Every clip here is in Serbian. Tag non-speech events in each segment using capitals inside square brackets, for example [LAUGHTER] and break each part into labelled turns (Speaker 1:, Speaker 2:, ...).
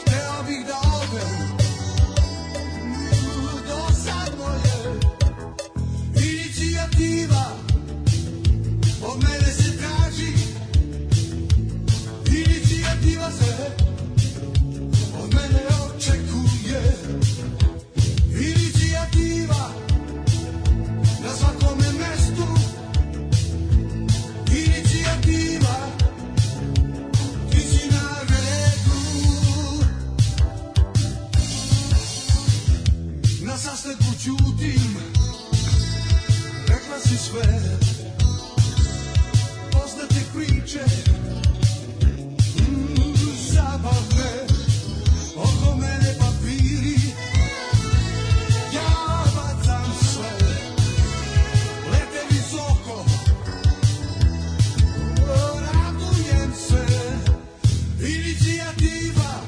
Speaker 1: Hteo bih da odem Dosadno je Inicijativa Od mene se traži Inicijativa se Od mene očekuje Inicijativa Na svakome mestu Inicijativa Ti si na redu Na sastanku ćutim Rekla si sve Poznate priče mm, Zabavne Oko mene papiri Ja bacam sve Lete visoko Radujem se Inicijativa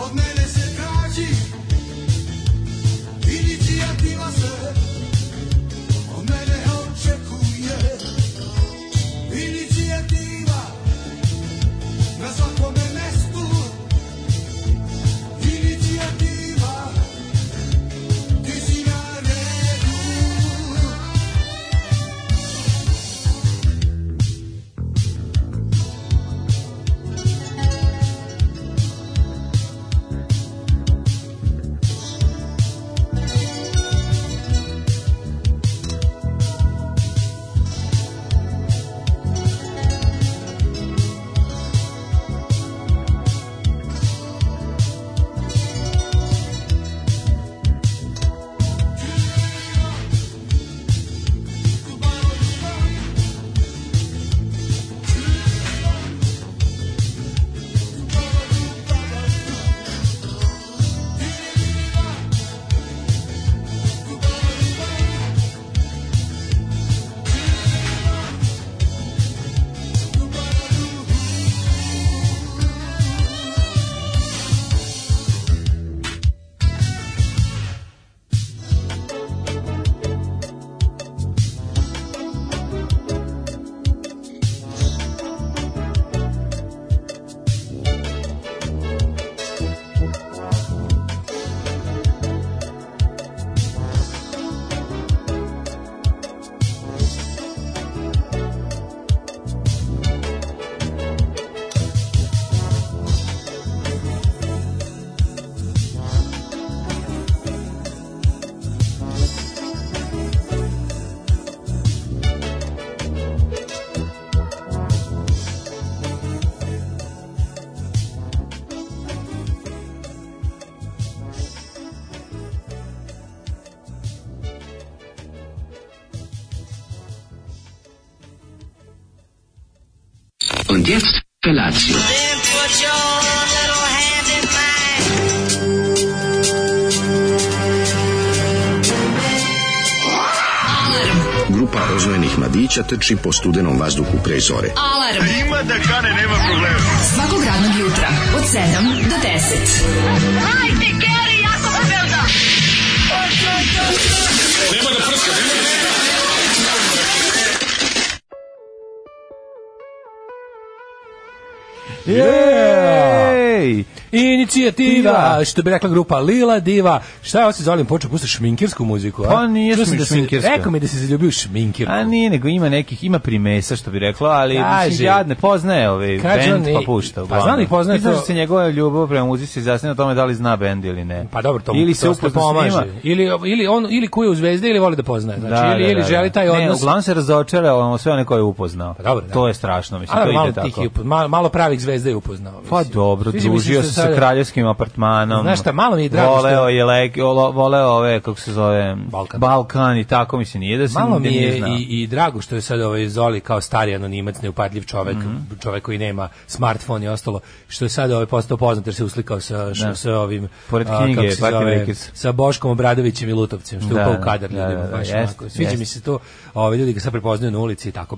Speaker 1: Od mene se traži Inicijativa se Od mene očekuje Inicijativa Na svakome mestu Inicijativa Ti si na redu
Speaker 2: Und jetzt Felatio.
Speaker 3: Then put your little hand in mine.
Speaker 4: Grupa rozvojenih mladića trči po studenom vazduhu pre zore.
Speaker 5: Alarm. A ima da kane, nema problema. Svakog radnog jutra, od 7 do 10. Hajde, Geri, jako se velda.
Speaker 6: Ej!
Speaker 7: Inicijativa,
Speaker 6: Diva.
Speaker 7: što bi rekla grupa Lila Diva. Šta ja se zalim počeo pušta šminkirsku muziku, a?
Speaker 6: Pa nije
Speaker 7: Čuo sam
Speaker 6: šmi-
Speaker 7: da si-
Speaker 6: šminkirska.
Speaker 7: Rekao mi da si zaljubio u šminkirku.
Speaker 6: A nije, nego ima nekih, ima primesa, što bi rekla, ali
Speaker 7: Kaže.
Speaker 6: mislim, jadne, poznaje ovaj
Speaker 7: Kaže
Speaker 6: bend,
Speaker 7: on,
Speaker 6: pa
Speaker 7: i-
Speaker 6: pušta.
Speaker 7: pa
Speaker 6: uglavnom.
Speaker 7: znam i poznaje
Speaker 6: Pitaš
Speaker 7: to-
Speaker 6: se njegova ljubav prema muzici se izjasnije o tome da li zna bend ili ne.
Speaker 7: Pa dobro, to mu
Speaker 6: Ili se
Speaker 7: dosta
Speaker 6: upoznao s
Speaker 7: pomaže.
Speaker 6: njima.
Speaker 7: Ili, ili, on, ili kuje u zvezde ili voli da poznaje. Znači, ili, ili želi taj
Speaker 6: da. Ne,
Speaker 7: odnos.
Speaker 6: uglavnom se razočara ono sve one koje je upoznao.
Speaker 7: Pa dobro, da.
Speaker 6: To je strašno, mislim,
Speaker 7: Ali
Speaker 6: to
Speaker 7: malo,
Speaker 6: ide tako.
Speaker 7: tih je upo- malo, malo pravih zvezda je upoznao.
Speaker 6: Pa
Speaker 7: mislim.
Speaker 6: dobro,
Speaker 7: Sviđa mi se
Speaker 6: družio
Speaker 7: što
Speaker 6: se
Speaker 7: sada-
Speaker 6: sa kraljevskim apartmanom.
Speaker 7: Znaš šta, malo mi je drago
Speaker 6: voleo
Speaker 7: što-
Speaker 6: je lek, volo- voleo ove, kako se zove,
Speaker 7: Balkan.
Speaker 6: Balkan i tako, mislim, nije da se
Speaker 7: Malo mi
Speaker 6: nije
Speaker 7: je
Speaker 6: znao.
Speaker 7: i, i drago što je sad ovaj Zoli kao stari anonimac, neupadljiv čovek,
Speaker 6: Mhm.
Speaker 7: čovek koji nema smartfon i ostalo, što je sad ovaj postao poznat jer se uslikao sa, š, sa ovim...
Speaker 6: Da. Pored
Speaker 7: a, kako
Speaker 6: knjige,
Speaker 7: se
Speaker 6: Parking
Speaker 7: zove,
Speaker 6: Records.
Speaker 7: Sa Boškom Obradovićem i Lutovcem, što je
Speaker 6: Da,
Speaker 7: upao u kadar
Speaker 6: da,
Speaker 7: ljudima.
Speaker 6: da, da,
Speaker 7: baš
Speaker 6: jeste,
Speaker 7: onako. Sviđa
Speaker 6: jeste.
Speaker 7: mi se to, ovaj, ljudi ga sad prepoznaju na ulici i tako.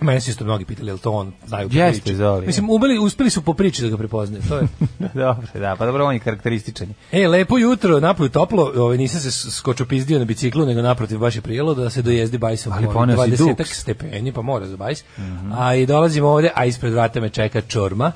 Speaker 7: Mene su isto mnogi pitali, je li to on znaju po
Speaker 6: Jeste,
Speaker 7: priči.
Speaker 6: Zoli, je.
Speaker 7: Mislim, ubili, uspeli su po priči da ga prepoznaju. To je.
Speaker 6: [LAUGHS] Dobro, da, pa dobro, on je karakterističan.
Speaker 7: E, lepo jutro, napolju toplo, ovaj, nisam se skočopizdio na biciklu, nego naprotiv baš je prijelo da se dojezdi bajsom.
Speaker 6: Ali
Speaker 7: Ono,
Speaker 6: poneo si
Speaker 7: 20-ak
Speaker 6: duks. Mhm.
Speaker 7: stepeni, pa mora za bajs. A i dolazim ovde, a ispred vrata me čeka čorma.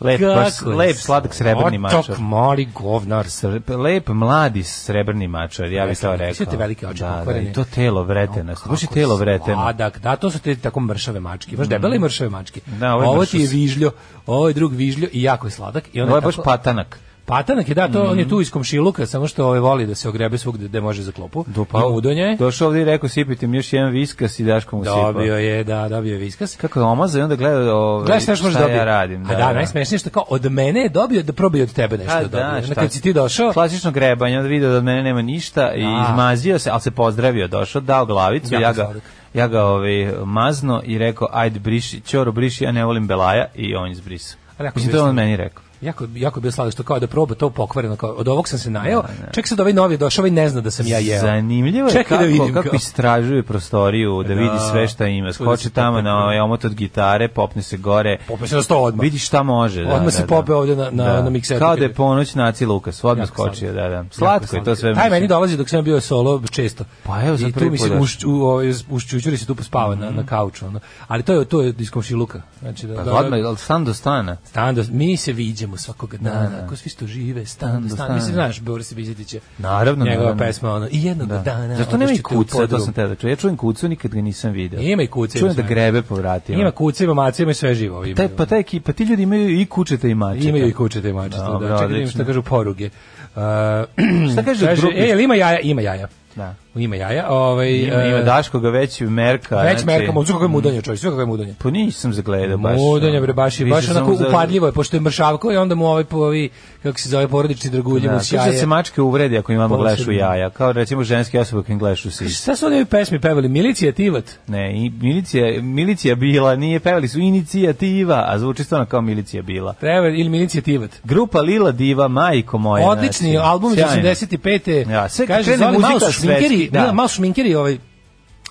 Speaker 6: Lep,
Speaker 7: Kako
Speaker 6: baš
Speaker 7: je
Speaker 6: lep, sladak srebrni
Speaker 7: otok,
Speaker 6: mačar.
Speaker 7: mali govnar.
Speaker 6: Sre- Lep, mladi srebrni mačar, ja bih to
Speaker 7: Rekao,
Speaker 6: rekao.
Speaker 7: sve te velike oči
Speaker 6: da, da,
Speaker 7: pokvarene.
Speaker 6: i to telo vreteno. Baš je telo vreteno.
Speaker 7: Sladak, da, to su te tako mršave mačke, baš debele i mršave mačke.
Speaker 6: Da, ovo je
Speaker 7: ovo ti je
Speaker 6: mršus.
Speaker 7: vižljo, ovo je drug vižljo i jako je sladak. I on
Speaker 6: Ovo je baš Mhm.
Speaker 7: tako-
Speaker 6: patanak.
Speaker 7: Patanak je da, to on je tu iz komšiluka, samo što ovaj voli da se ogrebe svugde gde može za klopu. I udonja je.
Speaker 6: Došao ovdje i rekao, sipite mi još jedan viskas i Daško mu sipa.
Speaker 7: Dobio je, da, dobio je viskas.
Speaker 6: Kako je omaza i onda gleda ove,
Speaker 7: Gledaj šta još možeš dobiti.
Speaker 6: ja radim.
Speaker 7: A da, najsmešnije je što kao od mene je dobio da probio od tebe nešto
Speaker 6: A,
Speaker 7: da, dobio. Onda
Speaker 6: šta
Speaker 7: kad si ti došao,
Speaker 6: Klasično grebanje, onda vidio da od mene nema ništa i
Speaker 7: Da.
Speaker 6: izmazio se, ali se pozdravio, došao, dao glavicu,
Speaker 7: Jako
Speaker 6: ja ga,
Speaker 7: sladak.
Speaker 6: ja ga ovaj, mazno i rekao, ajde briši, čoro briši, ja ne volim Belaja i on izbrisao.
Speaker 7: A jako
Speaker 6: Mislim, to je
Speaker 7: izbrisao.
Speaker 6: on meni rekao.
Speaker 7: jako, jako je bio sladak što kao da proba to pokvareno, kao od ovog sam se najeo, ček sad ovaj novi je došao, ovaj ne zna da sam ja jeo.
Speaker 6: Da, Zanimljivo je
Speaker 7: Čekaj
Speaker 6: kako,
Speaker 7: da vidim
Speaker 6: kako
Speaker 7: kao.
Speaker 6: istražuje prostoriju, da, vidi sve šta ima.
Speaker 7: Svuda
Speaker 6: Skoči
Speaker 7: se
Speaker 6: tamo
Speaker 7: popne.
Speaker 6: na ovaj omot od gitare, popne se gore,
Speaker 7: Popio se na sto odmah.
Speaker 6: vidi šta može. Da,
Speaker 7: Odmah
Speaker 6: da,
Speaker 7: se
Speaker 6: da.
Speaker 7: pope ovde na- na- na mikseru.
Speaker 6: Kao da je ponoć naci Lukas, odmah
Speaker 7: Jako
Speaker 6: skočio, da, da.
Speaker 7: Jako
Speaker 6: Slatko je to sve.
Speaker 7: Taj
Speaker 6: mislim.
Speaker 7: meni dolazi dok sam ja bio solo često.
Speaker 6: Pa evo, sad
Speaker 7: I tu
Speaker 6: prvi
Speaker 7: mi se
Speaker 6: put
Speaker 7: uš, u, ovaj, ušćućuri se tu pospava na, na kauču. Ono. Ali to je, to je iz komšiluka. Znači, da, da,
Speaker 6: Pa odmah, ali sam do stana.
Speaker 7: Stan do, mi se viđemo svakog
Speaker 6: Da,
Speaker 7: dana, ako svi što žive, stan do
Speaker 6: do
Speaker 7: stan.
Speaker 6: stana.
Speaker 7: Mislim, znaš, Boris Bizetića.
Speaker 6: Naravno,
Speaker 7: Njegova
Speaker 6: naravno.
Speaker 7: pesma, ono, i jednog
Speaker 6: Da.
Speaker 7: dana.
Speaker 6: Zašto nema i
Speaker 7: odešćete u
Speaker 6: kuca, to
Speaker 7: podrum.
Speaker 6: sam te da čujem. Ja čujem kucu, nikad ga nisam video.
Speaker 7: Ima i kuce,
Speaker 6: Čujem da
Speaker 7: znaš.
Speaker 6: grebe po vratima.
Speaker 7: Ima kuca, ima maca, ima sve živo. Ima,
Speaker 6: Taj, pa, taj, ekipa, ti ljudi imaju i kučete i mačete.
Speaker 7: Imaju i kuće te mačice, da,
Speaker 6: Dobro,
Speaker 7: čekaj da vidim šta
Speaker 6: odlično.
Speaker 7: kažu poruge. Uh, [CLEARS THROAT]
Speaker 6: Šta kaže drugi?
Speaker 7: E, jel ima jaja? Ima jaja.
Speaker 6: Da.
Speaker 7: Ima jaja. Ovaj,
Speaker 6: Ima, ima
Speaker 7: e,
Speaker 6: Daško ga već merka.
Speaker 7: Već
Speaker 6: znači-
Speaker 7: merka, mozu kako je mudanje, čovjek, sve kako je mudanje.
Speaker 6: Pa nisam zagledao baš.
Speaker 7: Mudanje, bre, baš, je-
Speaker 6: Više
Speaker 7: baš
Speaker 6: sam
Speaker 7: onako
Speaker 6: za-
Speaker 7: upadljivo je, pošto je mršavko i onda mu ovaj, po- ovi, kako se zove, porodični dragulji
Speaker 6: Da,
Speaker 7: mu
Speaker 6: kaže da
Speaker 7: sjaje.
Speaker 6: se mačke uvredi ako imamo
Speaker 7: Posebno.
Speaker 6: glešu jaja. Kao recimo ženske osobe koje im glešu sise.
Speaker 7: Šta su oni ovi pesmi pevali? Milicija Tivat?
Speaker 6: Ne, i milicija, milicija bila, nije pevali su inicijativa, a zvuči stvarno kao milicija bila.
Speaker 7: Treba, ili Milicija Tivat?
Speaker 6: Grupa Lila Diva, majko moja.
Speaker 7: Odlični
Speaker 6: znači,
Speaker 7: album iz
Speaker 6: sjajno.
Speaker 7: 85.
Speaker 6: Ja, sve kad
Speaker 7: kaže,
Speaker 6: krene
Speaker 7: Zoli, malo
Speaker 6: muzika
Speaker 7: su šminkeri,
Speaker 6: svetski, da.
Speaker 7: da. malo su šminkeri ovaj,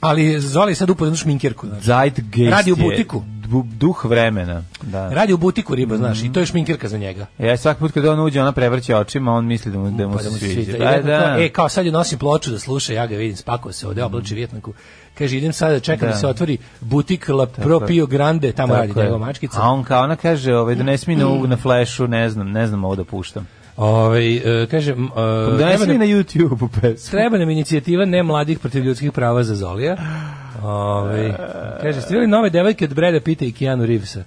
Speaker 7: ali Zoli je sad upodan u šminkerku. Znači.
Speaker 6: Zeitgeist
Speaker 7: Radi u
Speaker 6: je
Speaker 7: butiku.
Speaker 6: du- duh vremena. Da.
Speaker 7: Radi u butiku riba, znaš, i to je
Speaker 6: Mm.
Speaker 7: šminkerka za njega.
Speaker 6: Ja svaki put kad on uđe, ona prevrće očima, on misli da mu, da mu
Speaker 7: Pa
Speaker 6: se
Speaker 7: da mu se
Speaker 6: sviđa.
Speaker 7: sviđa. I
Speaker 6: Da,
Speaker 7: rekao
Speaker 6: da.
Speaker 7: kao, E, kao sad je nosim ploču da sluša, ja ga vidim, spakao se ovde,
Speaker 6: Mm.
Speaker 7: oblači vjetnaku. Kaže, idem sada, čekam da, se otvori butik La Propio Grande, tamo
Speaker 6: Tako
Speaker 7: radi
Speaker 6: je.
Speaker 7: njegova mačkica.
Speaker 6: A on kao, ona kaže, ovaj, donesi mi na, u- na flešu, ne znam, ne znam ovo da puštam.
Speaker 7: Ovaj, e, kaže, m, e,
Speaker 6: Pa
Speaker 7: treba,
Speaker 6: Donesi mi
Speaker 7: nam,
Speaker 6: na YouTube-u pesmu.
Speaker 7: treba nam inicijativa ne mladih protiv ljudskih prava za Zolija. Ovaj, kaže, ste vidjeli nove devojke od Breda Pita i Keanu Reevesa?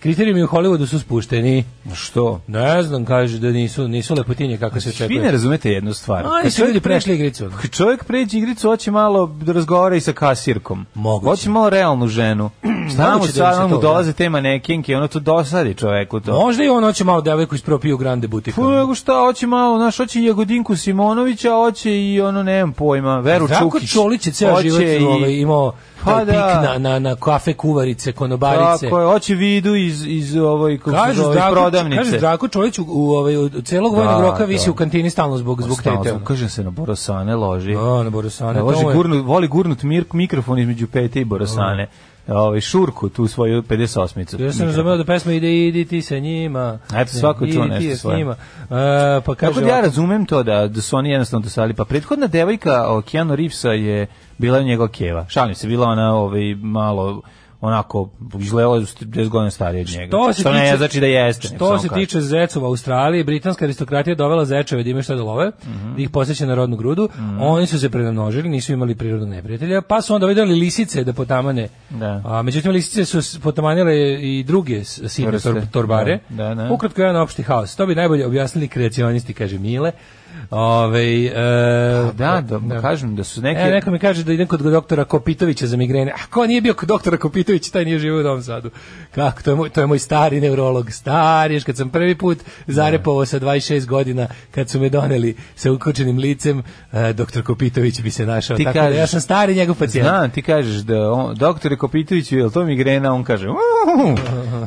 Speaker 7: Kriterijumi u Hollywoodu su spušteni.
Speaker 6: Što?
Speaker 7: Ne znam, kaže da nisu, nisu lepotinje kako se
Speaker 6: Vi ne
Speaker 7: očekuje.
Speaker 6: razumete jednu stvar.
Speaker 7: Oni
Speaker 6: Kad
Speaker 7: su
Speaker 6: čovjek
Speaker 7: ljudi
Speaker 6: pređe-
Speaker 7: prešli igricu.
Speaker 6: Kad čovjek pređe igricu, hoće malo da razgovara i sa kasirkom.
Speaker 7: Moguće.
Speaker 6: Hoće malo realnu
Speaker 7: [CLEARS THROAT]
Speaker 6: ženu. Šta mu
Speaker 7: Moguće da im se
Speaker 6: sad, mu
Speaker 7: to,
Speaker 6: dolaze te manekinke, ono to dosadi čoveku to.
Speaker 7: Možda i on hoće malo devojku iz Propio Grande butika.
Speaker 6: Pa nego šta, hoće malo, znaš, hoće i Jagodinku Simonovića, hoće i ono, nemam pojma, Veru
Speaker 7: Zdravko
Speaker 6: Čukić.
Speaker 7: Čolić je ceo
Speaker 6: Hoće
Speaker 7: život
Speaker 6: i-
Speaker 7: ovaj, imao
Speaker 6: Pa
Speaker 7: taj
Speaker 6: da.
Speaker 7: pik na, na, na kafe kuvarice, konobarice.
Speaker 6: Tako je, hoće vidu iz, iz ovoj, kako se
Speaker 7: Kažu
Speaker 6: zove,
Speaker 7: Zdravko,
Speaker 6: prodavnice.
Speaker 7: kažu Zdravko Čolić u, u, ovaj, od celog vojnog
Speaker 6: Da,
Speaker 7: roka visi
Speaker 6: da.
Speaker 7: u kantini stalno zbog, zbog
Speaker 6: Stalno,
Speaker 7: tete.
Speaker 6: Ukažem se na Borosane, loži.
Speaker 7: Da, na Borosane.
Speaker 6: Loži,
Speaker 7: tamo je-
Speaker 6: gurnut, voli gurnut mir, mikrofon između pete i Borosane. Ovaj, šurku, tu svoju 58-icu.
Speaker 7: Ja sam razumeo da pesma ide idi ti sa njima.
Speaker 6: Eto, svako je čuo
Speaker 7: Idi ti
Speaker 6: nešto
Speaker 7: s
Speaker 6: svoje.
Speaker 7: njima. E, pa kaže
Speaker 6: Tako da ja
Speaker 7: ovako,
Speaker 6: razumem to da, da su oni jednostavno dosali. Pa prethodna devojka o, Keanu Reevesa je bila njegova keva. Šalim se, bila ona ovaj, malo onako izgledala je 10 godina starija od njega.
Speaker 7: To se
Speaker 6: što ne
Speaker 7: tiče-
Speaker 6: znači da jeste. nego
Speaker 7: Što
Speaker 6: samo
Speaker 7: se
Speaker 6: kažem.
Speaker 7: tiče zecova u Australiji, britanska aristokratija je dovela zečeve da imaju šta da love,
Speaker 6: Mhm.
Speaker 7: da ih posjeća na rodnu grudu, oni su se prenamnožili, nisu imali prirodnog neprijatelja, pa su onda vidjeli lisice da potamane.
Speaker 6: Da.
Speaker 7: A, međutim, lisice su s- potamanile i druge s- sitne
Speaker 6: Vrste.
Speaker 7: tor- torbare.
Speaker 6: Da, da, da.
Speaker 7: Ukratko jedan opšti haos. To bi najbolje objasnili kreacionisti, kaže Mile. Ove, e,
Speaker 6: Da, da, kažem da su neki...
Speaker 7: E, neko mi kaže da idem kod doktora Kopitovića za migrene. A ko nije bio kod doktora Kopitovića, taj nije živio u Novom Sadu. Kako, to je moj, to je moj stari neurolog. Stari, još kad sam prvi put zarepovao sa 26 godina, kad su me doneli sa ukočenim licem, e, doktor Kopitović bi se našao.
Speaker 6: Ti
Speaker 7: Tako da ja
Speaker 6: kažeš-
Speaker 7: sam stari njegov pacijent.
Speaker 6: Znam, ti kažeš da on, doktore
Speaker 7: [LAUGHS]
Speaker 6: Kopitoviću, je li to migrena? On kaže, "Uuu",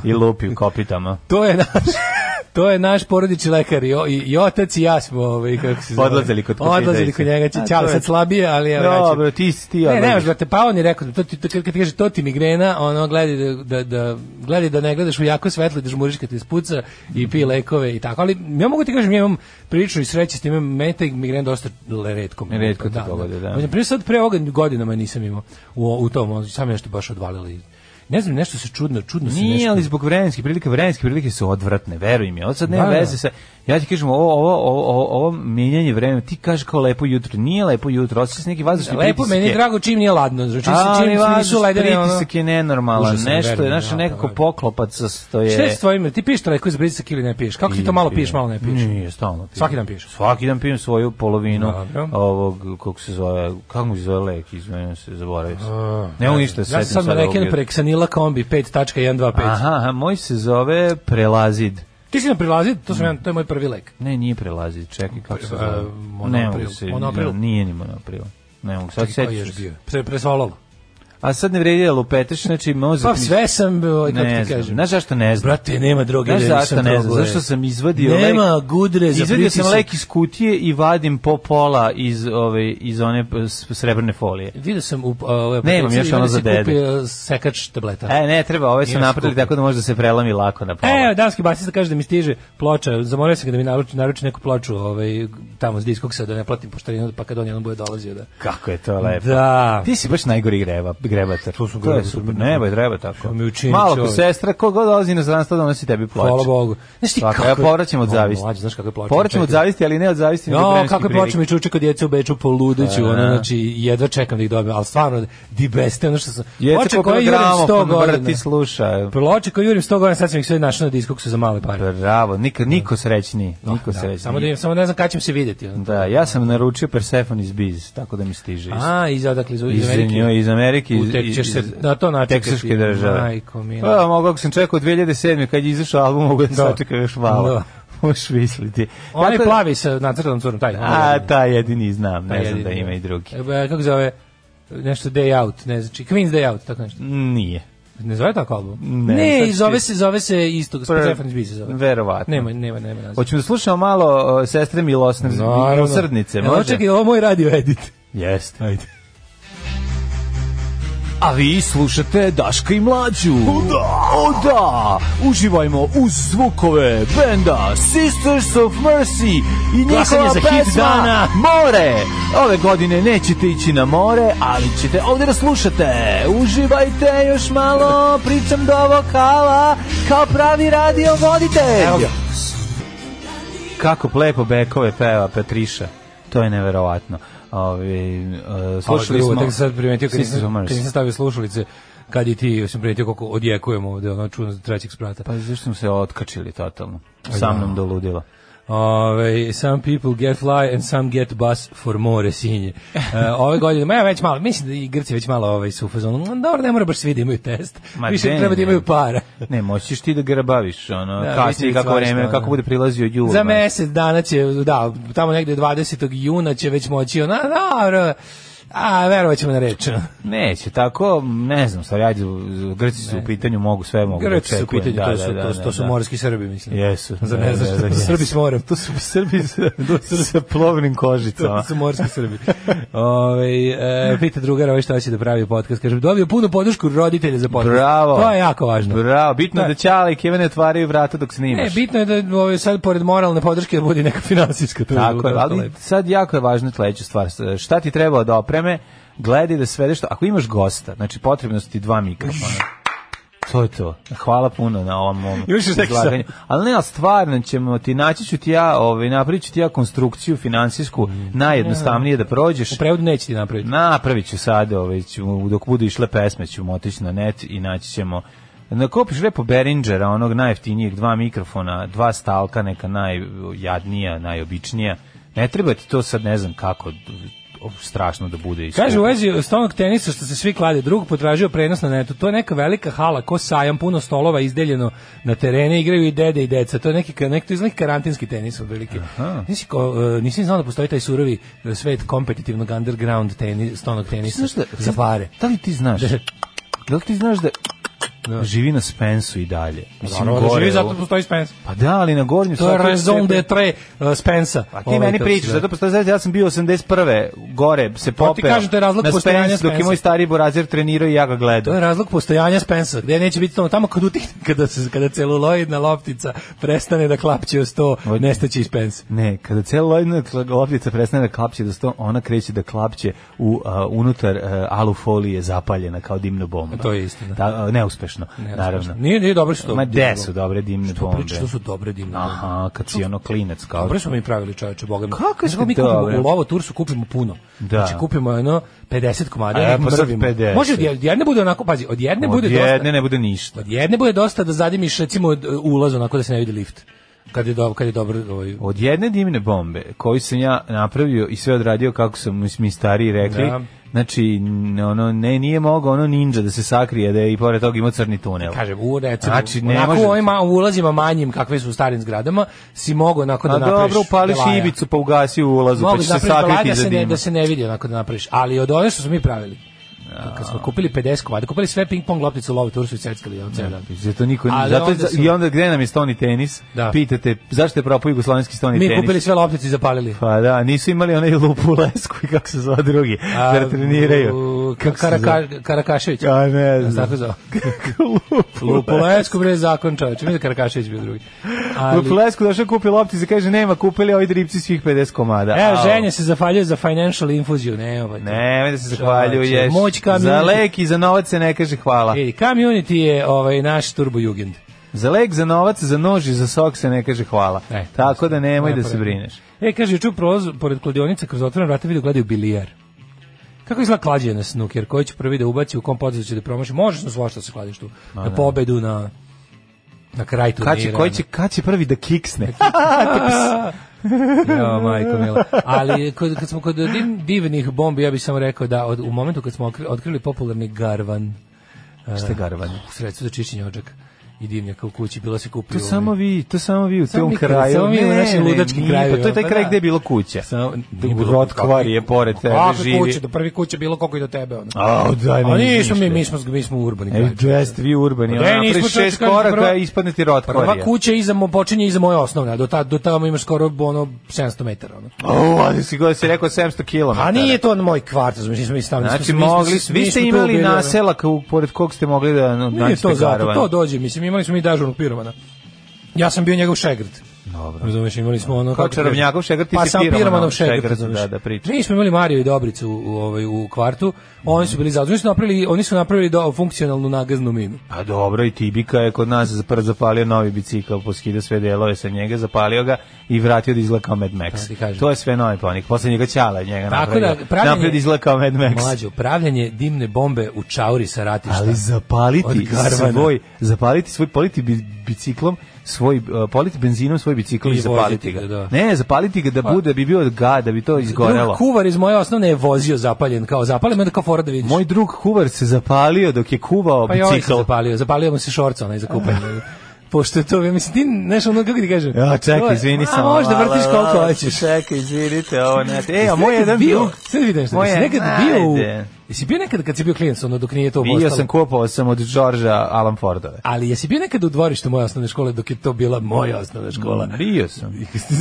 Speaker 6: i lupi u kopitama.
Speaker 7: To je naš... [LAUGHS] to je naš porodični lekar i, o- i, i otac i ja smo, ovaj, kako se zove.
Speaker 6: Odlazili kod Kočejdejca.
Speaker 7: Odlazili kod njega, će,
Speaker 6: A,
Speaker 7: čao,
Speaker 6: to je-
Speaker 7: sad slabije, ali evo, ja ću.
Speaker 6: Dobro, ti si ti
Speaker 7: Ne, ne,
Speaker 6: odlaziš.
Speaker 7: možeš, brate, pa on je rekao, da to ti, to, kad ti kaže, to ti migrena, ono, gledaj da, da, da, gledaj da ne gledaš u jako svetlo, da žmuriš kad te ispuca i pi lekove i tako, ali ja mogu ti kažem, ja imam prilično i sreće s tim, imam meni taj migren dosta le- retko. mi
Speaker 6: Retko
Speaker 7: napada,
Speaker 6: ti pogodi, da.
Speaker 7: Na primjer, sad pre ovoga godinama je nisam imao u, u tom, ono, sam nešto baš odvalili. Ne znam, nešto se čudno, čudno se
Speaker 6: Nije,
Speaker 7: nešto...
Speaker 6: ali zbog vremenskih prilika, vremenske prilike su odvratne, veruj mi. Ovo sad nema
Speaker 7: Da, da.
Speaker 6: veze sa... Ja ti kažem, ovo, ovo, ovo, ovo, ovo menjanje vremena, ti kažeš kao lepo jutro. Nije lepo jutro, osjećaš neki vazdušni
Speaker 7: Lepo, meni je
Speaker 6: pritiske.
Speaker 7: drago čim nije ladno, znači čim,
Speaker 6: Ali
Speaker 7: čim nisu
Speaker 6: vazdušni
Speaker 7: ledene, ono...
Speaker 6: pritisak je nenormalan,
Speaker 7: Užasan,
Speaker 6: nešto je,
Speaker 7: verujem,
Speaker 6: znaš,
Speaker 7: da,
Speaker 6: nekako
Speaker 7: da.
Speaker 6: poklopac sa što je...
Speaker 7: Šta je s tvojim, ti piješ trajku iz britisak ili ne piješ? Kako ti to malo piješ, malo ne piješ?
Speaker 6: Nije, stalno pijem.
Speaker 7: Svaki dan piješ?
Speaker 6: Svaki dan pijem svoju polovinu
Speaker 7: Dobro.
Speaker 6: ovog, kako se zove, kako mu se zove lek, izmenim se, zaboravio sam. ne mogu ništa da se
Speaker 7: Ja
Speaker 6: setim
Speaker 7: sam sad
Speaker 6: sad
Speaker 7: na
Speaker 6: ovog
Speaker 7: reken
Speaker 6: jutra.
Speaker 7: preksanila kombi 5.125.
Speaker 6: Aha, aha, moj se zove Prelazid.
Speaker 7: Ti si nam prilazi, to,
Speaker 6: Mm.
Speaker 7: sam ja, to je moj prvi lek.
Speaker 6: Ne, nije Prelazid, čekaj, kako se
Speaker 7: Pre-
Speaker 6: zove.
Speaker 7: e,
Speaker 6: ne
Speaker 7: Monopril,
Speaker 6: mogu se,
Speaker 7: Monopril.
Speaker 6: ne, nije ni monopril. Ne mogu, sad
Speaker 7: Čekaj, pa koji
Speaker 6: sećam
Speaker 7: još
Speaker 6: se.
Speaker 7: bio? Pre, presolalo.
Speaker 6: A sad ne vredi da lupeteš, znači mozak
Speaker 7: Pa
Speaker 6: mi-
Speaker 7: sve sam, ovaj, kako
Speaker 6: ne
Speaker 7: ti
Speaker 6: znam.
Speaker 7: kažem.
Speaker 6: Znaš zašto ne znam?
Speaker 7: Brate, nema droge,
Speaker 6: Znaš
Speaker 7: da
Speaker 6: zašto
Speaker 7: nisam
Speaker 6: ne znam?
Speaker 7: probao,
Speaker 6: Zašto
Speaker 7: je.
Speaker 6: sam izvadio lek?
Speaker 7: Nema gudre za
Speaker 6: Izvadio sam
Speaker 7: pritisak.
Speaker 6: lek iz kutije i vadim po pola iz, ove, iz one e, s- srebrne folije.
Speaker 7: Vidio sam u a, ove
Speaker 6: Nemam
Speaker 7: apoteci,
Speaker 6: još
Speaker 7: ima
Speaker 6: ono
Speaker 7: da se
Speaker 6: za dedu.
Speaker 7: kupi, a, sekač tableta.
Speaker 6: E, ne, treba, ove su
Speaker 7: Nije
Speaker 6: napravili
Speaker 7: skupo.
Speaker 6: tako da može da se prelami lako na pola.
Speaker 7: E, danski basista kaže da mi stiže ploča, zamolio sam ga da mi naruči, naruči neku ploču ovaj, tamo s diskoksa da ne platim poštarinu, pa kad on jednom bude dolazio da...
Speaker 6: Kako je to lepo.
Speaker 7: Da.
Speaker 6: Ti si baš najgori greba, grebatar. To su grebatar. Ne, boj, treba tako.
Speaker 7: mi učini
Speaker 6: Malo ko
Speaker 7: čovjek.
Speaker 6: sestra, ko god dolazi na stranstvo, donosi tebi ploče.
Speaker 7: Hvala Bogu. Znaš ti
Speaker 6: Svaka,
Speaker 7: kako
Speaker 6: ja
Speaker 7: je-
Speaker 6: povraćam od
Speaker 7: O,
Speaker 6: zavisti.
Speaker 7: mlađe, znaš kako je ploča,
Speaker 6: Povraćam od
Speaker 7: čekaj.
Speaker 6: zavisti, ali ne od zavisti. nego
Speaker 7: No,
Speaker 6: vremenskih
Speaker 7: kako je
Speaker 6: prilika.
Speaker 7: ploče mi čuče kod djece u Beču poludeću, ono,
Speaker 6: Da.
Speaker 7: znači, jedva čekam da ih dobijem, ali stvarno, di beste, ono što sam...
Speaker 6: Djeca pa
Speaker 7: ploče koje
Speaker 6: kupila
Speaker 7: jurim
Speaker 6: gramofon,
Speaker 7: 100
Speaker 6: brati
Speaker 7: godina.
Speaker 6: sluša.
Speaker 7: Ploče koje jurim 100 godina, sad sam ih sve našao na diskoksu za male pare.
Speaker 6: Bravo, niko, niko srećniji. Niko
Speaker 7: Da,
Speaker 6: srećniji.
Speaker 7: samo, da, im- samo ne znam kada ćemo se vidjeti. Ono.
Speaker 6: Da, ja sam naručio Persephone iz Biz, tako da mi stiže. isto.
Speaker 7: A, iz odakle, iz, iz
Speaker 6: iz
Speaker 7: Amerike.
Speaker 6: Amerike, iz Amerike, iz,
Speaker 7: Utek ćeš se na to načekati.
Speaker 6: teksaške države.
Speaker 7: Majko mila.
Speaker 6: Pa, mogu ako sam čekao 2007. kad je izašao album, mogu da
Speaker 7: Da.
Speaker 6: sačekam još malo.
Speaker 7: Da.
Speaker 6: Možeš misliti.
Speaker 7: Onaj
Speaker 6: Dakle,
Speaker 7: plavi sa nacrtanom curom, taj.
Speaker 6: A, ta jedini znam, ne
Speaker 7: Taj
Speaker 6: znam da
Speaker 7: jedini,
Speaker 6: ima
Speaker 7: da.
Speaker 6: i drugi.
Speaker 7: E, kako zove, nešto Day Out, ne znači, Queen's Day Out, tako nešto.
Speaker 6: Nije.
Speaker 7: Ne zove tako album?
Speaker 6: Ne, sad
Speaker 7: ne
Speaker 6: ću-
Speaker 7: zove se, zove se isto,
Speaker 6: Pre-
Speaker 7: Stefan Zbi se zove.
Speaker 6: Verovatno.
Speaker 7: Nema, nema, nema naziva.
Speaker 6: Hoćemo da slušamo malo o, sestre Milosne, Milosrdnice,
Speaker 7: Evo,
Speaker 6: može?
Speaker 7: čekaj, ovo je moj radio edit.
Speaker 6: Jeste. Ajde. A vi slušate Daška i Mlađu. O da! O da! Uživajmo uz zvukove benda Sisters of Mercy i
Speaker 7: Glasanje
Speaker 6: njihova
Speaker 7: za hit
Speaker 6: pesma
Speaker 7: dana.
Speaker 6: More. Ove godine nećete ići na more, ali ćete ovdje da slušate. Uživajte još malo, pričam do vokala, kao pravi radio voditelj.
Speaker 7: Evo ga.
Speaker 6: Kako plepo bekove peva Petriša. To je neverovatno. Ovi, e, slušali
Speaker 7: Ovo
Speaker 6: smo...
Speaker 7: je drugo, Tek sam sad primetio, kad
Speaker 6: Sisters of
Speaker 7: nisam,
Speaker 6: Mercy.
Speaker 7: kad nisam stavio slušalice, kad i ti, sam primetio koliko odjekujemo ovde, ono čuno trećeg sprata.
Speaker 6: Pa zašto smo se otkačili totalno? Sa mnom doludilo.
Speaker 7: Ove, some people get fly and some get bus for more sinje. E, ove godine, ma ja već malo, mislim da i Grci već malo ovaj, su u fazonu, "Ma dobro, ne mora baš svi da imaju test,
Speaker 6: Ma
Speaker 7: više
Speaker 6: ne,
Speaker 7: treba da
Speaker 6: ne.
Speaker 7: imaju para.
Speaker 6: Ne, moćiš ti da grabaviš, ono,
Speaker 7: Da,
Speaker 6: kasnije
Speaker 7: mislim,
Speaker 6: kako
Speaker 7: svašta,
Speaker 6: vreme,
Speaker 7: ono.
Speaker 6: kako bude prilazio jul. ma.
Speaker 7: Za mesec dana će, da, tamo negde 20. juna će već moći, ono, a, dobro, a verovat ćemo na reč.
Speaker 6: Neće, tako, ne znam, stvari, ajde, Grci su u pitanju, mogu sve, mogu
Speaker 7: Grci
Speaker 6: da
Speaker 7: su u
Speaker 6: očekujem, da,
Speaker 7: pitanju,
Speaker 6: da,
Speaker 7: to su,
Speaker 6: da,
Speaker 7: to,
Speaker 6: da,
Speaker 7: to su
Speaker 6: da.
Speaker 7: morski Srbi, mislim.
Speaker 6: Jesu.
Speaker 7: Za
Speaker 6: Da,
Speaker 7: ne znaš,
Speaker 6: da, da,
Speaker 7: Srbi
Speaker 6: jesu.
Speaker 7: s morem.
Speaker 6: To su [LAUGHS] Srbi sa, sa plovnim kožicama.
Speaker 7: To su morski Srbi. Ove, e, pita drugara ovaj šta će da pravi podcast. Kaže, dobio punu podršku roditelja za podcast.
Speaker 6: Bravo.
Speaker 7: To je jako važno.
Speaker 6: Bravo, bitno je
Speaker 7: Da.
Speaker 6: da Ćale i Keva ne otvaraju vrata dok snimaš.
Speaker 7: Ne, bitno je da ove, sad pored moralne podrške da bude i neka finansijska. To
Speaker 6: Tako je,
Speaker 7: dosta
Speaker 6: ali
Speaker 7: lepo.
Speaker 6: sad jako je važna sledeća stvar. Šta ti treba od opreme? Gledaj da svedeš što... Ako imaš gosta, znači potrebno su ti dva mikrofona. To je to. Hvala puno na ovom mom
Speaker 7: Imaš još neki
Speaker 6: izlaganju. Ali ne, ali stvarno ćemo ti, naći ću ti ja, ovaj, napravit ću ti ja konstrukciju finansijsku, najjednostavnije da prođeš.
Speaker 7: Mm. U prevodu neće ti napraviti.
Speaker 6: Napravit ću sad, ovaj, ću, dok budu išle pesme ćemo otići na net i naći ćemo Na kopiš lepo Behringera, onog najjeftinijeg, dva mikrofona, dva stalka, neka najjadnija, najobičnija. Ne treba ti to sad, ne znam kako, d- strašno da bude. i
Speaker 7: Kaže ovaj,
Speaker 6: skupo.
Speaker 7: u vezi stomak tenisa što se svi klade, drug potražio prenos na netu. To je neka velika hala, ko sajam, puno stolova izdeljeno na terene, igraju i dede i deca. To je neki ka- neki to izgleda karantinski tenis otprilike. Nisi ko e, nisi znao da postoji taj surovi e, svet kompetitivnog underground tenis, stomak tenisa
Speaker 6: Znaš da-
Speaker 7: za pare.
Speaker 6: Da li ti znaš? Da li ti znaš da da. živi na Spensu i dalje. Mislim,
Speaker 7: Naravno da živi
Speaker 6: gore,
Speaker 7: zato
Speaker 6: ovo-
Speaker 7: postoji Spence.
Speaker 6: Pa da, ali na gornjem
Speaker 7: To je
Speaker 6: svakoj
Speaker 7: raison
Speaker 6: stepen-
Speaker 7: d'etre uh, Spensa.
Speaker 6: A ti meni pričaš, zato postoje, znači, ja sam bio 81. gore, se popeo
Speaker 7: da. Pa ti kažem, to je razlog
Speaker 6: na
Speaker 7: postojanja
Speaker 6: Spens, dok je
Speaker 7: Spensa.
Speaker 6: moj stari burazir trenirao i ja ga
Speaker 7: To
Speaker 6: gledao.
Speaker 7: je razlog postojanja Spensa, gde neće biti tamo, tamo kad utigne, [LAUGHS] kada, se, kada celuloidna loptica prestane da klapće o sto,
Speaker 6: Od-
Speaker 7: nestaće i Spence.
Speaker 6: Ne, kada cijela lojna loptica prestane da klapće do sto, ona kreće da klapće u, a, unutar a, alufolije zapaljena kao dimna bomba.
Speaker 7: To je istina.
Speaker 6: Da, a, neuspešno, naravno.
Speaker 7: Nije, nije dobro što...
Speaker 6: Ma gde su dobre dimne
Speaker 7: što
Speaker 6: bombe?
Speaker 7: pričaš, to su dobre dimne bombe.
Speaker 6: Aha, kad si ono klinec kao...
Speaker 7: Dobro smo mi pravili čoveče, boga mi.
Speaker 6: Kako
Speaker 7: Znaš
Speaker 6: ste
Speaker 7: mi kupimo
Speaker 6: dobre?
Speaker 7: u lovo tursu, kupimo puno.
Speaker 6: Da.
Speaker 7: Znači kupimo ono 50 komada,
Speaker 6: E,
Speaker 7: e,
Speaker 6: pa sad 50.
Speaker 7: Može od jedne, od jedne bude onako, pazi, od jedne bude
Speaker 6: Od
Speaker 7: dosta.
Speaker 6: jedne ne bude ništa.
Speaker 7: Od jedne bude dosta da zadimiš recimo od, e, ulaz onako da se ne vidi lift. Kad je dobro, kad je dobro, ovaj,
Speaker 6: Od jedne dimne bombe koju sam ja napravio i sve odradio kako su mi- mi stariji rekli,
Speaker 7: Da.
Speaker 6: znači n- ono ne nije mogao ono ninja da se sakrije da je i pored toga imao crni tunel.
Speaker 7: kažem, u recimo,
Speaker 6: Znači,
Speaker 7: znači,
Speaker 6: ne
Speaker 7: ne onako
Speaker 6: može-
Speaker 7: u ovim ma- ulazima manjim kakve su u starim zgradama, si mogo onako da
Speaker 6: A
Speaker 7: napraviš.
Speaker 6: Pa dobro, upališ
Speaker 7: belaja.
Speaker 6: ibicu pa ugasi u ulazu,
Speaker 7: Mogu
Speaker 6: pa će
Speaker 7: da
Speaker 6: se
Speaker 7: napraviš belaja
Speaker 6: sakriti
Speaker 7: da
Speaker 6: za
Speaker 7: se, ne,
Speaker 6: dim.
Speaker 7: da se ne vidi onako da napraviš. Ali od one što smo mi pravili, kad smo kupili 50 komada, kupili sve ping pong loptice u lovu tursu i seckali jedan ceo dan.
Speaker 6: Zato niko
Speaker 7: Ali
Speaker 6: zato
Speaker 7: onda su-
Speaker 6: i onda gde nam je stoni tenis?
Speaker 7: Da.
Speaker 6: Pitate zašto je propao jugoslovenski stoni
Speaker 7: Mi
Speaker 6: tenis?
Speaker 7: kupili sve loptice i zapalili.
Speaker 6: Pa da, nisu imali onaj lupu lesku i kako se zove drugi, da treniraju.
Speaker 7: u- Ka, karaka, Karakašević.
Speaker 6: A ne
Speaker 7: Znaš
Speaker 6: znam. [LAUGHS]
Speaker 7: tako zvao?
Speaker 6: Lupu
Speaker 7: Lupo Lesko, bre, zakon čoveče. Mi da Karakašević bio drugi.
Speaker 6: Ali...
Speaker 7: Ali,
Speaker 6: Plesku došao da kupi loptice, kaže nema, kupili ovi dripci svih 50 komada.
Speaker 7: Evo,
Speaker 6: Au.
Speaker 7: E, ženja se zafalje za financial infuziju. Ne, ovaj.
Speaker 6: Ne, da se zahvaljuješ.
Speaker 7: Čoveče, moć kamion-
Speaker 6: Za lek i za novac se ne kaže hvala.
Speaker 7: Vidi, community je ovaj, naš turbo jugend.
Speaker 6: Za lek, za novac, za nož i za sok se ne kaže hvala.
Speaker 7: Ne.
Speaker 6: Tako da nemoj da se
Speaker 7: Lepo
Speaker 6: brineš.
Speaker 7: E, kaže, ču prolaz pored kladionice, kroz otvorene vrata vidio gledaju bilijar. Kako izgleda klađenje na snuker? Koji će prvi da ubaci, u kom potezu će da promaši? Možeš na svašta da se kladiš tu. Na pobedu, na na kraj turnira.
Speaker 6: Kad će, koji
Speaker 7: na-
Speaker 6: će, kad će prvi da kiksne?
Speaker 7: Jo, majko mila. Ali kod, kad smo kod div- divnih bombi, ja bih samo rekao da od, u momentu kad smo okri- otkrili popularni garvan
Speaker 6: Šta garvanje?
Speaker 7: u sredstvu za čišćenje ođaka i divnjaka u kući, bilo se kupio...
Speaker 6: To samo vi, to samo vi u
Speaker 7: Samo
Speaker 6: tom
Speaker 7: mi-
Speaker 6: kraju.
Speaker 7: samo mi u
Speaker 6: Ne,
Speaker 7: našim
Speaker 6: ne,
Speaker 7: ludačkim
Speaker 6: nije,
Speaker 7: krajevima.
Speaker 6: Pa to je taj
Speaker 7: Pa
Speaker 6: kraj
Speaker 7: da.
Speaker 6: gde je bilo kuća.
Speaker 7: Samo,
Speaker 6: Rod je pored tebe, živi.
Speaker 7: kuće, do prvi kuće bilo koliko i do tebe. Ono.
Speaker 6: A, daj, ne,
Speaker 7: A nismo mi,
Speaker 6: ništa.
Speaker 7: mi smo, mi smo urbani.
Speaker 6: E,
Speaker 7: građani.
Speaker 6: jest, vi urbani,
Speaker 7: Pa da,
Speaker 6: ono,
Speaker 7: nismo
Speaker 6: napraviš
Speaker 7: čovječe,
Speaker 6: šest
Speaker 7: kažem,
Speaker 6: koraka
Speaker 7: prva-
Speaker 6: i ispadne ti rod
Speaker 7: Prva kuća iza mo, počinje iza moje osnovne, a do, ta, do tamo imaš skoro ono, 700 metara. Ono.
Speaker 6: O, ali si, go- si rekao 700 km.
Speaker 7: A Pa nije to moj kvart, znači nismo mi stavili.
Speaker 6: Znači, mogli, vi ste imali naselak u- pored kog ste mogli da no,
Speaker 7: Nije
Speaker 6: nađete
Speaker 7: to zato,
Speaker 6: garavan.
Speaker 7: to dođe, mislim, imali smo mi dažurnog piromana. Ja sam bio njegov šegrt. Dobro. Razumeš, imali smo ono
Speaker 6: Kao čarobnjakov šegrt, ti
Speaker 7: pa
Speaker 6: si
Speaker 7: sam
Speaker 6: piromanov
Speaker 7: piromanov
Speaker 6: šegrt,
Speaker 7: šegrt, razumeš.
Speaker 6: da, da, priča.
Speaker 7: Mi smo imali Mariju i Dobricu u, u, ovaj, u kvartu, oni su bili zaduženi, oni su napravili, oni su napravili do, funkcionalnu nagaznu minu.
Speaker 6: A dobro, i Tibika je kod nas za- prvo zapalio novi bicikl, poskidao sve delove sa njega, zapalio ga i vratio da izgleda kao Mad
Speaker 7: Šta Pa ti
Speaker 6: Max.
Speaker 7: kažem?
Speaker 6: To je sve novi panik. Posle njega Ćala je njega
Speaker 7: Tako
Speaker 6: napravio.
Speaker 7: da, pravljenje-
Speaker 6: Napravio da izgleda kao Mad Max.
Speaker 7: Mlađo, pravljanje dimne bombe u čauri sa ratišta.
Speaker 6: Ali
Speaker 7: Od
Speaker 6: zapaliti
Speaker 7: Garvana.
Speaker 6: svoj, zapaliti svoj, politi bi- biciklom, svoj, uh, politi benzinom svoj bicikl i,
Speaker 7: I
Speaker 6: zapaliti
Speaker 7: voziti
Speaker 6: ga.
Speaker 7: ga, da.
Speaker 6: Ne, zapaliti ga da bude, da bi bio ga, da bi to izgorelo.
Speaker 7: Drug kuvar iz moje osnovne je vozio zapaljen, kao zapaljen, onda kao fora da vidiš.
Speaker 6: Moj drug kuvar se zapalio dok je kuvao
Speaker 7: pa i ovaj se
Speaker 6: bicikl.
Speaker 7: zapalio, zapalio mu se šorca onaj za
Speaker 6: [LAUGHS]
Speaker 7: kupanje. Pošto je to, ja mislim, ti, znaš, ono, kako ti kažem?
Speaker 6: Ja,
Speaker 7: To je-
Speaker 6: čekaj, izvini samo.
Speaker 7: A, možda
Speaker 6: malo,
Speaker 7: vrtiš koliko
Speaker 6: malo,
Speaker 7: hoćeš.
Speaker 6: Čekaj, izvinite, ovo ne. E, a moj
Speaker 7: Nekad
Speaker 6: jedan
Speaker 7: bio,
Speaker 6: drug.
Speaker 7: Sad da vidim što,
Speaker 6: Moj
Speaker 7: jesi
Speaker 6: je-
Speaker 7: nekad bio u...
Speaker 6: ajde.
Speaker 7: Jesi bio nekad kad si bio klijent, ono, dok nije to
Speaker 6: Bio
Speaker 7: postalo?
Speaker 6: sam kupovao sam od Đorđa Alan Fordove.
Speaker 7: Ali jesi bio nekad u dvorištu moje osnovne škole dok je to bila moja osnovna škola?
Speaker 6: Bio sam.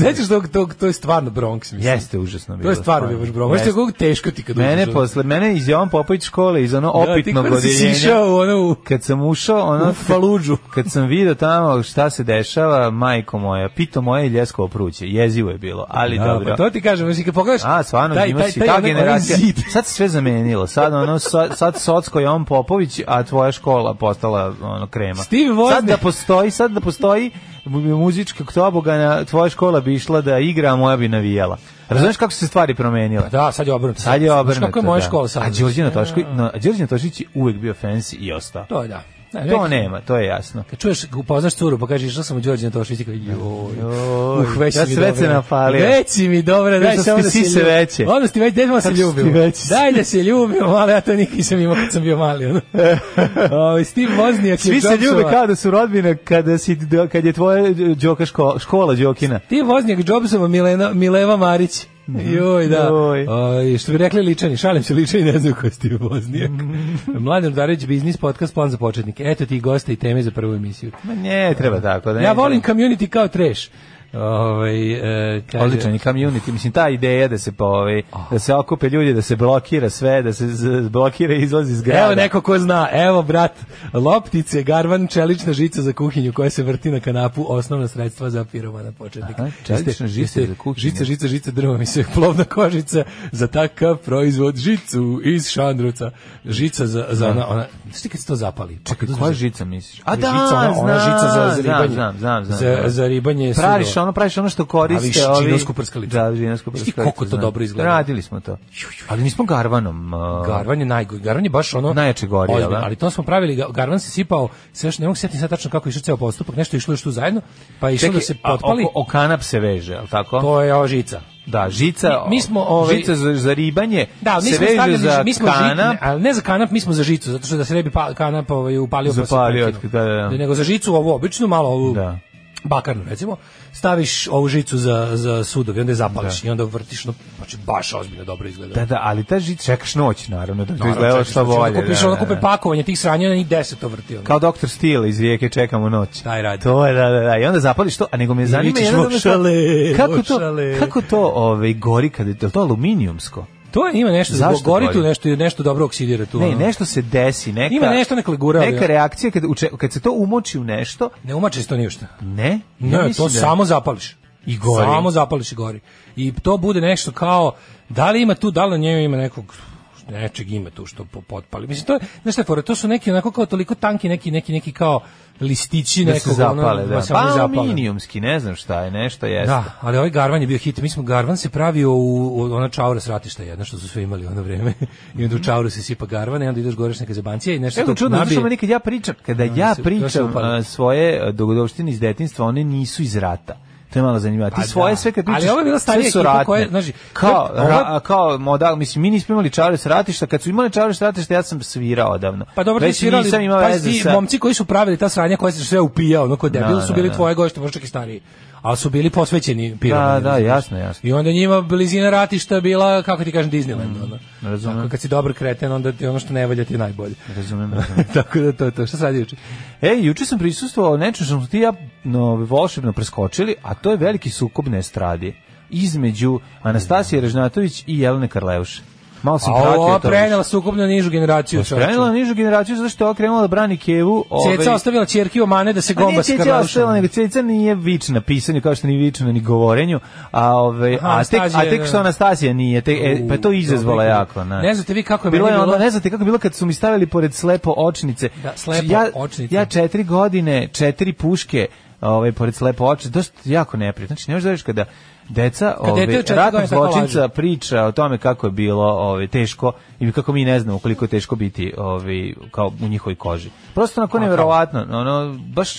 Speaker 7: Sećaš tog, tog, to je stvarno Bronx, mislim.
Speaker 6: Mm. Jeste užasno bilo.
Speaker 7: To je stvarno bio baš Bronx. Jeste kako teško ti kad uđeš.
Speaker 6: Mene
Speaker 7: ono.
Speaker 6: posle mene iz Jovan Popović škole iz ono
Speaker 7: Da, ti
Speaker 6: opitnog
Speaker 7: kako da si
Speaker 6: odeljenja.
Speaker 7: sišao u ono u...
Speaker 6: Kad sam ušao, ono
Speaker 7: U Faludžu.
Speaker 6: [LAUGHS] Kad sam video tamo šta se dešava, majko moja, pito moje i ljeskovo pruće. Jezivo je bilo, ali
Speaker 7: Da,
Speaker 6: dobro.
Speaker 7: Pa to ti kažem, znači kad pogledaš...
Speaker 6: A, stvarno,
Speaker 7: taj-
Speaker 6: ima
Speaker 7: taj-
Speaker 6: si
Speaker 7: taj
Speaker 6: ta
Speaker 7: onaj- onaj
Speaker 6: generacija.
Speaker 7: zid.
Speaker 6: Sad se sve zamenilo. Sad, ono, sa- sad Socko je on Popović, a tvoja škola postala ono, krema.
Speaker 7: Steve Wozniak.
Speaker 6: Sad da postoji, sad da postoji mu- muzička tobogana, tvoja škola bi išla da igra, a moja bi navijela. Razumeš kako su se stvari promenile?
Speaker 7: Da, sad je obrnuto.
Speaker 6: Sad je
Speaker 7: Znaš
Speaker 6: obrnuto.
Speaker 7: Kako je moja
Speaker 6: da.
Speaker 7: škola sad?
Speaker 6: A Đorđina Tošković, no, Đorđina Tošić je uvek bio fancy i ostao.
Speaker 7: To je da. Ne,
Speaker 6: To
Speaker 7: neki-
Speaker 6: nema, to je jasno.
Speaker 7: Kad čuješ, upoznaš curu, pa kažeš, išla sam u Đorđe na Tošić i kao, joj,
Speaker 6: Joj,
Speaker 7: uh, već
Speaker 6: ja
Speaker 7: si mi
Speaker 6: sve
Speaker 7: dobra.
Speaker 6: se napalio.
Speaker 7: Već si mi dobra, daj
Speaker 6: Već
Speaker 7: samo
Speaker 6: su
Speaker 7: da
Speaker 6: ti
Speaker 7: se
Speaker 6: sise
Speaker 7: ljubimo.
Speaker 6: veće.
Speaker 7: Onda si ti već, dajmo se
Speaker 6: Kako su ti
Speaker 7: ljubimo.
Speaker 6: veći?
Speaker 7: Daj da se ljubimo, ali ja to nikad nisam imao kad sam bio mali.
Speaker 6: [LAUGHS]
Speaker 7: Ono. Ovaj, Steve Wozniak je
Speaker 6: Svi se ljube
Speaker 7: Jobsova-
Speaker 6: kao da su rodbina kada si, da- kad je tvoja Đoka ško- škola Đokina.
Speaker 7: Steve Wozniak, Jobsova, Milena, Mileva Marić. Joj, da.
Speaker 6: Mhm. Joj.
Speaker 7: Oj, što bi rekli ličani, šalim se ličani, ne znaju ko si ti voznijak.
Speaker 6: Mhm.
Speaker 7: Mladen Udarić, biznis podcast, plan za početnike. Eto ti gosta i teme za prvu emisiju.
Speaker 6: Ma ne, treba tako. Da ne,
Speaker 7: Ja volim community kao trash. Ovaj e, kaže-
Speaker 6: Odličan je community, mislim ta ideja da se po ovaj, da se okupe ljudi, da se blokira sve, da se z- blokira izlaz iz grada.
Speaker 7: Evo neko ko zna, evo brat, loptice, garvan, čelična žica za kuhinju koja se vrti na kanapu, osnovna sredstva za piromana početnika.
Speaker 6: Aha, čelična
Speaker 7: Jeste-
Speaker 6: žica
Speaker 7: jeste
Speaker 6: za kuhinju.
Speaker 7: Žica, žica, žica, drva mi se, plovna kožica za takav proizvod, žicu iz šandruca, žica za, za ona, ona, znaš ti kad se to zapali? Čekaj,
Speaker 6: Da. Koja
Speaker 7: uzmeš-
Speaker 6: žica misliš?
Speaker 7: Ona žica, ona- ona žica za- za ribanje.
Speaker 6: da, Znam, znam, znam.
Speaker 7: Za-
Speaker 6: znam.
Speaker 7: za ribanje
Speaker 6: Praviš
Speaker 7: sudova.
Speaker 6: ono, praviš ono što koriste
Speaker 7: Ali
Speaker 6: ovi...
Speaker 7: žinovsku prskalicu.
Speaker 6: Da, žinovsku prskalicu.
Speaker 7: Znaš ti koliko to
Speaker 6: znam.
Speaker 7: dobro izgleda?
Speaker 6: Radili smo to. Ali nismo garvanom. uh, a,
Speaker 7: Garvan je najgori, Garvan je baš ono
Speaker 6: Najjače Pa da. gori,
Speaker 7: ozbiljno,
Speaker 6: jel da?
Speaker 7: ali to smo pravili, ga- Garvan se sipao, sve još ne mogu se sjetiti sad tačno kako je išao ceo postupak, nešto je išlo još tu zajedno, pa je išlo
Speaker 6: Čekaj,
Speaker 7: da se
Speaker 6: a
Speaker 7: potpali,
Speaker 6: oko- O kanap se veže, al tako?
Speaker 7: to je ova žica.
Speaker 6: Da, žica,
Speaker 7: Mi- mi smo, ovaj-
Speaker 6: žica za, za ribanje
Speaker 7: Da, mi
Speaker 6: se
Speaker 7: smo
Speaker 6: veže
Speaker 7: stavljali,
Speaker 6: za
Speaker 7: mi smo
Speaker 6: kanap.
Speaker 7: žit, ali ne za kanap, mi smo za žicu, zato što da se ne bi pa, kanap ovaj, upalio
Speaker 6: Zapalio,
Speaker 7: pa se prekinuo.
Speaker 6: da, da, da.
Speaker 7: Nego za žicu ovu običnu, malo ovu
Speaker 6: Da.
Speaker 7: bakarnu recimo, staviš ovu žicu za, za sudovi, onda je zapališ i onda vrtiš, no, znači baš ozbiljno dobro izgleda.
Speaker 6: Da, da, ali ta žica, čekaš noć, naravno, da bi
Speaker 7: Naravno,
Speaker 6: izgledalo
Speaker 7: čekaš,
Speaker 6: što
Speaker 7: znači, onda
Speaker 6: bolje.
Speaker 7: Kupiš
Speaker 6: da,
Speaker 7: ono
Speaker 6: da,
Speaker 7: kupe
Speaker 6: da.
Speaker 7: pakovanje tih sranja, i deset to vrti. ono.
Speaker 6: Kao doktor Stila iz Rijeke čekamo noć.
Speaker 7: Taj radi.
Speaker 6: To je, da, da, da. I onda zapališ to, a nego me zanima
Speaker 7: vičeš,
Speaker 6: jedna druga stvar.
Speaker 7: "Vošale,
Speaker 6: kako to,
Speaker 7: vošale."
Speaker 6: kako to ovaj, gori, kad je, je li to aluminijumsko?
Speaker 7: To je, ima nešto,
Speaker 6: Zašto
Speaker 7: Zašto gori tu
Speaker 6: gori?
Speaker 7: nešto, nešto dobro oksidira tu.
Speaker 6: Ne,
Speaker 7: ono.
Speaker 6: nešto se desi, neka...
Speaker 7: Ima nešto, neka ligura, ali-
Speaker 6: Neka reakcija, kad, uče, kad se to umoči u nešto,
Speaker 7: Ne umačeš to ništa.
Speaker 6: ne?
Speaker 7: Ne,
Speaker 6: Ja
Speaker 7: to
Speaker 6: mislim da-
Speaker 7: samo zapališ.
Speaker 6: I gori.
Speaker 7: Samo zapališ i gori. I to bude nešto kao, da li ima tu, da li na njemu ima nekog nečeg ima tu što po- potpali. Mislim, to je, znaš šta je fora, to su neki onako kao toliko tanki, neki, neki, neki kao listići
Speaker 6: da se
Speaker 7: nekog,
Speaker 6: zapale,
Speaker 7: ono,
Speaker 6: da.
Speaker 7: se
Speaker 6: Pa
Speaker 7: oni zapale.
Speaker 6: aluminijumski, ne znam šta je, nešto jeste.
Speaker 7: Da, ali ovaj Garvan je bio hit. Mi smo Garvan se pravio u, u ona čaura s ratišta jedna što su sve imali ono vreme. [LAUGHS] I onda u čauru se sipa Garvan i onda ideš gore neka zebancija i nešto
Speaker 6: Evo
Speaker 7: to
Speaker 6: čudno, zato
Speaker 7: nabije.
Speaker 6: što meni kad ja pričam, kada ja
Speaker 7: se- to se
Speaker 6: pričam
Speaker 7: upali.
Speaker 6: a, svoje a, dogodovštine iz detinjstva, one nisu iz rata. To je malo zanimljivo. A Ti
Speaker 7: Pa
Speaker 6: svoje
Speaker 7: da.
Speaker 6: sve kad
Speaker 7: Ali
Speaker 6: pričaš,
Speaker 7: ovo je bila
Speaker 6: sve
Speaker 7: starija
Speaker 6: su
Speaker 7: ekipa
Speaker 6: ratne.
Speaker 7: koja- znaš,
Speaker 6: kao,
Speaker 7: to- ovo-
Speaker 6: ra, a, kao moda, mislim, mi nismo imali čare s ratišta, kad su imali čare s ratišta, ja sam svirao odavno.
Speaker 7: Pa dobro, ti
Speaker 6: Već
Speaker 7: svirali,
Speaker 6: nisam imao
Speaker 7: pazi,
Speaker 6: veze
Speaker 7: ti
Speaker 6: sa...
Speaker 7: momci koji su pravili ta sranja koja se sve upijao, ono kod debil
Speaker 6: Da,
Speaker 7: su
Speaker 6: da,
Speaker 7: bili
Speaker 6: da.
Speaker 7: tvoje gošte, možda čak i stariji. Ali su bili posvećeni piromani.
Speaker 6: Da, da,
Speaker 7: razumeš?
Speaker 6: jasno, jasno. Mm,
Speaker 7: I onda njima blizina ratišta bila, kako ti kažem, Disneyland. ono.
Speaker 6: razumem.
Speaker 7: Tako, kad si dobar kreten, onda ti ono što ne valja ti je najbolje. [LAUGHS]
Speaker 6: Razumem, razumem.
Speaker 7: Tako da to je to. Šta se radi juče?
Speaker 6: E, juče sam prisustvovao nečem što smo ti i ja no, volšebno preskočili, a to je veliki sukob na estradi između Anastasije Režnatović i Jelene Karleuše. Malo sam
Speaker 7: Da. A
Speaker 6: pratio
Speaker 7: ovo
Speaker 6: to.
Speaker 7: prenela sukupno nižu generaciju. čoveče.
Speaker 6: Krenula nižu generaciju zato što je ova krenula da brani Kevu. Ovaj,
Speaker 7: Ceca ostavila ćerki omane da se
Speaker 6: Pa
Speaker 7: gomba
Speaker 6: nije
Speaker 7: sa
Speaker 6: Ceca ostala,
Speaker 7: Karlaušom.
Speaker 6: nego Ceca nije vična pisanju, kao što nije vična ni govorenju, a, ove, a,
Speaker 7: Aha,
Speaker 6: tek, a
Speaker 7: Anastasija,
Speaker 6: tek što
Speaker 7: da.
Speaker 6: Anastasija nije, te, e, pa je to
Speaker 7: U,
Speaker 6: izazvala
Speaker 7: dobro,
Speaker 6: jako. Ne.
Speaker 7: Ne znate vi kako je
Speaker 6: bilo
Speaker 7: meni
Speaker 6: je ono,
Speaker 7: bilo-
Speaker 6: ne znate kako je bilo kad su mi stavili pored slepo očnice.
Speaker 7: Da, slepo
Speaker 6: ja,
Speaker 7: očnice.
Speaker 6: Ja četiri godine, četiri puške, ovaj pored slepo očnice, dosta jako neprijatno. Znači, ne možeš da veriš kada deca,
Speaker 7: Kad dete
Speaker 6: ovaj
Speaker 7: od četiri
Speaker 6: ratnog
Speaker 7: godine tako laže.
Speaker 6: zločinca priča o tome kako je bilo ovaj teško i kako mi ne znamo koliko je teško biti ovaj kao u njihovoj koži. Prosto
Speaker 7: Pa,
Speaker 6: onako neverovatno, ono baš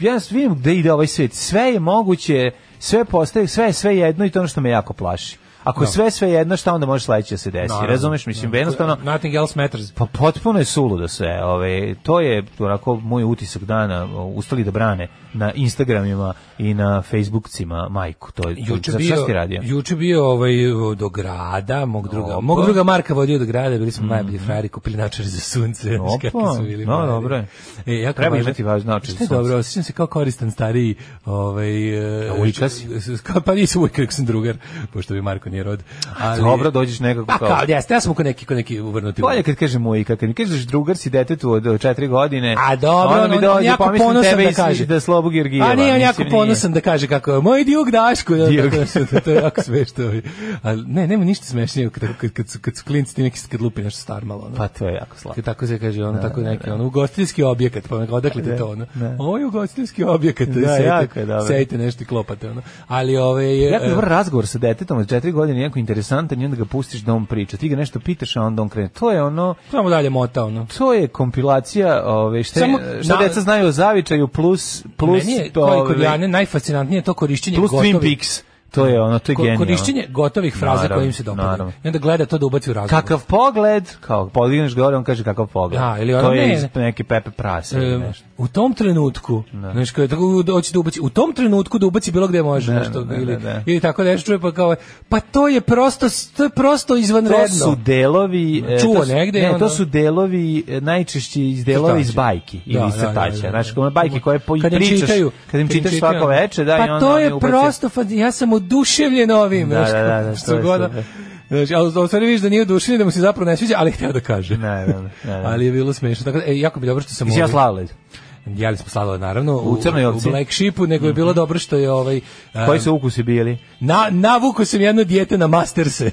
Speaker 6: ja s- vidim gde ide ovaj svet. Sve je moguće, sve postaje, sve je sve jedno i to je ono što me jako plaši. Ako je sve sve jedno, šta onda može sledeće da se desi?
Speaker 7: Da. Naravno, da.
Speaker 6: Razumeš, mislim, jednostavno
Speaker 7: Nothing else matters.
Speaker 6: pa potpuno je suludo sve. Ove, to je onako moj utisak dana, o, ustali da brane na Instagramima i na Facebookcima majku. To je to-
Speaker 7: Juče
Speaker 6: za šta
Speaker 7: bio,
Speaker 6: si ti radio?
Speaker 7: juče bio ovaj, do grada, mog druga,
Speaker 6: Opa. Mhm.
Speaker 7: mog druga Marka vodio do grada, bili smo najbolji frajeri, kupili načare za sunce, [LAUGHS] znaš
Speaker 6: Opa.
Speaker 7: kakvi su bili
Speaker 6: No,
Speaker 7: frajeri.
Speaker 6: dobro je.
Speaker 7: E, jako
Speaker 6: Treba
Speaker 7: važno.
Speaker 6: imati važne načare
Speaker 7: Šta je
Speaker 6: za sunce.
Speaker 7: Dobro, osjećam se kao koristan stariji, ovaj, e,
Speaker 6: A ujka si?
Speaker 7: s- kao- pa nisam uvijek, nego sam drugar, pošto bi Marko nije rod. Ali,
Speaker 6: Dobro, dođeš nekako
Speaker 7: Pa
Speaker 6: kao- Pa,
Speaker 7: kao, jeste, ja sam ko neki, ko neki uvrnuti.
Speaker 6: Bolje kad kažem moj, kad mi kažeš drugar si detetu od 4 godine.
Speaker 7: A dobro,
Speaker 6: ono
Speaker 7: on,
Speaker 6: mi
Speaker 7: on
Speaker 6: dođe,
Speaker 7: jako
Speaker 6: pomislim
Speaker 7: ponosan
Speaker 6: tebe
Speaker 7: da
Speaker 6: iz-
Speaker 7: kaže.
Speaker 6: Da Slobu Georgijeva.
Speaker 7: A nije, on
Speaker 6: mislim,
Speaker 7: jako ponosan da kaže kako je, moj Dijog Daško. Da,
Speaker 6: Dijog.
Speaker 7: Tako, to je jako smešno. Ali ne, nema ništa smešnije kad, kad, kad, su, kad su klinci ti neki kad lupi nešto star malo. Ono.
Speaker 6: Pa to Da, je jako slatko.
Speaker 7: Kad tako se kaže, ono, tako neki, ono, ugostiteljski objekat, pa onako, odakle ti to, ono, ovo je ugostiteljski objekat,
Speaker 6: Da, jako je
Speaker 7: sejte,
Speaker 6: dobro.
Speaker 7: sejte nešto i klopate, ono, ali ovaj, e, ove,
Speaker 6: Jako dobar razgovor sa detetom od 4 godine, jako interesantan i onda ga pustiš da on priča. Ti ga nešto pitaš, a onda on krene. To je ono,
Speaker 7: samo dalje mota, ono.
Speaker 6: to je kompilacija, ove, šta,
Speaker 7: Samo
Speaker 6: šta
Speaker 7: na-
Speaker 6: deca znaju o zavičaju plus plus
Speaker 7: Meni je,
Speaker 6: to,
Speaker 7: to,
Speaker 6: ove,
Speaker 7: kod Jane, najfascinantnije je to korišćenje
Speaker 6: plus Twin
Speaker 7: gotovih-
Speaker 6: Peaks. To je ono, to je
Speaker 7: Ko-
Speaker 6: genijalno.
Speaker 7: Korišćenje gotovih fraza
Speaker 6: Naravno,
Speaker 7: koje im se dopadaju.
Speaker 6: naravno.
Speaker 7: I onda gleda to da ubaci u razgovor.
Speaker 6: Kakav pogled, kao podigneš gore, on kaže kakav pogled.
Speaker 7: Da, ili ono,
Speaker 6: to je
Speaker 7: ne,
Speaker 6: iz
Speaker 7: ne.
Speaker 6: neke Pepe Prase ili
Speaker 7: E,
Speaker 6: nešto.
Speaker 7: u tom trenutku, znaš, kao, tako, da hoće da ubaci, u tom trenutku da ubaci bilo gde može, nešto,
Speaker 6: da,
Speaker 7: ili,
Speaker 6: da, da.
Speaker 7: ili tako nešto čuje, pa kao, pa to je prosto, to je prosto izvanredno.
Speaker 6: To su delovi... e,
Speaker 7: Čuo
Speaker 6: to su-
Speaker 7: negde,
Speaker 6: Ne,
Speaker 7: ono-
Speaker 6: to su delovi, e, najčešće iz delova iz
Speaker 7: Crtaća.
Speaker 6: bajki ili
Speaker 7: Da,
Speaker 6: iz
Speaker 7: da, da,
Speaker 6: crtaća.
Speaker 7: da, da.
Speaker 6: Znaš, kao one bajke koje po,
Speaker 7: Kad im
Speaker 6: pričaš,
Speaker 7: čitaju,
Speaker 6: kad im čitaš svako
Speaker 7: čitaju.
Speaker 6: veče, da,
Speaker 7: pa
Speaker 6: i onda
Speaker 7: to
Speaker 6: oni
Speaker 7: je
Speaker 6: ubace-
Speaker 7: prosto, faz- ja sam oduševljen ovim,
Speaker 6: Da,
Speaker 7: znaš,
Speaker 6: da, da, da,
Speaker 7: što
Speaker 6: to je
Speaker 7: god.
Speaker 6: super.
Speaker 7: Znaš, ali u stvari vidiš da nije oduševljen, da mu se zapravo ne sviđa, ali je hteo da kaže.
Speaker 6: Ne, ne, ne, ne.
Speaker 7: Ali je bilo smešno. Tako da, e, jako bi dobro što sam...
Speaker 6: da. Mislim, ja
Speaker 7: ovaj-
Speaker 6: slavled.
Speaker 7: Jeli smo sladoled, naravno.
Speaker 6: U Crnoj Ovci.
Speaker 7: U Black Sheepu, nego je bilo dobro što je ovaj... a,
Speaker 6: Koji su ukusi bili?
Speaker 7: Na, navuko sam jedno dijete na Masterse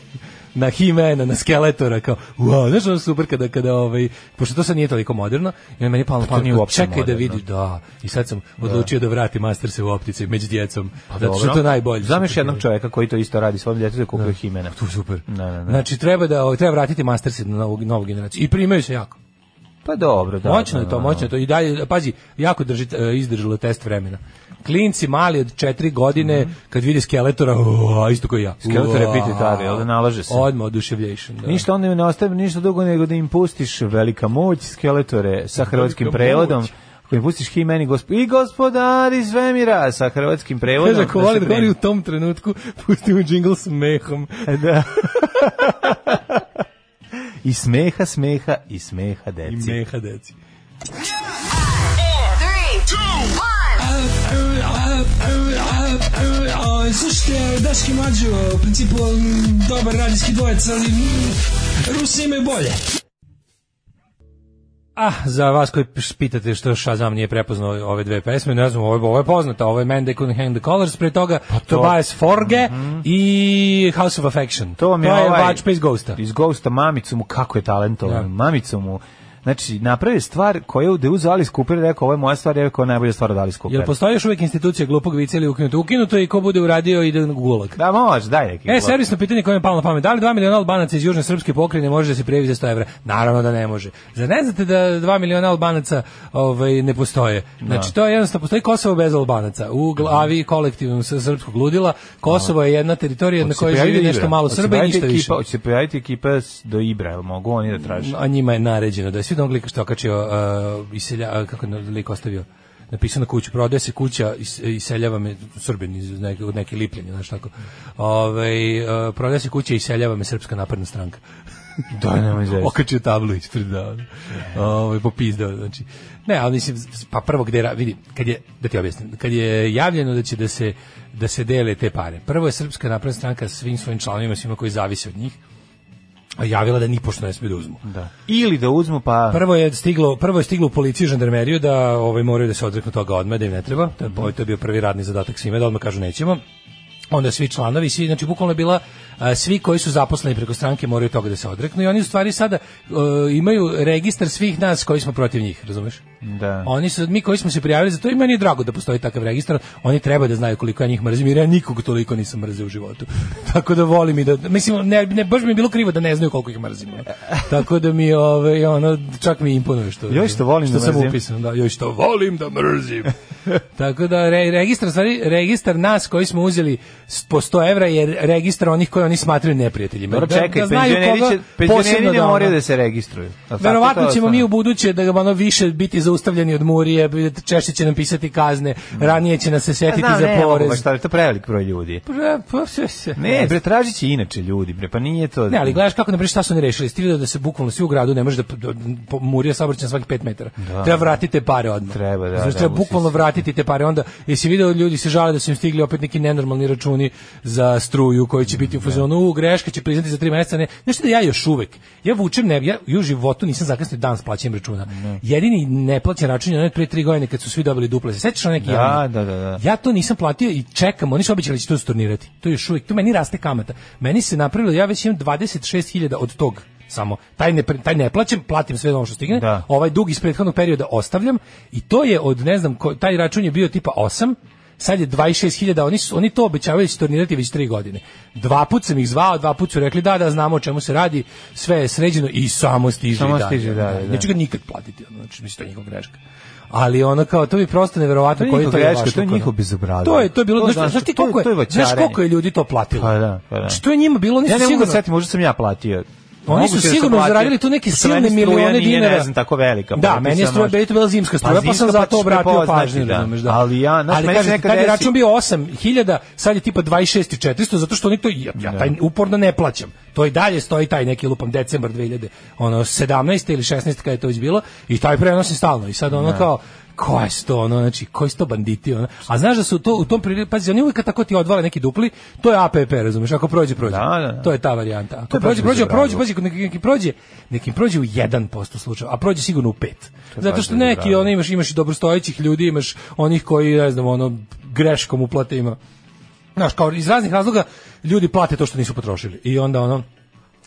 Speaker 7: na Himena, na Skeletora, kao, wow, znaš ono super kada, kada, ovaj, pošto to sad nije toliko moderno, i onda meni je palo na
Speaker 6: Pa to
Speaker 7: pamet,
Speaker 6: nije
Speaker 7: kao,
Speaker 6: uopšte
Speaker 7: čekaj da
Speaker 6: moderno.
Speaker 7: vidi, da, i sad sam odlučio da vratim Masterse u optici među djecom, zato što
Speaker 6: Pa Dobro.
Speaker 7: je to najbolje.
Speaker 6: Znam još
Speaker 7: Super.
Speaker 6: jednog čovjeka koji to isto radi svojom djetetu da kupio himena.
Speaker 7: Tu je super.
Speaker 6: Ne, ne, ne.
Speaker 7: Znači, treba da, ovaj, treba vratiti Masterse na novu, novu generaciju. I primaju se jako.
Speaker 6: Pa dobro, da.
Speaker 7: moćno
Speaker 6: da,
Speaker 7: je to,
Speaker 6: da,
Speaker 7: moćno je to. I dalje, pazi, jako drži, e, izdržalo test vremena. Klinci mali od četiri godine, kad vide skeletora, uaa, isto kao ja.
Speaker 6: Mhm. Skeletor je
Speaker 7: Uaa.
Speaker 6: pituitar, jel da, nalaže se.
Speaker 7: Odmah oduševljation, da.
Speaker 6: Ništa onda im ne ostaje ništa drugo nego da im pustiš velika moć skeletore sa hrvatskim
Speaker 7: Velika
Speaker 6: prevodom.
Speaker 7: moć.
Speaker 6: Koji pustiš hi meni gospod i gospodar iz svemira sa hrvatskim prevodom.
Speaker 7: Kaže, ako
Speaker 6: da se
Speaker 7: voli da govori
Speaker 6: primi.
Speaker 7: u tom trenutku, pusti mu džingl s mehom.
Speaker 6: Da. I smeha, smeha i smeha
Speaker 7: I
Speaker 6: deci.
Speaker 7: meha, deci.
Speaker 8: Slušajte, Daški Mađo, u principu m, dobar radijski dvojec, ali m, Rusi imaju bolje.
Speaker 7: Ah, za vas koji pš- pitate što Shazam nije prepoznao ove dve pesme, ne znam, ovo, je- ovo je poznata, ovo je Man They Couldn't Hang The Colors, pre toga
Speaker 6: Pa
Speaker 7: Tobias Forge i House of Affection.
Speaker 6: Mhm. To mi je
Speaker 7: je
Speaker 6: ovaj-
Speaker 7: Vačpa iz Ghosta.
Speaker 6: Iz Ghosta mamicu mu kako je talentovan.
Speaker 7: Da.
Speaker 6: Mamicu mu Znači, napravio je stvar koju je da je uzeo Alice Cooper i rekao, ovo je moja stvar, je rekao, najbolja stvar od Alice Cooper.
Speaker 7: Jel postoji još uvijek institucija glupog vica ili ukinuto? Ukinuto je i ko bude uradio ide u gulag.
Speaker 6: Da, može, daj neki.
Speaker 7: E,
Speaker 6: glava.
Speaker 7: servisno pitanje koje mi je palo na pamet. Da li 2 miliona Albanaca iz Južne Srpske pokrajine može da se prijavi za 100 evra? Naravno da ne može. Zar ne znate da 2 miliona Albanaca ovaj, ne postoje?
Speaker 6: Da.
Speaker 7: Znači, to je jednostavno, postoji Kosovo bez Albanaca. U
Speaker 6: Mhm.
Speaker 7: glavi kolektivnom s- srpskog ludila, Kosovo je jedna teritorija na
Speaker 6: Hoće Pa se
Speaker 7: kojoj
Speaker 6: pojaviti
Speaker 7: živi
Speaker 6: Ibra?
Speaker 7: nešto malo
Speaker 6: Hoće se
Speaker 7: Srba i
Speaker 6: pojaviti
Speaker 7: ništa više.
Speaker 6: ekipa- Hoće se pojaviti ekipa s- do Ibra, jel mogu oni da traže?
Speaker 7: A njima je naređeno da je svi dom što je okačio uh, iselja, uh, kako je lik ostavio napisao na kuću, prodaje se kuća is- iseljava me, srbin iz neke, od neke lipljenja, znaš tako Ovaj uh, prodaje se kuća iseljava me srpska napadna stranka
Speaker 6: Da, nema zezati.
Speaker 7: okačio tablu ispred da ovaj popizdao znači ne ali mislim pa prvo gde ra- vidi kad je da ti objasnim kad je javljeno da će da se da se dele te pare prvo je srpska napredna stranka svim svojim članovima svima koji zavise od njih javila da nipošto ne smiju da uzmu
Speaker 6: Da. Ili da uzmu pa...
Speaker 7: Prvo je stiglo, prvo je stiglo u policiju i žandarmeriju da ovaj moraju da se odreknu toga odmah, da im ne treba. To je, to je bio prvi radni zadatak svima da odmah kažu nećemo. Onda svi članovi, svi, znači bukvalno je bila a, svi koji su zaposleni preko stranke moraju toga da se odreknu i oni u stvari sada e, imaju registar svih nas koji smo protiv njih, razumeš?
Speaker 6: Da.
Speaker 7: Oni su, mi koji smo se prijavili za to, i meni je drago da postoji takav registar, oni treba da znaju koliko ja njih mrzim, jer ja nikog toliko nisam mrzio u životu. [LAUGHS] Tako da volim i da, mislim, ne, ne, baš mi je bilo krivo da ne znaju koliko ih mrzim.
Speaker 6: [LAUGHS]
Speaker 7: ono. Tako da mi, ove, ono, čak mi imponuje što,
Speaker 6: Joj, što volim da
Speaker 7: sam
Speaker 6: mrzim.
Speaker 7: upisan, da, joj što volim da mrzim.
Speaker 6: [LAUGHS]
Speaker 7: Tako da, re, registar, u stvari, registar nas koji smo uzeli s- po 100 evra je registar onih koji oni smatraju neprijateljima.
Speaker 6: Dobro,
Speaker 7: Da-
Speaker 6: čekaj,
Speaker 7: da znaju
Speaker 6: penzioneri,
Speaker 7: koga
Speaker 6: će, penzioneri
Speaker 7: posebno
Speaker 6: ne
Speaker 7: da, ono-
Speaker 6: moraju da se registruju. Jel tako? To
Speaker 7: Verovatno
Speaker 6: je
Speaker 7: ćemo mi
Speaker 6: osnovno.
Speaker 7: u buduće da ono više biti zaustavljeni od murije, češće će nam pisati kazne, ranije će nas se
Speaker 6: Ja
Speaker 7: setiti
Speaker 6: znam,
Speaker 7: za
Speaker 6: Mm. Pa da, ne, mogu baš
Speaker 7: porez.
Speaker 6: to je to prevelik broj ljudi.
Speaker 7: Pre- pa sve se-
Speaker 6: Ne, bre, tražit će inače ljudi, bre, pa nije to...
Speaker 7: Ne, ali gledaš kako na primer šta su oni rešili? Stigli da se bukvalno svi u gradu ne može da da- po- murija saobraćaj na svakih 5 metara. Treba vratiti te pare odmah.
Speaker 6: Da. Treba, da,
Speaker 7: Znači,
Speaker 6: da,
Speaker 7: treba
Speaker 6: usi
Speaker 7: bukvalno
Speaker 6: se.
Speaker 7: vratiti te pare onda. Jesi video ljudi se žale da su im stigli opet neki nenormalni računi za struju koji će
Speaker 6: Da.
Speaker 7: biti u fazonu, u greška će priznati za 3 meseca, ne. Nešto da ja još uvek. Ja vučem ne, ja i u životu nisam zakasnio dan s plaćanjem računa. Jedini neplaćen račun je onaj od pre 3 godine kad su svi dobili duple. Se sećaš onaj neki?
Speaker 6: Da,
Speaker 7: javni?
Speaker 6: da, da, da.
Speaker 7: Ja to nisam platio i čekam, oni su obećali da će to stornirati. To je još uvijek, tu meni raste kamata. Meni se napravilo, ja već imam 26.000 od tog samo. Taj ne, pre- taj ne plaćam, platim sve ono što stigne.
Speaker 6: Da.
Speaker 7: Ovaj dug iz prethodnog perioda ostavljam i to je od, ne znam, ko- taj račun je bio tipa 8, sad je 26.000, oni, su, oni to obećavaju da će stornirati već 3 godine. Dva put sam ih zvao, dva put su rekli da, da, znamo o čemu se radi, sve je sređeno i samo stiže
Speaker 6: Samo
Speaker 7: i dalje.
Speaker 6: stiže i dalje, da.
Speaker 7: Neću ga nikad platiti, ono, znači, mislim, to je njihova greška. ali ono kao to bi prosto
Speaker 6: To
Speaker 7: neverovatno
Speaker 6: je
Speaker 7: koji to
Speaker 6: njihova
Speaker 7: je
Speaker 6: greška, to je
Speaker 7: vašluk,
Speaker 6: njihovo
Speaker 7: ono.
Speaker 6: bezobrazluk.
Speaker 7: To je to je bilo
Speaker 6: To je,
Speaker 7: znaš,
Speaker 6: znaš,
Speaker 7: znaš ti
Speaker 6: to je-
Speaker 7: koliko
Speaker 6: to je
Speaker 7: je znaš
Speaker 6: vaćarenje.
Speaker 7: koliko je ljudi to platilo.
Speaker 6: Pa da, pa da.
Speaker 7: Što je njima bilo oni
Speaker 6: Ja ne
Speaker 7: su
Speaker 6: mogu da
Speaker 7: sigurno
Speaker 6: setim, možda sam ja platio.
Speaker 7: Pa Oni
Speaker 6: Moguće
Speaker 7: su
Speaker 6: da sam
Speaker 7: sigurno
Speaker 6: platio,
Speaker 7: zaradili tu neke
Speaker 6: pošto meni
Speaker 7: silne
Speaker 6: struja
Speaker 7: milione
Speaker 6: nije,
Speaker 7: dinara.
Speaker 6: Ne znam, tako velika. pa
Speaker 7: Da, meni je struja bila, to je bila zimska struja, pa sam zato obratio pažnju, razumeš, da.
Speaker 6: Ali ja, znaš,
Speaker 7: ali
Speaker 6: meni se
Speaker 7: kažem,
Speaker 6: nekad
Speaker 7: kad je
Speaker 6: desi-
Speaker 7: račun bio 8000, sad je tipa 26.400, zato što oni to, ja,
Speaker 6: Da.
Speaker 7: ja taj uporno ne plaćam. To i dalje stoji taj neki lupam decembar 2000, ono, 17. ili 16. kada je to već bilo, i taj prenosim stalno. I sad ono
Speaker 6: Da.
Speaker 7: kao, koje su to, ono, znači, koji su to banditi, ono. A znaš da su to, u tom priliku, pazi, oni uvijek kad tako ti odvale neki dupli, to je APP, razumeš, ako prođe, prođe.
Speaker 6: Da, da, da.
Speaker 7: To je ta varijanta.
Speaker 6: To
Speaker 7: Ako
Speaker 6: je
Speaker 7: prođe,
Speaker 6: baš
Speaker 7: prođe, prođe,
Speaker 6: bezobrazluk.
Speaker 7: pazi, neki, neki prođe, nekim prođe u 1% slučajeva, a prođe sigurno u 5.
Speaker 6: je
Speaker 7: Zato
Speaker 6: baš
Speaker 7: što neki
Speaker 6: bezobrazluk.
Speaker 7: ono imaš imaš i dobrostojećih ljudi, imaš onih koji ne znam, ono greškom uplate ima. Znaš, kao iz raznih razloga ljudi plate to što nisu potrošili. I onda ono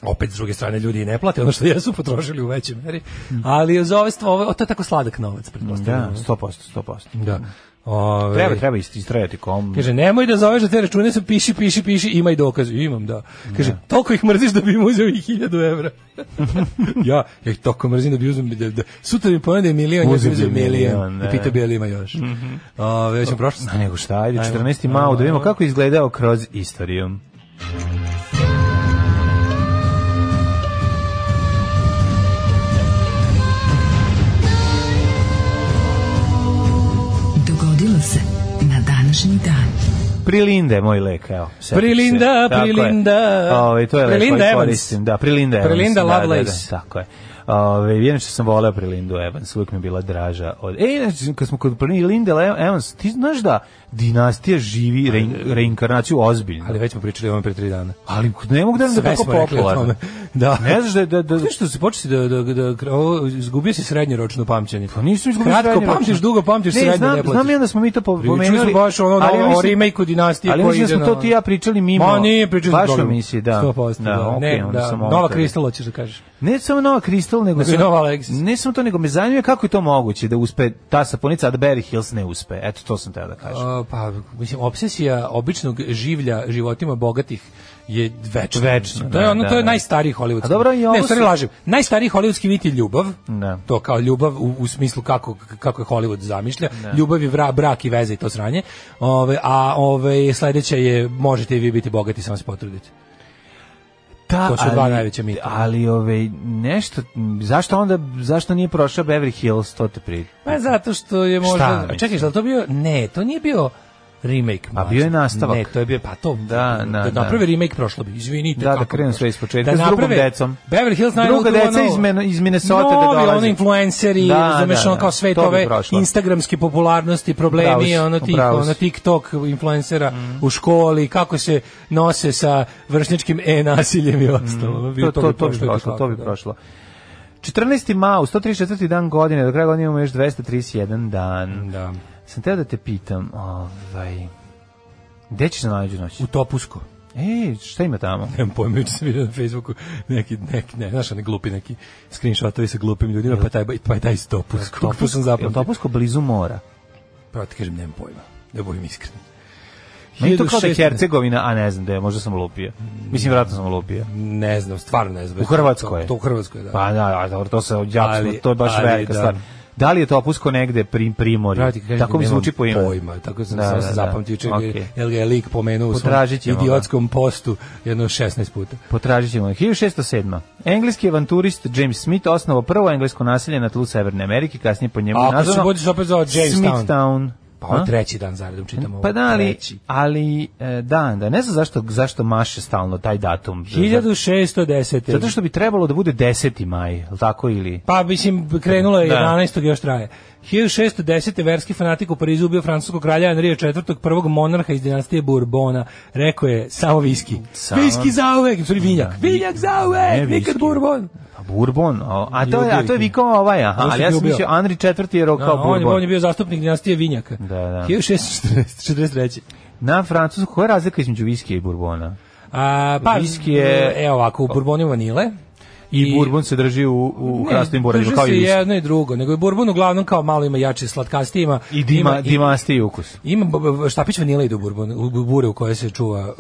Speaker 7: opet s druge strane ljudi i ne plate ono što jesu potrošili u većoj meri.
Speaker 6: Hm.
Speaker 7: Ali za ove stvari, ovo to je tako sladak novac,
Speaker 6: Da,
Speaker 7: pretpostavljam.
Speaker 6: 100%, 100%.
Speaker 7: Da. Mhm. Ove,
Speaker 6: Treba, treba ist- istrajati kom.
Speaker 7: Kaže, nemoj da zoveš da te račune su piši, piši, piši, imaj dokaz. Imam, da. Kaže, toliko ih mrziš da bi im uzeo i hiljadu
Speaker 6: [LAUGHS]
Speaker 7: evra. ja, ja ih toliko mrzim da bi uzem, da, da, sutra mi ponede milion, ja bi
Speaker 6: Uzeo bi
Speaker 7: uzeo milion.
Speaker 6: milion,
Speaker 7: I
Speaker 6: da. Mhm.
Speaker 7: pitao bi je li ima još. Ove, ja ćemo prošlo.
Speaker 6: A nego šta, ajde, 14. mao, da vidimo kako je izgledao kroz istoriju.
Speaker 5: Dogodilo se na današnji dan.
Speaker 6: Prilinde, moj lek, evo. setiš se.
Speaker 7: Prilinda,
Speaker 6: Tako je.
Speaker 7: Prilinda.
Speaker 6: Ovaj, to je lek
Speaker 7: Prilinda
Speaker 6: koji
Speaker 7: Evans.
Speaker 6: koristim, Da, Prilinda Evans.
Speaker 7: Prilinda
Speaker 6: da, da,
Speaker 7: Lovelace.
Speaker 6: Da, tako je. Ove, vjerujem što sam voleo Prilindu Evans, uvijek mi je bila draža. Od... E, znači, kad smo kod Prilinde Le- Evans, ti znaš da dinastija živi rein- reinkarnaciju ozbiljno.
Speaker 7: Ali već smo pričali o ovom pre tri dana.
Speaker 6: ali ne mogu da vam da je
Speaker 7: Sve
Speaker 6: tako
Speaker 7: smo rekli o
Speaker 6: popularno.
Speaker 7: tome. Da.
Speaker 6: Ne znaš da, da, da,
Speaker 7: Znaš što se početi da, da, da, da ovo, izgubio si srednjeročno pamćenje.
Speaker 6: Pa nisam izgubio
Speaker 7: Kratko
Speaker 6: srednje
Speaker 7: pamtiš,
Speaker 6: ročno.
Speaker 7: dugo pamtiš,
Speaker 6: ne,
Speaker 7: srednje
Speaker 6: znam,
Speaker 7: ne plaćaš.
Speaker 6: Znam ja da smo mi to po-
Speaker 7: Pričali
Speaker 6: pomenuali.
Speaker 7: smo baš ono, da
Speaker 6: ali ja
Speaker 7: o
Speaker 6: mislim-
Speaker 7: remake-u dinastije
Speaker 6: ali
Speaker 7: koji
Speaker 6: mislim da
Speaker 7: ide
Speaker 6: smo to
Speaker 7: na-
Speaker 6: ti i ja pričali mimo.
Speaker 7: Ma nije pričali smo
Speaker 6: Baš
Speaker 7: programu.
Speaker 6: emisiji, da.
Speaker 7: 100%, da.
Speaker 6: okej,
Speaker 7: ne,
Speaker 6: onda
Speaker 7: da,
Speaker 6: sam
Speaker 7: nova
Speaker 6: ovoga.
Speaker 7: kristal hoćeš da kažeš.
Speaker 6: Ne samo Nova Kristal, nego...
Speaker 7: Nego i
Speaker 6: sam-
Speaker 7: Nova Alexis.
Speaker 6: Ne samo to, nego me zanima kako je to moguće da uspe ta saponica, a da Barry Hills ne uspe. Eto, to sam teo da kažem.
Speaker 7: A, pa, mislim, obsesija običnog življa životima bogatih je večna.
Speaker 6: Večna,
Speaker 7: To je,
Speaker 6: da,
Speaker 7: ono,
Speaker 6: da,
Speaker 7: to je
Speaker 6: da.
Speaker 7: najstariji hollywoodski.
Speaker 6: A dobro, i ovo
Speaker 7: ne, u stvari
Speaker 6: su-
Speaker 7: lažem. Najstariji hollywoodski vid je ljubav.
Speaker 6: Da.
Speaker 7: To kao ljubav u, u smislu kako, kako je Hollywood zamišlja.
Speaker 6: Da.
Speaker 7: Ljubav je vra, brak i veze i to sranje. Ove, a ove, sledeća je možete i vi biti bogati, samo se potrudite.
Speaker 6: Da,
Speaker 7: to su dva najveća mita.
Speaker 6: Ali, ove, nešto, m, zašto onda, zašto nije prošao Beverly Hills, to te pri...
Speaker 7: Pa zato što je možda...
Speaker 6: Šta,
Speaker 7: A
Speaker 6: mislim?
Speaker 7: Čekaj, je li to bio... Ne, to nije bio remake.
Speaker 6: A
Speaker 7: mlađe.
Speaker 6: bio je nastavak.
Speaker 7: Ne, to je bio, pa to,
Speaker 6: Da,
Speaker 7: da,
Speaker 6: da,
Speaker 7: da
Speaker 6: da.
Speaker 7: naprave remake prošlo bi, izvinite.
Speaker 6: Da, da
Speaker 7: kako bi
Speaker 6: krenu
Speaker 7: prošlo.
Speaker 6: sve ispočetka s drugom
Speaker 7: naprave
Speaker 6: decom.
Speaker 7: Beverly Hills
Speaker 6: Druga
Speaker 7: Nine-Nine-Two,
Speaker 6: deca
Speaker 7: ono,
Speaker 6: iz Men- iz Minnesota da
Speaker 7: Novi,
Speaker 6: dolaze.
Speaker 7: ono, influenceri,
Speaker 6: Da,
Speaker 7: razumeš,
Speaker 6: da,
Speaker 7: ono,
Speaker 6: da.
Speaker 7: kao sve
Speaker 6: To bi
Speaker 7: tove
Speaker 6: prošlo.
Speaker 7: instagramske popularnosti,
Speaker 6: Upravo
Speaker 7: problemi,
Speaker 6: si,
Speaker 7: ono, tih,
Speaker 6: upravo
Speaker 7: ono,
Speaker 6: si. Mm.
Speaker 7: TikTok influencera u školi, kako se nose sa vršničkim e-nasiljem i ostalo. Ono,
Speaker 6: Mm. To, to, to bi
Speaker 7: i
Speaker 6: prošlo,
Speaker 7: tako,
Speaker 6: to bi
Speaker 7: da.
Speaker 6: prošlo. 14. mao, 134. dan godine, do kraja godine imamo još 231 dan.
Speaker 7: Da.
Speaker 6: Sam teo da te pitam, ovaj, gde ćeš na najluđu noć?
Speaker 7: U Topusko.
Speaker 6: Ej, šta ima tamo?
Speaker 7: nemam pojma, juče sam vidio na Facebooku neki, neki, ne, znaš, ne glupi neki screenshotovi sa glupim ljudima, pa je taj, pa je taj iz Topuskog, to sam
Speaker 6: Jel
Speaker 7: zapamtio.
Speaker 6: Topusko blizu mora?
Speaker 7: Pa ti kažem, nemam pojma, da budem iskren.
Speaker 6: Meni to kao da je
Speaker 7: 1600.
Speaker 6: Hercegovina, a ne znam da je, možda sam lupio. Mislim, vjerojatno sam lupio.
Speaker 7: Ne znam, stvarno ne znam.
Speaker 6: U Hrvatskoj je.
Speaker 7: To, to u Hrvatskoj, da.
Speaker 6: Pa da, a dobro, to se odjapslo,
Speaker 7: Ali-
Speaker 6: to je baš
Speaker 7: ali,
Speaker 6: velika
Speaker 7: da.
Speaker 6: stvar. Da li je Topusko negde pri primorju?
Speaker 7: Brate, kažem,
Speaker 6: Tako mi
Speaker 7: nemam
Speaker 6: zvuči po imenu.
Speaker 7: Pojma, tako sam
Speaker 6: Da,
Speaker 7: da,
Speaker 6: da,
Speaker 7: se
Speaker 6: da.
Speaker 7: zapamtio, čak
Speaker 6: Okej.
Speaker 7: jel ga je lik pomenuo u svom
Speaker 6: Potražit ćemo ga.
Speaker 7: idiotskom postu jedno 16 puta.
Speaker 6: Potražit ćemo. 1607. Engleski avanturist James Smith osnovao prvo englesko naselje na tlu Severne Amerike, kasnije po njemu
Speaker 7: A ako se
Speaker 6: nazvano
Speaker 7: budiš opet zvao Jamestown,
Speaker 6: Smithtown.
Speaker 7: pa ovo je
Speaker 6: A?
Speaker 7: treći dan zaredom čitam ovo.
Speaker 6: Pa da, ali,
Speaker 7: treći.
Speaker 6: ali e, da, da, ne znam zašto, zašto maše stalno taj datum.
Speaker 7: 1610.
Speaker 6: Zato što bi trebalo da bude 10. maj, je li tako ili?
Speaker 7: Pa mislim krenulo je
Speaker 6: Da.
Speaker 7: 11. još traje. 1610. verski fanatik u Parizu ubio francuskog kralja Henrija IV, prvog monarha iz dinastije Bourbona. Rekao je samo viski.
Speaker 6: Samo- Da.
Speaker 7: Viski zauvek, sorry, vinjak. Vinjak
Speaker 6: Ne
Speaker 7: zauvek,
Speaker 6: viski.
Speaker 7: nikad Bourbon.
Speaker 6: A Bourbon, a, a to je, a to
Speaker 7: Ljubio
Speaker 6: je
Speaker 7: ih.
Speaker 6: vikao ovaj, aha,
Speaker 7: Ono što
Speaker 6: ali ja
Speaker 7: ti
Speaker 6: sam
Speaker 7: ubio.
Speaker 6: mislio Henry IV je
Speaker 7: Da,
Speaker 6: rokao
Speaker 7: on, je,
Speaker 6: Bourbon.
Speaker 7: on je bio zastupnik dinastije Vinjaka.
Speaker 6: Da, da.
Speaker 7: 1643.
Speaker 6: Na Francusku, koja je razlika između viskija i Bourbona?
Speaker 7: A, pa,
Speaker 6: Viski je-
Speaker 7: Evo ovako, u Bourbonu je vanile.
Speaker 6: I, Bourbon se drži u, u hrastovim boradima,
Speaker 7: drži
Speaker 6: kao i
Speaker 7: se
Speaker 6: viski.
Speaker 7: jedno i drugo, nego je Bourbon uglavnom kao malo ima jače slatkastije, ima,
Speaker 6: I dima,
Speaker 7: ima,
Speaker 6: dimasti i ukus.
Speaker 7: Ima b- b- štapić vanile ide u burbon, u bu- bure u kojoj se čuva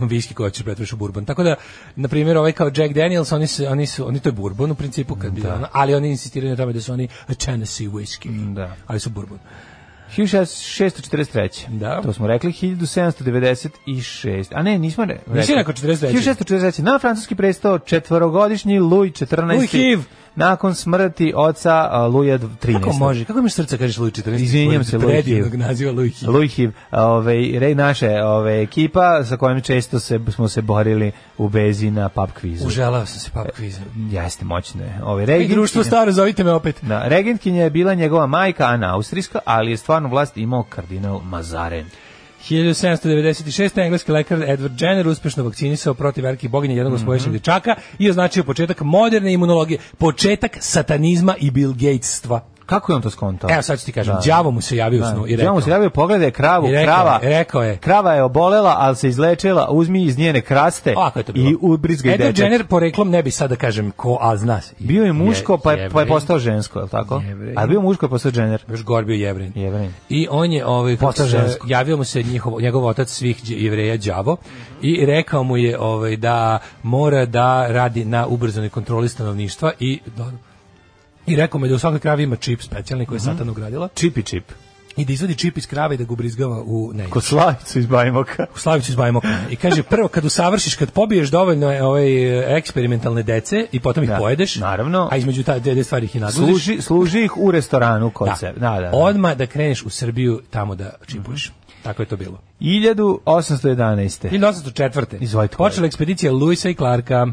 Speaker 7: viski koji ćeš pretvoriš u bourbon. Tako da, na primjer, ovaj kao Jack Daniels, oni su, oni su, oni to je bourbon u principu, kad
Speaker 6: Da.
Speaker 7: bi, ono, ali oni insistiraju na tome da su oni Tennessee whiskey,
Speaker 6: Da.
Speaker 7: ali su bourbon.
Speaker 6: 1643.
Speaker 7: Da.
Speaker 6: To smo rekli 1796. A ne, nismo re, rekli.
Speaker 7: Nisi rekao 43..
Speaker 6: 1643. Na francuski prestao četvorogodišnji Louis 14.
Speaker 7: Louis Hiv.
Speaker 6: Nakon smrti oca a, Luja 13.
Speaker 7: Kako može? Kako imaš srca kažeš Luj 14?
Speaker 6: Izvinjam se, Louis
Speaker 7: Predivnog
Speaker 6: Hiv.
Speaker 7: naziva Luj Hiv.
Speaker 6: Louis Hiv, ovaj, rej naše ovaj, ekipa sa kojom često se, smo se borili u bezi na pub kvizu.
Speaker 7: Uželao sam se pap kvizom.
Speaker 6: Jeste, moćno je. Ovaj,
Speaker 7: I društvo
Speaker 6: regentkinja-
Speaker 7: staro, zovite me opet.
Speaker 6: Da, regentkinja je bila njegova majka, Ana Austrijska, ali je stvarno vlast imao kardinal Mazaren.
Speaker 7: 1796. engleski lekar Edward Jenner uspešno vakcinisao protiv velikih boginja jednog mm
Speaker 6: Mhm.
Speaker 7: -hmm. dečaka i označio početak moderne imunologije, početak satanizma i Bill Gatesstva.
Speaker 6: Kako je on to skontao?
Speaker 7: Evo sad ću ti kažem, đavo mu se javio u snu i
Speaker 6: Da,
Speaker 7: rekao.
Speaker 6: đavo mu se javio, pogledaj kravu,
Speaker 7: I rekao
Speaker 6: krava.
Speaker 7: je, rekao je.
Speaker 6: Krava je obolela, ali se izlečila, uzmi iz njene kraste
Speaker 7: Ovako je to bilo.
Speaker 6: i ubrizgaj
Speaker 7: Edward
Speaker 6: dečak.
Speaker 7: Jenner poreklom ne bi sada kažem ko, a zna se.
Speaker 6: Bio je muško, pa je, pa je
Speaker 7: Jevrej.
Speaker 6: postao žensko, je li tako?
Speaker 7: Jevrej.
Speaker 6: A bio muško, pa je postao Jenner.
Speaker 7: Još gor bio jevrin.
Speaker 6: Jevrin.
Speaker 7: I on je ovaj kako
Speaker 6: Postao
Speaker 7: se-
Speaker 6: žensko.
Speaker 7: javio mu se njihov njegov otac svih đe- jevreja đavo i rekao mu je ovaj da mora da radi na ubrzanoj kontroli stanovništva i do- I rekao mu je da u svakoj kravi ima čip specijalni koji je
Speaker 6: Mhm.
Speaker 7: Satan ugradila
Speaker 6: Čipi čip.
Speaker 7: i da izvadi čip iz krave i da ga ubrizgava u ne.
Speaker 6: Kod slavicu iz Bajmoka.
Speaker 7: U Slaviću iz Bajmoka. I kaže, prvo kad usavršiš, kad pobiješ dovoljno e, ovaj, e, eksperimentalne dece i potom ih
Speaker 6: Da,
Speaker 7: pojedeš,
Speaker 6: naravno.
Speaker 7: a između ta dve dve stvari ih i naduziš,
Speaker 6: Služi, služi ih u restoranu kod
Speaker 7: da.
Speaker 6: sebe. Da, Mhm. da, da.
Speaker 7: Odmah da kreneš u Srbiju tamo da čipuješ. Tako je to bilo.
Speaker 6: 1811.
Speaker 7: 1804.
Speaker 6: Izvolite, kolega.
Speaker 7: Počela ekspedicija Luisa i Clarka.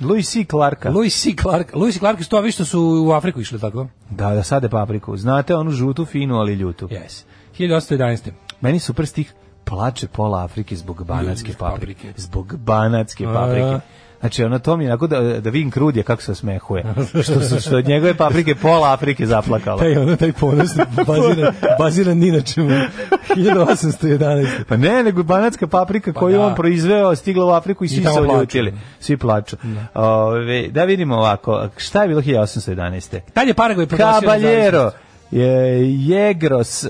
Speaker 6: Louis C. Clarka.
Speaker 7: Louis C. Clark, Louis C. Clark su to, a vi što su u Afriku išli, tako?
Speaker 6: Da, da sade papriku. Znate onu žutu, finu, ali ljutu.
Speaker 7: Yes. 1811.
Speaker 6: Meni super stih plače pola Afrike zbog banatske
Speaker 7: Zbog
Speaker 6: paprike.
Speaker 7: paprike.
Speaker 6: Zbog banatske paprike.
Speaker 7: A.
Speaker 6: Znači, ono to mi je onako da, da vidim krudje kako se osmehuje. Što, su, što od njegove paprike pola Afrike zaplakala.
Speaker 7: Taj, ono, taj ponos baziran, baziran ni na čemu. 1811.
Speaker 6: Pa ne, nego banatska paprika koju
Speaker 7: da.
Speaker 6: on proizveo stigla u Afriku i svi
Speaker 7: tamo
Speaker 6: se
Speaker 7: plaču.
Speaker 6: oljutili. Svi plaču. Ove, da vidimo ovako, šta je bilo 1811.
Speaker 7: Tad je Paragoj proglasio
Speaker 6: Caballero,
Speaker 7: nezavisnost.
Speaker 6: je, Jegros, e,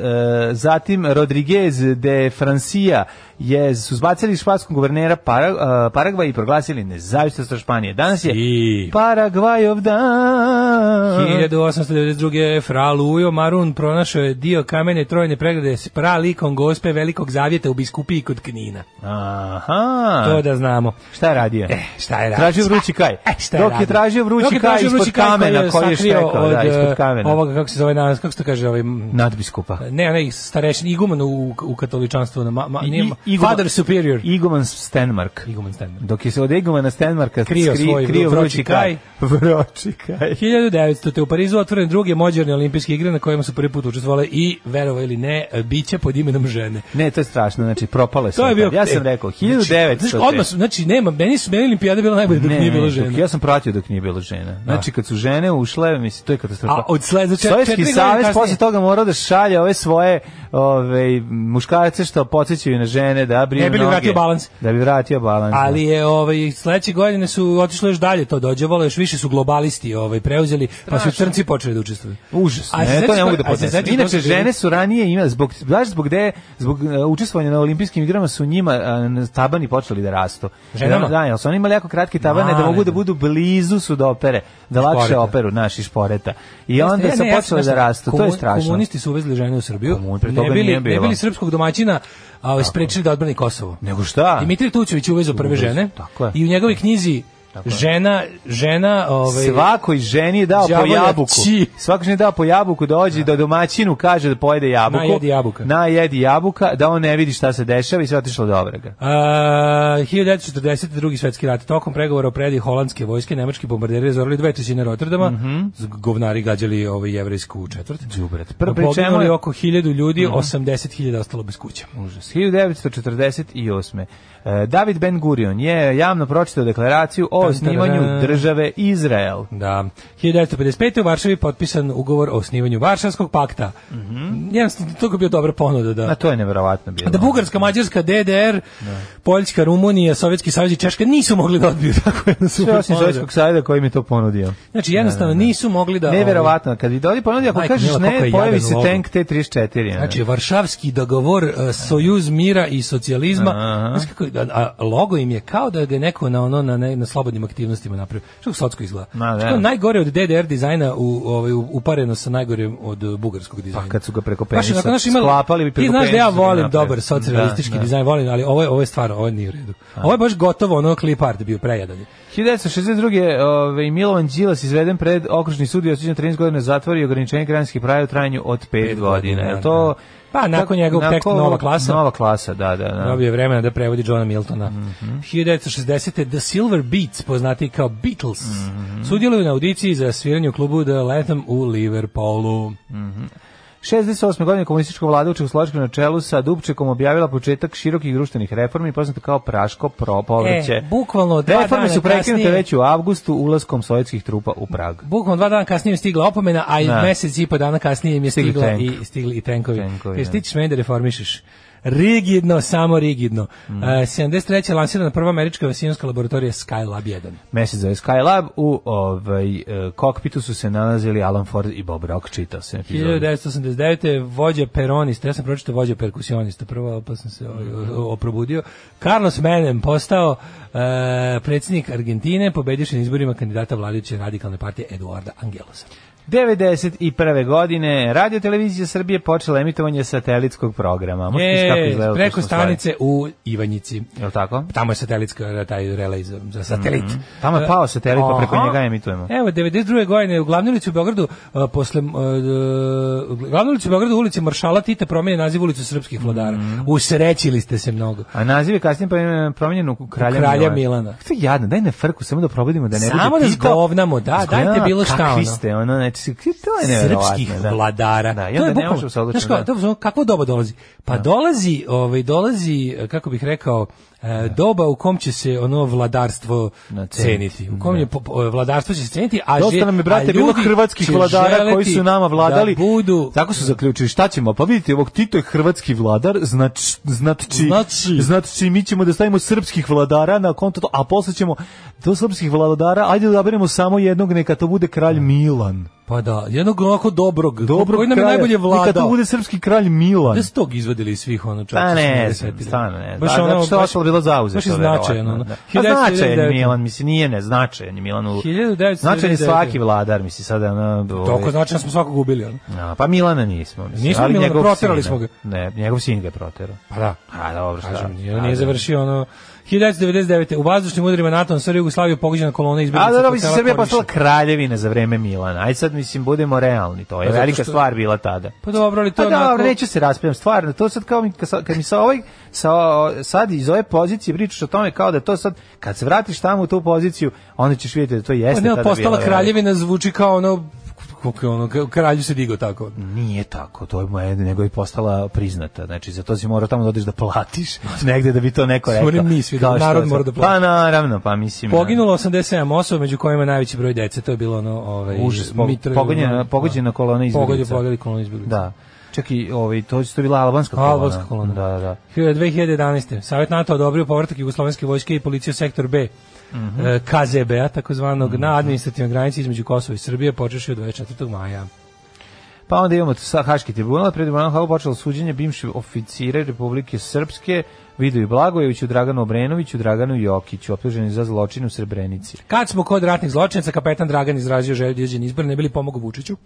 Speaker 6: zatim Rodriguez de Francia je, su zbacili španskog guvernera Para, e, Paragvaja i proglasili nezavisnost od Španije. Danas je
Speaker 7: Si.
Speaker 6: Pa, Paragvajov dan.
Speaker 7: 1892. Fra Lujo Marun pronašao je dio kamene trojne pregrade s pralikom gospe velikog zavjeta u biskupiji kod Knina.
Speaker 6: Aha.
Speaker 7: To da znamo.
Speaker 6: Šta je radio?
Speaker 7: E, šta je radio?
Speaker 6: Tražio vrući kaj.
Speaker 7: E, šta je
Speaker 6: Dok je
Speaker 7: radio?
Speaker 6: tražio
Speaker 7: Dok
Speaker 6: vrući
Speaker 7: je
Speaker 6: kaj
Speaker 7: tražio
Speaker 6: ispod
Speaker 7: vrući kaj
Speaker 6: kamena koji je
Speaker 7: sakrio
Speaker 6: štekao. Da,
Speaker 7: od,
Speaker 6: ispod
Speaker 7: e,
Speaker 6: kamena.
Speaker 7: Ovoga, kako se zove, nas, kako se to kaže, ovaj, m,
Speaker 6: Nadbiskupa.
Speaker 7: ne, onaj starešin, iguman u, u katoličanstvu, na, ma, ma,
Speaker 6: I-
Speaker 7: nije,
Speaker 6: i- Iguman-
Speaker 7: father superior.
Speaker 6: Igoman Stenmark.
Speaker 7: Iguman Stenmark.
Speaker 6: Dok je se od Egomana Stenmarka
Speaker 7: Krio svoj vrući kaj. [LAUGHS]
Speaker 6: Vrući kaj.
Speaker 7: 1900. u Parizu otvoren druge mođerne olimpijske igre na kojima su prvi put učestvovale i, verovo ili ne, bića pod imenom žene.
Speaker 6: Ne, to je strašno, znači propalo je
Speaker 7: To
Speaker 6: sve.
Speaker 7: je bio e,
Speaker 6: Ja sam rekao, 1900.
Speaker 7: Znači, odmah, su- znači nema, meni su meni olimpijada bila najbolja dok
Speaker 6: Ne,
Speaker 7: nije bilo
Speaker 6: ne,
Speaker 7: žena. Da.
Speaker 6: dok, ja sam pratio dok nije bilo žena. Znači, kad su žene ušle, mislim, to je katastrofa.
Speaker 7: A od sled- znači,
Speaker 6: Sovjetski
Speaker 7: četiri godine
Speaker 6: savez
Speaker 7: kasnije-
Speaker 6: posle toga morao da šalje ove svoje ove, muškarce što podsjećaju na žene, da brinu
Speaker 7: Ne bi li
Speaker 6: noge.
Speaker 7: vratio balans.
Speaker 6: Da bi vratio balans.
Speaker 7: Ali je ovaj sledeće godine su otišlo još dalje to dođevalo, još više su globalisti ovaj preuzeli, pa su crnci počeli da učestvuju.
Speaker 6: Užas,
Speaker 7: A se
Speaker 6: ne, to
Speaker 7: sećaš
Speaker 6: ne mogu da
Speaker 7: kako- a se
Speaker 6: podnesem.
Speaker 7: sećaš kako
Speaker 6: Inače,
Speaker 7: su bili-
Speaker 6: žene su ranije imale, zbog, znaš zbog gde, zbog e, učestvovanja na olimpijskim igrama su njima e, na- tabani počeli da rastu.
Speaker 7: Ženama?
Speaker 6: Da, da, jer su oni imali jako kratke tabane,
Speaker 7: Ma,
Speaker 6: da mogu
Speaker 7: ne
Speaker 6: da
Speaker 7: znam.
Speaker 6: budu blizu su da opere, da lakše
Speaker 7: Šporeta.
Speaker 6: operu, naši šporeta. I onda
Speaker 7: Jeste,
Speaker 6: su
Speaker 7: ne, ne,
Speaker 6: počele
Speaker 7: ja
Speaker 6: da
Speaker 7: sam-
Speaker 6: rastu, to je
Speaker 7: komun-
Speaker 6: strašno.
Speaker 7: Komunisti su uvezli žene u Srbiju,
Speaker 6: Komun- pre
Speaker 7: ne,
Speaker 6: toga
Speaker 7: bili,
Speaker 6: nije
Speaker 7: ne
Speaker 6: bilo.
Speaker 7: bili srpskog domaćina, a ovaj, sprečili da odbrani Kosovo.
Speaker 6: Nego šta?
Speaker 7: Dimitrij Tučević uvezao prve
Speaker 6: da. Uvezao,
Speaker 7: žene
Speaker 6: tako je.
Speaker 7: i u njegovoj knjizi žena, žena ovaj,
Speaker 6: Svakoj ženi je dao po
Speaker 7: Đavolja
Speaker 6: jabuku.
Speaker 7: ći.
Speaker 6: Svakoj ženi je dao po jabuku da ođe da domaćinu kaže da pojede jabuku.
Speaker 7: Najedi jabuka.
Speaker 6: Najedi jabuka, da on ne vidi šta se dešava i sve otišlo do obrega.
Speaker 7: Uh, 1940. drugi svetski rat. Tokom pregovora o predaji holandske vojske, nemački bombarderi razorili dve trećine Rotterdama, Z- govnari gađali ovaj jevrejsku četvrt.
Speaker 6: Mhm. Đubret. Prvo,
Speaker 7: Prvo
Speaker 6: pri čemu
Speaker 7: poginuli
Speaker 6: je- Mhm.
Speaker 7: oko 1000 ljudi, 80.000 ostalo bez kuća.
Speaker 6: Užas. 1948. E, David Ben Gurion je javno pročitao deklaraciju o o osnivanju države Izrael.
Speaker 7: Da. 1955. u Varšavi je potpisan ugovor o osnivanju Varšavskog pakta. Mm Jednostavno, to bi bio dobra ponuda da...
Speaker 6: A Mhm. to Da. je neverovatno bilo.
Speaker 7: Da Bugarska, Mađarska, DDR, Poljska, Rumunija, Sovjetski savez i Češka nisu mogli da odbiju [LAUGHS] tako jednu
Speaker 6: Sve
Speaker 7: super
Speaker 6: osim
Speaker 7: ponudu.
Speaker 6: Sovjetskog sajda koji mi je to ponudio.
Speaker 7: Znači jednostavno nisu mogli da...
Speaker 6: Neverovatno, kad vidi ovdje ponudi, ako
Speaker 7: Majko
Speaker 6: kažeš
Speaker 7: mila, koliko
Speaker 6: ne,
Speaker 7: je
Speaker 6: pojavi
Speaker 7: jadan
Speaker 6: se
Speaker 7: logo.
Speaker 6: tank T-34. ono.
Speaker 7: Znači, Varšavski dogovor, eh, Sojuz mira i socijalizma.
Speaker 6: Aha.
Speaker 7: Znaš kako- a- a logo im je kao da ga je neko na ono na, ne- na slobodnim aktivnostima napravio. Što socsko izgleda.
Speaker 6: Ma, da.
Speaker 7: Što je najgore od DDR dizajna u, ovaj, u- upareno sa najgorim od eh, bugarskog dizajna.
Speaker 6: Pa kad su ga preko
Speaker 7: Baš
Speaker 6: penisa
Speaker 7: onako, znaš, imali-
Speaker 6: sklapali bi
Speaker 7: Ti
Speaker 6: preko
Speaker 7: znaš da ja
Speaker 6: penisa bi
Speaker 7: volim
Speaker 6: napravili.
Speaker 7: dobar socrealistički
Speaker 6: Da, da.
Speaker 7: dizajn, volim, ali ovo je, ovo je stvarno, ovo nije u redu. Ovo je baš gotovo ono klip art bio prejedan. je.
Speaker 6: 1962. Ove, ovaj, Milovan Đilas izveden pred okružni sud i osuđen na 13 godina zatvora i ograničenje građanskih prava u trajanju od 5 godina.
Speaker 7: godina,
Speaker 6: Jel to
Speaker 7: Pa, nakon
Speaker 6: tak-
Speaker 7: njegovog
Speaker 6: nakon-
Speaker 7: teksta Nova klasa.
Speaker 6: Nova klasa, da, da, da. Mhm.
Speaker 7: Dobio je vremena da prevodi Johna Miltona. 1960. The Silver Beats, poznati kao Beatles,
Speaker 6: Mhm.
Speaker 7: sudjeluju na audiciji za sviranje u klubu The Latham u Liverpoolu.
Speaker 6: 68. godine komunistička vlada u Čehoslovačkoj na čelu sa Dubčekom objavila početak širokih društvenih reformi, poznato kao Praško pro povrće.
Speaker 7: E, bukvalno dva
Speaker 6: Reforme
Speaker 7: dana
Speaker 6: su prekinute
Speaker 7: kasnije-
Speaker 6: već u avgustu ulaskom sovjetskih trupa u Prag.
Speaker 7: Bukvalno dva dana kasnije im je stigla opomena, a i
Speaker 6: Da.
Speaker 7: mjesec i po dana kasnije im je
Speaker 6: Stigli
Speaker 7: stigla
Speaker 6: tank.
Speaker 7: i, stigli i tenkovi.
Speaker 6: Tenkovi,
Speaker 7: Jer
Speaker 6: da.
Speaker 7: stičeš meni da reformišeš. Rigidno, samo rigidno.
Speaker 6: Mhm.
Speaker 7: E, 73. je lansirana prva američka vasijonska laboratorija Skylab 1.
Speaker 6: Mesec za Skylab u ovaj, e, kokpitu su se nalazili Alan Ford i Bob Rock, čitao se
Speaker 7: 1989. je vođa peronista, ja sam pročitao vođa perkusionista, prvo pa sam se ovaj, o- o- oprobudio. Carlos Menem postao e, predsjednik Argentine, pobediše na izborima kandidata vladajuće radikalne partije Eduarda Angelosa.
Speaker 6: 91. godine Radio Televizija Srbije počela emitovanje satelitskog programa. Možete misliti kako
Speaker 7: E,
Speaker 6: izgledalo to što
Speaker 7: preko
Speaker 6: smo stvari.
Speaker 7: stanice u Ivanjici.
Speaker 6: Jel tako?
Speaker 7: Tamo je satelitska taj relej za, za satelit.
Speaker 6: Tamo je pao satelit, pa preko
Speaker 7: Mhm. E, Aha.
Speaker 6: njega emitujemo.
Speaker 7: Evo, 92. godine u glavnoj ulici u Beogradu, a, posle, uh, glavnoj ulici u Beogradu, u ulici Maršala Tita promijeni naziv ulicu srpskih vladara. Usrećili ste se mnogo.
Speaker 6: A naziv je kasnije pa- promijenjen u Kralja,
Speaker 7: U Kralja
Speaker 6: Milana.
Speaker 7: Milana.
Speaker 6: Kako je jadno, daj na frku, samo da probudimo da ne bude
Speaker 7: Samo da
Speaker 6: tipa-
Speaker 7: zgovnamo, da,
Speaker 6: Zgovnamo,
Speaker 7: dajte bilo šta,
Speaker 6: Kakvi
Speaker 7: ono.
Speaker 6: ste, ono, znači, to je nevjerovatno.
Speaker 7: srpskih
Speaker 6: da.
Speaker 7: vladara.
Speaker 6: Da, i
Speaker 7: to
Speaker 6: onda
Speaker 7: je
Speaker 6: ne
Speaker 7: bukvalno,
Speaker 6: možemo se
Speaker 7: znaš kao,
Speaker 6: odlučiti. Da.
Speaker 7: dobro, kakvo doba dolazi? Pa dolazi, ovaj, dolazi, kako bih rekao, e, doba u kom će se ono vladarstvo
Speaker 6: Da. Na ceniti.
Speaker 7: ceniti. U kom je po- po- vladarstvo će se ceniti, a
Speaker 6: Dosta
Speaker 7: že-
Speaker 6: nam je,
Speaker 7: a
Speaker 6: brate, bilo
Speaker 7: ljudi
Speaker 6: hrvatskih
Speaker 7: će
Speaker 6: vladara
Speaker 7: želeti
Speaker 6: koji su nama vladali.
Speaker 7: Da budu
Speaker 6: Tako su zaključili, šta ćemo? Pa vidite, ovog Tito je hrvatski vladar, znač, znači,
Speaker 7: Znači.
Speaker 6: znači mi ćemo da stavimo srpskih vladara na konto, to, a posle ćemo do srpskih vladara, ajde da odaberemo samo jednog, neka to bude kralj Milan.
Speaker 7: Pa da, jednog onako dobrog,
Speaker 6: Dobro,
Speaker 7: Da. koji nam je najbolje
Speaker 6: Neka to
Speaker 7: vladao.
Speaker 6: bude srpski kralj Milan.
Speaker 7: Da su tog izvadili iz svih ono čak.
Speaker 6: Pa
Speaker 7: što se
Speaker 6: ne,
Speaker 7: setili.
Speaker 6: stvarno ne.
Speaker 7: Baš
Speaker 6: da,
Speaker 7: ono,
Speaker 6: zato što je
Speaker 7: baš-
Speaker 6: ostalo bilo zauzeto.
Speaker 7: Baš je značajno.
Speaker 6: verovatno,
Speaker 7: ono.
Speaker 6: Da. Pa značajan je
Speaker 7: 1999.
Speaker 6: Milan, mislim, nije ne, značajan je Milan. u-
Speaker 7: 1999.
Speaker 6: Značajan je svaki vladar, mislim, sada... Na,
Speaker 7: Toliko značajno smo svakog ubili. ono.
Speaker 6: A, pa Milana nismo. Mislim,
Speaker 7: Nismo
Speaker 6: ali
Speaker 7: Milana,
Speaker 6: njegov
Speaker 7: proterali
Speaker 6: sin,
Speaker 7: smo ga.
Speaker 6: Ne, njegov sin ga je proterao.
Speaker 7: Pa da.
Speaker 6: A, dobro, šta?
Speaker 7: Kažem, nije,
Speaker 6: A,
Speaker 7: nije
Speaker 6: da.
Speaker 7: završio ono... 1999. U vazdušnim udarima NATO na Srbiju Jugoslaviju pogođena kolona izbjeglica.
Speaker 6: A dobro,
Speaker 7: kod
Speaker 6: mislim,
Speaker 7: sela
Speaker 6: Srbija je
Speaker 7: Korniša.
Speaker 6: postala kraljevina za vreme Milana. Ajde sad, mislim, budemo realni. To je
Speaker 7: Pa zato
Speaker 6: velika
Speaker 7: što-
Speaker 6: stvar bila tada.
Speaker 7: Pa dobro, ali to
Speaker 6: Pa
Speaker 7: je
Speaker 6: dobro,
Speaker 7: onako...
Speaker 6: neću se raspijem, stvarno, to sad kao mi, kad sa- kad mi sa ovaj, sa, o- sad iz ove pozicije pričaš o tome kao da to sad, kad se vratiš tamo u tu poziciju, onda ćeš vidjeti da to
Speaker 7: Pa
Speaker 6: jeste
Speaker 7: ne,
Speaker 6: tada
Speaker 7: postala
Speaker 6: bila,
Speaker 7: kraljevina zvuči kao ono... Kako je ono, kao kralju se digo tako.
Speaker 6: Nije tako, to je moje, nego je postala priznata. Znači, za to si morao tamo da odeš da platiš [LAUGHS] negde da bi to neko rekao.
Speaker 7: Moramo mi svi da-
Speaker 6: Kao što
Speaker 7: narod
Speaker 6: sam-
Speaker 7: mora da plati.
Speaker 6: Pa naravno, pa mislim.
Speaker 7: Poginulo 87 osoba, među kojima je najveći broj dece, to je bilo ono... Ovaj, da.
Speaker 6: Užas, po-
Speaker 7: Mitra-
Speaker 6: pogođena- pogođena kolona izbjeglica.
Speaker 7: Pogođe- Pogođena kolona izbjeglica.
Speaker 6: Da. Čak i ovaj, to je to bila albanska kolona.
Speaker 7: Albanska kolona.
Speaker 6: Da, da, da.
Speaker 7: Hm, 2011. Savjet NATO odobrio povratak Jugoslovenske vojske i policije u sektor B.
Speaker 6: Mhm.
Speaker 7: e, KZB-a, takozvanog, na administrativnoj granici između Kosova i Srbije, počeši od 24. maja.
Speaker 6: Pa onda imamo sa Haški tribunal, pred tribunalom Hagu počelo suđenje bivših oficire Republike Srpske, Vidoju Blagojeviću, Draganu Obrenoviću, Draganu Jokiću, optuženi za zločin u Srebrenici.
Speaker 7: Kad smo kod ratnih zločinaca, kapetan Dragan izrazio želju da izađe na izbor, ne bili pomogao Vučiću.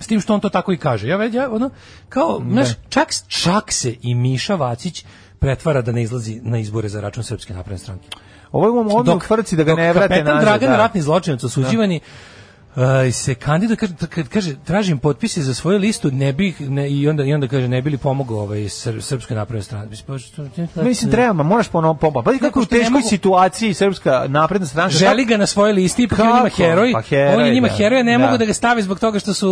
Speaker 7: S tim što on to tako i kaže. Ja već, ja, ono, kao, znaš, čak, čak se i Miša Vacić pretvara da ne izlazi na izbore za račun Srpske napredne stranke.
Speaker 6: Ovo je u ovom frci da ga
Speaker 7: dok
Speaker 6: ne vrate
Speaker 7: kapetan
Speaker 6: nazad.
Speaker 7: Dragan
Speaker 6: da.
Speaker 7: ratni zločinac osuđivani e, se kandiduje kaže, kad kaže tražim potpise za svoju listu ne bih ne, i onda i onda kaže ne bi li pomogao ovaj sr, srpskoj naprednoj strani mislim pa što-
Speaker 6: Mislim, treba, ma, moraš ponovno pompa. Pa vidi kako je u
Speaker 7: što ne
Speaker 6: teškoj
Speaker 7: mogu-
Speaker 6: situaciji srpska napredna strana.
Speaker 7: želi ga na svojoj listi ipak je on
Speaker 6: Kako?
Speaker 7: njima heroj,
Speaker 6: Pa heroj,
Speaker 7: on je njima
Speaker 6: da.
Speaker 7: heroj ne
Speaker 6: Da.
Speaker 7: mogu da ga stave zbog toga što su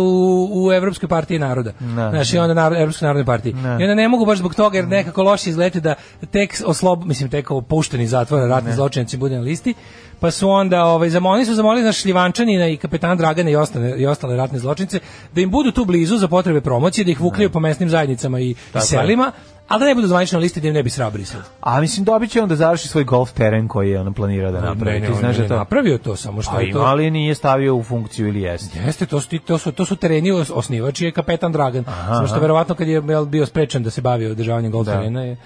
Speaker 7: u, u Evropskoj partiji naroda
Speaker 6: Da.
Speaker 7: znači onda narod, Evropskoj narodnoj partiji i onda ne mogu baš zbog toga jer nekako loše izgleda da tek oslob mislim tek opušteni zatvora ratni zločinci bude na listi pa su onda ovaj zamolili su zamolili naš Šljivančanina i kapetan Dragana i ostale i ostale ratne zločince da im budu tu blizu za potrebe promocije, da ih vukljaju po mesnim zajednicama i, i
Speaker 6: je.
Speaker 7: selima, ali da ne budu zvanično na listi da im ne bi srabili sad.
Speaker 6: A mislim dobit će on da završi svoj golf teren koji je on planirao da napravi. Ti
Speaker 7: on
Speaker 6: znaš da
Speaker 7: je
Speaker 6: to...
Speaker 7: napravio to samo što
Speaker 6: Pa
Speaker 7: je
Speaker 6: ima,
Speaker 7: to.
Speaker 6: ali nije stavio u funkciju ili jeste.
Speaker 7: Jeste, to su, ti- to su, to su tereni os- osnivač je kapetan Dragan. Samo što verovatno kad je jel, bio sprečen da se bavi održavanjem golf terena je...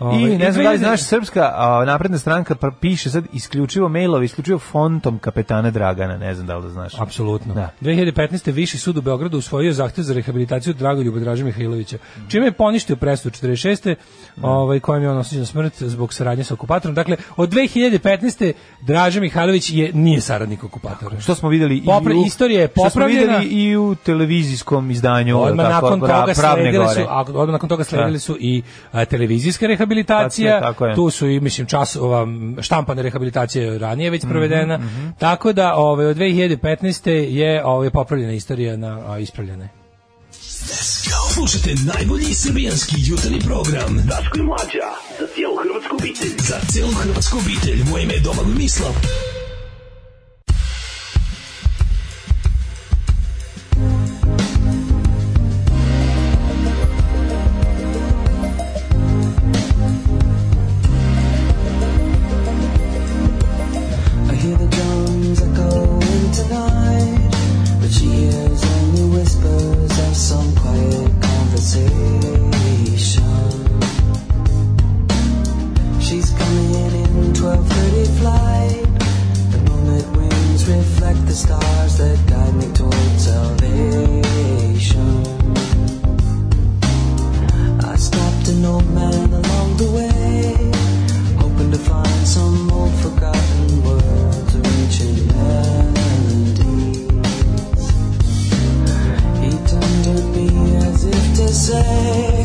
Speaker 7: ovaj,
Speaker 6: I ne znam da li
Speaker 7: vidi-
Speaker 6: znaš, srpska a, napredna stranka pr- piše sad isključivo mailove, isključivo fontom kapetana Dragana, ne znam da li da znaš.
Speaker 7: Apsolutno.
Speaker 6: Da.
Speaker 7: 2015. Viši sud u Beogradu usvojio zahtev za rehabilitaciju Dragoljuba Draže Mihajlovića, čime je poništio presudu 46.
Speaker 6: Da.
Speaker 7: Ovaj, kojem je on osuđen na smrt zbog saradnje sa okupatorom. Dakle, od 2015. Draže Mihajlović je, nije saradnik okupatora.
Speaker 6: Što smo vidjeli
Speaker 7: Popra-
Speaker 6: i u,
Speaker 7: istorija je
Speaker 6: što smo
Speaker 7: popravljena.
Speaker 6: vidjeli i u televizijskom izdanju
Speaker 7: Odmah
Speaker 6: jel tako,
Speaker 7: nakon
Speaker 6: pra-
Speaker 7: toga
Speaker 6: pravne
Speaker 7: sledile
Speaker 6: gore. Da.
Speaker 7: su, a, odmah nakon toga sledili su i a, televizijska rehabilitacija,
Speaker 6: Tako je, tako je.
Speaker 7: tu su i mislim časova štampane rehabilitacije ranije
Speaker 6: Mhm,
Speaker 7: već provedena. Tako da ovaj od 2015 je ovaj popravljena istorija na a, ispravljena. je.
Speaker 8: Slušajte najbolji srbijanski jutarnji program. Daško i Mlađa, za cijelu hrvatsku obitelj. Za cijelu hrvatsku obitelj, moje ime je Domagoj Mislav.
Speaker 9: I hear the drums echoing tonight, but she hears only whispers of some quiet conversation. She's coming in 12:30 flight. The moonlit winds reflect the stars that guide me towards salvation. I stopped an old man along the way, hoping to find some old forgotten words or ancient melodies. He turned to me as if to say,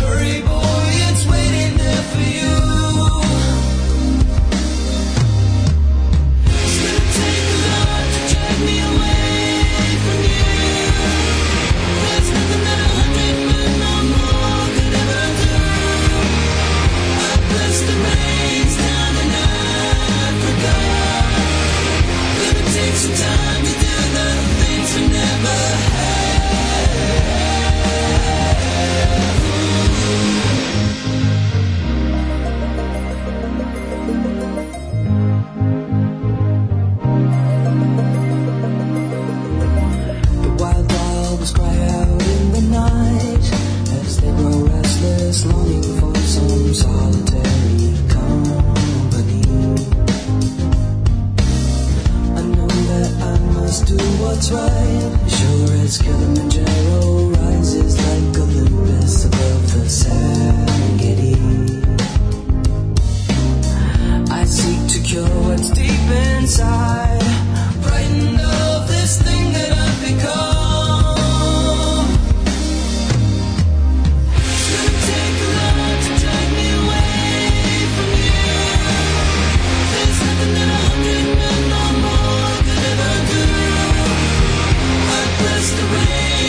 Speaker 9: Hurry, boy, it's waiting there for you. It's gonna take a lot to drag me away from you. There's nothing that a hundred men no more could ever do. I bless the rains down in Africa. Gonna take some time to do the things we never had. The wild dogs cry out in the night as they grow restless, longing for some solitary company. I know that I must do what's right. Sure as Kilimanjaro rises like Olympus above the Serengeti. I seek to cure what's deep inside. Frightened of this thing that I've become. It's gonna take a lot to drag me away from you. There's nothing that a hundred men no more could ever do. I bless the rain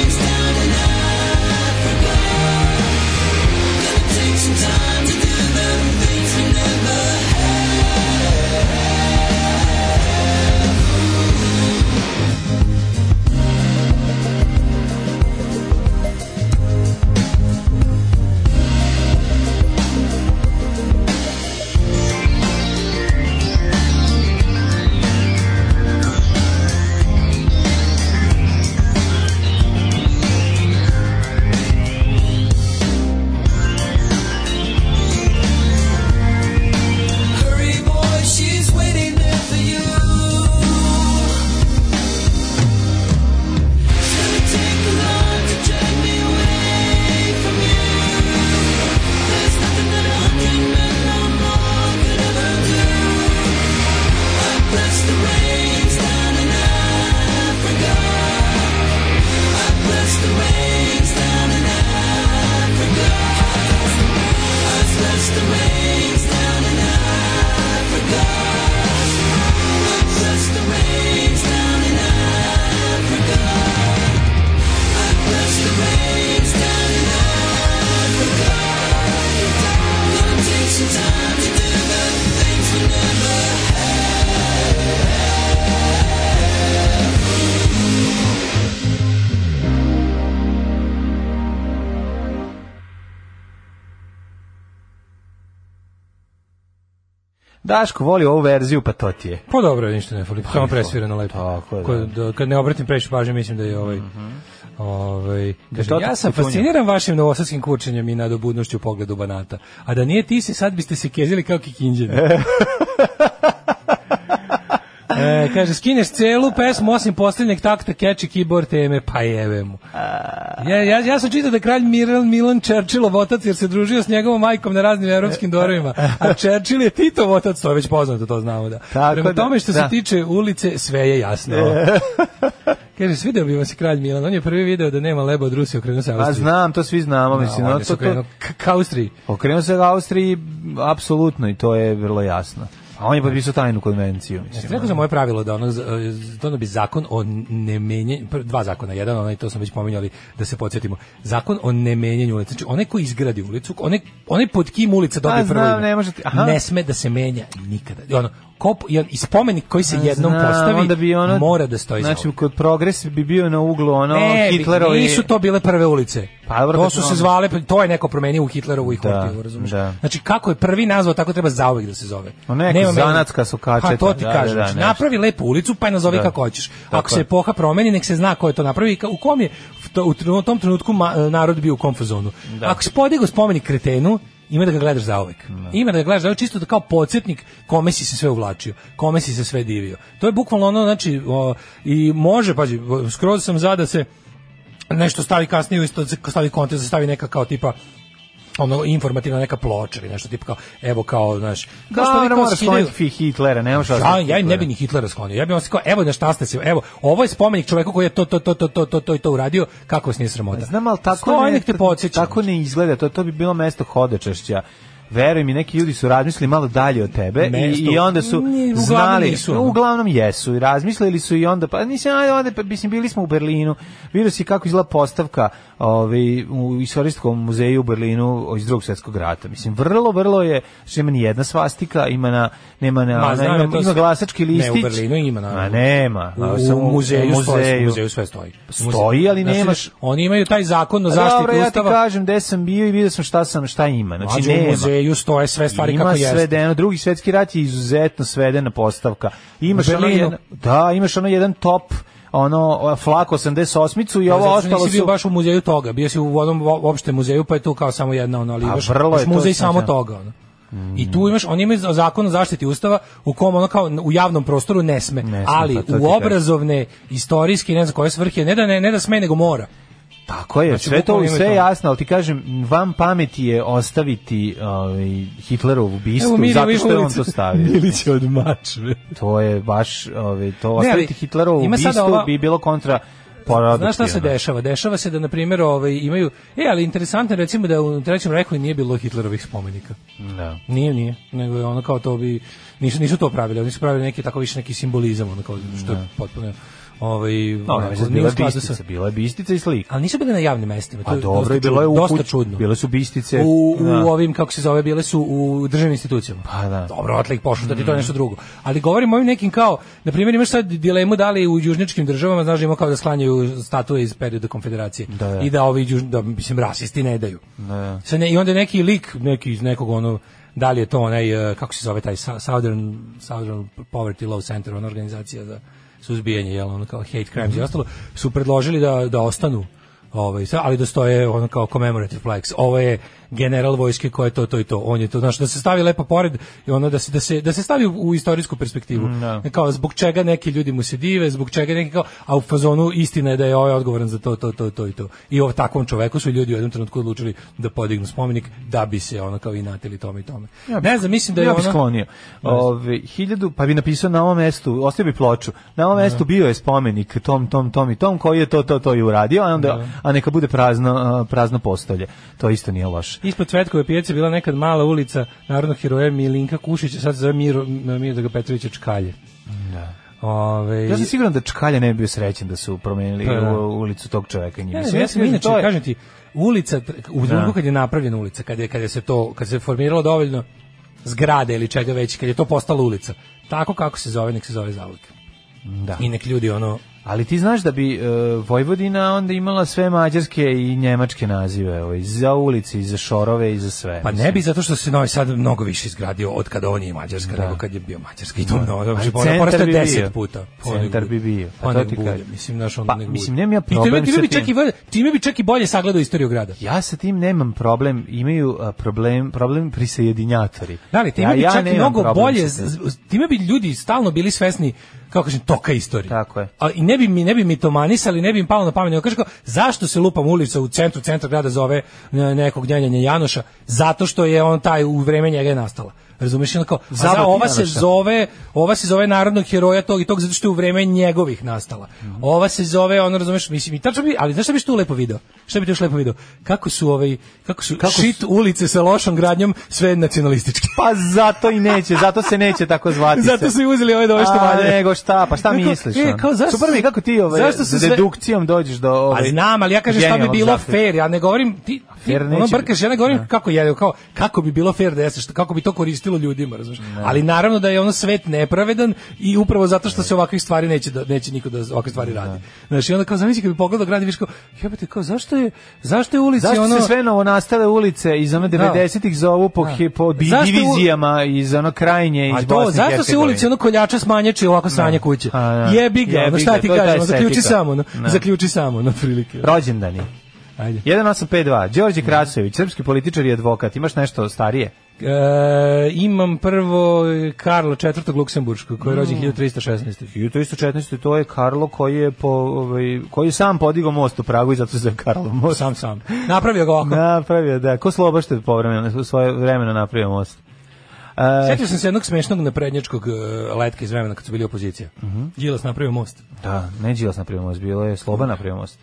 Speaker 6: Daško voli ovu verziju, pa to ti je.
Speaker 7: Pa dobro, ništa ne fali. Samo presvirano lepo.
Speaker 6: Tako je, da.
Speaker 7: Kad, da, kad ne obratim previše pažnje, mislim da je ovaj... Ovaj, kaže,
Speaker 6: to
Speaker 7: ja
Speaker 6: Da tako
Speaker 7: sam
Speaker 6: kutunja?
Speaker 7: fasciniran vašim novosadskim kurčenjem i nadobudnošću u pogledu banata. A da nije ti se, sad biste se kezili kao
Speaker 6: [LAUGHS]
Speaker 7: kikinđeni. E, kaže, skineš celu pesmu osim posljednjeg takta catchy keyboard teme, pa jeve mu. Ja, ja, ja sam čitao da je kralj Miral Milan Churchillov otac jer se družio s njegovom majkom na raznim
Speaker 6: E,
Speaker 7: evropskim dorovima, a Churchill je Titov otac, to je već poznato, to znamo da.
Speaker 6: Tako
Speaker 7: Prema
Speaker 6: da,
Speaker 7: tome što se
Speaker 6: da. E.
Speaker 7: tiče ulice, sve je jasno. [LAUGHS] Kaže, svideo bi vam se kralj Milan, on je prvi video da nema leba od Rusije, okrenuo se
Speaker 6: Pa
Speaker 7: Austriji.
Speaker 6: znam, to svi znamo,
Speaker 7: Da,
Speaker 6: mislim,
Speaker 7: on
Speaker 6: no,
Speaker 7: je se
Speaker 6: to, to,
Speaker 7: okrenuo k- ka Austriji.
Speaker 6: okrenuo se ka Austriji, m, apsolutno, i to je vrlo jasno. A on je potpisao tajnu konvenciju,
Speaker 7: Jeste
Speaker 6: mislim.
Speaker 7: rekao za moje pravilo da ono dono bi zakon o nemenjanju dva zakona, jedan onaj to smo već pominjali da se podsjetimo. Zakon o nemenjanju ulice. Znači onaj ko izgradi ulicu, onaj onaj pod kim ulica
Speaker 6: A,
Speaker 7: dobije prvo
Speaker 6: Pa, znam,
Speaker 7: ime.
Speaker 6: ne može ti- aha.
Speaker 7: ne sme da se menja nikada. I Ono kop jedan i spomenik koji se jednom
Speaker 6: Pa, Znam,
Speaker 7: postavi
Speaker 6: onda bi ono,
Speaker 7: mora da stoji za
Speaker 6: Znači,
Speaker 7: ulicu.
Speaker 6: kod progres bi bio na uglu ono
Speaker 7: Ne, bi-
Speaker 6: Hitlerovi...
Speaker 7: nisu to bile prve ulice.
Speaker 6: Pa dobro,
Speaker 7: to
Speaker 6: kad
Speaker 7: su
Speaker 6: smo-
Speaker 7: se zvale, to je neko promenio u Hitlerovu i Hortiju, razumeš?
Speaker 6: da.
Speaker 7: Znači kako je prvi nazvao, tako treba zauvek da se zove.
Speaker 6: Ma neka
Speaker 7: Nema meni-
Speaker 6: zanatska su kačeta,
Speaker 7: Pa to ti
Speaker 6: da,
Speaker 7: kažem,
Speaker 6: da, da,
Speaker 7: znači,
Speaker 6: nešto.
Speaker 7: napravi lepu ulicu, pa je nazovi
Speaker 6: Da.
Speaker 7: kako hoćeš. Ako
Speaker 6: Tako
Speaker 7: se
Speaker 6: je.
Speaker 7: epoha promeni, nek se zna ko je to napravi i ka- u kom je u to- u tren- u tom trenutku ma- narod bio u konfuzonu.
Speaker 6: Da.
Speaker 7: Ako se podigao spomenik kretenu, ima da ga gledaš zauvek. Ima da ga gledaš zauvek čisto da kao podsjetnik kome si se sve uvlačio, kome si se sve divio. To je bukvalno ono, znači, o, i može, pađi, skroz sam za da se nešto stavi kasnije u isto stavi kontekst, da stavi neka kao tipa ono informativna neka ploča ili nešto tipa kao evo kao znaš
Speaker 6: Da,
Speaker 7: kao što oni
Speaker 6: ne
Speaker 7: kao
Speaker 6: moraš
Speaker 7: skidaju-
Speaker 6: skloniti fi- Hitlera, ne možeš...
Speaker 7: ja, ja im ne bi ni Hitlera sklonio. Ja bih vam se kao, evo na šta ste se, evo, ovo je spomenik čoveku koji je to, to, to, to, to, to, to i to uradio, kako vas nije sramota.
Speaker 6: Znam, ali tako
Speaker 7: Stoji, nek te podsjeća.
Speaker 6: tako ne izgleda, to, to bi bilo mesto hodočašća. Veruj mi, neki ljudi su razmislili malo dalje od tebe i,
Speaker 7: Mesto-
Speaker 6: i onda su
Speaker 7: Nije, uglavnom
Speaker 6: znali,
Speaker 7: nisu,
Speaker 6: No,
Speaker 7: ono.
Speaker 6: uglavnom jesu i razmislili su i onda, pa mislim, ajde, onda, pa, mislim, bili smo u Berlinu, vidio si kako izgleda postavka ovaj, u istorijskom muzeju u Berlinu iz drugog svjetskog rata. Mislim, vrlo, vrlo je, što ima ni jedna svastika, ima na, nema na,
Speaker 7: Ma,
Speaker 6: ona,
Speaker 7: znam, ja
Speaker 6: ima,
Speaker 7: to
Speaker 6: ima
Speaker 7: s-
Speaker 6: glasački
Speaker 7: ne, u
Speaker 6: listić.
Speaker 7: Berlinu ima, naravno.
Speaker 6: Ma, nema.
Speaker 7: U,
Speaker 6: a, samo
Speaker 7: u muzeju, stoji, u
Speaker 6: muzeju.
Speaker 7: muzeju sve stoji.
Speaker 6: Stoji, ali
Speaker 7: Znači,
Speaker 6: nemaš-
Speaker 7: Oni imaju taj zakon o
Speaker 6: Pa
Speaker 7: zaštiti
Speaker 6: Dobro, ja ti
Speaker 7: ustava.
Speaker 6: kažem gde sam bio i vidio sam šta sam, šta ima. Znači,
Speaker 7: Mlađe, u
Speaker 6: nema.
Speaker 7: muzeju stoje sve stvari
Speaker 6: ima
Speaker 7: kako jeste.
Speaker 6: svedeno, drugi svetski rat je izuzetno svedena postavka. Imaš
Speaker 7: U
Speaker 6: ono
Speaker 7: Berlinu.
Speaker 6: jedan, da, imaš ono jedan top, ono flak 88-icu i
Speaker 7: Ja,
Speaker 6: ovo
Speaker 7: Da, zato što
Speaker 6: ostalo
Speaker 7: nisi bio
Speaker 6: su...
Speaker 7: baš u muzeju toga, bio si u onom o- opštem muzeju, pa je tu kao samo jedna ono, ali
Speaker 6: A
Speaker 7: imaš,
Speaker 6: vrlo je
Speaker 7: imaš
Speaker 6: to,
Speaker 7: muzej samo
Speaker 6: znači, ono.
Speaker 7: toga. Ono. I tu imaš, oni imaju zakon o zaštiti ustava u kom ono kao u javnom prostoru ne sme,
Speaker 6: Ne sme,
Speaker 7: ali
Speaker 6: pa to ti
Speaker 7: u
Speaker 6: kažem.
Speaker 7: obrazovne, istorijske, ne znam koje svrhe, ne da, ne, ne da sme, nego mora.
Speaker 6: Tako je,
Speaker 7: Znači,
Speaker 6: sve to
Speaker 7: bukvalno
Speaker 6: sve
Speaker 7: ima
Speaker 6: je
Speaker 7: to.
Speaker 6: jasno, ali ti kažem, vam pameti je ostaviti ovaj, Hitlerovu ubistvu,
Speaker 7: Evo, Miri
Speaker 6: zato što je on
Speaker 7: Ivković-
Speaker 6: to stavio.
Speaker 7: [LAUGHS] Milić je od mačve.
Speaker 6: To je baš, ovaj, to
Speaker 7: ali
Speaker 6: ostaviti Hitlerovu
Speaker 7: ima sada
Speaker 6: ubistvu
Speaker 7: ova-
Speaker 6: bi bilo kontra porodnosti.
Speaker 7: Znaš šta se
Speaker 6: ono.
Speaker 7: dešava? Dešava se da, na primjer, ovaj, imaju... E, ali interesantno je, recimo da u Trećem reku nije bilo Hitlerovih spomenika.
Speaker 6: Da.
Speaker 7: Nije, nije, nego je ono kao to bi nisu nisu to pravili, oni su pravili neki tako više neki simbolizam ono kao što je potpuno ovaj
Speaker 6: No,
Speaker 7: onako,
Speaker 6: ne, Da.
Speaker 7: nije u
Speaker 6: bila je
Speaker 7: skladu
Speaker 6: bistica,
Speaker 7: sa-
Speaker 6: bila je bistica i slika.
Speaker 7: ali nisu bile na javnim mestima. to
Speaker 6: Pa
Speaker 7: je
Speaker 6: dobro,
Speaker 7: dosta
Speaker 6: i bilo je u
Speaker 7: čudno, dosta
Speaker 6: kući,
Speaker 7: čudno.
Speaker 6: Bile su bistice.
Speaker 7: U, u
Speaker 6: da.
Speaker 7: ovim, kako se zove, bile su u državnim institucijama.
Speaker 6: Pa da. Mhm.
Speaker 7: Dobro, otle ih pošlo, da ti to je nešto drugo. Ali govorim o ovim nekim kao, na primjer imaš sad dilemu da li u južničkim državama, znaš da ima kao da sklanjaju statue iz perioda konfederacije.
Speaker 6: Da, da.
Speaker 7: I da ovi, juž- da, mislim, rasisti ne daju.
Speaker 6: da.
Speaker 7: Sad ne- I onda neki lik, neki iz nekog ono, da li je to onaj, eh, kako se zove taj Sa- Southern, Southern Poverty Law Center, ona organizacija za suzbijanje, jel, ono kao hate crimes
Speaker 6: Mhm.
Speaker 7: i ostalo, su predložili da, da ostanu ovaj, sa- ali da stoje ono kao commemorative flags. Ovo je general vojske koje je to, to i to. On je to, znači da se stavi lepo pored i ono da se, da se, da se stavi u, u istorijsku perspektivu.
Speaker 6: da.
Speaker 7: Kao zbog čega neki ljudi mu se dive, zbog čega neki kao, a u fazonu istina je da je ovaj odgovoran za to, to, to, to i to. I o takvom čoveku su ljudi u jednom trenutku odlučili da podignu spomenik da bi se ono kao i natili tome i tome. ne znam, mislim da je
Speaker 6: ja
Speaker 7: ono...
Speaker 6: bih sklonio. Ove, hiljadu, pa bi napisao na ovom mestu, ostavio bi ploču, na
Speaker 7: Da.
Speaker 6: ovom mestu bio je spomenik tom, tom, tom i tom, koji je to, to, to i uradio, a, onda,
Speaker 7: Da.
Speaker 6: a neka bude prazno, a, prazno postolje. To isto nije loše.
Speaker 7: Ispod Cvetkove pijace bila nekad mala ulica narodnog heroja Milinka Kušića, sad se zove Miro, Mirdoga Petrovića Čkalje. Da. Ove,
Speaker 6: Ja sam siguran da Čkalja ne bi bio srećen da su promenili
Speaker 7: Pa, da.
Speaker 6: u- ulicu tog čoveka. njim.
Speaker 7: Ne,
Speaker 6: Mislim,
Speaker 7: ne, ja sam
Speaker 6: kažem,
Speaker 7: inače,
Speaker 6: to je-
Speaker 7: kažem ti, ulica, u trenutku kad je napravljena ulica, kad je, kad je se to, kad se formiralo dovoljno zgrade ili čega već, kad je to postala ulica, tako kako se zove, nek se zove za uvijek.
Speaker 6: Da.
Speaker 7: I nek ljudi ono
Speaker 6: Ali ti znaš da bi e, Vojvodina onda imala sve mađarske i njemačke nazive, ovaj, za ulice i za šorove i za sve.
Speaker 7: Pa ne
Speaker 6: mislim.
Speaker 7: bi zato što se Novi Sad mnogo više izgradio od kada ovo nije Mađarska,
Speaker 6: Da.
Speaker 7: nego kad je bio Mađarska. I to mnogo, da,
Speaker 6: Ali
Speaker 7: ono
Speaker 6: centar
Speaker 7: poraste
Speaker 6: bi
Speaker 7: 10
Speaker 6: bio.
Speaker 7: puta.
Speaker 6: Centar bi bio. Pa
Speaker 7: Pa
Speaker 6: to
Speaker 7: nek
Speaker 6: ti
Speaker 7: bude,
Speaker 6: kažem.
Speaker 7: mislim, naš on
Speaker 6: Pa,
Speaker 7: nek
Speaker 6: mislim,
Speaker 7: bude.
Speaker 6: nemam ja
Speaker 7: I time-
Speaker 6: problem
Speaker 7: time
Speaker 6: sa
Speaker 7: bi čak
Speaker 6: tim.
Speaker 7: i bolje- Time bi čak i bolje sagledao istoriju grada.
Speaker 6: Ja sa tim nemam problem, imaju a, problem, problem prisajedinjatori.
Speaker 7: Da li, time
Speaker 6: Ja-
Speaker 7: bi
Speaker 6: ja
Speaker 7: čak i
Speaker 6: nemam
Speaker 7: mnogo
Speaker 6: problem
Speaker 7: bolje,
Speaker 6: sa tim.
Speaker 7: z- z- time bi ljudi stalno bili svesni, kako kažem, toka istorije.
Speaker 6: Tako je.
Speaker 7: A, I ne bi mi, ne bi mi to manisali, ne bi im palo na pamet. Nego Kažeš kao, zašto se lupam ulica u centru, centra grada zove e, nekog djenjanja Janoša? Zato što je on taj, u vreme njega je nastala. Razumeš? I onda kao, a za,
Speaker 6: Zabati
Speaker 7: ova se
Speaker 6: Janoša.
Speaker 7: zove, ova se zove narodnog heroja tog i tog zato što je u vreme njegovih nastala.
Speaker 6: Mhm.
Speaker 7: Ova se zove, ono razumeš, mislim i tačno bi, ali znaš šta bi što lepo video? Šta bi tu još lepo video? Kako su ovaj kako su shit ulice sa lošom gradnjom sve nacionalističke.
Speaker 6: Pa zato i neće, zato se neće tako zvati.
Speaker 7: [LAUGHS] Zato su i uzeli ove dove što
Speaker 6: A,
Speaker 7: valje.
Speaker 6: nego šta, pa šta
Speaker 7: Neko-
Speaker 6: misliš?
Speaker 7: E,
Speaker 6: ono?
Speaker 7: kao zašto
Speaker 6: Super mi je
Speaker 7: su-
Speaker 6: kako ti ovaj,
Speaker 7: zašto su
Speaker 6: s
Speaker 7: sve-
Speaker 6: dedukcijom dođeš do
Speaker 7: Pa
Speaker 6: ovaj,
Speaker 7: znam, ali ja kažem šta bi
Speaker 6: genijalnog
Speaker 7: bilo
Speaker 6: zahtjeva.
Speaker 7: fair, ja ne govorim ti, ti
Speaker 6: Fair
Speaker 7: ono
Speaker 6: neće Da.
Speaker 7: brkaš, ja ne govorim kako je, kao kako bi bilo fair da jeste, šta- kako bi to koristilo ljudima, razumiješ? Ali naravno da je ono svet nepravedan i upravo zato što se ovakvih stvari neće da neće niko da ovakve stvari radi. Znači onda kao zamisli kad bi pogledao grad i viš kao, jebote, kao zašto je zašto je ulica
Speaker 6: Zašto
Speaker 7: ono Da.
Speaker 6: se sve novo nastale ulice iz ono 90-ih zovu po, hi- po di-
Speaker 7: Zašto u-
Speaker 6: divizijama iz ono krajnje iz
Speaker 7: A
Speaker 6: Bosne i
Speaker 7: to, zašto se
Speaker 6: Hercegovine?
Speaker 7: ulice ono koljača smanjači i ovako sranje kuće?
Speaker 6: A, da.
Speaker 7: Jebi ga, ono
Speaker 6: Jebi ga,
Speaker 7: šta ti
Speaker 6: to je ta
Speaker 7: kažem, ono, zaključi
Speaker 6: estetika.
Speaker 7: samo, ono,
Speaker 6: Da.
Speaker 7: zaključi samo, na prilike.
Speaker 6: Rođendani.
Speaker 7: Ajde.
Speaker 6: 1852. Đorđe Krasović, srpski političar i advokat. Imaš nešto starije?
Speaker 7: E, imam prvo Karla IV. Luksemburško, koji je
Speaker 6: Mm.
Speaker 7: rođen 1316.
Speaker 6: 1314. to je Karlo koji je po ovaj koji je sam podigao most u Pragu i zato se zove Karlo most.
Speaker 7: Sam, sam. Napravio ga ovako.
Speaker 6: [LAUGHS] Napravio, da. Ko sloba što je povremeno, svoje vremeno napravio most. E,
Speaker 7: Sjetio sam se jednog smešnog naprednjačkog e, letka iz vremena kad su bili opozicija.
Speaker 6: Mhm.
Speaker 7: Đilas napravio most.
Speaker 6: da, ne Đilas napravio most, bilo je Sloba napravio most.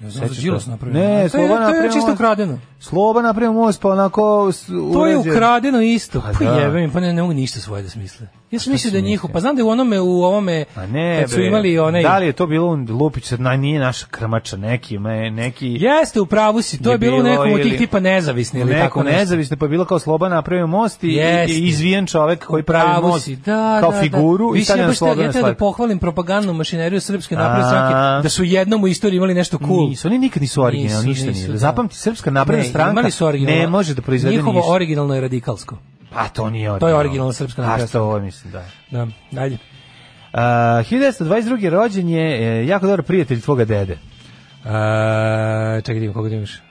Speaker 7: Ja znam
Speaker 6: Sećaš
Speaker 7: da Đilas
Speaker 6: se?
Speaker 7: napravio
Speaker 6: Ne,
Speaker 7: most. To je-
Speaker 6: Slobodan
Speaker 7: To je
Speaker 6: napravio
Speaker 7: čisto
Speaker 6: most.
Speaker 7: ukradeno.
Speaker 6: Sloba napravio most, pa onako... s-
Speaker 7: To je
Speaker 6: uređen.
Speaker 7: ukradeno isto. Pa,
Speaker 6: da.
Speaker 7: jebe mi, pa ne, ne mogu ništa svoje da smisle. Ja sam mislio da je
Speaker 6: si
Speaker 7: njihov,
Speaker 6: mislio?
Speaker 7: pa znam da je u onome, u ovome,
Speaker 6: A ne,
Speaker 7: kad su
Speaker 6: bre.
Speaker 7: imali onaj...
Speaker 6: Da li je to bilo un- Lupić, sad na, nije naša krmača, neki, me, neki...
Speaker 7: Jeste, u pravu si, to je,
Speaker 6: Je
Speaker 7: bilo u
Speaker 6: bilo
Speaker 7: nekom od
Speaker 6: ili-
Speaker 7: tih tipa nezavisni ili
Speaker 6: neko
Speaker 7: tako nešto.
Speaker 6: nezavisno, pa je bilo kao Sloba napravio most i, i-
Speaker 7: Jeste.
Speaker 6: i izvijen čovek koji pravi
Speaker 7: Pravo
Speaker 6: most
Speaker 7: si, da,
Speaker 6: kao
Speaker 7: da,
Speaker 6: figuru
Speaker 7: da.
Speaker 6: i stavlja na
Speaker 7: Mislim, ja baš te-
Speaker 6: Slobodana
Speaker 7: ja te da
Speaker 6: Slavka.
Speaker 7: pohvalim propagandnu mašineriju Srpske napredne
Speaker 6: A.
Speaker 7: stranke, da su jednom u istoriji imali nešto cool.
Speaker 6: Nisu, oni nikad nisu originalni, ništa
Speaker 7: Nisu, nisu,
Speaker 6: nije.
Speaker 7: da.
Speaker 6: Zapamti, srpska napredna
Speaker 7: Ne,
Speaker 6: stranka
Speaker 7: imali su originalno.
Speaker 6: ne može da proizvede
Speaker 7: Njihovo
Speaker 6: ništa.
Speaker 7: originalno je radikalsko.
Speaker 6: Pa to nije originalno.
Speaker 7: originalna srpska napredna
Speaker 6: A što ovo mislim, da.
Speaker 7: Da, dalje.
Speaker 6: Uh, 1922. rođen je e, jako dobar prijatelj tvoga dede.
Speaker 7: A, čekaj, da vidim koga imaš. [LAUGHS]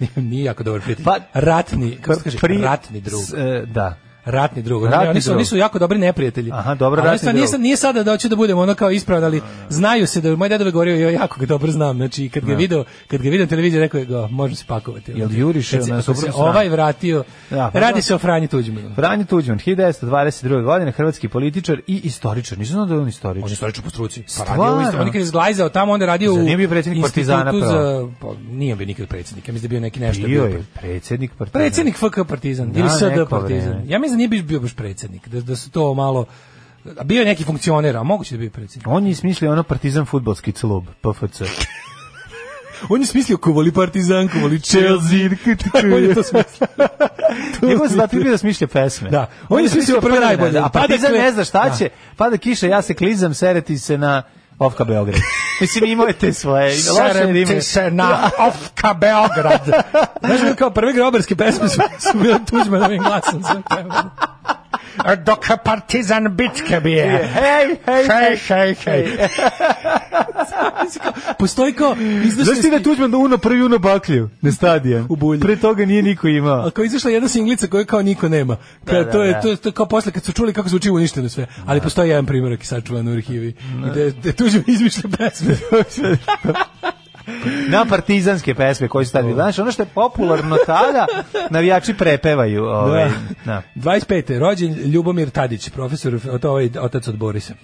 Speaker 7: Nije- Nije jako dobar prijatelj.
Speaker 6: Pa-
Speaker 7: ratni, kako se kaže,
Speaker 6: Pri-
Speaker 7: ratni drug.
Speaker 6: s- e, da.
Speaker 7: Ratni drug.
Speaker 6: Ratni
Speaker 7: oni, su,
Speaker 6: drug.
Speaker 7: oni su jako dobri neprijatelji.
Speaker 6: Aha, dobro,
Speaker 7: Ali
Speaker 6: ratni
Speaker 7: stvarno, nije
Speaker 6: drug.
Speaker 7: sad- Nije, sada da hoću da budem ono kao ispravan, ali znaju se da moj deda bi govorio, ja jako ga dobro znam. Znači, kad ga video, kad ga vidim na televiziji, rekao je, go, možemo se pakovati.
Speaker 6: Jel juriš
Speaker 7: Kad se-
Speaker 6: na
Speaker 7: ako se
Speaker 6: suprotnu stranu?
Speaker 7: Ovaj vratio,
Speaker 6: Da, pa
Speaker 7: radi
Speaker 6: da.
Speaker 7: se o Franji Tuđmanu.
Speaker 6: Franjo Tuđman, 1922. godine, hrvatski političar i istoričar. Nisam znao da je on istoričar.
Speaker 7: istoričar po struci. Pa
Speaker 6: Stvarno?
Speaker 7: radio u isto, on je nikad izglajzao tamo, onda je radio u
Speaker 6: Zar nije bio predsjednik
Speaker 7: institutu
Speaker 6: Partizana prvo?
Speaker 7: za, pa, nije bio nikad predsjednik, ja mislim da je bio neki nešto.
Speaker 6: bio
Speaker 7: bio
Speaker 6: je predsjednik partizana.
Speaker 7: Predsjednik FK Partizan ili
Speaker 6: Da,
Speaker 7: SD
Speaker 6: neko
Speaker 7: Partizan.
Speaker 6: vreme.
Speaker 7: Ja mislim da nije bio- bio baš predsjednik, da, da su to malo a bio je neki funkcioner, a moguće da je bio predsjednik.
Speaker 6: On je smislio ono partizan futbolski klub, [LAUGHS] PFC.
Speaker 7: On je smislio ko voli Partizan, ko voli [LAUGHS] on je to smislio.
Speaker 6: Njegov zadatak je bio da smišlja pesme.
Speaker 7: Da. On je smislio prve najbolje.
Speaker 6: da, A partizan
Speaker 7: Pada kle-
Speaker 6: ne zna šta
Speaker 7: Da.
Speaker 6: će, pada kiša, ja se klizam, sereti se na Ofka Beograd. [LAUGHS] Mislim, imao je te svoje. Loše da je
Speaker 7: Serem
Speaker 6: ime.
Speaker 7: ti se na Ofka Beograd. [LAUGHS] Znaš, ono kao prve grobarske pesme su, su bile tuđmanovim glasom. sve pevane. A Dok Partizan bitke bije.
Speaker 6: Hej, hej,
Speaker 7: Hej,
Speaker 6: hej.
Speaker 7: hej, hej. Postoji kao
Speaker 6: Znaš
Speaker 7: izdašni
Speaker 6: ti da je Tuđman da uno prvi uno baklju na stadion?
Speaker 7: U bulju.
Speaker 6: Pre toga nije niko imao.
Speaker 7: Ako je izašla jedna singlica koju kao niko nema. Kad
Speaker 6: da,
Speaker 7: to je
Speaker 6: da.
Speaker 7: to, je- to je kao posle kad su čuli kako zvuči uništeno sve. Ali postoji jedan primjerak i sačuvan u arhivi gde gde tuđe izmišlja
Speaker 6: [LAUGHS]
Speaker 7: pesme.
Speaker 6: [LAUGHS] Na partizanske pesme koje su tad bile. Znaš, ono što je popularno tada, navijači prepevaju. Ovaj, da.
Speaker 7: 25. rođen Ljubomir Tadić, profesor, to ovaj otac od Borisa.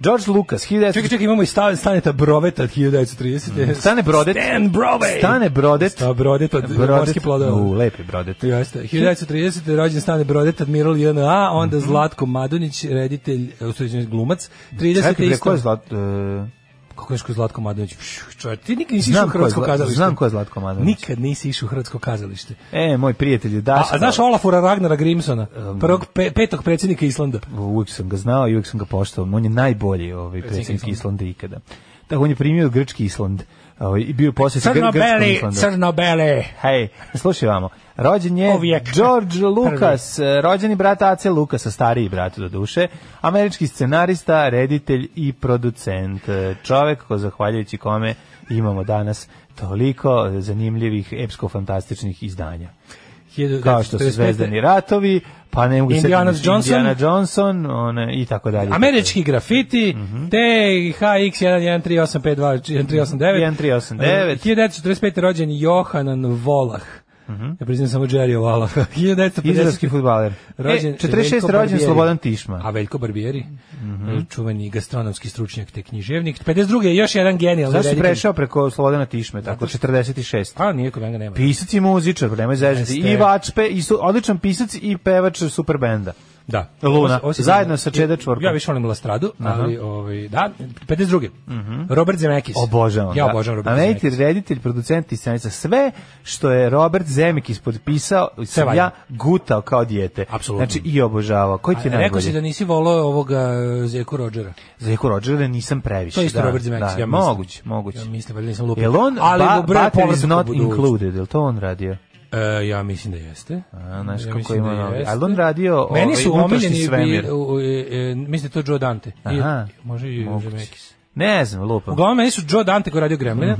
Speaker 6: George Lucas, 1900...
Speaker 7: Čekaj, čekaj, imamo i Stan, Staneta Broveta od 1930.
Speaker 6: Stane Brodet.
Speaker 7: Stan Brovet.
Speaker 6: Stane Brodet.
Speaker 7: Sta Brodet od morskih plodova.
Speaker 6: U, E pa, lepi Brodet.
Speaker 7: Jeste. 1930. je rođen Stane Brodet, admiral JNA, onda Zlatko Madunić, reditelj, usuđen glumac. 30.
Speaker 6: Mhm. Čekaj, bre,
Speaker 7: isto-
Speaker 6: ko je zlat... e,
Speaker 7: Kako je Zlatko Madonić? Pšu, Čovjek, ti nikad nisi
Speaker 6: Znam
Speaker 7: išao u
Speaker 6: ko je
Speaker 7: Hrvatsko
Speaker 6: Zla-
Speaker 7: kazalište.
Speaker 6: znam ko je Zlatko Madonić.
Speaker 7: Nikad nisi išao u Hrvatsko kazalište.
Speaker 6: E, moj prijatelj je
Speaker 7: A,
Speaker 6: Daško.
Speaker 7: a znaš Olafura Ragnara Grimsona,
Speaker 6: Um,
Speaker 7: prvog pe, petog predsjednika Islanda?
Speaker 6: uvijek sam ga znao i uvijek sam ga poštovao. On je najbolji ovaj predsjednik Islanda ikada. Tako on je primio grčki Island ovaj, i bio posjeća gr grčkom
Speaker 7: Crno-beli,
Speaker 6: Islandu.
Speaker 7: crno-beli.
Speaker 6: Hej, slušaj vamo. Rođen je
Speaker 7: Uvijek.
Speaker 6: George Lucas, eh, rođeni brat Ace Lucasa, stariji brat do duše, američki scenarista, reditelj i producent. Eh, Čovek ko zahvaljujući kome imamo danas toliko eh, zanimljivih epsko-fantastičnih izdanja. Kao što su
Speaker 7: 1945.
Speaker 6: Zvezdani ratovi, pa ne mogu se
Speaker 7: Indiana
Speaker 6: setiti,
Speaker 7: Johnson.
Speaker 6: Indiana Johnson one, i tako dalje.
Speaker 7: Američki grafiti,
Speaker 6: Mhm.
Speaker 7: te
Speaker 6: 1389.
Speaker 7: HX113852, 1945. rođen Johanan Volah.
Speaker 6: Mhm.
Speaker 7: Ja priznam samo Jerry Volah. [LAUGHS] 1950.
Speaker 6: Izraelski fudbaler.
Speaker 7: Rođen,
Speaker 6: e, 46
Speaker 7: Veljko
Speaker 6: rođen
Speaker 7: Barbieri.
Speaker 6: Slobodan Tišma.
Speaker 7: A Veljko Barbieri,
Speaker 6: Mhm.
Speaker 7: E, čuveni gastronomski stručnjak te književnik. 52. je još jedan genijalni
Speaker 6: Zašto si
Speaker 7: reditelj.
Speaker 6: prešao preko Slobodana Tišme, tako 46.
Speaker 7: A, nije kod njega nema.
Speaker 6: Pisac i muzičar, nemoj zežiti.
Speaker 7: Jeste.
Speaker 6: I vačpe, i su, odličan pisac i pevač superbenda.
Speaker 7: Da.
Speaker 6: Luna,
Speaker 7: Ovo- ovo se-
Speaker 6: zajedno sa Čeda Čvorkom.
Speaker 7: Ja više volim Lastradu, ali ovaj da, 52. Robert Zemeckis.
Speaker 6: Mhm. Obožavam.
Speaker 7: Ja
Speaker 6: da.
Speaker 7: obožavam Robert
Speaker 6: Američki
Speaker 7: Zemeckis.
Speaker 6: reditelj, producent i scenica. Sve što je Robert Zemekis potpisao, sam
Speaker 7: valja.
Speaker 6: ja gutao kao dijete.
Speaker 7: Apsolutno.
Speaker 6: Znači i obožavao. Koji ti je
Speaker 7: A, Rekao si
Speaker 6: najbolji?
Speaker 7: da nisi volao ovoga e, Zeku Rodžera.
Speaker 6: Za Eko Rodžera nisam previše.
Speaker 7: To je isto
Speaker 6: da,
Speaker 7: Robert Zemeckis,
Speaker 6: da,
Speaker 7: ja mislim.
Speaker 6: moguće, moguće.
Speaker 7: Ja mislim, da valjda nisam lupio.
Speaker 6: Jel on,
Speaker 7: ali
Speaker 6: ba,
Speaker 7: dobro je
Speaker 6: Butter is not
Speaker 7: povratak u budućnost.
Speaker 6: included, jel to on radio?
Speaker 7: E, ja mislim da jeste.
Speaker 6: A, znaš
Speaker 7: ja
Speaker 6: kako
Speaker 7: mislim
Speaker 6: ima
Speaker 7: da
Speaker 6: novi.
Speaker 7: jeste.
Speaker 6: Ali on radio
Speaker 7: Meni
Speaker 6: ovaj,
Speaker 7: su
Speaker 6: unutrašnji
Speaker 7: omiljeni
Speaker 6: svemir.
Speaker 7: bi, u- e, e, mislim da je to Joe Dante. I-
Speaker 6: Aha.
Speaker 7: može i
Speaker 6: Moguće.
Speaker 7: Zemeckis.
Speaker 6: Ne znam, lupam.
Speaker 7: Uglavnom, meni su Joe Dante koji je radio Gremlina,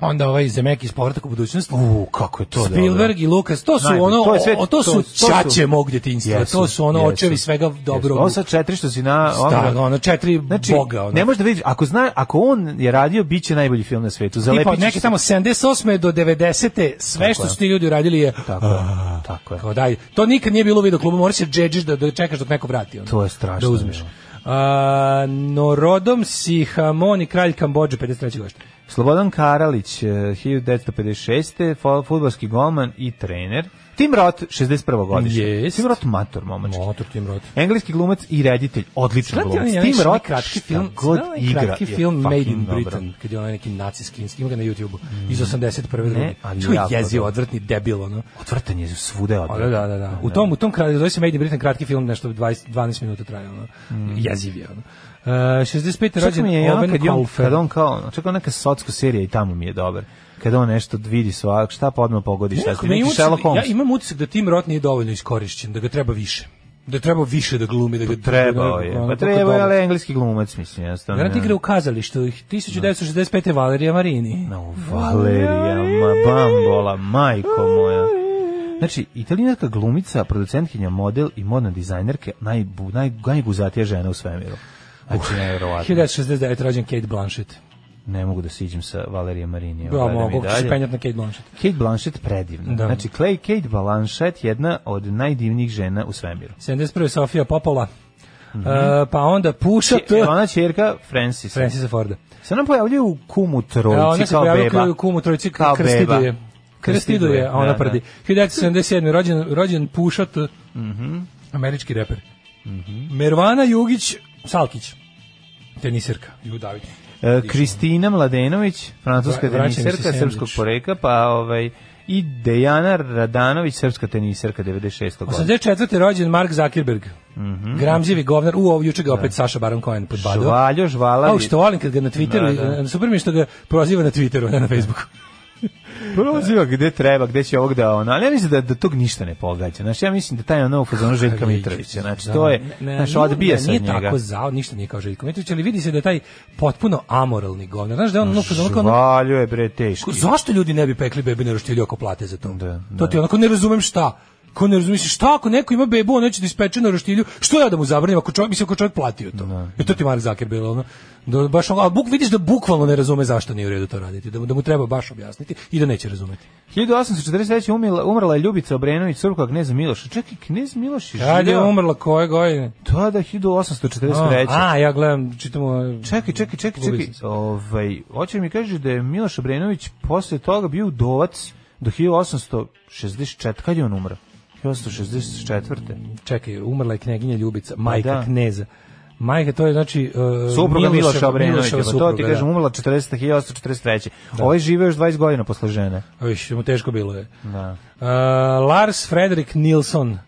Speaker 7: onda ovaj Zemeckis povratak u budućnost,
Speaker 6: Mhm, U, kako je to dobro.
Speaker 7: Spielberg i Lucas, to su
Speaker 6: Najbolje.
Speaker 7: ono,
Speaker 6: To
Speaker 7: to,
Speaker 6: je sve-
Speaker 7: to,
Speaker 6: to-
Speaker 7: su
Speaker 6: to su-
Speaker 7: čače mog djetinjstva,
Speaker 6: Jesu,
Speaker 7: to su ono
Speaker 6: jesu.
Speaker 7: očevi svega dobro.
Speaker 6: Jesu. Ovo sa četiri što si na...
Speaker 7: Stara, ono, četiri
Speaker 6: Znači,
Speaker 7: boga. Ono.
Speaker 6: ne možeš da vidiš, ako, zna, ako on je radio, bit će najbolji film na svetu.
Speaker 7: Tipa,
Speaker 6: Zalepićeš
Speaker 7: od neke
Speaker 6: se.
Speaker 7: tamo 78. do 90. sve što
Speaker 6: je.
Speaker 7: su ti ljudi uradili je
Speaker 6: Tako je,
Speaker 7: Ah.
Speaker 6: tako je.
Speaker 7: Kao daj, to nikad nije bilo u videoklubu, moraš se džedžiš da, da čekaš dok neko vrati. Ono,
Speaker 6: To je strašno
Speaker 7: Da uzmeš.
Speaker 6: bilo.
Speaker 7: A, Norodom si Hamon i kralj Kambođe, 53. godište.
Speaker 6: Slobodan Karalić, eh, 1956. fo- Futbolski golman i trener. Tim Roth, 61. godište.
Speaker 7: Jest.
Speaker 6: Tim Roth, mator, momački.
Speaker 7: Motor tim rod.
Speaker 6: Engleski glumac i reditelj, odličan
Speaker 7: Znate
Speaker 6: glumac.
Speaker 7: onaj
Speaker 6: Tim
Speaker 7: onaj
Speaker 6: Roth,
Speaker 7: kratki
Speaker 6: šta
Speaker 7: film,
Speaker 6: god
Speaker 7: znate onaj
Speaker 6: igra
Speaker 7: kratki
Speaker 6: je
Speaker 7: film Made in
Speaker 6: fucking dobra.
Speaker 7: Britain, kad je onaj neki nacijski, ima ga na YouTubeu, iz 81.
Speaker 6: Ne,
Speaker 7: Ne,
Speaker 6: ali
Speaker 7: Čuj,
Speaker 6: jako
Speaker 7: jezio,
Speaker 6: dobro.
Speaker 7: odvrtni debil, ono.
Speaker 6: Otvrtan je svuda.
Speaker 7: A,
Speaker 6: odvrat.
Speaker 7: da, da, da, da. U tom, u tom kratki, zove se Made in Britain, kratki film, nešto 20, 12 minuta traje, ono. Jeziv je, ono. Uh, 65.
Speaker 6: Mm. Čak mi je
Speaker 7: rođen
Speaker 6: i ono
Speaker 7: Owen
Speaker 6: kad je on,
Speaker 7: Colfer.
Speaker 6: kad on kao, čak neka socko serija i tamo mi je dobar. Kada on nešto da vidi svak, šta pa odmah pogodi šta
Speaker 7: Nekako
Speaker 6: ste.
Speaker 7: mi je
Speaker 6: Neki
Speaker 7: utisak-
Speaker 6: Sherlock Holmes.
Speaker 7: Ja imam utisak da Tim Roth nije dovoljno iskorišćen, da ga treba više. Da treba više da glumi, da ga da
Speaker 6: Trebao je.
Speaker 7: ono,
Speaker 6: Pa
Speaker 7: kako
Speaker 6: trebao je,
Speaker 7: dobro.
Speaker 6: ali engleski glumac, mislim, jednostavno.
Speaker 7: Garant
Speaker 6: ne.
Speaker 7: igra u kazalištu, 1965. Valerija Marini.
Speaker 6: No, Valerija, ma bambola, majko moja. Znači, italijanska glumica, producentkinja, model i modna dizajnerke, najbu, naj, najguzatija žena u svemiru. Znači, nevjerovatno.
Speaker 7: 1969. rođen Kate Blanchett.
Speaker 6: Ne mogu da siđem sa Valerije Marinije.
Speaker 7: Ja
Speaker 6: Gledam i
Speaker 7: Da, mogu, ću se
Speaker 6: dalje.
Speaker 7: penjati na Kate Blanchett.
Speaker 6: Kate Blanchett predivna.
Speaker 7: Da.
Speaker 6: Znači, Clay Kate Blanchett jedna od najdivnijih žena u svemiru.
Speaker 7: 71. Sofia Popola.
Speaker 6: Mhm.
Speaker 7: E, pa onda Puša
Speaker 6: Če-
Speaker 7: T.
Speaker 6: Ona čerka Francisa.
Speaker 7: Francisa Forda.
Speaker 6: Se nam pojavljuje u kumu trojci
Speaker 7: Ja, Da, ona se
Speaker 6: kao
Speaker 7: pojavila
Speaker 6: beba.
Speaker 7: kao kumu trojici
Speaker 6: Kao
Speaker 7: kao krstiduje.
Speaker 6: beba.
Speaker 7: Krstiduje, a
Speaker 6: Da,
Speaker 7: ona
Speaker 6: da.
Speaker 7: prdi. 1977. rođen, rođen Puša T.
Speaker 6: Mhm.
Speaker 7: Američki reper. Mervana Jugić Salkić. Teniserka. Judavić.
Speaker 6: E, Kristina Mladenović, francuska
Speaker 7: Vra- vraćam se
Speaker 6: teniserka
Speaker 7: sandvič.
Speaker 6: srpskog porekla, pa ovaj i Dejana Radanović, srpska teniserka 96. godine.
Speaker 7: 84. rođen Mark Zuckerberg.
Speaker 6: Mhm.
Speaker 7: Gramzivi govnar. U, ovo juče
Speaker 6: Da.
Speaker 7: ga opet Saša Baron Cohen podbadao.
Speaker 6: Žvaljo, žvala.
Speaker 7: A što volim kad ga na Twitteru,
Speaker 6: Da, da.
Speaker 7: super mi je što ga proziva na Twitteru, a ne na Facebooku.
Speaker 6: Proziva gde treba, gde će ovog da ono, ali ja mislim da, da tog ništa ne pogađa. Znači, ja mislim da taj ono u fazonu Željka Mitrovića. Znači, to je, znači, odbija se
Speaker 7: da, nije
Speaker 6: od njega.
Speaker 7: tako zao, ništa nije kao Željko Mitrović, ali vidi se da je taj potpuno amoralni govnar. Znaš da je on ono što je ono kao ono-
Speaker 6: Žvaljo je, bre, teški.
Speaker 7: Ko- zašto ljudi ne bi pekli bebe na roštilju ako plate za to?
Speaker 6: Da,
Speaker 7: To ti je onako ne razumem šta. Ko ne razumiješ šta ako neko ima bebu, on neće da ispeče na roštilju, što ja da mu zabranim ako čovjek mislim ako čovjek platio to.
Speaker 6: Da,
Speaker 7: I to ti je Mark Zuckerberg ono. Da baš ono- a buk vidiš da bukvalno ne razume zašto nije u redu to raditi, da mu, da mu treba baš objasniti i da neće razumeti.
Speaker 6: 1843. umila- umrla je Ljubica Obrenović, surka kneza Miloša. Čekaj, knez Miloš je
Speaker 7: Kad je
Speaker 6: živio?
Speaker 7: umrla koje godine?
Speaker 6: To da 1843.
Speaker 7: A, a, ja gledam, čitamo...
Speaker 6: Čekaj, čekaj, čekaj,
Speaker 7: Gubio
Speaker 6: čekaj.
Speaker 7: sam se.
Speaker 6: Ovaj, hoće mi kažeš da je Miloš Obrenović posle toga bio udovac do 1864. Kad je on umro? 1864.
Speaker 7: Čekaj, umrla je kneginja Ljubica, majka
Speaker 6: da.
Speaker 7: kneza. Majka, to je znači... Uh,
Speaker 6: Supruga Miloša Obrenovića,
Speaker 7: Miloševa
Speaker 6: pa to ti
Speaker 7: supruga,
Speaker 6: kažem,
Speaker 7: da.
Speaker 6: umrla 40. 1843. Ovaj žive još 20 godina posle žene.
Speaker 7: Oviš, da. mu teško bilo je.
Speaker 6: Da. Mhm.
Speaker 7: Uh, Lars Frederik Nilsson,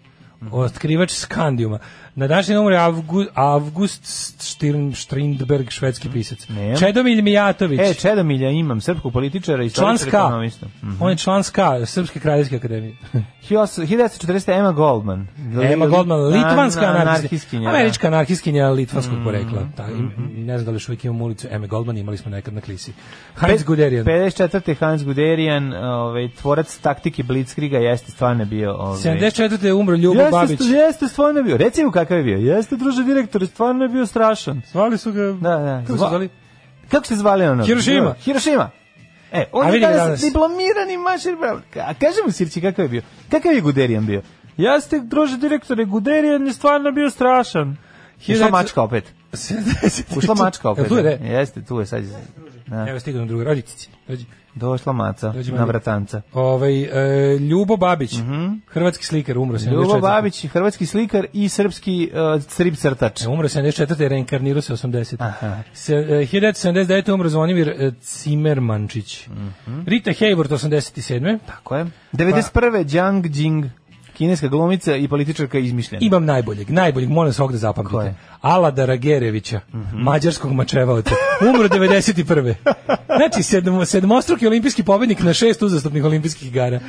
Speaker 7: otkrivač Skandijuma. Na današnji dan umre Avgu, Avgust Stirn, Strindberg, švedski pisac.
Speaker 6: Nemam.
Speaker 7: Čedomilj Mijatović,
Speaker 6: E, Čedomilja imam, srpskog političara i
Speaker 7: član
Speaker 6: istoričara
Speaker 7: SKA.
Speaker 6: ekonomista. Mhm.
Speaker 7: On je član SKA, Srpske kraljevske akademije.
Speaker 6: 1940. Emma Goldman.
Speaker 7: Emma Goldman, litvanska
Speaker 6: An-
Speaker 7: anarhiskinja.
Speaker 6: Da, anarhiskinja, da. Mm, mm-hmm.
Speaker 7: Američka anarhiskinja litvanskog porekla. Ta, i- ne znam da li još uvijek imamo ulicu Eme Goldman, imali smo nekad na klisi.
Speaker 6: da.
Speaker 7: Heinz Guderian.
Speaker 6: 54. Hans Guderian, ovaj, tvorac taktike Blitzkriga, jeste stvarno bio... Ovaj,
Speaker 7: 74. je umro Ljubo Babić.
Speaker 6: Jeste, jeste stvarno bio. Reci mu kakav je bio. Jeste, druže direktor, stvarno je bio strašan.
Speaker 7: Zvali su ga...
Speaker 6: Da, da.
Speaker 7: Kako su
Speaker 6: Zva-
Speaker 7: zvali?
Speaker 6: Kako se zvali ono?
Speaker 7: Hirošima.
Speaker 6: Hirošima. E, on
Speaker 7: A
Speaker 6: je
Speaker 7: vidi ga
Speaker 6: danas,
Speaker 7: danas.
Speaker 6: diplomirani mašer bravnik. A kaži mu Sirći kakav je bio. Kakav je Guderijan bio? Jeste, druže direktore, Guderijan je stvarno bio strašan. Ušla
Speaker 7: 1900
Speaker 6: mačka opet. Ušla mačka opet.
Speaker 7: Jel [LAUGHS] Tu je, ne?
Speaker 6: Jeste, tu je sad. Da.
Speaker 7: Evo stigao nam druga, rođi cici. Rođi.
Speaker 6: Došla maca
Speaker 7: Dođi,
Speaker 6: na
Speaker 7: Mario.
Speaker 6: vratanca.
Speaker 7: Ovaj, e, Ljubo Babić, hrvatski slikar, umro 74.
Speaker 6: Mhm. Ljubo Babić, hrvatski slikar i srpski uh, strip crtač.
Speaker 7: E, Umro 74. reinkarnirao se 80. Se, e, 1979. umro Zvonimir e, Cimermančić.
Speaker 6: Mhm.
Speaker 7: Rita Hayworth 87.
Speaker 6: Tako je. 91. Jiang Jing, kineska glumica i političarka izmišljena.
Speaker 7: Imam najboljeg, najboljeg, molim vas ovog da
Speaker 6: Ko
Speaker 7: zapamtite.
Speaker 6: je?
Speaker 7: Alada Ragerevića, mađarskog mačevaoca, umro 91. Znači, sedmo, sedmostruki olimpijski pobednik na šest uzastopnih olimpijskih igara.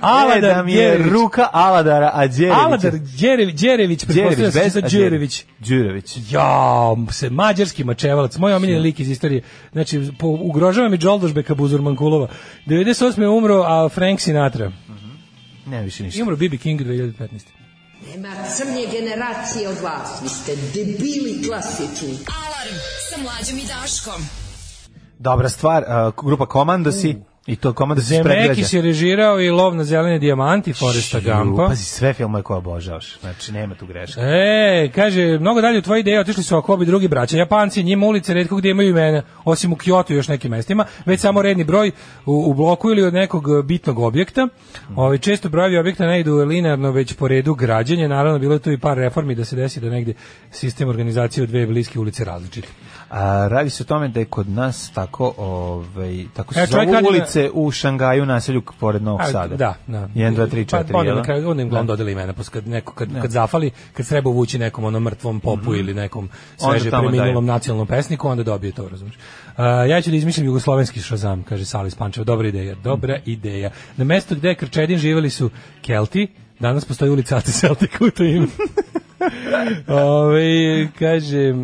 Speaker 6: Aladar
Speaker 7: Aladar
Speaker 6: nam E, da je
Speaker 7: Đerević.
Speaker 6: ruka Aladara, a Đerević...
Speaker 7: Aladar Đerević, Đerević, pretpostavljam da se za Đerević.
Speaker 6: Đurević.
Speaker 7: Ja, se mađarski mačevalac, moj omiljeni lik iz istorije. Znači, po, ugrožava mi Đoldožbeka Buzurmankulova. 98. je umro a Frank Sinatra.
Speaker 6: Ne, više
Speaker 7: I
Speaker 6: ništa.
Speaker 7: umro B.B. King 2015.
Speaker 10: Nema crnje generacije od vas, vi ste debili klasični.
Speaker 5: Alarm sa mlađom i Daškom.
Speaker 6: Dobra stvar, a, grupa Komandosi, i to Komandosi iz
Speaker 7: Zemeckis
Speaker 6: predgrađa.
Speaker 7: je režirao i Lov na zelene dijamanti Foresta Gampa.
Speaker 6: Pazi, sve filmove koje obožavaš. Znači, nema tu greška.
Speaker 7: E, kaže, mnogo dalje u tvoje ideje otišli su ako obi drugi braća. Japanci, njima ulice redko gdje imaju imena, osim u Kyoto i još nekim mestima, već samo redni broj u, u bloku ili od nekog e, bitnog objekta. Ovi, često brojevi objekta ne idu linearno, već po redu građenja. Naravno, bilo je tu i par reformi da se desi da negdje sistem organizacije u dve bliske ulice različite.
Speaker 6: A, radi se o tome da je kod nas tako, ovaj, tako se
Speaker 7: E,
Speaker 6: zovu
Speaker 7: čovjek radi na-
Speaker 6: ulice u Šangaju, naselju pored Novog
Speaker 7: A,
Speaker 6: Sada.
Speaker 7: Da, da.
Speaker 6: 1, 2, 3, 4,
Speaker 7: Pa onda
Speaker 6: jel?
Speaker 7: na kraju, onda im glavno
Speaker 6: Da.
Speaker 7: dodeli imena, pa kad, neko, kad, kad zafali, kad treba uvući nekom onom mrtvom popu ili nekom sveže
Speaker 6: Mhm. tamo
Speaker 7: preminulom
Speaker 6: daju.
Speaker 7: nacionalnom pesniku, onda dobije to, razumiješ. ja ću da izmislim jugoslovenski šazam, kaže Salis Pančeva. Dobra ideja, dobra
Speaker 6: Mhm.
Speaker 7: ideja. Na mesto gde je Krčedin živjeli su Kelti, danas postoji ulica Ate Celtika u
Speaker 6: [LAUGHS]
Speaker 7: to ime. Ove, kaže, e,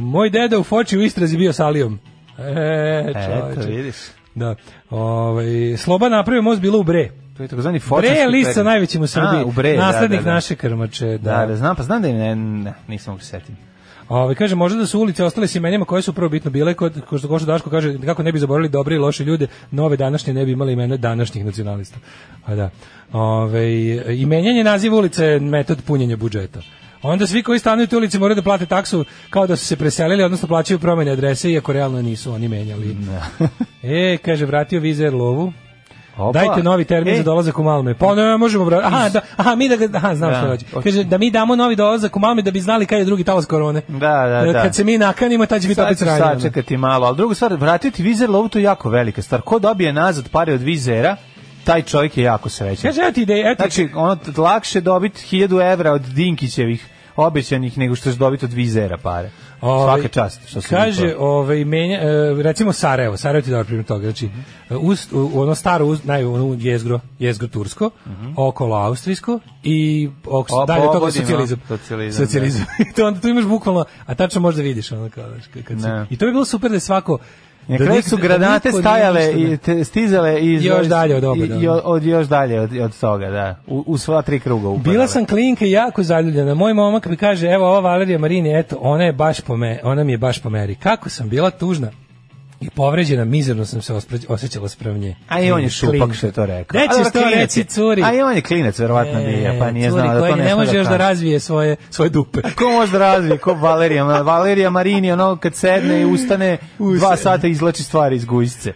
Speaker 7: moj deda u Foči u istrazi bio Salijom. E,
Speaker 6: Eto,
Speaker 7: čoveče.
Speaker 6: vidiš.
Speaker 7: Da. Ovaj Sloba napravio most bilo u Bre.
Speaker 6: To je takozvani
Speaker 7: Bre
Speaker 6: fočarski
Speaker 7: je list sa
Speaker 6: period.
Speaker 7: najvećim u Srbiji.
Speaker 6: A, u Bre, da,
Speaker 7: Naslednik
Speaker 6: da, da.
Speaker 7: naše krmače. Da.
Speaker 6: Da, da, znam, pa znam da im ne, ne nisam mogu se setiti.
Speaker 7: [LAUGHS] Ovaj, kaže, možda da su ulice ostale s imenima koje su prvo bitno bile, kod, ko što Goša Daško kaže, kako ne bi zaboravili dobre i loše ljude, nove današnje ne bi imali imena današnjih nacionalista. A da. Ove, I menjanje naziva ulice je metod punjenja budžeta. Onda svi koji stanuju u toj ulici moraju da plate taksu kao da su se preselili, odnosno plaćaju promene adrese, iako realno nisu oni menjali. e, kaže, vratio vizer lovu.
Speaker 6: Opa.
Speaker 7: Dajte novi termin
Speaker 6: E,
Speaker 7: za dolazak u Malme. Pa ne, možemo brate. Aha, da, aha, mi da ga, aha, znam
Speaker 6: Da.
Speaker 7: šta hoće.
Speaker 6: Hoće.
Speaker 7: Kaže da mi damo novi dolazak u Malme da bi znali kad je drugi talas korone.
Speaker 6: Da, da, da.
Speaker 7: Kad se mi nakanimo, tad će biti
Speaker 6: Sad
Speaker 7: opet
Speaker 6: ću
Speaker 7: sranje. ono.
Speaker 6: sačekati malo, ali druga stvar, vratiti vizer lovu, to je jako velika stvar. Ko dobije nazad pare od vizera, taj čovjek je jako srećan.
Speaker 7: Kaže, evo ti ideje, eto.
Speaker 6: Znači, ono, t- lakše dobiti 1000 evra od Dinkićevih obećanih nego što će dobiti od vizera pare.
Speaker 7: Ovaj,
Speaker 6: Svaka čast. Što su
Speaker 7: kaže,
Speaker 6: njihove.
Speaker 7: ovaj menja, e, recimo Sarajevo, Sarajevo ti je dobar primjer toga. Znači, e, uz, u, u ono staro uz, naj ono jezgro, jezgro tursko, okolo austrijsko i ok,
Speaker 6: Mhm. O,
Speaker 7: dalje od toga
Speaker 6: pogodima.
Speaker 7: socijalizam.
Speaker 6: Socijalizam, da.
Speaker 7: Socijalizam. [LAUGHS] I to onda tu imaš bukvalno, a tačno možda vidiš ono kao, znaš, kad- kad si-
Speaker 6: Ne.
Speaker 7: I to je bilo super da je svako
Speaker 6: Na
Speaker 7: da
Speaker 6: kraju
Speaker 7: nik-
Speaker 6: su
Speaker 7: da
Speaker 6: granate
Speaker 7: niko nije
Speaker 6: stajale
Speaker 7: ništa, da.
Speaker 6: i te- stizale iz
Speaker 7: Još dalje od oba,
Speaker 6: i- i
Speaker 7: da.
Speaker 6: od, od- još dalje od, od toga, da. U, u sva tri kruga upadale.
Speaker 7: Bila sam klinka i jako zaljubljena. Moj momak mi kaže, evo ova Valerija Marini, eto, ona je baš po me, ona mi je baš po meri. Kako sam bila tužna i povređena, mizerno sam se ospre- osjećala sprem nje.
Speaker 6: A i on je šupak
Speaker 7: Klinka.
Speaker 6: što je to rekao.
Speaker 7: Gde
Speaker 6: A dobro,
Speaker 7: ćeš to
Speaker 6: klinac
Speaker 7: reći,
Speaker 6: je.
Speaker 7: curi?
Speaker 6: A i on je klinac, verovatno nije, pa nije
Speaker 7: E,
Speaker 6: znao
Speaker 7: curi
Speaker 6: da
Speaker 7: koja
Speaker 6: to ne
Speaker 7: ne
Speaker 6: sme
Speaker 7: može još da
Speaker 6: kaže.
Speaker 7: razvije svoje, svoje dupe.
Speaker 6: Ko može da razvije, ko Valerija, Ma- Valerija Marini, ono kad sedne i ustane, dva sata izlači stvari iz guzice.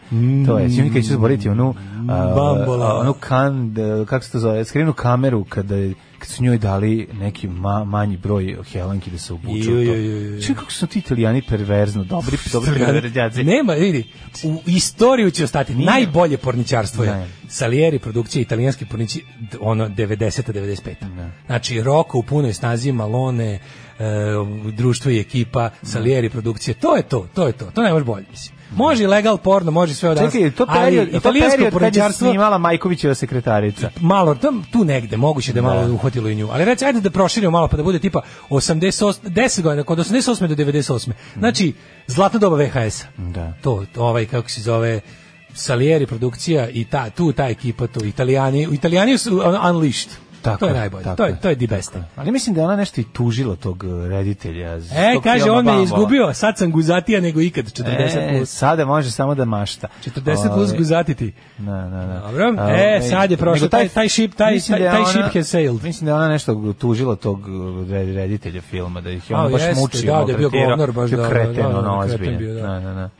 Speaker 6: To je, čim nikad ću zaboraviti onu, a,
Speaker 7: Bambola.
Speaker 6: a, onu kan, da, kako se to zove, skrinu kameru kada je kad su njoj dali neki ma, manji broj helanki da se obuče
Speaker 7: Ju,
Speaker 6: u
Speaker 7: ju, ju,
Speaker 6: to.
Speaker 7: ju.
Speaker 6: Čekaj kako su ti italijani perverzno, dobri, dobri perverzjaci.
Speaker 7: Nema, vidi, u istoriju će ostati
Speaker 6: Nije.
Speaker 7: najbolje porničarstvo je
Speaker 6: Ne.
Speaker 7: Salieri produkcija italijanski porniči d- ono 90 95. Znači Roko u punoj snazi Malone e, društvo i ekipa Salieri produkcije, to je to, to je to. To ne može bolje, mislim. Može i legal porno, može sve od danas.
Speaker 6: Čekaj, je to
Speaker 7: ali
Speaker 6: period, je to
Speaker 7: italijansko
Speaker 6: period kad je
Speaker 7: porničarstvo-
Speaker 6: snimala Majkovićeva sekretarica.
Speaker 7: Da, malo tam tu negde moguće da je malo uhvatilo i nju. Ali reci ajde da proširimo malo pa da bude tipa 88 10 godina od 88 do 98. Znači zlatna doba VHS-a.
Speaker 6: Mhm. Da.
Speaker 7: To to, ovaj kako se zove Salieri produkcija i ta tu ta ekipa tu Italijani, Italijani su ono, unleashed.
Speaker 6: Tako
Speaker 7: to je
Speaker 6: je,
Speaker 7: najbolje.
Speaker 6: tako
Speaker 7: to je
Speaker 6: je,
Speaker 7: to je the best.
Speaker 6: Ali mislim da je ona nešto i tužila tog eh, reditelja. z-
Speaker 7: E,
Speaker 6: tog
Speaker 7: kaže
Speaker 6: filma
Speaker 7: on me je
Speaker 6: Bambola.
Speaker 7: izgubio, sad sam guzatija nego ikad 40
Speaker 6: E, ovaj.
Speaker 7: plus.
Speaker 6: sada može samo da mašta.
Speaker 7: 40 plus
Speaker 6: Ove,
Speaker 7: guzatiti.
Speaker 6: Na, na, na.
Speaker 7: Dobro.
Speaker 6: A,
Speaker 7: E,
Speaker 6: ovaj,
Speaker 7: sad je prošlo.
Speaker 6: nego
Speaker 7: Taj- taj ship- taj-
Speaker 6: mislim da je
Speaker 7: taj- taj
Speaker 6: ona-
Speaker 7: ship has sailed.
Speaker 6: Mislim da je ona nešto tužila tog e, red- reditelja filma, da ih je on
Speaker 7: A,
Speaker 6: baš
Speaker 7: jeste,
Speaker 6: mučio.
Speaker 7: da, da je bio
Speaker 6: maltretirao,
Speaker 7: govnar baš,
Speaker 6: bio
Speaker 7: da, da,
Speaker 6: kreten,
Speaker 7: da, da,
Speaker 6: ono,
Speaker 7: kreten
Speaker 6: ozbiljan.
Speaker 7: bio,
Speaker 6: Na,
Speaker 7: da.
Speaker 6: na, na.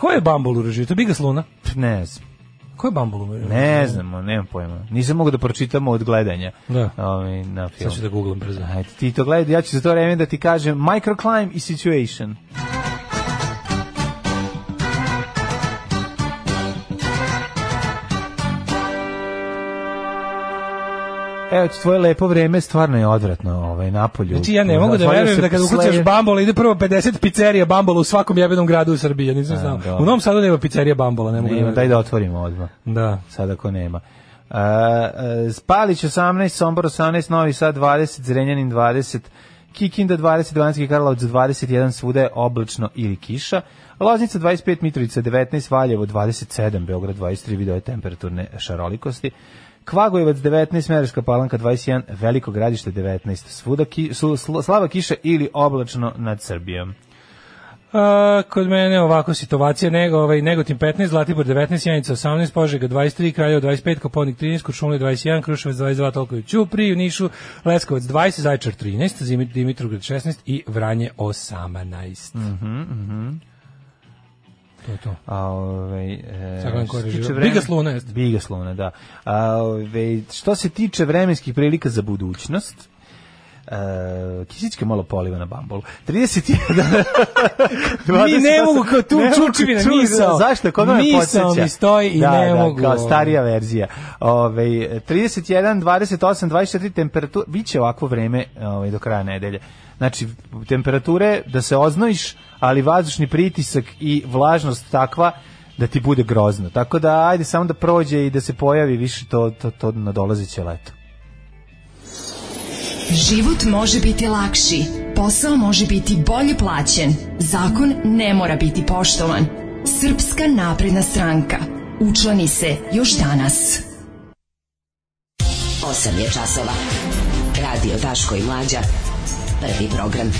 Speaker 7: Ko je Bambol urežio? To je Bigas Luna.
Speaker 6: Pff, Ne znam.
Speaker 7: Ko je Bambol urežio?
Speaker 6: Ne znamo, nemam pojma. Nisam mogu da pročitamo od gledanja.
Speaker 7: Da.
Speaker 6: Ovaj, na film.
Speaker 7: Sad ću da googlam brzo.
Speaker 6: Ajde, ti to gledaj, ja ću za to vreme da ti kažem Microclimb i Situation. Evo, tvoje lepo vreme stvarno je odvratno ovaj, napolju.
Speaker 7: Znači ja ne mogu da
Speaker 6: Otvorio
Speaker 7: verujem
Speaker 6: se
Speaker 7: da kada ukucaš
Speaker 6: Slayer-
Speaker 7: Bambola ide prvo 50 pizzerija Bambola u svakom jebenom gradu u Srbiji, ja nisam znao.
Speaker 6: dobro.
Speaker 7: U Novom Sadu nema pizzerija Bambola, ne mogu.
Speaker 6: Nema,
Speaker 7: da
Speaker 6: daj da otvorimo odmah.
Speaker 7: Da.
Speaker 6: sad ako nema. Uh, Spalić 18, Sombor 18, Novi Sad 20, Zrenjanin 20, Kikinda 20, Dvanski Karlovac 21, svuda je oblačno ili kiša, Loznica 25, Mitrovica 19, Valjevo 27, Beograd 23, video je temperaturne šarolikosti, Kvagojevac 19, Mereška palanka 21, Veliko gradište 19, svuda ki, su, sl- slava kiša ili oblačno nad Srbijom.
Speaker 7: A, kod mene ovako situacija, nego, ovaj, Negotin 15, Zlatibor 19, Janica 18, Požega 23, Kraljevo 25, Koponik 13, Kuršumlje 21, Kruševac 22, Tolkovi Ćupri, u Nišu, Leskovac 20, Zajčar 13, Zimi- Dimitrovgrad 16 i Vranje 18. Mhm, To je to.
Speaker 6: A ovaj e,
Speaker 7: Sad gledam ko je
Speaker 6: što se tiče
Speaker 7: režirao.
Speaker 6: vremen-
Speaker 7: Bigas Luna jeste.
Speaker 6: Bigas Luna, da. A ovaj što se tiče vremenskih prilika za budućnost, Uh, kisićka malo poliva na bambolu 31
Speaker 7: Mi ne
Speaker 6: 28,
Speaker 7: mogu kao tu
Speaker 6: ne mogu
Speaker 7: čučivina,
Speaker 6: tu,
Speaker 7: misao.
Speaker 6: zašto, kod mene
Speaker 7: Misao
Speaker 6: podsjeća
Speaker 7: mi stoji i
Speaker 6: da,
Speaker 7: ne
Speaker 6: da,
Speaker 7: mogu,
Speaker 6: kao
Speaker 7: ovaj.
Speaker 6: starija verzija Ovaj, Ove, 31, 28, 24 temperatura, bit će ovako vreme ovaj, do kraja nedelje znači temperature da se oznojiš ali vazdušni pritisak i vlažnost takva da ti bude grozno tako da ajde samo da prođe i da se pojavi više to, to, to nadolazeće leto
Speaker 5: Život može biti lakši, posao može biti bolje plaćen, zakon ne mora biti poštovan. Srpska napredna stranka. Učlani se još danas.
Speaker 10: 8 je časova. Radio Daško i Mlađa. Prvi program.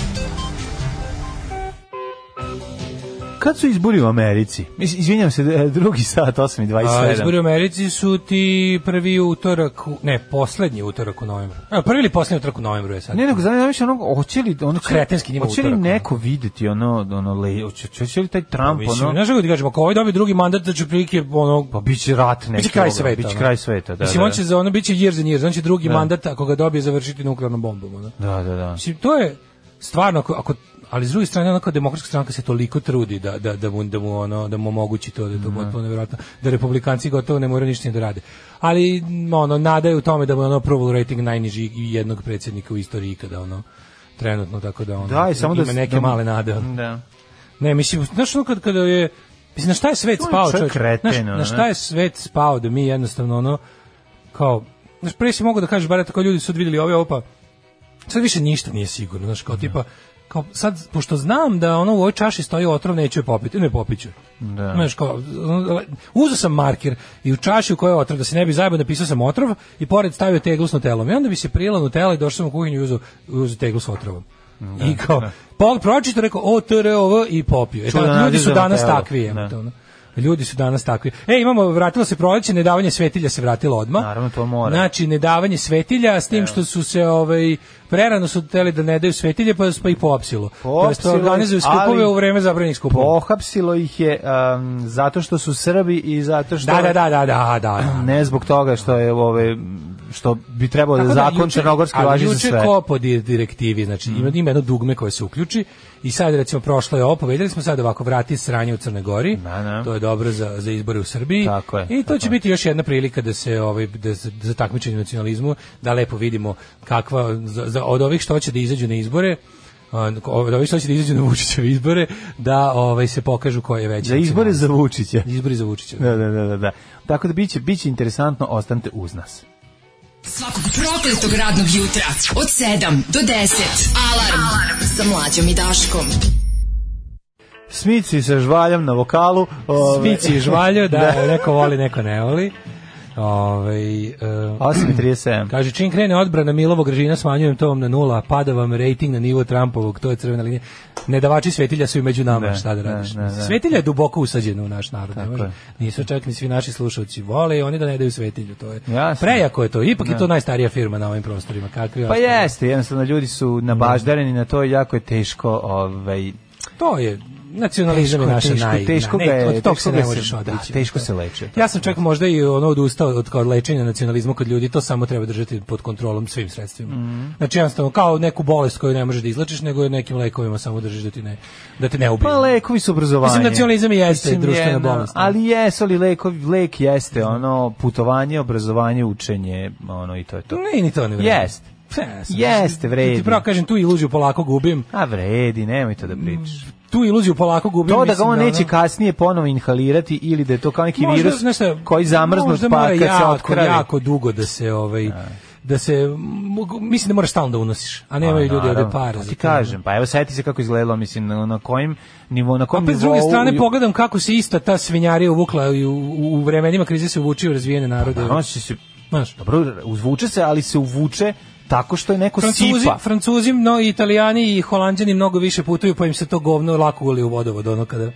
Speaker 6: Kad su izbori u Americi? Mis- Izvinjam se, [LAUGHS] e, drugi sat, 8 i
Speaker 7: A, izbori
Speaker 6: 27.
Speaker 7: u Americi su ti prvi utorak, u- ne, poslednji utorak u novembru. A, prvi ili poslednji utorak u novembru je sad?
Speaker 6: Ne, nego zanima me više ono, hoće li, da ono,
Speaker 7: Kretenski njima
Speaker 6: hoće li
Speaker 7: utorak, ono. Pa
Speaker 6: neko vidjeti ono, ono, le, hoće, hoće li taj Trump,
Speaker 7: Mislim,
Speaker 6: ono,
Speaker 7: znaš kako ti kažemo, ako ovaj dobije drugi mandat, da će prilike, ono,
Speaker 6: pa bit će rat neki.
Speaker 7: Biće kraj
Speaker 6: ono,
Speaker 7: sveta.
Speaker 6: Bit će
Speaker 7: ono.
Speaker 6: kraj sveta, da,
Speaker 7: Mislim,
Speaker 6: da.
Speaker 7: on će za ono, bit će years and years, on će drugi mandat, ako ga dobije, završiti nuklearnom bombom. Ono.
Speaker 6: Da, da, da.
Speaker 7: Mislim, to je stvarno, ako, ako, ali s druge strane, onako demokratska stranka se toliko trudi da, da, da, mu, da, mu, ono, da mu omogući to, da je to
Speaker 6: Mhm.
Speaker 7: potpuno nevjerojatno, da republikanci gotovo ne moraju ništa ni da rade. Ali, m, ono, nada je u tome da mu je ono approval rating najniži i jednog predsjednika u istoriji ikada, ono, trenutno, tako da, ono,
Speaker 6: Da, i samo da...
Speaker 7: ima neke
Speaker 6: da-
Speaker 7: male nade. ono.
Speaker 6: Da.
Speaker 7: Ne, mislim, znaš ono kad, kada je, mislim, na šta je svet
Speaker 6: To je
Speaker 7: spao,
Speaker 6: čovjek
Speaker 7: čovjek?
Speaker 6: kreten,
Speaker 7: Znaš,
Speaker 6: ono,
Speaker 7: na šta je svet spao da mi jednostavno ono, kao, znaš, pre si mogu da kažeš, bare tako ljudi su vidjeli ove, ovo pa, sad više ništa nije sigurno, znaš,
Speaker 6: Da.
Speaker 7: kao tipa, kao sad, pošto znam da ono u ovoj čaši stoji otrov, neću je popiti, ne popiću. Da. Znaš, kao, uzao sam marker i u čaši u kojoj je otrov, da se ne bi zajebao, napisao sam otrov i pored stavio teglu s nutelom. I onda bi se prijela nutela i došao sam u kuhinju i uzao, uzao teglu s otrovom.
Speaker 6: Da,
Speaker 7: I kao, pa pročito rekao o, t, r, o, v i popio. E,
Speaker 6: Čudan
Speaker 7: tako, ljudi
Speaker 6: naziv
Speaker 7: su
Speaker 6: za
Speaker 7: danas
Speaker 6: Nutelu.
Speaker 7: takvi. jebote,
Speaker 6: Da.
Speaker 7: ono. Ljudi su danas takvi. E, imamo, vratilo se proleće, nedavanje svetilja se vratilo odmah.
Speaker 6: Naravno, to mora.
Speaker 7: Znači, nedavanje svetilja, s tim što su se, ovaj, prerano su teli da ne daju svetilje, pa, pa i poopsilo.
Speaker 6: Poopsilo
Speaker 7: To jest, organizuju
Speaker 6: ih,
Speaker 7: skupove
Speaker 6: ali-
Speaker 7: u vreme zabranjenih skupova.
Speaker 6: Pohapsilo ih je um, zato što su Srbi i zato što...
Speaker 7: Da, da, da, da, da, da. da.
Speaker 6: Ne zbog toga što je ove što bi trebalo da
Speaker 7: Tako
Speaker 6: zakon
Speaker 7: juče-
Speaker 6: Crnogorski
Speaker 7: ali
Speaker 6: važi za
Speaker 7: juče
Speaker 6: sve.
Speaker 7: ko po di- direktivi, znači ima, ima jedno dugme koje se uključi i sad recimo prošlo je ovo, povedali smo sad ovako vrati sranje u Crnoj Gori,
Speaker 6: Da, da.
Speaker 7: to je dobro za, za izbore u Srbiji
Speaker 6: Tako je,
Speaker 7: i to
Speaker 6: tako
Speaker 7: će biti još jedna prilika da se ovaj, da, se- za takmičenje u nacionalizmu da lepo vidimo kakva, za, za- od ovih što će da izađu na izbore, a, od ovih što će da izađu na Vučićeve izbore, da ovaj, se pokažu ko je veći
Speaker 6: Za izbore
Speaker 7: nacionalist.
Speaker 6: za Vučića.
Speaker 7: izbori za Vučića.
Speaker 6: Da, da, da, da, da. Tako da biće, biće interesantno, ostanite uz nas.
Speaker 5: Svakog prokletog radnog jutra od 7 do 10. Alarm, Alarm. sa mlađom i Daškom.
Speaker 6: Smici sa žvaljom na vokalu. ove-
Speaker 7: Smici i
Speaker 6: [LAUGHS]
Speaker 7: žvaljo, da, neko voli, neko ne voli. Ovaj, e,
Speaker 6: 8.37.
Speaker 7: kaže, čim krene odbrana Milovog režina, smanjujem to vam na nula, pada vam rating na nivo Trumpovog, to je crvena linija. Nedavači svetilja su i među nama,
Speaker 6: Da,
Speaker 7: šta da radiš.
Speaker 6: da, da, da.
Speaker 7: Svetilja je duboko usađena u naš narod. ne
Speaker 6: Tako
Speaker 7: može.
Speaker 6: je.
Speaker 7: Nisu čak ni svi naši slušalci vole, oni da ne daju svetilju. To je.
Speaker 6: Jasno. Da.
Speaker 7: Prejako je to, ipak je to najstarija firma na ovim prostorima. Kakvi
Speaker 6: Pa
Speaker 7: ostali.
Speaker 6: jeste, jednostavno ljudi su nabaždareni na to i jako je teško ovaj,
Speaker 7: To je nacionalizam je
Speaker 6: Teško je,
Speaker 7: naša
Speaker 6: teško,
Speaker 7: naj.
Speaker 6: teško
Speaker 7: ne,
Speaker 6: ga je-
Speaker 7: od tog
Speaker 6: teško
Speaker 7: se
Speaker 6: ga
Speaker 7: ne
Speaker 6: se-
Speaker 7: možeš
Speaker 6: da,
Speaker 7: odreći.
Speaker 6: teško se leče.
Speaker 7: Ja sam čak možda i ono odustao od kao lečenja nacionalizma kod ljudi, to samo treba držati pod kontrolom svim sredstvima.
Speaker 6: Mhm.
Speaker 7: Znači jednostavno kao neku bolest koju ne možeš da izlečiš, nego je nekim lekovima samo držiš da ti ne da te ne ubije.
Speaker 6: Pa lekovi su obrazovanje.
Speaker 7: Mislim, da nacionalizam i jeste društvena
Speaker 6: jedna,
Speaker 7: bolest, ne?
Speaker 6: Ali jesu li lekovi, lek jeste ono putovanje, obrazovanje, učenje, ono i to je to.
Speaker 7: Ne, ni to ne vredi.
Speaker 6: Jeste.
Speaker 7: Yes.
Speaker 6: Jeste, vredi.
Speaker 7: Da Ti pravo kažem, tu iluziju polako gubim.
Speaker 6: A vredi, nemoj to da pričaš.
Speaker 7: Tu iluziju polako gubim.
Speaker 6: To da ga
Speaker 7: Mm, mislim
Speaker 6: on neće
Speaker 7: ono-
Speaker 6: kasnije ponovo inhalirati ili da je to kao neki
Speaker 7: Možda,
Speaker 6: virus
Speaker 7: znaš šta,
Speaker 6: koji zamrznu
Speaker 7: možda
Speaker 6: pa
Speaker 7: mora
Speaker 6: kad se
Speaker 7: jako,
Speaker 6: otkravi.
Speaker 7: jako dugo da se ovaj da se mogu- mislim da moraš stalno da unosiš, a
Speaker 6: Pa,
Speaker 7: nemaju ljudi ovde
Speaker 6: naravno,
Speaker 7: para.
Speaker 6: pa
Speaker 7: za
Speaker 6: Ti
Speaker 7: to.
Speaker 6: kažem, pa evo seti se kako izgledalo, mislim, na, na kojim nivou, na kom
Speaker 7: Opet pa s druge strane pogledam kako se ista ta svinjarija uvukla i u, u, u vremenima krize se uvuči u razvijene narode.
Speaker 6: Da, Ono se, se,
Speaker 7: Znaš,
Speaker 6: dobro, uzvuče se, ali se uvuče tako što je neko
Speaker 7: Francuzi,
Speaker 6: sipa.
Speaker 7: Francuzi, no i Italijani i Holanđani mnogo više putuju, pa im se to govno lako goli u vodovod, ono kada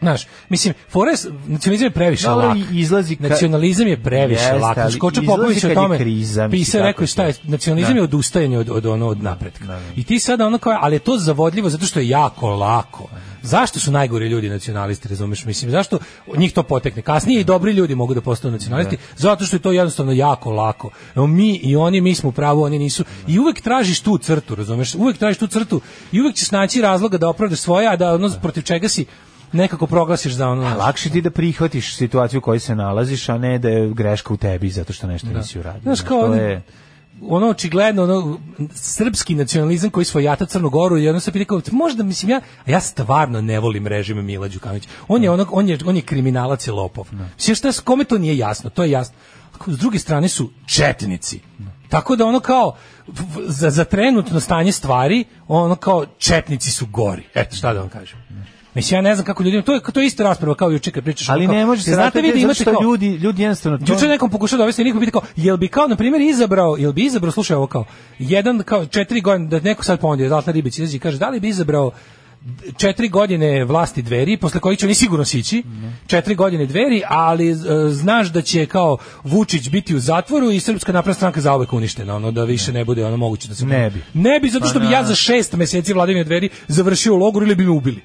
Speaker 7: Znaš, mislim, Forest, nacionalizam je previše
Speaker 6: Dobro,
Speaker 7: lak.
Speaker 6: i izlazi ka-
Speaker 7: Nacionalizam je previše
Speaker 6: Jeste,
Speaker 7: lak. Znaš,
Speaker 6: ali
Speaker 7: Kočo
Speaker 6: izlazi
Speaker 7: Popović
Speaker 6: kad
Speaker 7: o
Speaker 6: je
Speaker 7: tome
Speaker 6: kriza, mislim,
Speaker 7: pisao,
Speaker 6: tako
Speaker 7: rekao je šta je,
Speaker 6: to.
Speaker 7: nacionalizam
Speaker 6: Da.
Speaker 7: je odustajanje od, od, ono, od napretka.
Speaker 6: da.
Speaker 7: I ti sada ono kao, ali je to zavodljivo zato što je jako lako. Zašto su najgori ljudi nacionalisti, razumeš? Mislim, zašto njih to potekne? Kasnije i dobri ljudi mogu da postanu nacionalisti, zato što je to jednostavno jako lako. Evo, mi i oni, mi smo u pravu, oni nisu. I uvek tražiš tu crtu, razumeš? Uvek tražiš tu crtu i uvek ćeš naći razloga da opravdaš svoje, a da ono protiv čega si nekako proglasiš za ono...
Speaker 6: A lakše ti da prihvatiš situaciju u kojoj se nalaziš, a ne da je greška u tebi zato što nešto nisi uradio.
Speaker 7: Da. Znaš, kao
Speaker 6: to
Speaker 7: oni-
Speaker 6: je...
Speaker 7: ono očigledno ono srpski nacionalizam koji svojata Crnu Goru i ono se pita kao možda mislim ja a ja stvarno ne volim režim Mila Đukanovića. On je onog on je on je kriminalac i lopov.
Speaker 6: Da.
Speaker 7: Mislim šta s kome to nije jasno, to je jasno. Ako S druge strane su četnici. Tako da ono kao v- v- za, za trenutno stanje stvari, ono kao četnici su gori. Eto šta da vam kažem. Mislim ja ne znam kako ljudima to je to je ista rasprava kao juče kad pričaš.
Speaker 6: Ali
Speaker 7: ono kao,
Speaker 6: ne može se
Speaker 7: znate vi da
Speaker 6: vratiti zato
Speaker 7: imate
Speaker 6: što
Speaker 7: kao,
Speaker 6: ljudi, ljudi jednostavno... to-
Speaker 7: Juče je nekom pokušao dovesti, niko pita kao, jel bi kao, na primjer, izabrao, jel bi izabrao, slušaj ovo kao, jedan, kao, četiri godine, da neko sad ponudio, Zlatna Ribić izađe i kaže, da li bi izabrao četiri godine vlasti dveri, posle kojih će oni sigurno sići, četiri godine dveri, ali e, znaš da će kao Vučić biti u zatvoru i Srpska napredna stranka zauvek uništena, ono da više ne, bude ono moguće da se...
Speaker 6: Ne bi.
Speaker 7: Ne bi, zato
Speaker 6: Pa
Speaker 7: što
Speaker 6: da.
Speaker 7: bi ja za šest meseci vladavine dveri završio u logoru ili bi me ubili.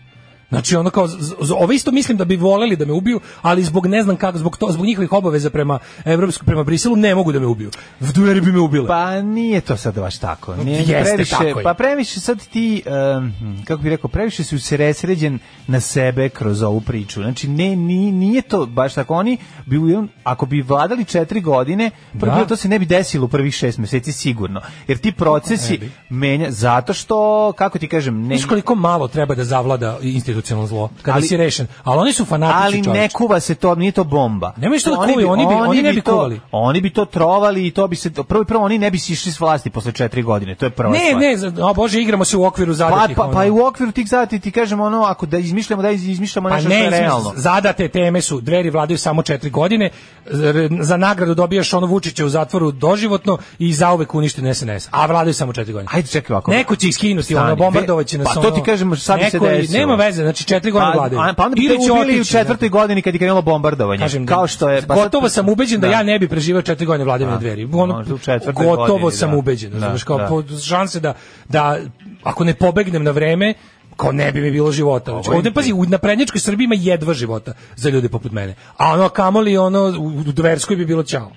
Speaker 7: Znači ono kao z- z- ove isto mislim da bi voleli da me ubiju, ali zbog ne znam kako, zbog to, zbog njihovih obaveza prema evropskom prema Briselu ne mogu da me ubiju. Vdueri bi me ubile.
Speaker 6: Pa nije to sad baš tako. Nije
Speaker 7: Jeste,
Speaker 6: previše,
Speaker 7: tako je.
Speaker 6: pa previše sad ti, em, kako bih rekao, previše si usresređen na sebe kroz ovu priču. Znači, ne, ni, nije to baš tako. Oni, bi, u jednom- ako bi vladali četiri godine, prvo
Speaker 7: Da.
Speaker 6: to se ne bi desilo u prvih šest meseci sigurno. Jer ti procesi menja, zato što, kako ti kažem, ne,
Speaker 7: Znaš koliko malo treba da zavlada institucionalno zlo kada
Speaker 6: Ali-
Speaker 7: si rešen. Ali oni su fanatični
Speaker 6: ali ne
Speaker 7: čoveče.
Speaker 6: kuva se to, nije to bomba.
Speaker 7: Nemoj što da
Speaker 6: Oni
Speaker 7: kuvaju, oni bi- oni ne bi
Speaker 6: to-
Speaker 7: kuvali.
Speaker 6: Oni bi to trovali i to bi se, prvo i prvo, oni ne bi sišli s vlasti posle četiri godine, to je prva
Speaker 7: Ne,
Speaker 6: stvar.
Speaker 7: ne, za- a bože, igramo se u okviru
Speaker 6: Pa,
Speaker 7: zadatih.
Speaker 6: pa, pa
Speaker 7: ono.
Speaker 6: i u okviru tih zati ti kažemo ono, ako da izmišljamo, da iz- izmišljamo
Speaker 7: Pa
Speaker 6: nešto
Speaker 7: ne,
Speaker 6: što je
Speaker 7: izmišlj-
Speaker 6: realno.
Speaker 7: zadate teme su, dveri vladaju samo četiri godine, r- za nagradu dobijaš ono Vučića u zatvoru doživotno i zauvek uništen SNS, a vladaju samo četiri godine.
Speaker 6: Ajde, čekaj ovako.
Speaker 7: Neko će ih skinuti,
Speaker 6: Stani.
Speaker 7: ono, bombardovaće nas.
Speaker 6: Pa to
Speaker 7: ono,
Speaker 6: ti kažem, sad bi se
Speaker 7: neko-
Speaker 6: desilo.
Speaker 7: Nema veze, znači četiri godine
Speaker 6: Pa,
Speaker 7: vladaju.
Speaker 6: a, pa onda bi
Speaker 7: Ili
Speaker 6: te
Speaker 7: će
Speaker 6: ubili u
Speaker 7: otići, ne.
Speaker 6: četvrtoj godini kad je krenulo bombardovanje.
Speaker 7: Kažem,
Speaker 6: kao što je...
Speaker 7: pa
Speaker 6: sad-
Speaker 7: gotovo sam ubeđen da, ja ne bi preživeo četiri godine vladavine
Speaker 6: Da.
Speaker 7: dveri.
Speaker 6: Možda
Speaker 7: Ono,
Speaker 6: u četvrtoj
Speaker 7: gotovo
Speaker 6: godini,
Speaker 7: sam
Speaker 6: da.
Speaker 7: ubeđen,
Speaker 6: Da,
Speaker 7: znaš, kao
Speaker 6: da.
Speaker 7: po- šanse da, da ako ne pobegnem na vreme, kao ne bi mi bilo života. Znači,
Speaker 6: Ovo je-
Speaker 7: ovde, pazi, u naprednjačkoj Srbiji ima jedva života za ljude poput mene. A ono, kamoli, ono, u, u dverskoj bi bilo ćao.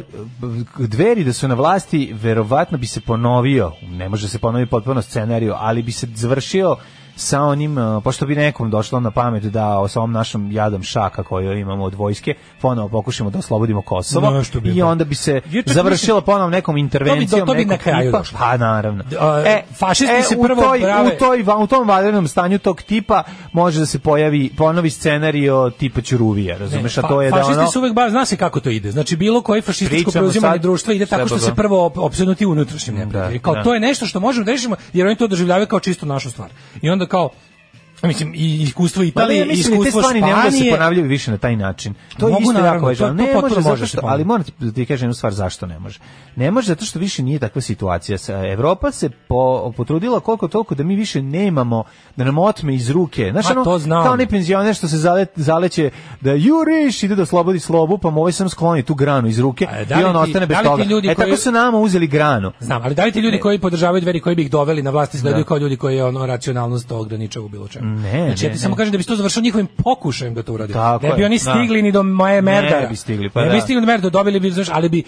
Speaker 6: Uh, dveri da su na vlasti verovatno bi se ponovio ne može se ponoviti potpuno scenariju ali bi se završio sa onim, uh, pošto bi nekom došlo na pamet da o- sa ovom našom jadom šaka koju imamo od vojske, ponovo pokušamo da oslobodimo Kosovo
Speaker 7: No, što bi
Speaker 6: i
Speaker 7: bilo.
Speaker 6: onda bi se
Speaker 7: Ja čak
Speaker 6: završilo ponovo nekom intervencijom.
Speaker 7: to bi
Speaker 6: nekog
Speaker 7: na kraju
Speaker 6: tipa.
Speaker 7: došlo.
Speaker 6: Pa naravno. e,
Speaker 7: D- a, fašisti se
Speaker 6: u
Speaker 7: prvo
Speaker 6: toj,
Speaker 7: prave-
Speaker 6: u, toj, va- u tom vanrednom stanju tog tipa može da se pojavi ponovi scenario tipa Ćuruvija, razumeš, a to je
Speaker 7: Fa-
Speaker 6: da
Speaker 7: E, fašisti
Speaker 6: ono...
Speaker 7: su uvek bar, zna se kako to ide. Znači, bilo koje fašističko
Speaker 6: Pričamo
Speaker 7: preuzimanje
Speaker 6: sad-
Speaker 7: društva ide tako
Speaker 6: Šta
Speaker 7: što
Speaker 6: pa
Speaker 7: se
Speaker 6: da.
Speaker 7: prvo op- opsednuti unutrašnjim neprijateljem.
Speaker 6: Da,
Speaker 7: kao,
Speaker 6: da.
Speaker 7: to je nešto što možemo da rešimo, jer oni to doživljavaju kao čisto našu stvar. I onda kao, mislim, i iskustvo
Speaker 6: ali
Speaker 7: Italije, i
Speaker 6: mislim da te
Speaker 7: iskustvo
Speaker 6: stvari ne mogu da se
Speaker 7: Španije,
Speaker 6: ponavljaju više na taj način. To je
Speaker 7: Mogu,
Speaker 6: isto
Speaker 7: naravno,
Speaker 6: jako važno.
Speaker 7: to- to
Speaker 6: Ne
Speaker 7: potpuno
Speaker 6: može,
Speaker 7: može
Speaker 6: zato
Speaker 7: se
Speaker 6: što, ali
Speaker 7: ponavljati.
Speaker 6: moram ti- da ti kažem jednu stvar zašto ne može. Ne može zato što više nije takva situacija. Sa- Evropa se po, potrudila koliko toliko da mi više nemamo, da nam otme iz ruke. Znaš,
Speaker 7: Ma,
Speaker 6: ono,
Speaker 7: to znam.
Speaker 6: kao onaj penzioner što se zale, zaleće da juriš, ide da oslobodi slobu, pa mu ovaj sam skloni tu granu iz ruke
Speaker 7: A, da li
Speaker 6: i on
Speaker 7: ti-
Speaker 6: ostane bez
Speaker 7: da li ti
Speaker 6: toga.
Speaker 7: ljudi
Speaker 6: E,
Speaker 7: koji-
Speaker 6: tako su nama uzeli granu.
Speaker 7: Znam, ali da li ti ljudi koji podržavaju dveri koji bi ih doveli na vlast izgledaju
Speaker 6: Da.
Speaker 7: kao ljudi koji ono racionalnost to ograničava u bilo čemu?
Speaker 6: Ne,
Speaker 7: znači, ja
Speaker 6: ne,
Speaker 7: ti
Speaker 6: ne.
Speaker 7: samo kažem da bi se to završilo njihovim pokušajem da to urade.
Speaker 6: Tako
Speaker 7: ne bi
Speaker 6: je,
Speaker 7: oni
Speaker 6: da.
Speaker 7: stigli ni do moje
Speaker 6: Ne
Speaker 7: merdara.
Speaker 6: bi stigli, pa
Speaker 7: ne bi
Speaker 6: da.
Speaker 7: stigli do merdara, dobili bi, znaš, ali bi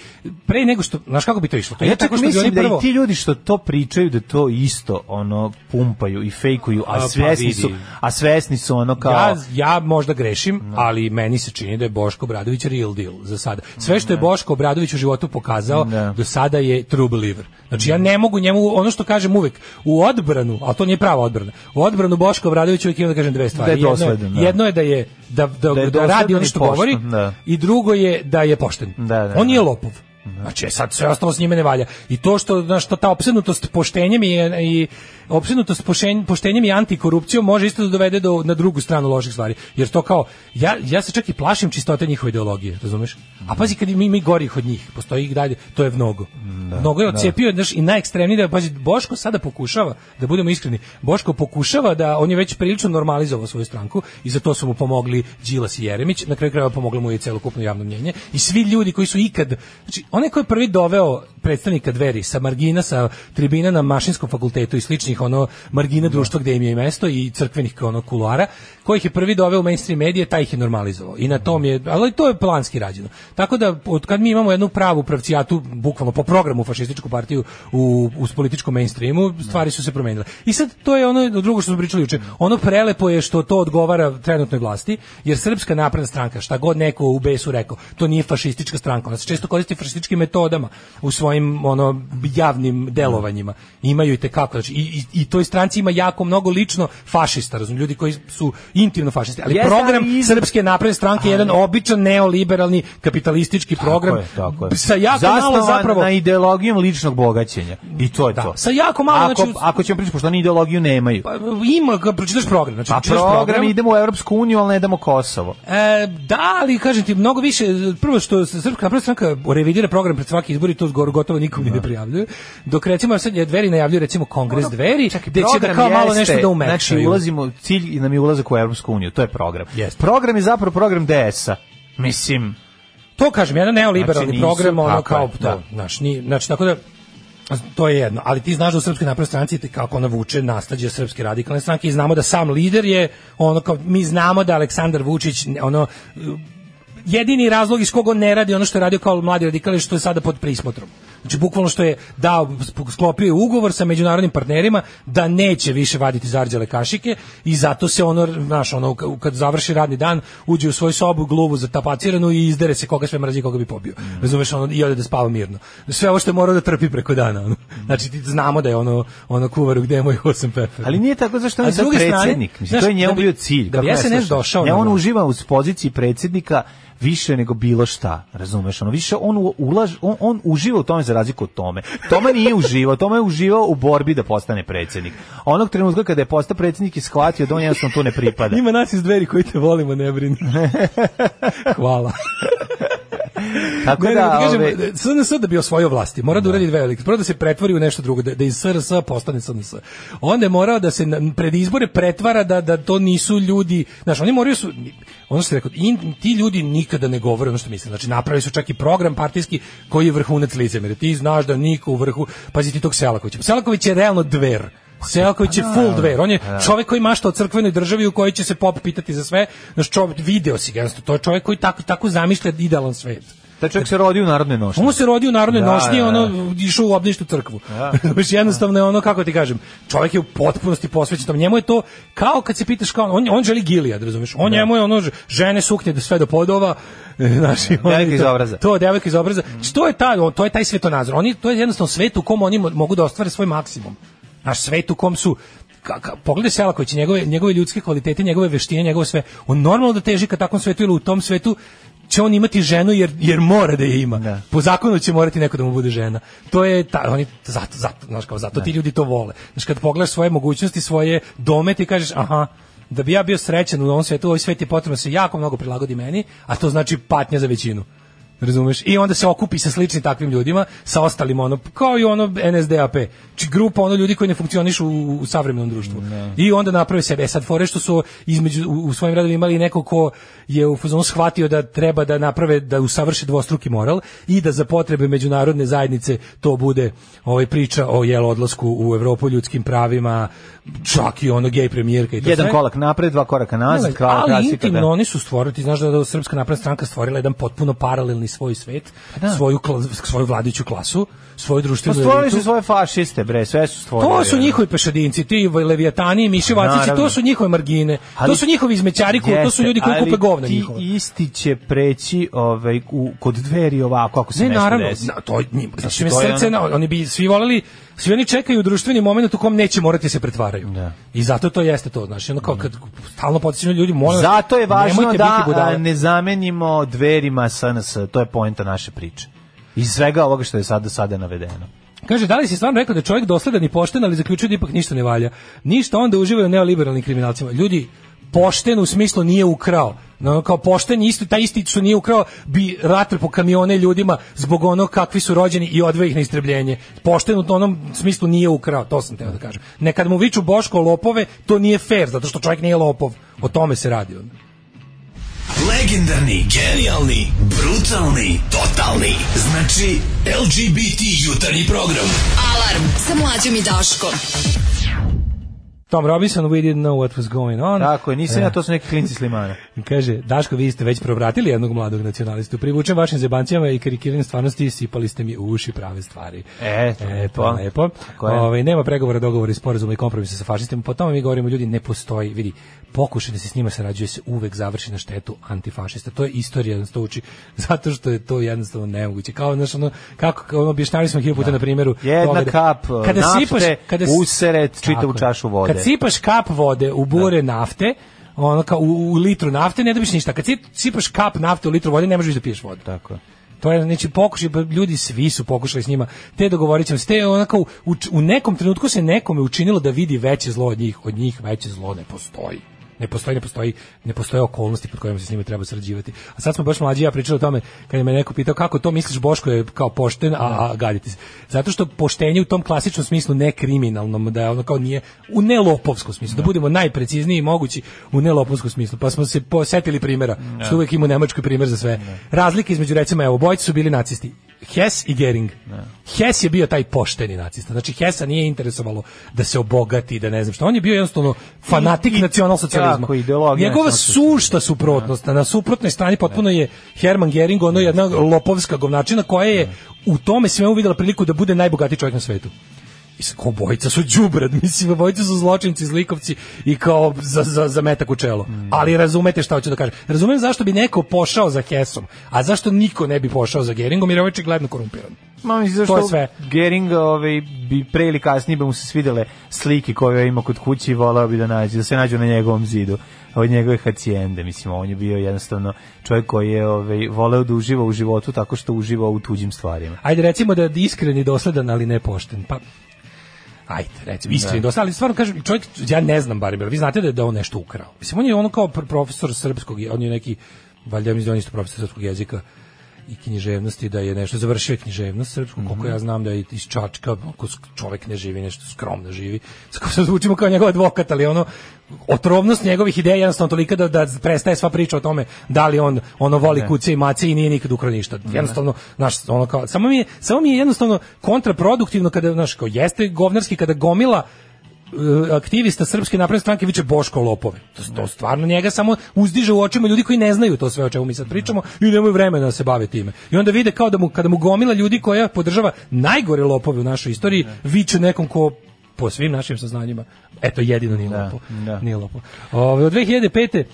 Speaker 7: pre nego što, znaš kako bi to išlo? To
Speaker 6: A
Speaker 7: ide
Speaker 6: ja čak
Speaker 7: tako što bi
Speaker 6: mislim
Speaker 7: oni
Speaker 6: da
Speaker 7: prvo-
Speaker 6: i ti ljudi što to pričaju da to isto ono pumpaju i fejkuju,
Speaker 7: A,
Speaker 6: a
Speaker 7: pa
Speaker 6: svesni
Speaker 7: vidi.
Speaker 6: su, a svesni su ono kao Da.
Speaker 7: Ja, ja možda grešim, ali meni se čini da je Boško Obradović real deal za sada. Sve
Speaker 6: Da.
Speaker 7: što je Boško Obradović u životu pokazao
Speaker 6: Ne.
Speaker 7: do sada je true believer. Znači ja ne mogu njemu, ono što kažem uvek, u odbranu, ali to nije prava odbrana, u odbranu Boško Obradović uvek imam da kažem dve stvari.
Speaker 6: Da je
Speaker 7: Jedno
Speaker 6: dosledan, da.
Speaker 7: jedno je da je, da, da,
Speaker 6: Da je
Speaker 7: da radi
Speaker 6: dosledan
Speaker 7: ono
Speaker 6: i
Speaker 7: što
Speaker 6: pošten,
Speaker 7: govori
Speaker 6: da.
Speaker 7: i drugo je da je pošten.
Speaker 6: Da, da,
Speaker 7: On
Speaker 6: da.
Speaker 7: nije lopov. Znači, sad sve ostalo s njime ne valja. I to što, znaš, ta- ta opsednutost poštenjem i, i opsednutost pošen- poštenjem i antikorupcijom može isto da dovede do, na drugu stranu loših stvari. Jer to kao, ja, ja se čak i plašim čistote njihove ideologije, razumeš?
Speaker 6: Mhm.
Speaker 7: A pazi, kad mi, mi gorih od njih, postoji ih dalje, to je mnogo.
Speaker 6: Da,
Speaker 7: mnogo je odcepio, znaš, i najekstremniji da, pazi, Boško sada pokušava, da budemo iskreni, Boško pokušava da, on je već prilično normalizovao svoju stranku i za to su mu pomogli Đilas i Jeremić, na kraju krajeva pomoglo mu je i celokupno javno mnjenje i svi ljudi koji su ikad, znači onaj ko je prvi doveo predstavnika dveri sa margina, sa tribina na mašinskom fakultetu i sličnih ono margina društva gde im je mesto i crkvenih ono kuloara, kojih je prvi doveo u mainstream medije, taj ih je normalizovao. I na tom je, ali to je planski rađeno. Tako da od kad mi imamo jednu pravu pravcijatu, bukvalno po programu fašističku partiju u, u političkom mainstreamu, stvari su se promenile. I sad to je ono drugo što smo pričali juče. Ono prelepo je što to odgovara trenutnoj vlasti, jer Srpska napredna stranka, šta god neko u BS-u rekao, to nije fašistička stranka. Ona se često koristi fašističkim metodama u svojim ono javnim delovanjima. Imaju i tekako, znači, i, i, i toj stranci ima jako mnogo lično fašista, razum, ljudi koji su intimno fašisti. Ali
Speaker 6: Jeste,
Speaker 7: program
Speaker 6: ali iz-
Speaker 7: Srpske napredne stranke je jedan običan neoliberalni kapitalistički program
Speaker 6: je, tako je.
Speaker 7: sa jako malo
Speaker 6: Zasnovan
Speaker 7: zapravo
Speaker 6: na ideologijom ličnog bogaćenja. I to je
Speaker 7: Da,
Speaker 6: to.
Speaker 7: sa jako malo,
Speaker 6: ako,
Speaker 7: znači-
Speaker 6: ako ćemo pričati, pošto oni ideologiju nemaju.
Speaker 7: Pa, ima, ga, pročitaš program. Znači,
Speaker 6: Pa
Speaker 7: pročitaš
Speaker 6: program, idemo u Europsku uniju, ali ne damo Kosovo.
Speaker 7: E, da, ali kažem ti, mnogo više, prvo što se Srpska napredna stranka revidira program pred svaki izbor i to zgor- gotovo nikom ni
Speaker 6: Da.
Speaker 7: ne prijavljuje, dok recimo sad je dveri najavljuje recimo kongres dveri, gde će da
Speaker 6: Program
Speaker 7: kao malo
Speaker 6: jeste,
Speaker 7: nešto da umekšaju.
Speaker 6: Znači, ulazimo, cilj nam je ulazak u Europsku uniju, to je program.
Speaker 7: Jeste.
Speaker 6: Program je zapravo program DS-a. Mislim,
Speaker 7: To kažem, jedan neoliberalni
Speaker 6: Znači, nisu-
Speaker 7: program, ono
Speaker 6: tako
Speaker 7: kao
Speaker 6: je,
Speaker 7: to,
Speaker 6: da.
Speaker 7: znaš, ni, znači, tako da, to je jedno, ali ti znaš da u Srpskoj naprednoj stranci te kako ona vuče naslađe Srpske radikalne stranke i znamo da sam lider je ono kao mi znamo da Aleksandar Vučić ono jedini razlog iz koga on ne radi ono što je radio kao mladi radikali što je sada pod prismotrom. Znači bukvalno što je dao sklopio je ugovor sa međunarodnim partnerima da neće više vaditi zarđale kašike i zato se ono znaš ono ka- kad završi radni dan uđe u svoju sobu gluvu zatapaciranu i izdere se koga sve mrzi koga bi pobio. Razumeš ono i ode da spava mirno. Sve ovo što je morao da trpi preko dana. Ono. Znači ti znamo da je ono ono kuvaru gde je moj 8 pefer.
Speaker 6: ali nije tako zašto on
Speaker 7: A
Speaker 6: je
Speaker 7: s
Speaker 6: sad
Speaker 7: druge strane,
Speaker 6: predsjednik. Mislim,
Speaker 7: znaš,
Speaker 6: to je njemu
Speaker 7: da bi-
Speaker 6: bio cilj.
Speaker 7: da bi
Speaker 6: kako
Speaker 7: SNS
Speaker 6: ne slušaš?
Speaker 7: došao
Speaker 6: Ne,
Speaker 7: na
Speaker 6: on
Speaker 7: vlast.
Speaker 6: uživa u poziciji predsjednika više nego bilo šta, razumeš? Ono više on u- ulaž, on, on uživa u tome za razliku od tome. Tome nije uživao, tome je uživao u borbi da postane predsjednik. Onog trenutka kada je postao predsjednik je shvatio da on jednostavno tu ne pripada.
Speaker 7: [LAUGHS] Ima nas iz dveri koji te volimo, ne brini. Hvala.
Speaker 6: Tako
Speaker 7: Ne, ne,
Speaker 6: da,
Speaker 7: da, kažem,
Speaker 6: ove,
Speaker 7: SNS da bi osvojio vlasti, mora da uradi dve velike. Prvo da se pretvori u nešto drugo, da, da iz SRS postane SNS. Onda je morao da se na- pred izbore pretvara da, da to nisu ljudi, znaš, oni moraju su, ono što je rekao, in, ti ljudi nikada ne govore ono što misle. Znači, napravili su čak i program partijski koji je vrhunac licemerja. Ti znaš da niko u vrhu, pazi ti tog Selakovića. Selaković je realno dver. Selaković je
Speaker 6: Pa da,
Speaker 7: full dver. On je čovjek koji mašta o crkvenoj državi u kojoj će se pop pitati za sve. Znaš, čovjek, video si ga, jednostavno, to je čovjek koji tako, tako zamišlja idealan svet.
Speaker 6: Taj čovjek se rodio u narodnoj nošnji.
Speaker 7: On se rodio u narodnoj
Speaker 6: Da,
Speaker 7: nošnji,
Speaker 6: da,
Speaker 7: ono išao u obništu crkvu. [LAUGHS]
Speaker 6: Da.
Speaker 7: Baš jednostavno je ono kako ti kažem, čovjek je u potpunosti posvećen tom. Njemu je to kao kad se pitaš kao on on želi Gilijad, razumeš? On
Speaker 6: Da.
Speaker 7: njemu je ono ž- žene suknje do sve do podova, [LAUGHS] znači on
Speaker 6: Devojka iz obraza. Mm.
Speaker 7: To devojka iz obraza. To je taj on- to je taj svetonazor. Oni to je jednostavno svet u kom oni mo- mogu da ostvare svoj maksimum. Naš svet u kom su ka, ka, pogledaj Selaković, njegove, njegove ljudske kvalitete, njegove veštine, njegovo sve. On normalno da teži ka takvom svetu ili u tom svetu će on imati ženu jer, jer mora da je ima.
Speaker 6: Da.
Speaker 7: Po zakonu će morati neko da mu bude žena. To je ta, oni zato zato znaš kao zato ti
Speaker 6: Da.
Speaker 7: ljudi to vole. Znaš kad pogledaš svoje mogućnosti, svoje dome ti kažeš aha da bi ja bio srećan u ovom svetu, ovaj svet je potrebno da se jako mnogo prilagodi meni, a to znači patnja za većinu. Razumeš? I onda se okupi sa sličnim takvim ljudima, sa ostalim ono, kao i ono NSDAP, či grupa ono ljudi koji ne funkcionišu u, u savremenom društvu. I onda naprave sebe. E sad fore što su između, u, u svojim radovima imali neko ko je u fazonu shvatio da treba da naprave, da usavrše dvostruki moral i da za potrebe međunarodne zajednice to bude ovaj priča o jel odlasku u Evropu ljudskim pravima, čak i ono gej premijerka i to
Speaker 6: Jedan
Speaker 7: sve.
Speaker 6: kolak napred, dva koraka nazad,
Speaker 7: Ne,
Speaker 6: kao
Speaker 7: ali
Speaker 6: klasika.
Speaker 7: intimno
Speaker 6: da.
Speaker 7: oni su stvorili, ti znaš da je Srpska napredna stranka stvorila jedan potpuno paralelni svoj svet, svoju, kla- svoju vladiću klasu, svoju
Speaker 6: da. Pa
Speaker 7: društvenu
Speaker 6: stvorili su
Speaker 7: elitu.
Speaker 6: svoje fašiste, bre, sve su stvorili.
Speaker 7: To su
Speaker 6: ono.
Speaker 7: njihovi pešadinci, ti levijatani i miši vacici,
Speaker 6: Naravno.
Speaker 7: to su njihove margine,
Speaker 6: Ali-
Speaker 7: to su njihovi izmećari, ko- to su
Speaker 6: Jeste,
Speaker 7: ljudi koji
Speaker 6: ali
Speaker 7: kupe govna
Speaker 6: ti
Speaker 7: njihova.
Speaker 6: isti će preći ovaj, u, kod dveri ovako, ako se
Speaker 7: Ne,
Speaker 6: nešto
Speaker 7: naravno,
Speaker 6: desi.
Speaker 7: na, to, njim, znači,
Speaker 6: to
Speaker 7: mi
Speaker 6: je
Speaker 7: srce,
Speaker 6: ono-
Speaker 7: na- oni bi svi voleli, svi oni čekaju društveni moment u kom neće morati da se pretvaraju.
Speaker 6: Da.
Speaker 7: I zato to jeste to, znači, ono kao kad stalno potičemo ljudi, molim vas,
Speaker 6: Zato je važno
Speaker 7: nemojte
Speaker 6: da
Speaker 7: biti budale.
Speaker 6: a, ne zamenimo dverima SNS, to je poenta naše priče. Iz svega ovoga što je sada, sada navedeno.
Speaker 7: Kaže, da li si stvarno rekao da je čovjek dosledan i pošten, ali zaključuje da ipak ništa ne valja? Ništa onda uživa na neoliberalnim kriminalcima. Ljudi, pošten u smislu nije ukrao. No, kao pošten je isto, taj isti što nije ukrao bi ratr po kamione ljudima zbog ono kakvi su rođeni i odve ih na istrebljenje. Pošten u onom smislu nije ukrao, to sam teo da kažem. Nekad mu viču Boško lopove, to nije fair, zato što čovjek nije lopov. O tome se radi. onda.
Speaker 8: Legendarni, genijalni, brutalni, totalni. Znači, LGBT jutarnji program.
Speaker 5: Alarm sa mlađom i Daškom.
Speaker 7: Tom Robinson, we didn't know what was going on.
Speaker 6: Tako je, nisam
Speaker 7: E.
Speaker 6: ja, to su neki klinci slimana.
Speaker 7: Kaže, Daško, vi ste već provratili jednog mladog nacionalistu. Privučem vašim zebancijama i karikiranjem stvarnosti i sipali ste mi u uši prave stvari.
Speaker 6: E, to je
Speaker 7: e,
Speaker 6: lepo.
Speaker 7: pa lepo.
Speaker 6: Tako je.
Speaker 7: Ove, nema pregovora, dogovora i sporazuma i kompromisa sa fašistima. Po tome mi govorimo, ljudi, ne postoji. Vidi, pokušaj da se s njima sarađuje se uvek završi na štetu antifašista. To je istorija, nas to uči. [LAUGHS] Zato što je to jednostavno nemoguće. Kao, znaš, ono, kako, ono, objašnjavali smo hiljoputa na primjeru.
Speaker 6: Jedna
Speaker 7: toga da-
Speaker 6: kap, e, nafte,
Speaker 7: s-
Speaker 6: useret čitavu
Speaker 7: Tako je.
Speaker 6: čašu vode.
Speaker 7: Kad sipaš kap vode u bure
Speaker 6: Da.
Speaker 7: nafte, ono kao u, u litru nafte ne dobiš ništa. Kad si- sipaš kap nafte u litru vode ne možeš da piješ vodu.
Speaker 6: Tako je.
Speaker 7: To je znači pokušaj, pa ljudi svi su pokušali s njima. Te dogovorit ćemo se, te onako u, u, u nekom trenutku se nekome učinilo da vidi veće zlo od njih, od njih veće zlo ne postoji. Ne postoji, ne postoji, ne postoje okolnosti pod kojima se s njima treba sarađivati. A sad smo baš mlađi i ja pričali o tome kad je me neko pitao kako to misliš Boško je kao pošten, a, a gaditi se. Zato što poštenje u tom klasičnom smislu ne kriminalnom, da je ono kao nije u nelopovskom smislu, da budemo najprecizniji mogući u nelopovskom smislu. Pa smo se posetili primjera,
Speaker 6: Da.
Speaker 7: što uvek ima u Nemačkoj primjer za sve. Razlike između recimo evo bojci su bili nacisti. Hess i Gering.
Speaker 6: Da.
Speaker 7: Hess je bio taj pošteni nacista. Znači Hessa nije interesovalo da se obogati, da ne znam što. On je bio jednostavno fanatik
Speaker 6: I- i-
Speaker 7: nacionalsocijalizma.
Speaker 6: tako, ideologija
Speaker 7: Njegova
Speaker 6: nacionalsocijalizma.
Speaker 7: sušta suprotnost. Na suprotnoj strani potpuno je Herman Gering, ono jedna lopovska govnačina koja je u tome sve uvidela priliku da bude najbogatiji čovjek na svetu. I s- ko bojica su đubrad, [LAUGHS] mislim, obojica su zločinci, zlikovci i kao za, za, za metak u čelo. Ali razumete šta hoću da kažem. Razumem zašto bi neko pošao za Hesom, a zašto niko ne bi pošao za Geringom, jer je ovaj gledno korumpiran.
Speaker 6: Ma mislim
Speaker 7: To
Speaker 6: zašto
Speaker 7: je sve.
Speaker 6: Gering ovaj, bi pre ili kasnije bi mu se svidele slike koje ima kod kuće i volao bi da nađe, da se nađu na njegovom zidu od njegove hacijende, mislim, on je bio jednostavno čovjek koji je ovaj, voleo da uživa u životu tako što uživa u tuđim stvarima.
Speaker 7: Ajde recimo da je iskren i dosledan, ali ne pošten. Pa Ajde, recimo, iskren i dosledan, ali stvarno kažem, čovjek, ja ne znam barem, jel vi znate da je da on nešto ukrao. Mislim, on je ono kao pr- profesor srpskog, je- on je neki, valjda mi on je isto profesor srpskog jezika i književnosti, da je nešto završio je književnost srpsku, koliko ja znam da je iz Čačka, ako sk- čovjek ne živi, nešto skromno živi, Skoro se zvučimo kao njegov advokat, ali ono, otrovnost njegovih ideja je jednostavno tolika da, da prestaje sva priča o tome da li on ono voli kuce i mace i nije nikad ukrao ništa. Jednostavno, znaš, ono kao, samo mi je, samo mi je jednostavno kontraproduktivno kada, znaš, kao jeste govnarski kada gomila e, aktivista Srpske napredne stranke viče Boško lopove. To, to stvarno njega samo uzdiže u očima ljudi koji ne znaju to sve o čemu mi sad pričamo i nemaju vremena da se bave time. I onda vide kao da mu, kada mu gomila ljudi koja podržava najgore lopove u našoj istoriji, viče nekom ko po svim našim saznanjima, eto jedino nije
Speaker 6: Da,
Speaker 7: lopov.
Speaker 6: da.
Speaker 7: Nije lopov. Ove, od 2005.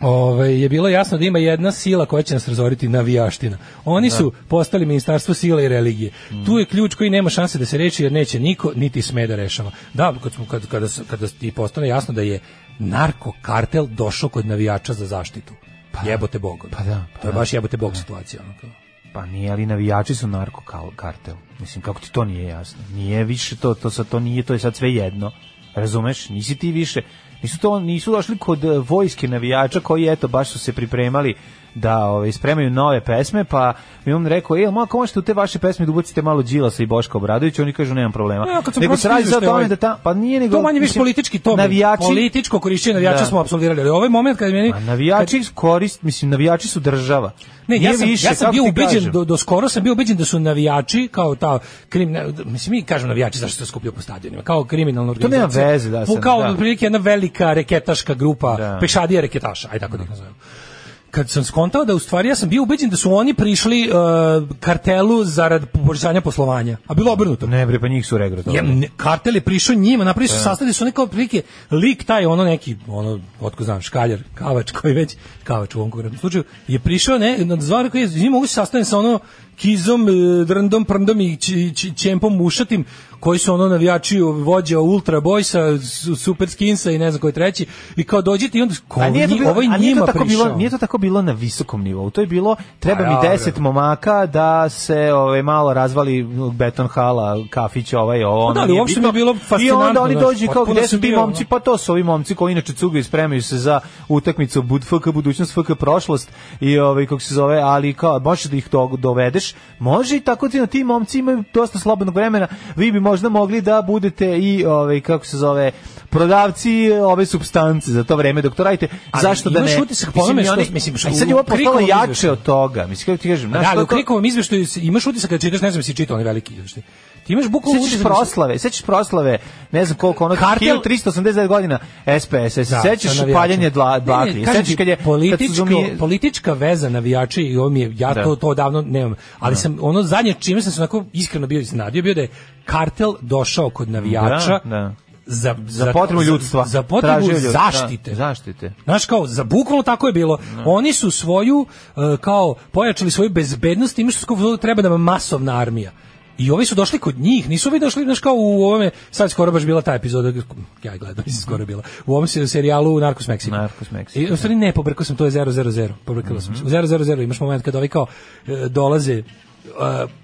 Speaker 7: Ove, je bilo jasno da ima jedna sila koja će nas razoriti navijaština. Oni
Speaker 6: Da.
Speaker 7: su postali ministarstvo sile i religije.
Speaker 6: Mm.
Speaker 7: Tu je ključ koji nema šanse da se reči jer neće niko niti sme da rešava. Da, kad, smo- kad, kada, s- kada ti postane jasno da je narkokartel došao kod navijača za zaštitu. Pa, jebote bog. ono.
Speaker 6: pa da, pa
Speaker 7: to je
Speaker 6: da.
Speaker 7: baš jebote bog situacija. ono kao.
Speaker 6: Pa nije, ali navijači su narkokartel. Mislim, kako ti to nije jasno? Nije više to, to sad to nije, to je sad sve jedno. Razumeš? Nisi ti više, nisu to, nisu došli kod eh, vojske navijača koji, eto, baš su se pripremali da ovaj, spremaju nove pesme, pa mi on rekao, ej, ma ako možete u te vaše pesme da ubacite malo Đilasa i Boška Obradovića, oni kažu, nemam problema.
Speaker 7: Ne, kad sam
Speaker 6: nego se
Speaker 7: pročitao
Speaker 6: radi sad o
Speaker 7: izveštaj
Speaker 6: tome
Speaker 7: ovaj-
Speaker 6: da ta, pa nije nego...
Speaker 7: to manje više
Speaker 6: mislim,
Speaker 7: politički to
Speaker 6: navijači,
Speaker 7: političko korišćenje navijača
Speaker 6: Da.
Speaker 7: smo apsolvirali ali ovaj moment kad meni
Speaker 6: Ma, navijači korist, mislim, navijači su država.
Speaker 7: Ne, ja
Speaker 6: Nije
Speaker 7: sam,
Speaker 6: više,
Speaker 7: ja sam
Speaker 6: kako
Speaker 7: bio
Speaker 6: ti
Speaker 7: ubeđen,
Speaker 6: kažem?
Speaker 7: do, do skoro sam bio ubeđen da su navijači kao ta kriminal, mislim mi kažemo navijači zašto se skupljaju po stadionima, kao kriminalna
Speaker 6: nema
Speaker 7: organizacija.
Speaker 6: veze, da,
Speaker 7: Po-
Speaker 6: sad,
Speaker 7: Kao
Speaker 6: da.
Speaker 7: otprilike jedna velika reketaška grupa,
Speaker 6: Da.
Speaker 7: pešadija reketaša, aj tako da ih nazovem. Kad sam skontao da u stvari ja sam bio ubeđen da su oni prišli uh, kartelu zarad poboljšanja poslovanja, a bilo obrnuto.
Speaker 6: Ne bre, pa njih su regrutovali.
Speaker 7: Je, ne, kartel je prišao njima, napravili
Speaker 6: Da.
Speaker 7: su sastavili su neka prilike lik taj ono neki ono otko znam škaljer, kavač koji već kavač u ovom konkretnom slučaju je prišao ne na zvar koji je iz njih mogu se sastaviti sa ono kizom, e, drndom, prndom i či- či- čempom mušatim koji su ono navijači vođa Ultra Boysa, su- Super Skinsa i ne znam koji treći i kao dođete i onda ko
Speaker 6: A nije to
Speaker 7: nji-
Speaker 6: bilo,
Speaker 7: ovaj
Speaker 6: a nije
Speaker 7: njima
Speaker 6: to tako bilo,
Speaker 7: prišao.
Speaker 6: nije to tako bilo na visokom nivou. To je bilo treba
Speaker 7: Pa
Speaker 6: mi
Speaker 7: dobro.
Speaker 6: 10 momaka da se ovaj malo razvali beton hala, kafić ovaj ovo. ono
Speaker 7: da, ali
Speaker 6: nije
Speaker 7: uopšte
Speaker 6: bitno.
Speaker 7: mi je bilo
Speaker 6: I onda
Speaker 7: fascinantno,
Speaker 6: oni
Speaker 7: znaš,
Speaker 6: dođu i kao
Speaker 7: potpuno
Speaker 6: gde
Speaker 7: sam
Speaker 6: su ti
Speaker 7: bio,
Speaker 6: momci,
Speaker 7: ono.
Speaker 6: pa to su ovi momci koji inače cugaju i spremaju se za utakmicu bud FK budućnost FK prošlost i ovaj kako se zove, ali kao možeš da ih do, dovedeš. Može i tako ti ti momci imaju dosta slobodnog vremena. Vi bi možda mogli da budete i ovaj kako se zove prodavci ove supstance za to vreme dok to radite
Speaker 7: Ali
Speaker 6: zašto da ne?
Speaker 7: imaš utisak po onome
Speaker 6: i
Speaker 7: što-
Speaker 6: oni-
Speaker 7: mislim, što
Speaker 6: a i sad
Speaker 7: u
Speaker 6: je ovo postalo
Speaker 7: Krikovom
Speaker 6: jače
Speaker 7: izveštaju.
Speaker 6: od toga. Mislim, kako ti kažem,
Speaker 7: Da,
Speaker 6: znaš,
Speaker 7: ali
Speaker 6: to
Speaker 7: u
Speaker 6: je to-
Speaker 7: Krikovom izveštaju si- imaš utisak kad čitaš, ne znam jesi čitao onaj veliki izveštaj. Ti imaš bukvalno
Speaker 6: Sećaš
Speaker 7: utisak da su-
Speaker 6: proslave, sećaš proslave, ne znam koliko ono,
Speaker 7: Kartel-
Speaker 6: 1389 godina SPS,
Speaker 7: Da,
Speaker 6: sećaš
Speaker 7: sa navijačima.
Speaker 6: paljenje
Speaker 7: Ne,
Speaker 6: dla,
Speaker 7: ne,
Speaker 6: baklje,
Speaker 7: kažem
Speaker 6: sećaš
Speaker 7: ti,
Speaker 6: kad je... kad su
Speaker 7: političko-
Speaker 6: zumi-
Speaker 7: politička veza navijača i ovo mi je, ja
Speaker 6: Da.
Speaker 7: to, to davno nemam, ali sam ono zadnje čime sam se onako iskreno bio iznenadio bio da je kartel došao kod navijača
Speaker 6: Da, da.
Speaker 7: Za,
Speaker 6: za potrebu ljudstva.
Speaker 7: Za, za potrebu
Speaker 6: tražio ljud-
Speaker 7: zaštite.
Speaker 6: Da, zaštite.
Speaker 7: Znaš kao, za bukvalno tako je bilo.
Speaker 6: Da.
Speaker 7: Oni su svoju, e, kao, pojačali svoju bezbednost, imaš skupo, treba da masovna armija. I ovi su došli kod njih, nisu ovi došli, znaš kao u ovome, sad skoro baš bila ta epizoda, ja je gledam, [LAUGHS] mislim, skoro je bila, u ovom se- serijalu Narcos Mexico.
Speaker 6: Narcos da. Mhm. Mexico,
Speaker 7: I, u stvari ne, pobrkao sam, to je 000, pobrkao sam. se. U 000 imaš moment kad ovi kao e, dolaze, e,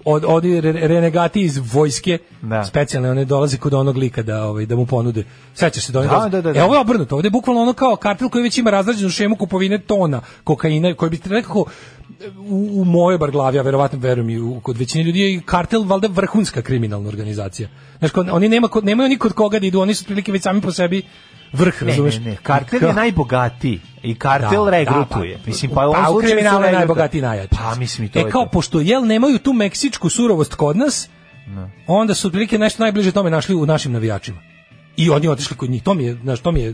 Speaker 7: od, od renegati iz vojske,
Speaker 6: Da.
Speaker 7: specijalne, one dolaze kod onog lika da, ovaj, da mu ponude. Sećaš se da oni
Speaker 6: Da,
Speaker 7: dolaze-
Speaker 6: da, da,
Speaker 7: E,
Speaker 6: da.
Speaker 7: ovo je obrnuto. Ovde je bukvalno ono kao kartel koji već ima razrađenu šemu kupovine tona kokaina koji bi nekako u, u mojoj bar glavi, a verovatno verujem i u, kod većine ljudi je i kartel valjda vrhunska kriminalna organizacija. Znaš, kod- oni nema kod, nemaju ni kod koga da idu, oni su otprilike već sami po sebi vrh,
Speaker 6: Ne,
Speaker 7: razumeš?
Speaker 6: ne, ne, kartel je najbogatiji i kartel
Speaker 7: Da,
Speaker 6: regrutuje.
Speaker 7: da, pa-
Speaker 6: mislim, pa, u ovom
Speaker 7: pa u
Speaker 6: slučaju su
Speaker 7: kriminalu je
Speaker 6: regrutuje.
Speaker 7: najbogatiji i najjači.
Speaker 6: Pa, mislim, i to
Speaker 7: e,
Speaker 6: je
Speaker 7: kao,
Speaker 6: to.
Speaker 7: pošto jel nemaju tu meksičku surovost kod nas,
Speaker 6: Da.
Speaker 7: onda su otprilike nešto najbliže tome našli u našim navijačima. I oni otišli kod njih. To mi je, znaš, to mi je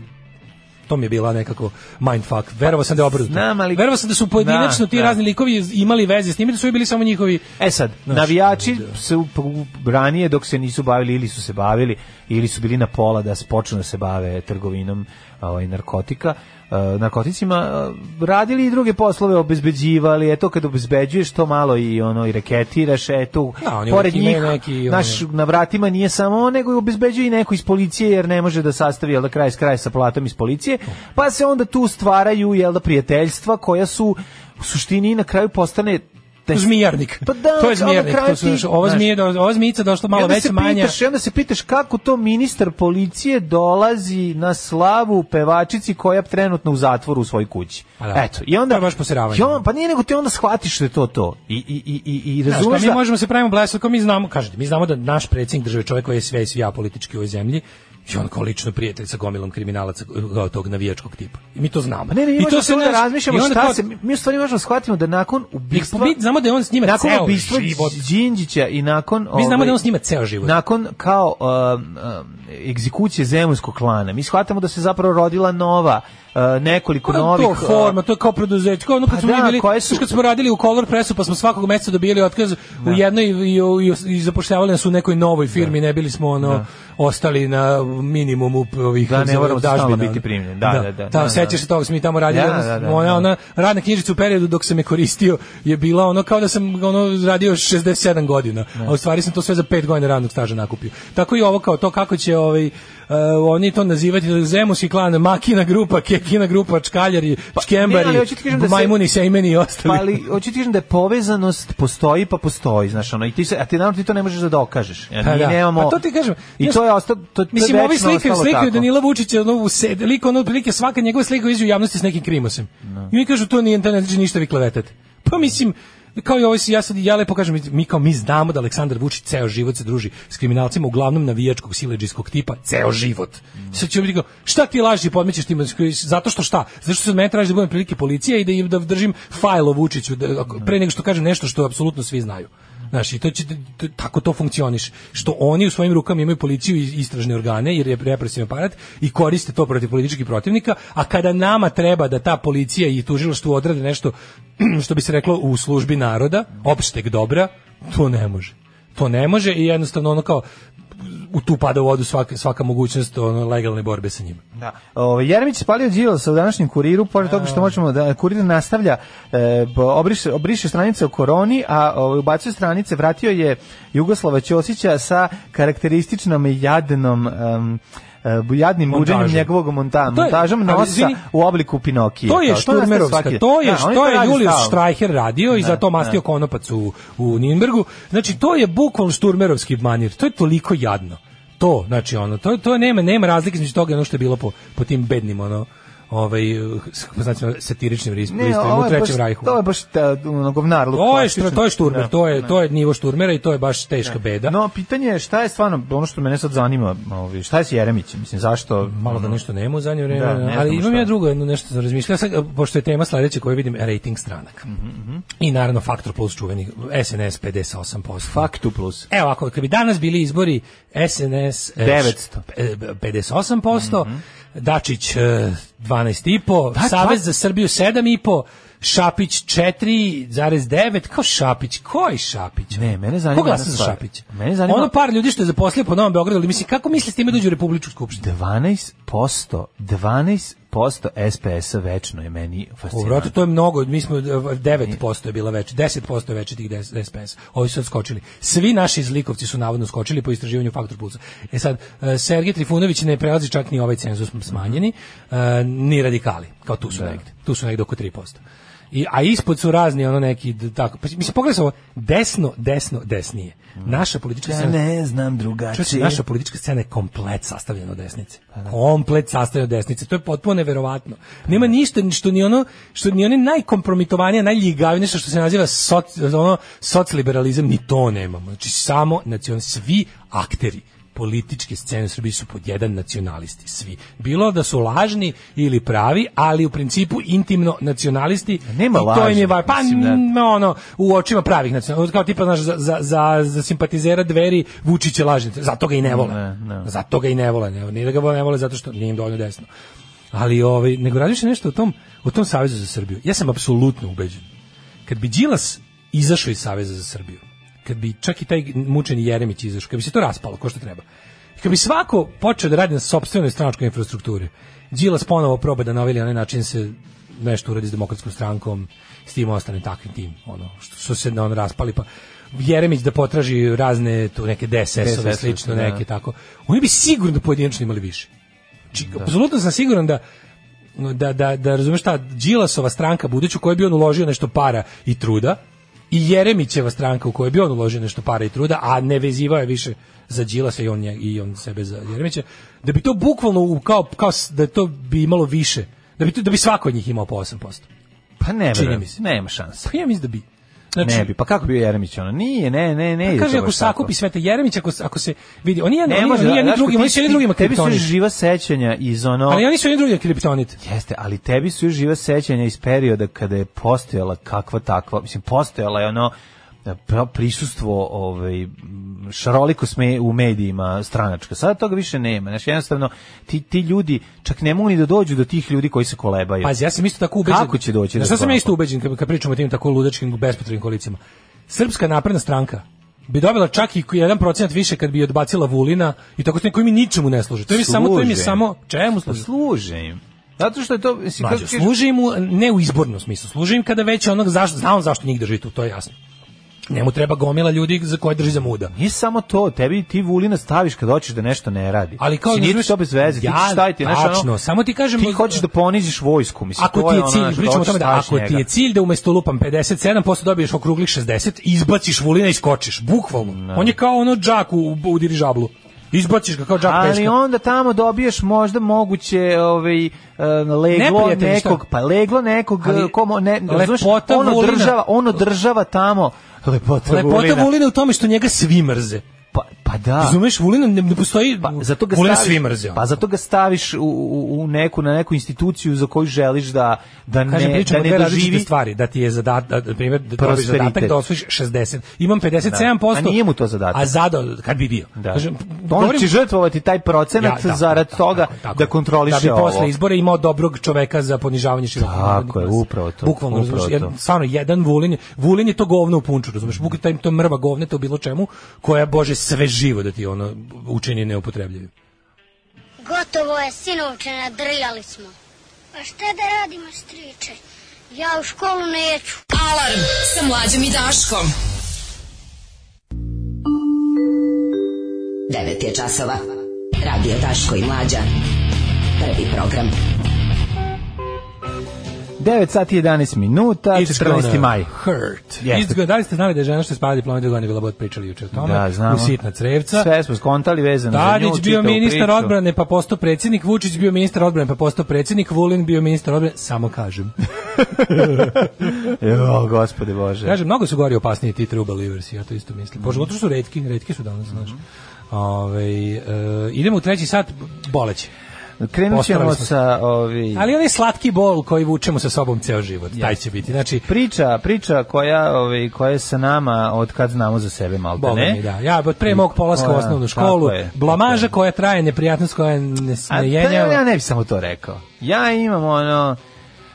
Speaker 7: to mi je bila nekako mindfuck. Verovao sam da je obrnuto.
Speaker 6: Pa, Znam, ali-
Speaker 7: Verovao sam da su pojedinačno ti
Speaker 6: Da, da.
Speaker 7: razni likovi imali veze s njima, da su ovi bili samo njihovi
Speaker 6: E sad,
Speaker 7: Znaš, da.
Speaker 6: navijači se u- u- ranije dok se nisu bavili ili su se bavili ili su bili na pola da se počnu da se bave trgovinom ovaj, narkotika, e, narkoticima, e, radili i druge poslove, obezbeđivali, eto kad obezbeđuješ to malo i ono i reketiraš, eto,
Speaker 7: Da, oni
Speaker 6: pored
Speaker 7: uvijek
Speaker 6: njih,
Speaker 7: imaju neki, ono-
Speaker 6: naš na vratima nije samo on, nego i obezbeđuje i neko iz policije, jer ne može da sastavi jel da kraj s kraj sa platom iz policije, pa se onda tu stvaraju jel da prijateljstva koja su u suštini na kraju postane te-
Speaker 7: zmijarnik.
Speaker 6: Pa da,
Speaker 7: to
Speaker 6: ali
Speaker 7: je zmijarnik.
Speaker 6: na kraju
Speaker 7: To su,
Speaker 6: ti-
Speaker 7: znaš, ova,
Speaker 6: znaš,
Speaker 7: zmije, do- ova zmijica došla malo
Speaker 6: onda
Speaker 7: veća,
Speaker 6: se
Speaker 7: manja.
Speaker 6: Pitaš, i onda se pitaš kako to ministar policije dolazi na slavu pevačici koja je trenutno u zatvoru u svojoj kući.
Speaker 7: Pa da.
Speaker 6: Eto, i onda...
Speaker 7: To je baš posiravanje.
Speaker 6: I on- pa nije nego ti onda shvatiš da je to to. I, i, i, i, i
Speaker 7: Znaš,
Speaker 6: razumeš
Speaker 7: pa mi
Speaker 6: da...
Speaker 7: možemo se pravimo blesak, mi znamo, kažete, mi znamo da naš predsjednik države, čovjek koji je sve i svi ja politički u ovoj zemlji, i on kao lično prijatelj sa gomilom kriminalaca kao tog navijačkog tipa. I mi to znamo.
Speaker 6: Pa ne, ne, mi
Speaker 7: I
Speaker 6: možemo
Speaker 7: to
Speaker 6: samo da
Speaker 7: naš-
Speaker 6: razmišljamo
Speaker 7: i onda
Speaker 6: šta
Speaker 7: kao-
Speaker 6: se, mi u stvari možemo shvatimo da nakon
Speaker 7: Mi,
Speaker 6: ubistva,
Speaker 7: mi znamo da je on s njima
Speaker 6: nakon
Speaker 7: ceo
Speaker 6: ubistva
Speaker 7: život.
Speaker 6: Đinđića i nakon...
Speaker 7: Mi znamo
Speaker 6: ovaj,
Speaker 7: da on s njima ceo život.
Speaker 6: Nakon kao um, um, egzekucije zemunskog klana, mi shvatamo da se zapravo rodila nova, uh, nekoliko
Speaker 7: Pa to
Speaker 6: novih... uh,
Speaker 7: je forma, to je kao preduzeće. Kao ono kad
Speaker 6: Pa
Speaker 7: smo
Speaker 6: da,
Speaker 7: mi bili,
Speaker 6: koje
Speaker 7: koje
Speaker 6: su-
Speaker 7: kad smo radili u Color Pressu, pa smo svakog meseca dobijali otkaz
Speaker 6: Da.
Speaker 7: u jednoj i, i, i, i zapošljavali nas u nekoj novoj firmi, ne bili smo ono ostali na minimumu ovih
Speaker 6: Da, ne moramo
Speaker 7: dažbina,
Speaker 6: stalno
Speaker 7: ono.
Speaker 6: biti primljeni. Da, da, da,
Speaker 7: Ta,
Speaker 6: da, da.
Speaker 7: sećaš se toga, smo mi tamo radili.
Speaker 6: Da,
Speaker 7: ono,
Speaker 6: da, da,
Speaker 7: ona,
Speaker 6: da.
Speaker 7: ona radna knjižica u periodu dok sam je koristio je bila ono kao da sam ono radio 67 godina,
Speaker 6: Da.
Speaker 7: a u stvari sam to sve za 5 godina radnog staža nakupio. Tako i ovo kao to kako će ovaj e, oni to nazivati Zemuski klan, Makina grupa, Kekina grupa, Čkaljari,
Speaker 6: Pa, ne, ali
Speaker 7: Škembari,
Speaker 6: hoću ti kažem da se-
Speaker 7: Majmuni, Sejmeni i ostali.
Speaker 6: Pa ali hoću ti kažem da je povezanost postoji pa postoji, znaš, ono i ti se a ti naravno ti to ne možeš da dokažeš. Ja,
Speaker 7: Pa
Speaker 6: mi
Speaker 7: da.
Speaker 6: nemamo.
Speaker 7: Pa to ti kažem,
Speaker 6: I
Speaker 7: znaš,
Speaker 6: to je ostao to to je
Speaker 7: Mislim, ovi
Speaker 6: večno
Speaker 7: slikaju,
Speaker 6: ostalo
Speaker 7: slikaju
Speaker 6: tako.
Speaker 7: Danila Vučića, ono, u sed, liko, ono, otprilike svaka njegova slika iđe u javnosti s nekim krimosem.
Speaker 6: Da.
Speaker 7: I oni kažu, to nije, to ne znači ništa vi klevetate. Pa mislim, kao i ovo, ja sad, ja lepo kažem, mi kao mi znamo da Aleksandar Vučić ceo život se druži s kriminalcima, uglavnom navijačkog, sileđijskog tipa, ceo život.
Speaker 6: Mm.
Speaker 7: Sad ću biti kao, šta ti laži podmećeš tim, zato što šta? Zato što se od mene traži da budem prilike policija i da, im- da držim fajl o Vučiću, da, ako- pre nego što kažem nešto što apsolutno svi znaju. Znaš, i to će, to- tako to funkcioniš. Što oni u svojim rukama imaju policiju i istražne organe, jer je represivni aparat, i koriste to protiv političkih protivnika, a kada nama treba da ta policija i tužilaštvo odrade nešto, [CLEARS THROAT] što bi se reklo, u službi naroda, opšteg dobra, to ne može. To ne može i jednostavno ono kao, u tu pada u vodu svaka, svaka mogućnost ono, legalne borbe sa njima.
Speaker 6: Da. Ovaj Jeremić je spalio Đilasa u današnjem kuriru, pored toga što možemo da kurir nastavlja e, bo- obriše, obriše stranice o koroni, a ovaj, ubacio stranice, vratio je Jugoslava Ćosića sa karakterističnom i jadnom em, e, bu- jadnim
Speaker 7: Montažom.
Speaker 6: buđenjem njegovog monta,
Speaker 7: To je-
Speaker 6: montažom
Speaker 7: ali
Speaker 6: nosa
Speaker 7: izvini,
Speaker 6: u obliku Pinokija.
Speaker 7: To je
Speaker 6: Kao, nastaje
Speaker 7: Šturmerovska,
Speaker 6: svaki-
Speaker 7: to je
Speaker 6: Da, oni
Speaker 7: što je
Speaker 6: rade
Speaker 7: Julius
Speaker 6: stalno. Da,
Speaker 7: Streicher radio i zato mastio konopac u, u Ninbergu. Znači, to je bukvalno Šturmerovski manir. To je toliko jadno. To, znači, ono, to, to nema, nema razlike između toga i ono što je bilo po, po tim bednim, ono, ovaj, s- kako znači, satiričnim
Speaker 6: Ne,
Speaker 7: listovima
Speaker 6: ovo
Speaker 7: u
Speaker 6: je
Speaker 7: Trećem
Speaker 6: baš-
Speaker 7: rajhu.
Speaker 6: To je baš ta, ono, govnarluk
Speaker 7: To je,
Speaker 6: klasičan.
Speaker 7: štra- to je šturmer,
Speaker 6: Da.
Speaker 7: to je, to je nivo šturmera i to je baš teška beda.
Speaker 6: No, pitanje je šta je stvarno, ono što mene sad zanima, ovaj, šta je s Jeremićem, mislim, zašto...
Speaker 7: malo da nešto nema u zadnje vreme,
Speaker 6: Mhm. Da, ne
Speaker 7: ali
Speaker 6: znamo
Speaker 7: imam
Speaker 6: šta.
Speaker 7: ja drugo jedno nešto za razmišljanje. Sad, pošto je tema sledeća koju vidim, rating stranak.
Speaker 6: Mhm,
Speaker 7: I naravno Faktor plus čuveni SNS 58%.
Speaker 6: Faktu plus.
Speaker 7: Evo, ako kad bi danas bili izbori SNS e,
Speaker 6: 900.
Speaker 7: e, 58%,
Speaker 6: Mhm.
Speaker 7: Dačić e, 12,5%,
Speaker 6: Da,
Speaker 7: Savez za Srbiju 7,5%, Šapić 4,9, kao Šapić, koji Šapić?
Speaker 6: Ne, mene zanima
Speaker 7: Ko glasa
Speaker 6: jedna
Speaker 7: za
Speaker 6: stvar.
Speaker 7: Šapić?
Speaker 6: Mene zanima-
Speaker 7: Ono par ljudi što je zaposlio po Novom Beogradu, ali mislim, kako misli s time da uđu u Republičku skupštinu?
Speaker 6: 12%, 12% SPS-a večno je meni
Speaker 7: U vratu
Speaker 6: fascinantno.
Speaker 7: to je mnogo, mi smo eh, 9% je bila veća, 10% je veća tih 10 SPS. Ovi su skočili. Svi naši zlikovci su navodno skočili po istraživanju faktor pulsa. E sad, eh, Sergej Trifunović ne prelazi čak ni ovaj cenzus smanjeni, eh, ni radikali, kao tu
Speaker 6: Da.
Speaker 7: su negde. Tu su negde oko 3%. I, a ispod su razni ono neki d- tako. Pa, mislim, pogledaj se ovo, desno, desno, desnije. Naša politička
Speaker 6: Mm. Ja
Speaker 7: scena-
Speaker 6: ne znam
Speaker 7: Čovječe,
Speaker 6: drugačije.
Speaker 7: naša politička scena je komplet sastavljena od desnice. Komplet sastavljena od desnice. To je potpuno neverovatno. Nema ništa ni što ni ono što ni one najkompromitovanije, najljigavije nešto što se naziva soc, ono socliberalizam ni to nemamo. Znači samo nacion svi akteri političke scene u Srbiji su pod jedan nacionalisti svi. Bilo da su lažni ili pravi, ali u principu intimno nacionalisti
Speaker 6: Nema
Speaker 7: i to im je
Speaker 6: lažnih,
Speaker 7: va- pa
Speaker 6: mislim, da-
Speaker 7: no, ono, u očima pravih nacionalista, kao tipa, znaš, za, za, za, za simpatizera dveri Vučić je lažni, zato ga i ne vole.
Speaker 6: Ne, ne.
Speaker 7: Zato ga i ne vole, ne, nije da ga vole, ne vole zato što nije im dovoljno desno. Ali, ovaj, nego razmišljam nešto o tom, o tom Savezu za Srbiju. Ja sam apsolutno ubeđen. Kad bi Đilas izašao iz Saveza za Srbiju, kad bi čak i taj mučeni Jeremić izašao, kad bi se to raspalo, ko što treba, i kad bi svako počeo da radi na sopstvenoj stranačkoj infrastrukturi, Đilas ponovo proba da na ovaj ili onaj način se nešto uradi s demokratskom strankom, s tim ostane takvim tim, ono, što su se da on raspali, pa Jeremić da potraži razne tu neke DSS-ove,
Speaker 6: DSS-ove,
Speaker 7: slično
Speaker 6: da.
Speaker 7: neke, tako. Oni bi sigurno pojedinačno imali više. Znači, apsolutno sam siguran da da, da, da razumeš šta, Đilasova stranka buduću u kojoj bi on uložio nešto para i truda i Jeremićeva stranka u kojoj bi on uložio nešto para i truda, a ne vezivao je više za Đilasa i on, nje- i on sebe za Jeremića, da bi to bukvalno u- kao, kao s- da to bi imalo više, da bi, to, da bi svako od njih imao po 8%.
Speaker 6: Pa ne,
Speaker 7: Čini
Speaker 6: verujem,
Speaker 7: mi se.
Speaker 6: nema šanse.
Speaker 7: Pa ja mislim da bi. Znači, Pa
Speaker 6: ne bi. Pa kako bi bio Jeremić ono? Nije, ne, ne, ne. ide
Speaker 7: Kaže
Speaker 6: to
Speaker 7: ako
Speaker 6: baš tako.
Speaker 7: sakupi sve te Jeremić ako ako se vidi, oni jedan
Speaker 6: Ne
Speaker 7: oni,
Speaker 6: može,
Speaker 7: oni
Speaker 6: da,
Speaker 7: jedni
Speaker 6: znaš,
Speaker 7: drugim,
Speaker 6: ti
Speaker 7: oni
Speaker 6: si-
Speaker 7: su jedni drugima Pa
Speaker 6: Tebi su još
Speaker 7: kriptonit.
Speaker 6: živa sećanja iz ono...
Speaker 7: Ali oni su jedni drugima kriptonit.
Speaker 6: Jeste, ali tebi su još živa sećanja iz perioda kada je postojala kakva takva, mislim, postojala je ono pra- prisustvo ovaj m, šaroliko sme u medijima stranačka. Sada toga više nema. Znači jednostavno ti ti ljudi čak ne mogu ni da dođu do tih ljudi koji se kolebaju.
Speaker 7: Pazi, ja sam isto tako ubeđen.
Speaker 6: Kako će doći
Speaker 7: Znaš
Speaker 6: do
Speaker 7: šta sam
Speaker 6: toga?
Speaker 7: ja isto ubeđen kad, kad pričamo o tim tako ludačkim bespotrebnim kolicima? Srpska napredna stranka bi dobila čak i jedan procenat više kad bi odbacila Vulina i tako stvari koji mi ničemu ne služe. To je samo to im je
Speaker 6: Služe.
Speaker 7: samo čemu
Speaker 6: Pa
Speaker 7: služi?
Speaker 6: služe im. Zato što je to mislim
Speaker 7: Mlađo,
Speaker 6: kako kažeš-
Speaker 7: služi im u- ne u izbornom smislu, služi im kada već onog zašto, zna on zašto njih drži tu, to je jasno. Njemu treba gomila ljudi za koje drži za muda.
Speaker 6: Nije samo to, tebi ti vulina staviš kad hoćeš da nešto ne radi.
Speaker 7: Ali kao da
Speaker 6: Mislim, nije ti to bez veze, ti ćeš staviti, znaš, ono-
Speaker 7: tačno, samo ti kažem
Speaker 6: ti hoćeš da poniziš vojsku, mislim,
Speaker 7: Ako
Speaker 6: to
Speaker 7: ti je
Speaker 6: ono, znaš,
Speaker 7: cilj, pričamo o
Speaker 6: hoćeš
Speaker 7: tome da
Speaker 6: staviš
Speaker 7: ako ti
Speaker 6: njega.
Speaker 7: je cilj da umesto lupam 57% dobiješ okruglih 60, izbaciš Vulina i skočiš, bukvalno.
Speaker 6: Da.
Speaker 7: On je kao ono džak u, u dirižablu. Izbaciš ga kao džak
Speaker 6: Ali
Speaker 7: peška.
Speaker 6: onda tamo dobiješ možda moguće ovaj e, leglo
Speaker 7: Neprijatelj,
Speaker 6: nekog,
Speaker 7: šta?
Speaker 6: pa leglo nekog
Speaker 7: Ali
Speaker 6: e, komo ne, razumeš,
Speaker 7: lepota
Speaker 6: ono
Speaker 7: Vulina-
Speaker 6: država, ono država tamo lepota,
Speaker 7: Lepota
Speaker 6: Vulina.
Speaker 7: Vulina je u tome što njega svi mrze.
Speaker 6: Pa, pa da.
Speaker 7: Razumeš, Vulina ne, ne postoji,
Speaker 6: Pa, zato ga
Speaker 7: Vulina
Speaker 6: staviš,
Speaker 7: svi mrze.
Speaker 6: Pa zato ga staviš u, u, u neku na neku instituciju za koju želiš da da ne
Speaker 7: Kažem, pričamo
Speaker 6: da
Speaker 7: o dve
Speaker 6: ne
Speaker 7: različite
Speaker 6: doživi
Speaker 7: stvari, da ti je zadatak, na primjer, da dobiješ
Speaker 6: Prosperitet.
Speaker 7: zadatak da osvojiš 60. Imam 57%.
Speaker 6: Da. A nije mu to zadatak.
Speaker 7: A zadao, kad bi bio.
Speaker 6: Da.
Speaker 7: Kažem,
Speaker 6: on
Speaker 7: govorim-
Speaker 6: će žrtvovati taj procenat
Speaker 7: Ja, da,
Speaker 6: zarad
Speaker 7: da,
Speaker 6: toga
Speaker 7: tako je, tako
Speaker 6: da
Speaker 7: je.
Speaker 6: kontroliše
Speaker 7: da bi posle
Speaker 6: ovo.
Speaker 7: izbora imao dobrog čoveka za ponižavanje širokih
Speaker 6: Tako
Speaker 7: narodnih
Speaker 6: je,
Speaker 7: masa.
Speaker 6: upravo to,
Speaker 7: Bukvalno,
Speaker 6: upravo
Speaker 7: razumeš, jedan,
Speaker 6: to.
Speaker 7: stvarno, jedan Vulin, je- Vulin je to govno u punču, razumeš, bukvalno taj- to mrva govne, to bilo čemu, koja, bože, sve živo da ti ono učini neupotrebljivim.
Speaker 11: Gotovo je, sinovče, nadrljali smo. A šta da radimo, striče? Ja u školu neću.
Speaker 5: Alarm sa mlađom i Daškom.
Speaker 10: 9 je časova. Radio Daško i Mlađa. Prvi program.
Speaker 6: 9 sati i 11 minuta,
Speaker 7: It's gonna
Speaker 6: 14. maj.
Speaker 7: Hurt.
Speaker 6: Jeste.
Speaker 7: It's gonna- da li ste znali da je žena što je spala diplomata Dragana Vilabot pričali juče o tome?
Speaker 6: Da, znamo.
Speaker 7: U sitna crevca.
Speaker 6: Sve smo skontali vezano za nju.
Speaker 7: Tadić bio
Speaker 6: čitavu
Speaker 7: ministar
Speaker 6: priču.
Speaker 7: odbrane pa postao predsjednik, Vučić bio ministar odbrane pa postao predsjednik, Vulin bio ministar odbrane, samo kažem.
Speaker 6: Jo, gospode Bože.
Speaker 7: Kaže, mnogo su gori i opasniji ti True Believers, ja to isto mislim.
Speaker 6: Mhm.
Speaker 7: Bože, zato što su redki, redki su danas, znaš. Ovaj, e, idemo u treći sat, boleće.
Speaker 6: Krenut ćemo
Speaker 7: Postavili smo se.
Speaker 6: sa ovi...
Speaker 7: Ali onaj slatki bol koji vučemo sa sobom ceo život, taj će biti. Znači,
Speaker 6: Priča, priča koja, ovaj, koja je sa nama od kad znamo za sebe, malte
Speaker 7: Boga mi,
Speaker 6: ne.
Speaker 7: da. Ja od pre mog polaska u
Speaker 6: Koja-
Speaker 7: osnovnu
Speaker 6: tako
Speaker 7: školu,
Speaker 6: je,
Speaker 7: blamaža koja traje, neprijatnost koja ne
Speaker 6: A, pa,
Speaker 7: snejenja.
Speaker 6: ja ne bi samo to rekao. Ja imam ono...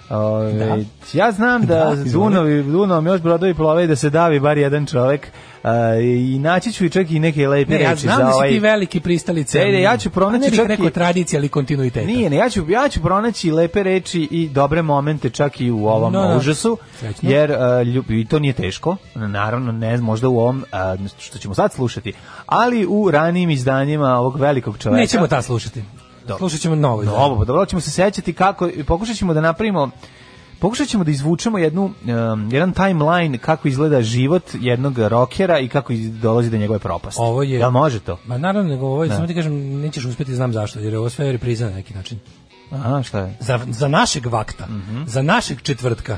Speaker 6: Ove, Ja znam da,
Speaker 7: Da,
Speaker 6: Dunovi, Dunovom još brodovi plove i da se davi bar jedan čovek a, i naći ću i čak i neke lepe
Speaker 7: Ne,
Speaker 6: reči
Speaker 7: ja znam
Speaker 6: za
Speaker 7: da si
Speaker 6: ovaj...
Speaker 7: ti veliki pristalice.
Speaker 6: Ne, ne, ja ću pronaći
Speaker 7: Ne bih
Speaker 6: čak i-
Speaker 7: rekao tradicije, ali kontinuiteta.
Speaker 6: Nije, ne, ja ću, ja ću pronaći lepe reči i dobre momente čak i u ovom
Speaker 7: No, da.
Speaker 6: užasu,
Speaker 7: Srećno.
Speaker 6: jer uh, ljub- i to nije teško, naravno ne, možda u ovom uh, što ćemo sad slušati, ali u ranijim izdanjima ovog velikog čoveka.
Speaker 7: Nećemo ta slušati.
Speaker 6: ovaj Dobro.
Speaker 7: Slušat ćemo novo. izdanje.
Speaker 6: Dobro, pa dobro ćemo se sećati kako, pokušat ćemo da napravimo Pokušat ćemo da izvučemo jednu, um, jedan timeline kako izgleda život jednog rokera i kako iz- dolazi do njegove propasti.
Speaker 7: Ovo je-
Speaker 6: Jel može to?
Speaker 7: Ma naravno, nego ovo je,
Speaker 6: Da.
Speaker 7: samo ti kažem, nećeš uspjeti, znam zašto, jer je ovo sve repriza na neki način.
Speaker 6: Aha, šta je?
Speaker 7: Za, za našeg vakta,
Speaker 6: Mhm.
Speaker 7: za našeg četvrtka,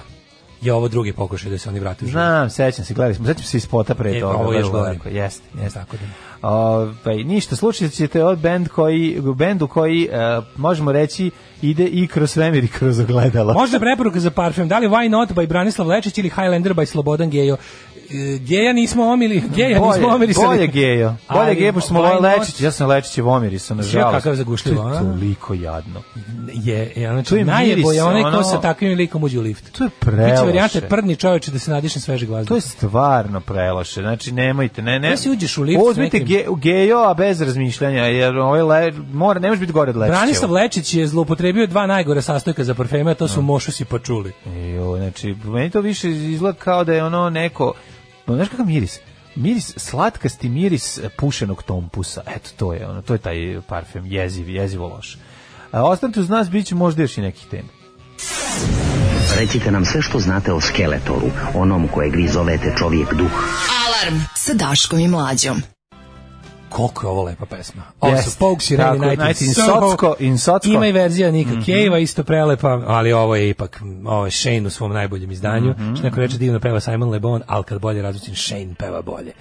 Speaker 7: je ovo drugi pokušaj da se oni vrate u život.
Speaker 6: Znam, sećam se, gledali smo, sećam se i spota pre
Speaker 7: E,
Speaker 6: toga.
Speaker 7: ovo
Speaker 6: baš
Speaker 7: još govorim.
Speaker 6: onako, Jeste, jeste.
Speaker 7: Tako da.
Speaker 6: Ovaj ništa slušat ćete od bend koji bendu koji e, možemo reći ide i kroz svemir i kroz ogledalo.
Speaker 7: Možda preporuka za parfem, da li Why Not by Branislav Lečić ili Highlander by Slobodan Gejo. E, Geja nismo omili, geja
Speaker 6: bolje,
Speaker 7: nismo ovaj omili.
Speaker 6: bolje gejo. Bolje gejo, pošto smo
Speaker 7: Why
Speaker 6: lo-
Speaker 7: Not
Speaker 6: lečići. Ja sam lečići u Omirisu, nažalost.
Speaker 7: kakav je zagušljivo,
Speaker 6: To je
Speaker 7: a?
Speaker 6: toliko jadno.
Speaker 7: Je, je, znači,
Speaker 6: To je
Speaker 7: najebo je
Speaker 6: miris,
Speaker 7: onaj
Speaker 6: ono-
Speaker 7: ko sa takvim likom uđe u lift.
Speaker 6: To je
Speaker 7: Biće
Speaker 6: preloše.
Speaker 7: varijante prdni čoveče da se nadišem svežeg vazduha.
Speaker 6: To je stvarno preloše. Znači nemojte, ne, ne.
Speaker 7: Da si uđeš u lift s
Speaker 6: Uzmite
Speaker 7: nekim-
Speaker 6: ge- gejo, a bez razmišljanja, jer ovaj le, mora, ne može biti gore od lečićeva.
Speaker 7: Branislav Lečić je zloupotrebio dva najgore sastojka za parfeme, a to
Speaker 6: Da.
Speaker 7: su mošus i pačuli.
Speaker 6: Jo, znači, meni to više izgleda kao da je ono neko, no, znaš kakav miris? Miris, slatkasti miris e, pušenog tompusa. Eto, to je ono, to je taj parfem, jeziv, jezivo loš. A, ostanite uz nas, bit će možda još i nekih tema.
Speaker 2: Recite nam sve što znate o Skeletoru, onom kojeg vi zovete čovjek duh.
Speaker 5: Alarm sa Daškom i Mlađom.
Speaker 7: koliko je ovo lepa pesma. Ovo su
Speaker 6: Jeste.
Speaker 7: Pogues i Rainy
Speaker 6: Tako znači, je,
Speaker 7: Night,
Speaker 6: Night in
Speaker 7: Soho.
Speaker 6: Socko, in Socko.
Speaker 7: Ima i verzija Nika Kejva, isto prelepa, ali ovo je ipak m, ovo je Shane u svom najboljem izdanju. Što neko reče divno peva Simon Le Bon, ali kad bolje razmišljam, Shane peva bolje.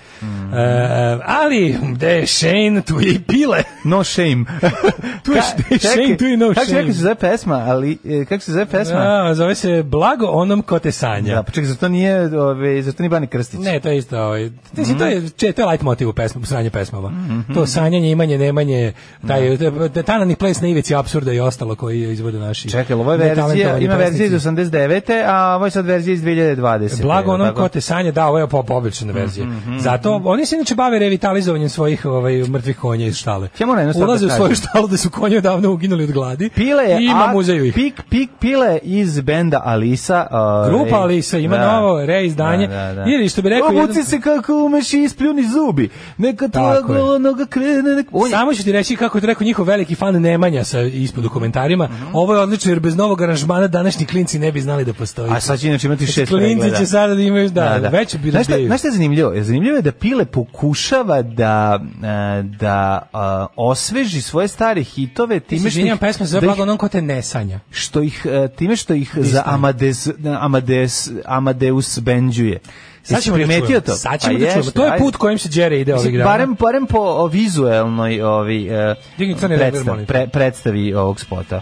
Speaker 7: E, ali, gde je Shane, tu je i pile.
Speaker 6: No shame.
Speaker 7: [LAUGHS] Tu je
Speaker 6: Ka-
Speaker 7: shame,
Speaker 6: čekaj,
Speaker 7: tu je no
Speaker 6: Kako,
Speaker 7: shame.
Speaker 6: kako se zove pesma, ali, e, kako se zove pesma?
Speaker 7: A, zove se Blago onom ko te sanja.
Speaker 6: Da, pa čekaj, zato nije, ove, zato nije Bani Krstić.
Speaker 7: Ne, to je isto, ovaj. Mislim to
Speaker 6: Mhm.
Speaker 7: je če, to je light motiv u pesmi, sranje pesmama. To sanjanje, imanje, nemanje, taj
Speaker 6: Mhm.
Speaker 7: taj Tanani Place na ivici apsurda i ostalo koji izvode naši.
Speaker 6: Čekaj, ali ovo je verzija,
Speaker 7: netalentovani
Speaker 6: ima verzija iz
Speaker 7: pesnici.
Speaker 6: 89. a ovo je sad verzija iz 2020.
Speaker 7: Blago onom
Speaker 6: Tako? Mhm.
Speaker 7: ko te sanja, da, ovo je pop obična verzija. Zato oni se inače bave revitalizovanjem svojih ovaj mrtvih konja iz štale.
Speaker 6: Ja moram jednu stvar da
Speaker 7: Ulaze u
Speaker 6: kažem.
Speaker 7: svoju štalu da su konje odavno uginuli od gladi.
Speaker 6: Pile je,
Speaker 7: i ima
Speaker 6: a-
Speaker 7: muzeju ih.
Speaker 6: Pik, pik, pile iz benda Alisa. eh, da. ove,
Speaker 7: Grupa Alisa ima novo reizdanje. Ili što bi rekao
Speaker 6: da, Obuci
Speaker 7: jedan-
Speaker 6: se kako umeš i ispljuni zubi. Neka tvoja
Speaker 7: Tako je.
Speaker 6: gola noga krene. Nek... On je-
Speaker 7: Samo ću ti reći kako je to rekao njihov veliki fan Nemanja sa ispod u komentarima.
Speaker 6: Mhm.
Speaker 7: Ovo je odlično jer bez novog aranžmana današnji klinci ne bi znali da postoji.
Speaker 6: A sad će inače imati šest
Speaker 7: Znači, Klinci
Speaker 6: pregleda.
Speaker 7: će sada da imaju da, već bi
Speaker 6: znaš, šta,
Speaker 7: razbijaju.
Speaker 6: znaš šta je zanimljivo? Je Zanimljivo je da Pile pokušava da, e, da e, osveži svoje stare hitove
Speaker 7: Ti
Speaker 6: time što
Speaker 7: izvinjam, pesma se zove
Speaker 6: da ih-
Speaker 7: blago onom ko te ne sanja.
Speaker 6: što ih e, time što ih za Amadeus Amadeus Amadeus benđuje.
Speaker 7: Sad
Speaker 6: Jesi
Speaker 7: ćemo da
Speaker 6: primetio
Speaker 7: čujemo.
Speaker 6: to?
Speaker 7: Sad ćemo
Speaker 6: Pa
Speaker 7: da čujemo.
Speaker 6: jeste,
Speaker 7: To je
Speaker 6: ajde.
Speaker 7: put kojim se Đere ide ovih
Speaker 6: Mislim,
Speaker 7: dana.
Speaker 6: barem, barem po o, vizuelnoj ovi, e,
Speaker 7: Digni crni reper, molim te.
Speaker 6: pre- predstavi ovog spota.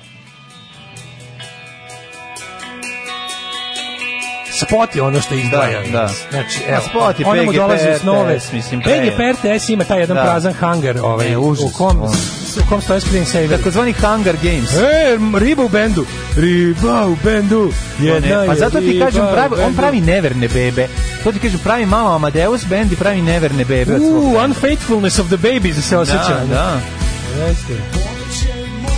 Speaker 7: Spot je ono što izdvaja.
Speaker 6: Da, da.
Speaker 7: Znači,
Speaker 6: Ma,
Speaker 7: evo,
Speaker 6: spot je
Speaker 7: ono mu
Speaker 6: PGP,
Speaker 7: dolazi u snove.
Speaker 6: RTS, mislim,
Speaker 7: PGP RTS ima taj jedan
Speaker 6: Da.
Speaker 7: prazan hangar ovaj,
Speaker 6: Ne, užas,
Speaker 7: u kom,
Speaker 6: ono.
Speaker 7: u kom stoje screensaver.
Speaker 6: Takozvani Hunger Games.
Speaker 7: E, riba u bendu. Riba u bendu. Jedna
Speaker 6: Ne, pa
Speaker 7: je
Speaker 6: zato ti
Speaker 7: riba
Speaker 6: kažem, pravi,
Speaker 7: u
Speaker 6: on
Speaker 7: bendu.
Speaker 6: pravi neverne bebe. To ti kažem, pravi malo Amadeus band i pravi neverne bebe. od svog
Speaker 7: U,
Speaker 6: benda.
Speaker 7: unfaithfulness of the babies se osjeća.
Speaker 6: da, da.
Speaker 7: Jeste.
Speaker 1: Oh,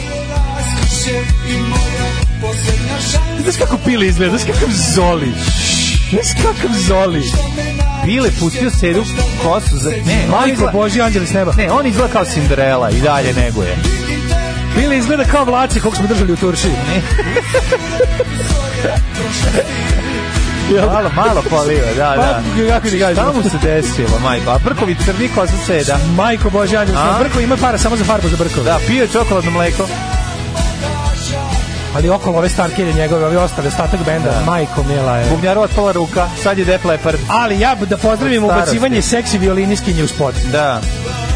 Speaker 1: Posljednja
Speaker 7: Znaš kako pili izgleda, znaš kakav zoli. Znaš kakav zoli.
Speaker 6: Bile pustio sedu kosu za... Ne, on
Speaker 7: Majko
Speaker 6: izgleda-
Speaker 7: Boži, anđeli s neba.
Speaker 6: Ne, on izgleda kao Cinderella i dalje neguje.
Speaker 7: Pili izgleda kao vlaci kog smo držali u Turčiji.
Speaker 6: Malo, malo polio, da, da.
Speaker 7: Pa, kako ti kažem? Da.
Speaker 6: Šta mu se desilo, majko? A brkovi crni kosa seda.
Speaker 7: Majko Boži, anđeli s neba.
Speaker 6: A?
Speaker 7: Brko ima para samo za farbu za brkove.
Speaker 6: Da, pio je čokoladno mleko.
Speaker 7: Ali okolo ove starkilje njegove, ovi ostale, ostatak benda.
Speaker 6: Da.
Speaker 7: Majko Mila je.
Speaker 6: Bubnjaru otpala ruka, sad je Def Leppard.
Speaker 7: Ali ja da pozdravim
Speaker 6: Od starosti.
Speaker 7: ubacivanje seksi violiniskinje u spot.
Speaker 6: Da,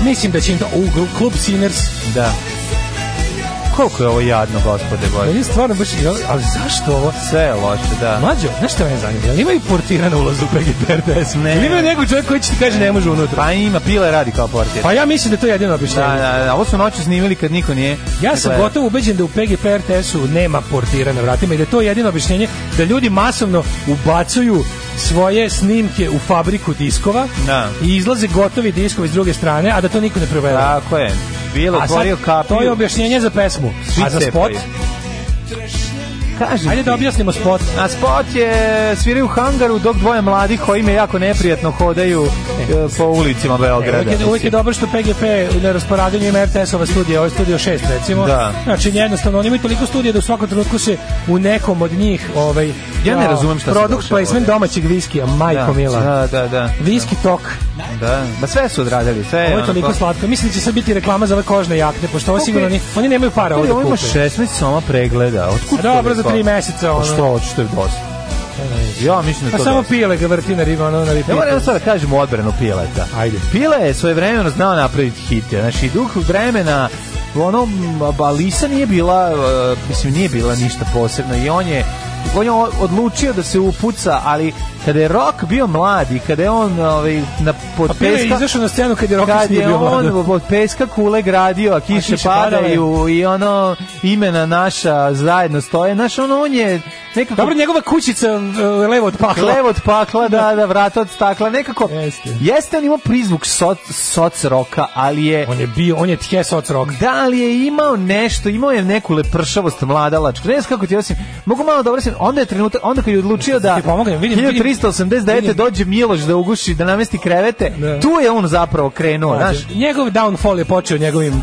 Speaker 7: Mislim da će im to... U, gru- klub Sinners.
Speaker 6: da. Koliko je ovo jadno, gospode Bože.
Speaker 7: Meni je stvarno baš... Ali zašto ovo?
Speaker 6: Sve je loše, da.
Speaker 7: Mlađo, znaš što me zanima? Jel imaju portira na ulazu u PGP RTS?
Speaker 6: Ne.
Speaker 7: Ili imaju nekog čovjeka koji će ti kaže ne može unutra?
Speaker 6: Pa ima, pile radi kao portir.
Speaker 7: Pa ja mislim da je to jedino
Speaker 6: Da,
Speaker 7: objašnjenje.
Speaker 6: da, da, ovo su noću snimili kad niko nije...
Speaker 7: Ja sam
Speaker 6: gledao.
Speaker 7: gotovo ubeđen da u PGP RTS-u nema portira na vratima i da je to jedino objašnjenje da ljudi masovno ubacuju svoje snimke u fabriku diskova
Speaker 6: Da.
Speaker 7: i izlaze gotovi diskovi s druge strane, a da to niko ne prevede.
Speaker 6: Tako je. Bilo,
Speaker 7: A sad,
Speaker 6: otvorio kapiju.
Speaker 7: to je objašnjenje za pesmu.
Speaker 6: Svi
Speaker 7: A za spot?
Speaker 6: cepaju. Kažem
Speaker 7: Ajde da
Speaker 6: ti.
Speaker 7: objasnimo spot.
Speaker 6: A spot je sviraju u hangaru dok dvoje mladih koji ime jako neprijatno hodaju e, po ulicima Beograda.
Speaker 7: Uvijek je, uvijek Dakle, je
Speaker 6: Da, mislim.
Speaker 7: dobro što PGP na rasporadanju ima RTS-ova studija, ovo je studio 6 recimo.
Speaker 6: Da.
Speaker 7: Znači jednostavno, oni imaju toliko studija da u svakom trenutku se u nekom od njih ovaj,
Speaker 6: Ja ne
Speaker 7: kao
Speaker 6: razumem šta se
Speaker 7: Product
Speaker 6: dešava
Speaker 7: placement
Speaker 6: ovdje.
Speaker 7: domaćeg viskija,
Speaker 6: da,
Speaker 7: majko mila.
Speaker 6: Da, da, da.
Speaker 7: Viski tok,
Speaker 6: da. Ma sve su odradili, sve.
Speaker 7: ovo je
Speaker 6: onako-
Speaker 7: toliko slatko. Mislim da će sad biti reklama za ove kožne jakne, pošto ovo
Speaker 6: Koliko
Speaker 7: sigurno
Speaker 6: je-
Speaker 7: ni, oni nemaju para ovo
Speaker 6: Ljudi,
Speaker 7: da
Speaker 6: Ovo ima
Speaker 7: kupe.
Speaker 6: 16 soma pregleda. Otkud
Speaker 7: A dobro, za
Speaker 6: toliko?
Speaker 7: tri meseca, ono.
Speaker 6: Pa što, očito je dosta. Ja mislim da
Speaker 7: Pa
Speaker 6: to
Speaker 7: samo
Speaker 6: dosta.
Speaker 7: pile ga vrti na riba, ono na riba.
Speaker 6: Ja moram jednu stvar da kažem u odbranu Pileta.
Speaker 7: Ajde.
Speaker 6: Pile je svoje vremeno znao napraviti hit. ja. Znači, duh vremena ono, m, ba, Lisa nije bila, e, mislim, nije bila ništa posebno i on je on je o- odlučio da se upuca, ali kada je Rock bio mlad i kada je on ovaj, na, pod
Speaker 7: A Pa pile je izašao na scenu kad je Rokis
Speaker 6: kad
Speaker 7: nije
Speaker 6: je
Speaker 7: bio
Speaker 6: on
Speaker 7: mlad.
Speaker 6: od peska kule gradio, a kiše
Speaker 7: kiše
Speaker 6: padaju i ono imena naša zajedno stoje. Znaš, ono, on je nekako
Speaker 7: Dobro, njegova kućica e, levo od pakla.
Speaker 6: Lev od pakla, da, da, vrata od stakla, nekako.
Speaker 7: Jeste.
Speaker 6: Jeste on imao prizvuk soc, soc roka, ali je...
Speaker 7: On je bio, on je tjes od rock.
Speaker 6: Da li je imao nešto, imao je neku lepršavost mladalačku, ne znam kako ti osim, mogu malo da osim, onda je trenutak, onda kad je odlučio da
Speaker 7: Ti pomognem, vidim, vidim.
Speaker 6: 1389.
Speaker 7: Vidim.
Speaker 6: dođe Miloš da uguši, da namesti krevete,
Speaker 7: Da.
Speaker 6: tu je on zapravo krenuo, Pa, znaš,
Speaker 7: Njegov downfall je počeo njegovim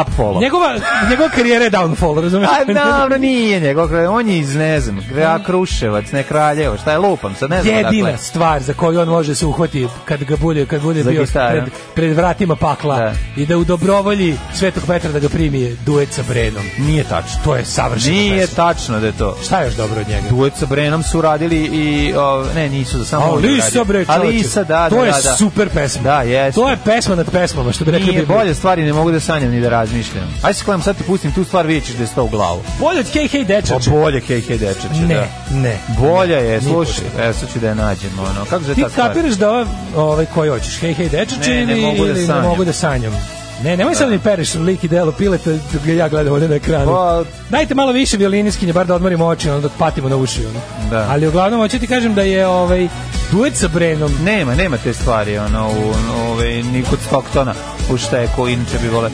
Speaker 6: upfollow.
Speaker 7: Njegova, njegova karijera je downfall, razumiješ?
Speaker 6: [LAUGHS] A dobro, nije njegov kraj. On je iz, ne znam, Gra Kruševac, ne Kraljevo, šta je lupam, sad ne znam
Speaker 7: jedina
Speaker 6: dakle.
Speaker 7: stvar za koju on može se uhvati kad ga bude kad bude
Speaker 6: Za
Speaker 7: bio
Speaker 6: gitaru.
Speaker 7: pred, pred vratima pakla
Speaker 6: Da.
Speaker 7: i da u dobrovolji Svetog Petra da ga primi je duet sa Brenom.
Speaker 6: Nije tačno.
Speaker 7: To je savršeno.
Speaker 6: Nije tačno da je to.
Speaker 7: Šta je još dobro od njega?
Speaker 6: Duet sa Brenom su radili i, o, ne, nisu, samo on je
Speaker 7: Ali Lisa
Speaker 6: radio.
Speaker 7: bre,
Speaker 6: Ali
Speaker 7: čoveče,
Speaker 6: Lisa, da,
Speaker 7: to
Speaker 6: da,
Speaker 7: je
Speaker 6: da, da.
Speaker 7: super pesma.
Speaker 6: Da, jeste.
Speaker 7: To je pesma nad pesmama, što bi rekli
Speaker 6: Nije
Speaker 7: bi
Speaker 6: bolje stvari, ne mogu da sanjam ni da razmišljam. Ajde se kojam sad ti pustim tu stvar, vidjet ćeš da je sto u glavu.
Speaker 7: Bolje od KK
Speaker 6: Pa
Speaker 7: Dečače.
Speaker 6: bolje KK Dečeće,
Speaker 7: Ne,
Speaker 6: da.
Speaker 7: ne.
Speaker 6: Bolja je,
Speaker 7: Ni
Speaker 6: slušaj, e, sad ću da je nađem, ono, kako se
Speaker 7: Ti
Speaker 6: ta stvar?
Speaker 7: kapiraš da ova, ovaj koji hoćeš, hej hej dečače
Speaker 6: Ne, ne
Speaker 7: ili,
Speaker 6: mogu da
Speaker 7: ili ne
Speaker 6: sanjam. Da.
Speaker 7: mogu da sanjam. Ne, nemoj sad mi pereš lik i delo pileta dok ga ja gledam ovde na ekranu.
Speaker 6: Pa-
Speaker 7: Dajte malo više violiniskinje, bar da odmorimo oči, onda dok patimo na uši. Ono.
Speaker 6: Da.
Speaker 7: Ali uglavnom, hoću ti kažem da je ovaj, duet sa Brenom
Speaker 6: Nema, nema te stvari, ono, u, ove, ni kod Stocktona, u šta je ko inače bi vole.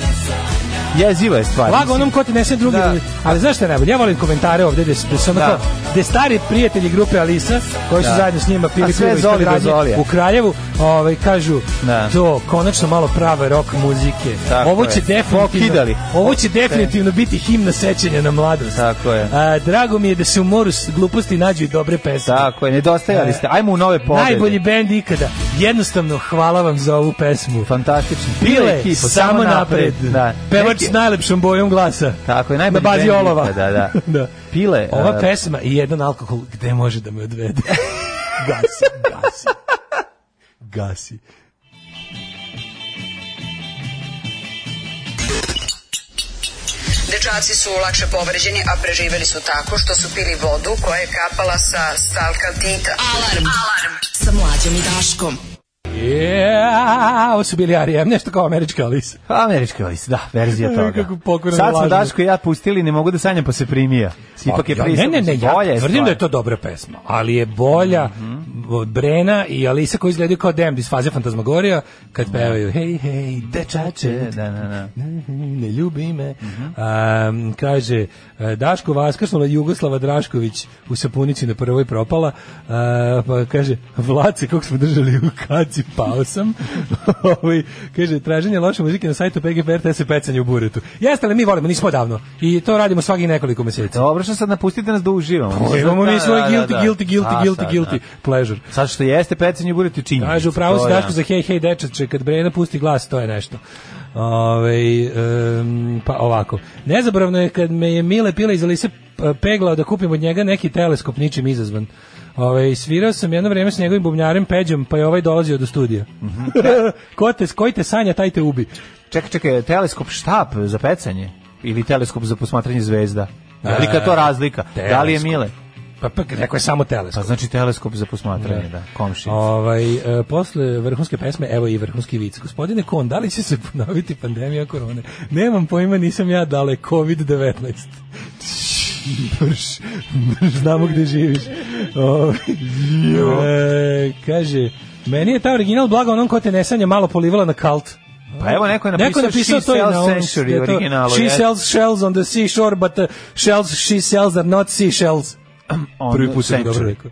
Speaker 6: Jeziva je stvar.
Speaker 7: Lago
Speaker 6: Pa mislim.
Speaker 7: onom ko ti nese drugi.
Speaker 6: Da.
Speaker 7: Ali znaš šta je najbolje? Ja volim komentare ovde gde, gde su ono
Speaker 6: Da.
Speaker 7: kao, gde stari prijatelji grupe Alisa, koji su
Speaker 6: Da.
Speaker 7: zajedno s njima pili
Speaker 6: A sve
Speaker 7: pivo iz
Speaker 6: Zoli do
Speaker 7: Tagradnje
Speaker 6: Zolija.
Speaker 7: u Kraljevu, ovaj, kažu
Speaker 6: Da.
Speaker 7: to, konačno malo prave rock muzike.
Speaker 6: Tako
Speaker 7: ovo će
Speaker 6: je.
Speaker 7: definitivno,
Speaker 6: Pokidali.
Speaker 7: ovo će definitivno biti himna sećanja na mladost.
Speaker 6: Tako je.
Speaker 7: A, drago mi je da se u moru s- gluposti nađu i dobre pesme.
Speaker 6: Tako je, nedostajali ste. Ajmo u nove pobede.
Speaker 7: E, Najbolji bend ikada. Jednostavno, hvala vam za ovu pesmu.
Speaker 6: Fantastični.
Speaker 7: Bile,
Speaker 6: ekipa,
Speaker 7: samo napred.
Speaker 6: Da.
Speaker 7: Pevač
Speaker 6: Neki-
Speaker 7: s najlepšom bojom glasa.
Speaker 6: Tako je, najbolji
Speaker 7: Na bazi
Speaker 6: bend
Speaker 7: olova.
Speaker 6: ikada, da.
Speaker 7: [LAUGHS] da.
Speaker 6: Pile,
Speaker 7: Ova
Speaker 6: e,
Speaker 7: pesma i jedan alkohol, gde može da me odvede?
Speaker 6: [LAUGHS]
Speaker 7: gasi, gasi. Gasi.
Speaker 12: Dečaci su lakše povređeni, a preživeli su tako što su pili vodu koja je kapala sa stalka Tita.
Speaker 5: Alarm. Alarm. Sa mlađom i Daškom.
Speaker 7: Yeah, ovo su bili Arijem, nešto kao američka Alisa.
Speaker 6: Američki olis, da, verzija toga.
Speaker 7: [LAUGHS] Kako pokuran
Speaker 6: Sad smo
Speaker 7: lažemo.
Speaker 6: Daško i ja pustili, ne mogu da sanjam, pa se primija. Ipak je
Speaker 7: Ja-
Speaker 6: prisa,
Speaker 7: ne, ne, ne, ja
Speaker 6: bolja
Speaker 7: tvrdim
Speaker 6: stvar.
Speaker 7: da je to dobra pesma, ali je bolja od Brena i Alisa koji izgledaju kao Damned iz faze Fantasmagorija kad pevaju hej, hej, dečače,
Speaker 6: Da, da, da.
Speaker 7: ne ljubi me. Am, kaže, e, Daško Vaskrsnula Jugoslava Drašković u sapunici na prvoj propala. A, pa kaže, Vlace, kako smo držali u kaci, pao sam. [LAUGHS] Ovaj, kaže, traženje loše muzike na sajtu PGPRT se pecanje u buretu. Jeste li mi volimo, nismo davno. I to radimo svakih nekoliko meseci.
Speaker 6: Dobro što sad napustite nas da uživamo.
Speaker 7: Pa,
Speaker 6: Mislim,
Speaker 7: Imamo
Speaker 6: da,
Speaker 7: mi svoj
Speaker 6: da, da,
Speaker 7: guilty,
Speaker 6: da.
Speaker 7: guilty, guilty,
Speaker 6: A,
Speaker 7: guilty,
Speaker 6: sad,
Speaker 7: guilty
Speaker 6: da.
Speaker 7: pleasure.
Speaker 6: Sad što jeste pecanje budete činjenice.
Speaker 7: Kaže, upravo
Speaker 6: to
Speaker 7: si
Speaker 6: je,
Speaker 7: Daško za hej, hej, dečače, kad Brena pusti glas, to je nešto. Ove, um, pa ovako. Nezaboravno je kad me je Mile Pile iz Alise p- peglao da kupim od njega neki teleskop ničim izazvan. Ove, svirao sam jedno vrijeme s njegovim bubnjarem Peđom, pa je ovaj dolazio do studija.
Speaker 6: Mhm.
Speaker 7: [LAUGHS] Ko te, koji te sanja, taj te ubi.
Speaker 6: Čekaj, čekaj, teleskop štap za pecanje ili teleskop za posmatranje zvezda? Velika je to razlika. Da li je
Speaker 7: E, teleskop.
Speaker 6: Mile?
Speaker 7: Pa, pa rekao je samo teleskop.
Speaker 6: Pa znači teleskop za posmatranje, da, komši.
Speaker 7: Ovaj, e, posle vrhunske pesme, evo i vrhunski vic. Gospodine Kon, da li će se ponoviti pandemija korone? Nemam pojma, nisam ja dale, COVID-19. Brš, brš, znamo gde živiš. Ovaj, e, kaže, meni je ta original blaga onom ko te ne sanja malo polivala na kalt.
Speaker 6: Pa evo neko je
Speaker 7: Neko
Speaker 6: napisao,
Speaker 7: je napisao
Speaker 6: She
Speaker 7: to i
Speaker 6: Sells Century
Speaker 7: na ovom, da je to,
Speaker 6: originalu.
Speaker 7: She
Speaker 6: jeste.
Speaker 7: sells shells on the seashore, but the shells she sells are not seashells.
Speaker 6: On
Speaker 7: Prvi put sam
Speaker 6: Century.
Speaker 7: dobro rekao.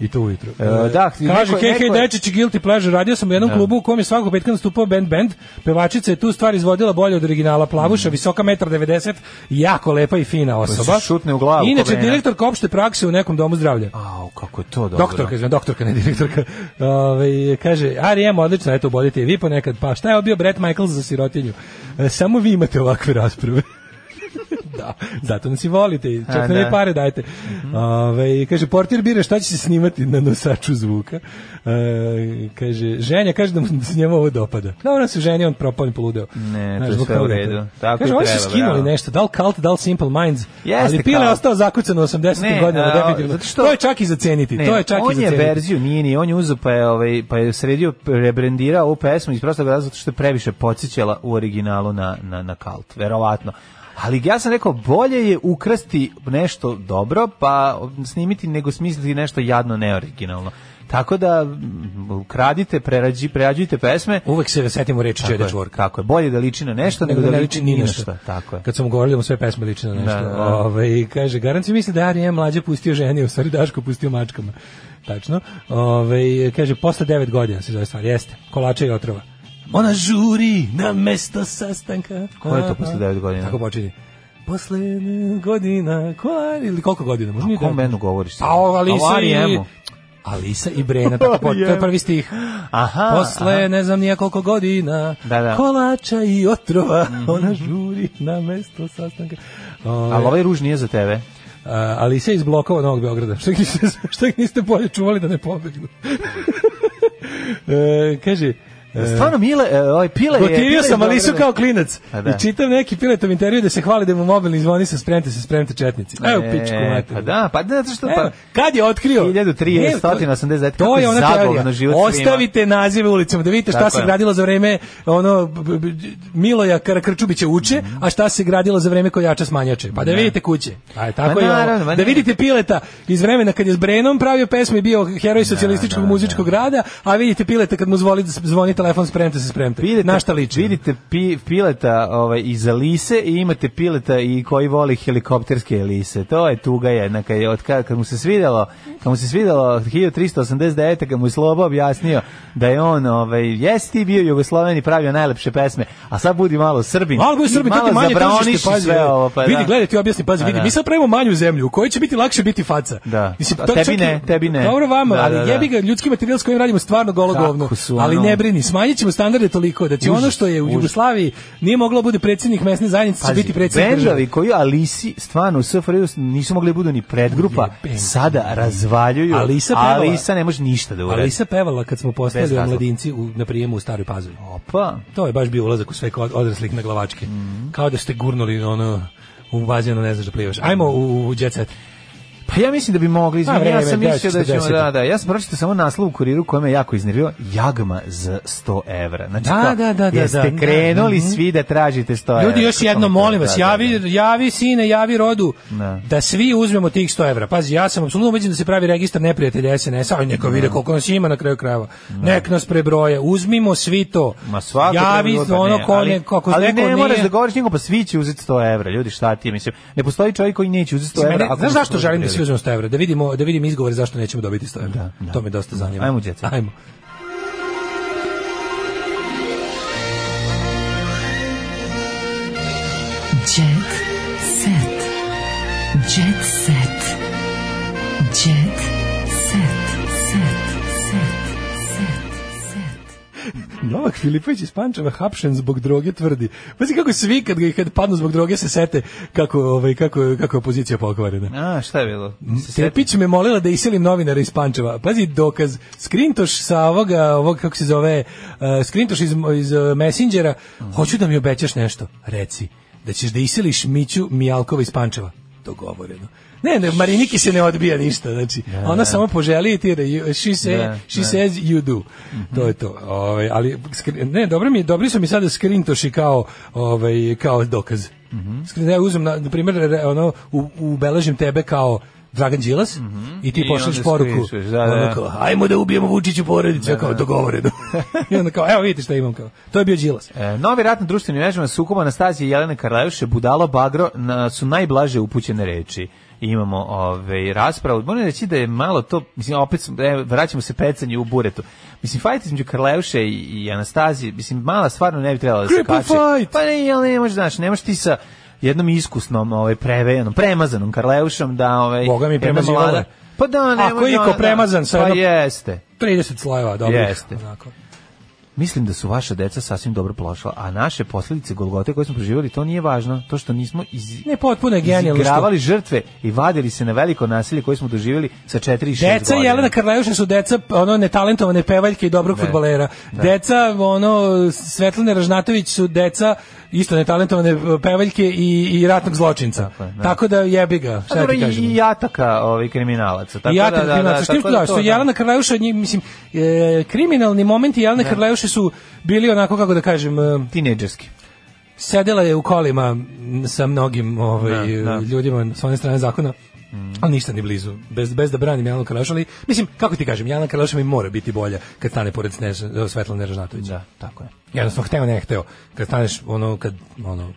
Speaker 7: I to ujutro.
Speaker 6: E, da, ti-
Speaker 7: Kaže,
Speaker 6: neko-
Speaker 7: hej, hej,
Speaker 6: neko je- Da.
Speaker 7: dečići, guilty pleasure, radio sam u jednom klubu u kom je svakog petka nastupao band band, pevačica je tu stvar izvodila bolje od originala, plavuša, visoka, metar 90, jako lepa i fina osoba.
Speaker 6: Mm. Pa se šutne u glavu,
Speaker 7: Inače,
Speaker 6: ko Brena.
Speaker 7: direktorka opšte prakse u nekom domu zdravlja.
Speaker 6: Au, kako je to dobro.
Speaker 7: Doktorka, izvijem, doktorka, ne direktorka. Ove, kaže, Arijem, odlično, eto, bolite i vi ponekad. Pa šta je ovo bio Brett Michaels za sirotinju? E, samo vi imate ovakve rasprave. [LAUGHS] da, zato nas i volite, i čak
Speaker 6: A,
Speaker 7: nam i
Speaker 6: da.
Speaker 7: pare dajte. Ove, kaže, portir bira šta će se snimati na nosaču zvuka. E, kaže, ženja, kaže da mu da se njemu ovo dopada. Da, ona se ženja, on propao i poludeo.
Speaker 6: Ne, to
Speaker 7: Znaš,
Speaker 6: je
Speaker 7: zbog
Speaker 6: sve u
Speaker 7: toga.
Speaker 6: redu. Tako
Speaker 7: kaže,
Speaker 6: i
Speaker 7: oni su
Speaker 6: treba,
Speaker 7: skinuli
Speaker 6: bravo.
Speaker 7: nešto, da li Cult, da li Simple Minds,
Speaker 6: Jeste
Speaker 7: ali Pile je
Speaker 6: Cult.
Speaker 7: ostao zakucan u 80.
Speaker 6: Ne,
Speaker 7: godinama,
Speaker 6: a,
Speaker 7: definitivno.
Speaker 6: zato što-
Speaker 7: To je čak i za ceniti, to je čak i
Speaker 6: on
Speaker 7: za
Speaker 6: je
Speaker 7: ceniti.
Speaker 6: verziju, nije ni on je uzeo pa je ovaj pa je sredio rebrendirao ovu pesmu iz prostog razloga zato što je previše podsjećala u originalu na na na Kalt, verovatno. Ali ja sam rekao bolje je ukrasti nešto dobro pa snimiti nego smisliti nešto jadno neoriginalno. Tako da m, kradite, prerađi, prerađujte pesme.
Speaker 7: Uvek se setimo reči
Speaker 6: Tako
Speaker 7: Čede
Speaker 6: je,
Speaker 7: Čvorka.
Speaker 6: Tako je, bolje da liči na nešto nego, da liči ni na šta.
Speaker 7: šta.
Speaker 6: Tako je.
Speaker 7: Kad sam govorio da mu sve pesme liče na nešto.
Speaker 6: Da, da, da.
Speaker 7: Ove, i kaže, garant se misli da je Arijem mlađe pustio ženi, u stvari Daško pustio Ovaj, mačkama. Tačno. Ove, kaže, posle devet godina se zove stvar. Jeste, kolača i otrova. Ona žuri na mesto sastanka.
Speaker 6: Ko je to posle
Speaker 7: Aha.
Speaker 6: 9 godina?
Speaker 7: Tako počinje. Posle godina, koja, ili koliko godina? Možda
Speaker 6: O
Speaker 7: nije
Speaker 6: kom
Speaker 7: devet.
Speaker 6: bendu govoriš?
Speaker 7: Pa o Alisa
Speaker 6: Alari
Speaker 7: i...
Speaker 6: Emu.
Speaker 7: Alisa i Brena, tako po, to
Speaker 6: [LAUGHS]
Speaker 7: je prvi stih.
Speaker 6: Aha,
Speaker 7: Posle
Speaker 6: aha.
Speaker 7: ne znam nije koliko godina,
Speaker 6: Da, da. Mhm.
Speaker 7: kolača i otrova, [LAUGHS] ona žuri na mesto sastanka. Ove,
Speaker 6: Ali ovaj ruž nije za tebe.
Speaker 7: a, Alisa iz blokova Novog Beograda. Što ih niste, što ih niste bolje čuvali da ne pobegnu? [LAUGHS] e, kaže, e,
Speaker 6: Stvarno Mile, e, ovaj Pile je... Pile
Speaker 7: Gotivio
Speaker 6: iz
Speaker 7: sam Alisu
Speaker 6: Beograda.
Speaker 7: kao klinac.
Speaker 6: Pa da.
Speaker 7: I čitam neki piletov intervju da se hvali da mu mobilni zvoni sa spremte se, spremte četnici. Evo,
Speaker 6: E,
Speaker 7: pičku mater.
Speaker 6: Pa da, pa da, zato što...
Speaker 7: Evo,
Speaker 6: Pa,
Speaker 7: E, kad je otkrio?
Speaker 6: 1389,
Speaker 7: To
Speaker 6: kako
Speaker 7: je
Speaker 6: je
Speaker 7: ona
Speaker 6: zabavno
Speaker 7: teorija.
Speaker 6: život svima.
Speaker 7: Ostavite nazive ulicama da vidite šta
Speaker 6: Tako
Speaker 7: se
Speaker 6: je.
Speaker 7: gradilo za vreme ono b- b- Miloja Karakrčubića uče, a šta se gradilo za vreme kojača smanjače. Pa da vidite kuće. Pa je
Speaker 6: Ma
Speaker 7: tako i ovo.
Speaker 6: naravno, ma
Speaker 7: Da
Speaker 6: ne.
Speaker 7: vidite Pileta iz vremena kad je s Brenom pravio pesme i bio heroj socijalističkog muzičkog rada, a vidite Pileta kad mu zvoli, zvoni telefon spremte se spremte.
Speaker 6: Vidite,
Speaker 7: Na šta liči?
Speaker 6: Vidite pi, pileta ovaj, iz Alise i imate pileta i koji voli helikopterske Elise. To je tuga jedna. Kad, je, od, kad, kad mu se svidelo, kad mu se svidelo 1389. kad mu je Slobo objasnio da je on, ovaj, jesi ti bio Jugosloven i pravio najlepše pesme, a sad budi malo Srbin.
Speaker 7: Malo bude
Speaker 6: I
Speaker 7: Srbi, to ti manje tržište,
Speaker 6: zabraniši
Speaker 7: pazi.
Speaker 6: sve ovo, pa
Speaker 7: vidi,
Speaker 6: da.
Speaker 7: gledaj, ti objasni, pazi,
Speaker 6: Pa
Speaker 7: vidi,
Speaker 6: da.
Speaker 7: mi sad pravimo manju zemlju, u kojoj će biti lakše biti faca.
Speaker 6: Da. A
Speaker 7: to
Speaker 6: tebi
Speaker 7: čak i-
Speaker 6: ne, tebi ne.
Speaker 7: Dobro vama,
Speaker 6: Da,
Speaker 7: ali
Speaker 6: da, da.
Speaker 7: jebi ga, ljudski materijal s kojim radimo stvarno golo
Speaker 6: Kako
Speaker 7: govno.
Speaker 6: su
Speaker 7: Ali
Speaker 6: ono-
Speaker 7: ne brini, smanjit ćemo standarde toliko da će
Speaker 6: Užas,
Speaker 7: ono što je u
Speaker 6: užas.
Speaker 7: Jugoslaviji nije moglo da bude predsjednik mesne zajednice, će
Speaker 6: Pazi,
Speaker 7: biti predsjednik
Speaker 6: bendovi
Speaker 7: države.
Speaker 6: koji Alisi stvarno u SFRJ nisu mogli da budu ni predgrupa,
Speaker 7: Jebem.
Speaker 6: sada razvaljuju.
Speaker 7: Alisa pevala.
Speaker 6: Alisa ne može ništa da uradi.
Speaker 7: Ali se pevala kad smo
Speaker 6: Bez
Speaker 7: postali
Speaker 6: razloga.
Speaker 7: omladinci u, na prijemu u Staroj Pazovi.
Speaker 6: Pa,
Speaker 7: To je baš bio ulazak u sve kod odraslih na glavačke.
Speaker 6: Mhm.
Speaker 7: Kao da ste gurnuli ono, u bazen, ne znaš da plivaš. Ajmo u, u jet set.
Speaker 6: Pa ja mislim da bi mogli, izvini,
Speaker 7: vreme,
Speaker 6: ja sam mislio da ćemo,
Speaker 7: 10.40.
Speaker 6: da, da, ja sam pročitao samo naslov u kuriru koji me jako iznervio, jagma za 100 evra. Znači,
Speaker 7: Da,
Speaker 6: kao,
Speaker 7: da, da, da,
Speaker 6: Jeste
Speaker 7: da.
Speaker 6: krenuli
Speaker 7: Mhm.
Speaker 6: svi da tražite 100 evra.
Speaker 7: Ljudi, još
Speaker 6: Kako
Speaker 7: jedno,
Speaker 6: mi to-
Speaker 7: molim
Speaker 6: da,
Speaker 7: vas,
Speaker 6: da,
Speaker 7: javi,
Speaker 6: da.
Speaker 7: javi sine, javi rodu,
Speaker 6: Da.
Speaker 7: da svi uzmemo tih 100 evra. Pazi, ja sam apsolutno ubeđen da se pravi registar neprijatelja SNS-a, aj neko vide koliko nas ima na kraju krajeva. Nek nas prebroje, uzmimo svi to.
Speaker 6: Ma svako
Speaker 7: javi
Speaker 6: treba da
Speaker 7: ono
Speaker 6: ne,
Speaker 7: ko
Speaker 6: ali-
Speaker 7: ne, kako
Speaker 6: ali
Speaker 7: neko
Speaker 6: ne
Speaker 7: nije-
Speaker 6: moraš da govoriš njegov, pa svi će uzeti 100 evra, ljudi, šta ti je, mislim, ne postoji čovjek koji neće uzeti 100
Speaker 7: Mene-
Speaker 6: evra. ako mu
Speaker 7: znaš
Speaker 6: se
Speaker 7: zašto
Speaker 6: to
Speaker 7: želim da
Speaker 6: dodeli.
Speaker 7: svi uzmemo 100 evra? Da vidimo, da vidim izgovor zašto nećemo dobiti 100 evra.
Speaker 6: Da, da.
Speaker 7: to me dosta zanima.
Speaker 6: Ajmo u jet set.
Speaker 7: Ajmo.
Speaker 5: Jet set. Jet set. Jet set. Set. Set. Set. Set.
Speaker 7: Novak Filipović iz Pančeva hapšen zbog droge tvrdi. Pazi kako svi kad ga kad padnu zbog droge se sete kako ovaj kako kako je opozicija pokvarena.
Speaker 6: A, šta je bilo? Se seti-
Speaker 7: Tepić me molila da iselim novinara iz Pančeva. Pazi, dokaz. Skrintoš sa ovoga, ovog, kako se zove, uh, skrintoš iz, iz uh, Messengera. Hoću da mi obećaš nešto. Reci, da ćeš da iseliš Miću Mijalkova iz Pančeva. Dogovoreno. Ne, ne, Mariniki se ne odbija ništa, znači, ona samo poželi i ti, re- you- she, say,
Speaker 6: Da,
Speaker 7: she
Speaker 6: da.
Speaker 7: says you do. To je to. Ovaj, ali, skri- ne, dobro mi, je- dobri su mi sada skrintoši kao, ovaj, kao dokaz. Skrin- ja uzmem, na, na primjer, re- ono, u, ubeležim tebe kao Dragan Đilas i ti
Speaker 6: I
Speaker 7: pošalješ
Speaker 6: onda
Speaker 7: poruku.
Speaker 6: skrišuješ, da,
Speaker 7: ono
Speaker 6: da.
Speaker 7: kao, ajmo da ubijemo Vučiću porodicu, ja kao, dogovoreno. [LAUGHS] I onda kao, evo vidite šta imam kao. To je bio Đilas.
Speaker 6: E, novi rat na društvenim mrežama sukoba Anastazije i Jelene Karleuše, Budalo Bagro na, su najblaže upućene reči. I imamo ovaj, raspravu. Moram reći da je malo to, mislim, opet sam- e, vraćamo se pecanju u buretu. Mislim, fajt između Karleuše i, i Anastazije, mislim, mala stvarno ne bi trebala da se
Speaker 7: Cripple
Speaker 6: kače.
Speaker 7: fight!
Speaker 6: Pa ne, ali ne možeš, znaš, ne možeš ti sa jednom iskusnom, ovaj, prevejanom, premazanom Karleušom da... Ovaj,
Speaker 7: Boga mi,
Speaker 6: jedna
Speaker 7: premazivala je.
Speaker 6: mlada- Pa da, ne
Speaker 7: Ako
Speaker 6: može
Speaker 7: je iko
Speaker 6: ona-
Speaker 7: premazan sa
Speaker 6: Pa
Speaker 7: jednom-
Speaker 6: jeste.
Speaker 7: 30 slojeva, dobro.
Speaker 6: Jeste. Mislim da su vaša deca sasvim dobro prošla, a naše posljedice Golgote koje smo proživjeli, to nije važno. To što nismo iz...
Speaker 7: Ne, potpuno je genijalno što...
Speaker 6: izigravali žrtve i vadili se na veliko nasilje koje smo doživjeli sa 4 i 6
Speaker 7: Deca
Speaker 6: godina.
Speaker 7: Jelena Karlajuša su deca ono netalentovane pevaljke i dobrog
Speaker 6: Ne.
Speaker 7: fudbalera. Deca ono Svetlane Ražnatović su deca isto netalentovane e, pevaljke i, i ratnog zločinca. Tako,
Speaker 6: je, da.
Speaker 7: da jebi ga,
Speaker 6: Pa
Speaker 7: šta
Speaker 6: dobro,
Speaker 7: ti
Speaker 6: i-
Speaker 7: kažem.
Speaker 6: I jataka ovaj, kriminalaca. Tako
Speaker 7: I ja
Speaker 6: da, da, da,
Speaker 7: kriminalca. Što
Speaker 6: tako
Speaker 7: da,
Speaker 6: to,
Speaker 7: što Jelena Karlajuša, njih, mislim, e, kriminalni momenti Jelene Karlajuše su bili onako, kako da kažem, e,
Speaker 6: Tinejdžerski.
Speaker 7: sedela je u kolima m, sa mnogim ovaj,
Speaker 6: Da, Mm. da.
Speaker 7: ljudima s one strane zakona, ali ništa ni blizu, bez, bez da branim Jelanu Kalaš, ali mislim, kako ti kažem, Jelana Kalaš mi mora biti bolja kad stane pored Snež- Svetlane Ražnatović.
Speaker 6: Da, tako je.
Speaker 7: Jednostavno, hteo ne hteo, kad staneš ono, kad, ono,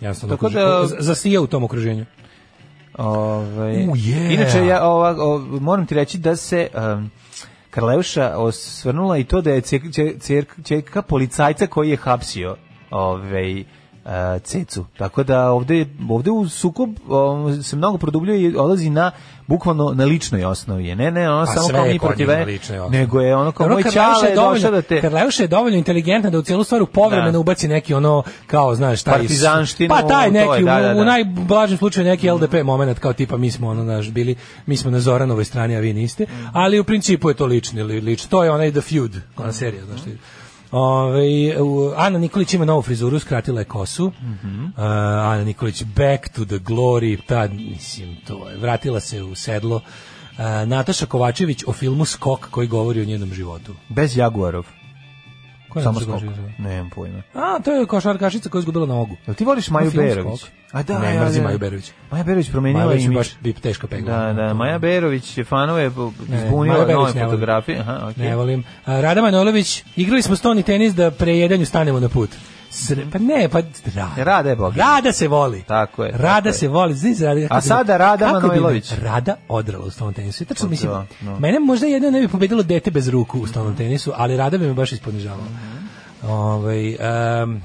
Speaker 7: jednostavno,
Speaker 6: Tako
Speaker 7: okruži-
Speaker 6: da-
Speaker 7: o, za- zasija u tom okruženju.
Speaker 6: Ovaj.
Speaker 7: U, je.
Speaker 6: Inače ja ova, o, moram ti reći da se um, Karleuša osvrnula i to da je cer- cer- cer- čerka policajca koji je hapsio ovaj, e, cecu. Tako da ovde, ovde u sukob o, se mnogo produbljuje i odlazi na bukvalno na ličnoj osnovi. je. Ne, ne, ono
Speaker 7: Pa
Speaker 6: samo
Speaker 7: sve
Speaker 6: kao
Speaker 7: je
Speaker 6: mi
Speaker 7: kod
Speaker 6: protiv
Speaker 7: njih na
Speaker 6: mene,
Speaker 7: ličnoj osnovi.
Speaker 6: nego je ono kao
Speaker 7: Dobro,
Speaker 6: moj
Speaker 7: Karleuša
Speaker 6: čale
Speaker 7: je
Speaker 6: je
Speaker 7: dovoljno-
Speaker 6: došao da te...
Speaker 7: Karleuša je dovoljno inteligentna da u celu stvar u povremeno ubaci neki ono kao znaš taj
Speaker 6: Partizanštinu,
Speaker 7: Pa taj
Speaker 6: to je,
Speaker 7: neki
Speaker 6: da, da,
Speaker 7: u-
Speaker 6: da.
Speaker 7: u najblažem slučaju neki LDP momenat kao tipa mi smo ono naš bili mi smo na Zoranovoj strani a vi niste.
Speaker 6: Mm.
Speaker 7: Ali u principu je to lični li- lič. To je onaj The Feud, ona serija, znaš. ti. Ovaj, u- Ana Nikolić ima novu frizuru, skratila je kosu.
Speaker 6: Mhm.
Speaker 7: Uh, Ana Nikolić back to the glory, ta, mislim, to je, vratila se u sedlo. Uh, Nataša Kovačević o filmu Skok koji govori o njenom životu.
Speaker 6: Bez Jaguarov.
Speaker 7: Ko je
Speaker 6: Samo
Speaker 7: Nataša
Speaker 6: skok.
Speaker 7: Kovačević?
Speaker 6: Nemam pojma.
Speaker 7: A, to je košarkašica koja je izgubila nogu.
Speaker 6: Jel ti voliš Maju
Speaker 7: U filmu
Speaker 6: Berović?
Speaker 7: Skok.
Speaker 6: A da,
Speaker 7: ne,
Speaker 6: ja,
Speaker 7: mrzim
Speaker 6: ja.
Speaker 7: Maju Berović.
Speaker 6: Maja Berović
Speaker 7: Maja
Speaker 6: promenila
Speaker 7: Berović je
Speaker 6: imi.
Speaker 7: baš bi teška
Speaker 6: Da,
Speaker 7: pegla.
Speaker 6: da, Maja Berović je fanove po-
Speaker 7: Ne,
Speaker 6: izbunila
Speaker 7: Maja
Speaker 6: na
Speaker 7: Berović
Speaker 6: nove
Speaker 7: ne volim.
Speaker 6: fotografije. Aha, okej.
Speaker 7: Ne volim. A, Rada Manojlović, igrali smo stoni tenis da pre jedanju stanemo na put. Sre, pa ne, pa Rada.
Speaker 6: Rada je Bogdan.
Speaker 7: Rada se voli.
Speaker 6: Tako je. tako
Speaker 7: Rada
Speaker 6: je.
Speaker 7: se voli. Znaš, Rada, kako
Speaker 6: A
Speaker 7: bi-
Speaker 6: sada Rada
Speaker 7: kako bi me
Speaker 6: Manojlović.
Speaker 7: Rada odrala u stolnom tenisu. I tačno
Speaker 6: Pa
Speaker 7: mislim,
Speaker 6: da, no.
Speaker 7: mene možda jedno ne bi pobedilo dete bez ruku u stolnom tenisu, ali Rada bi me baš isponižavala. Ovaj, em,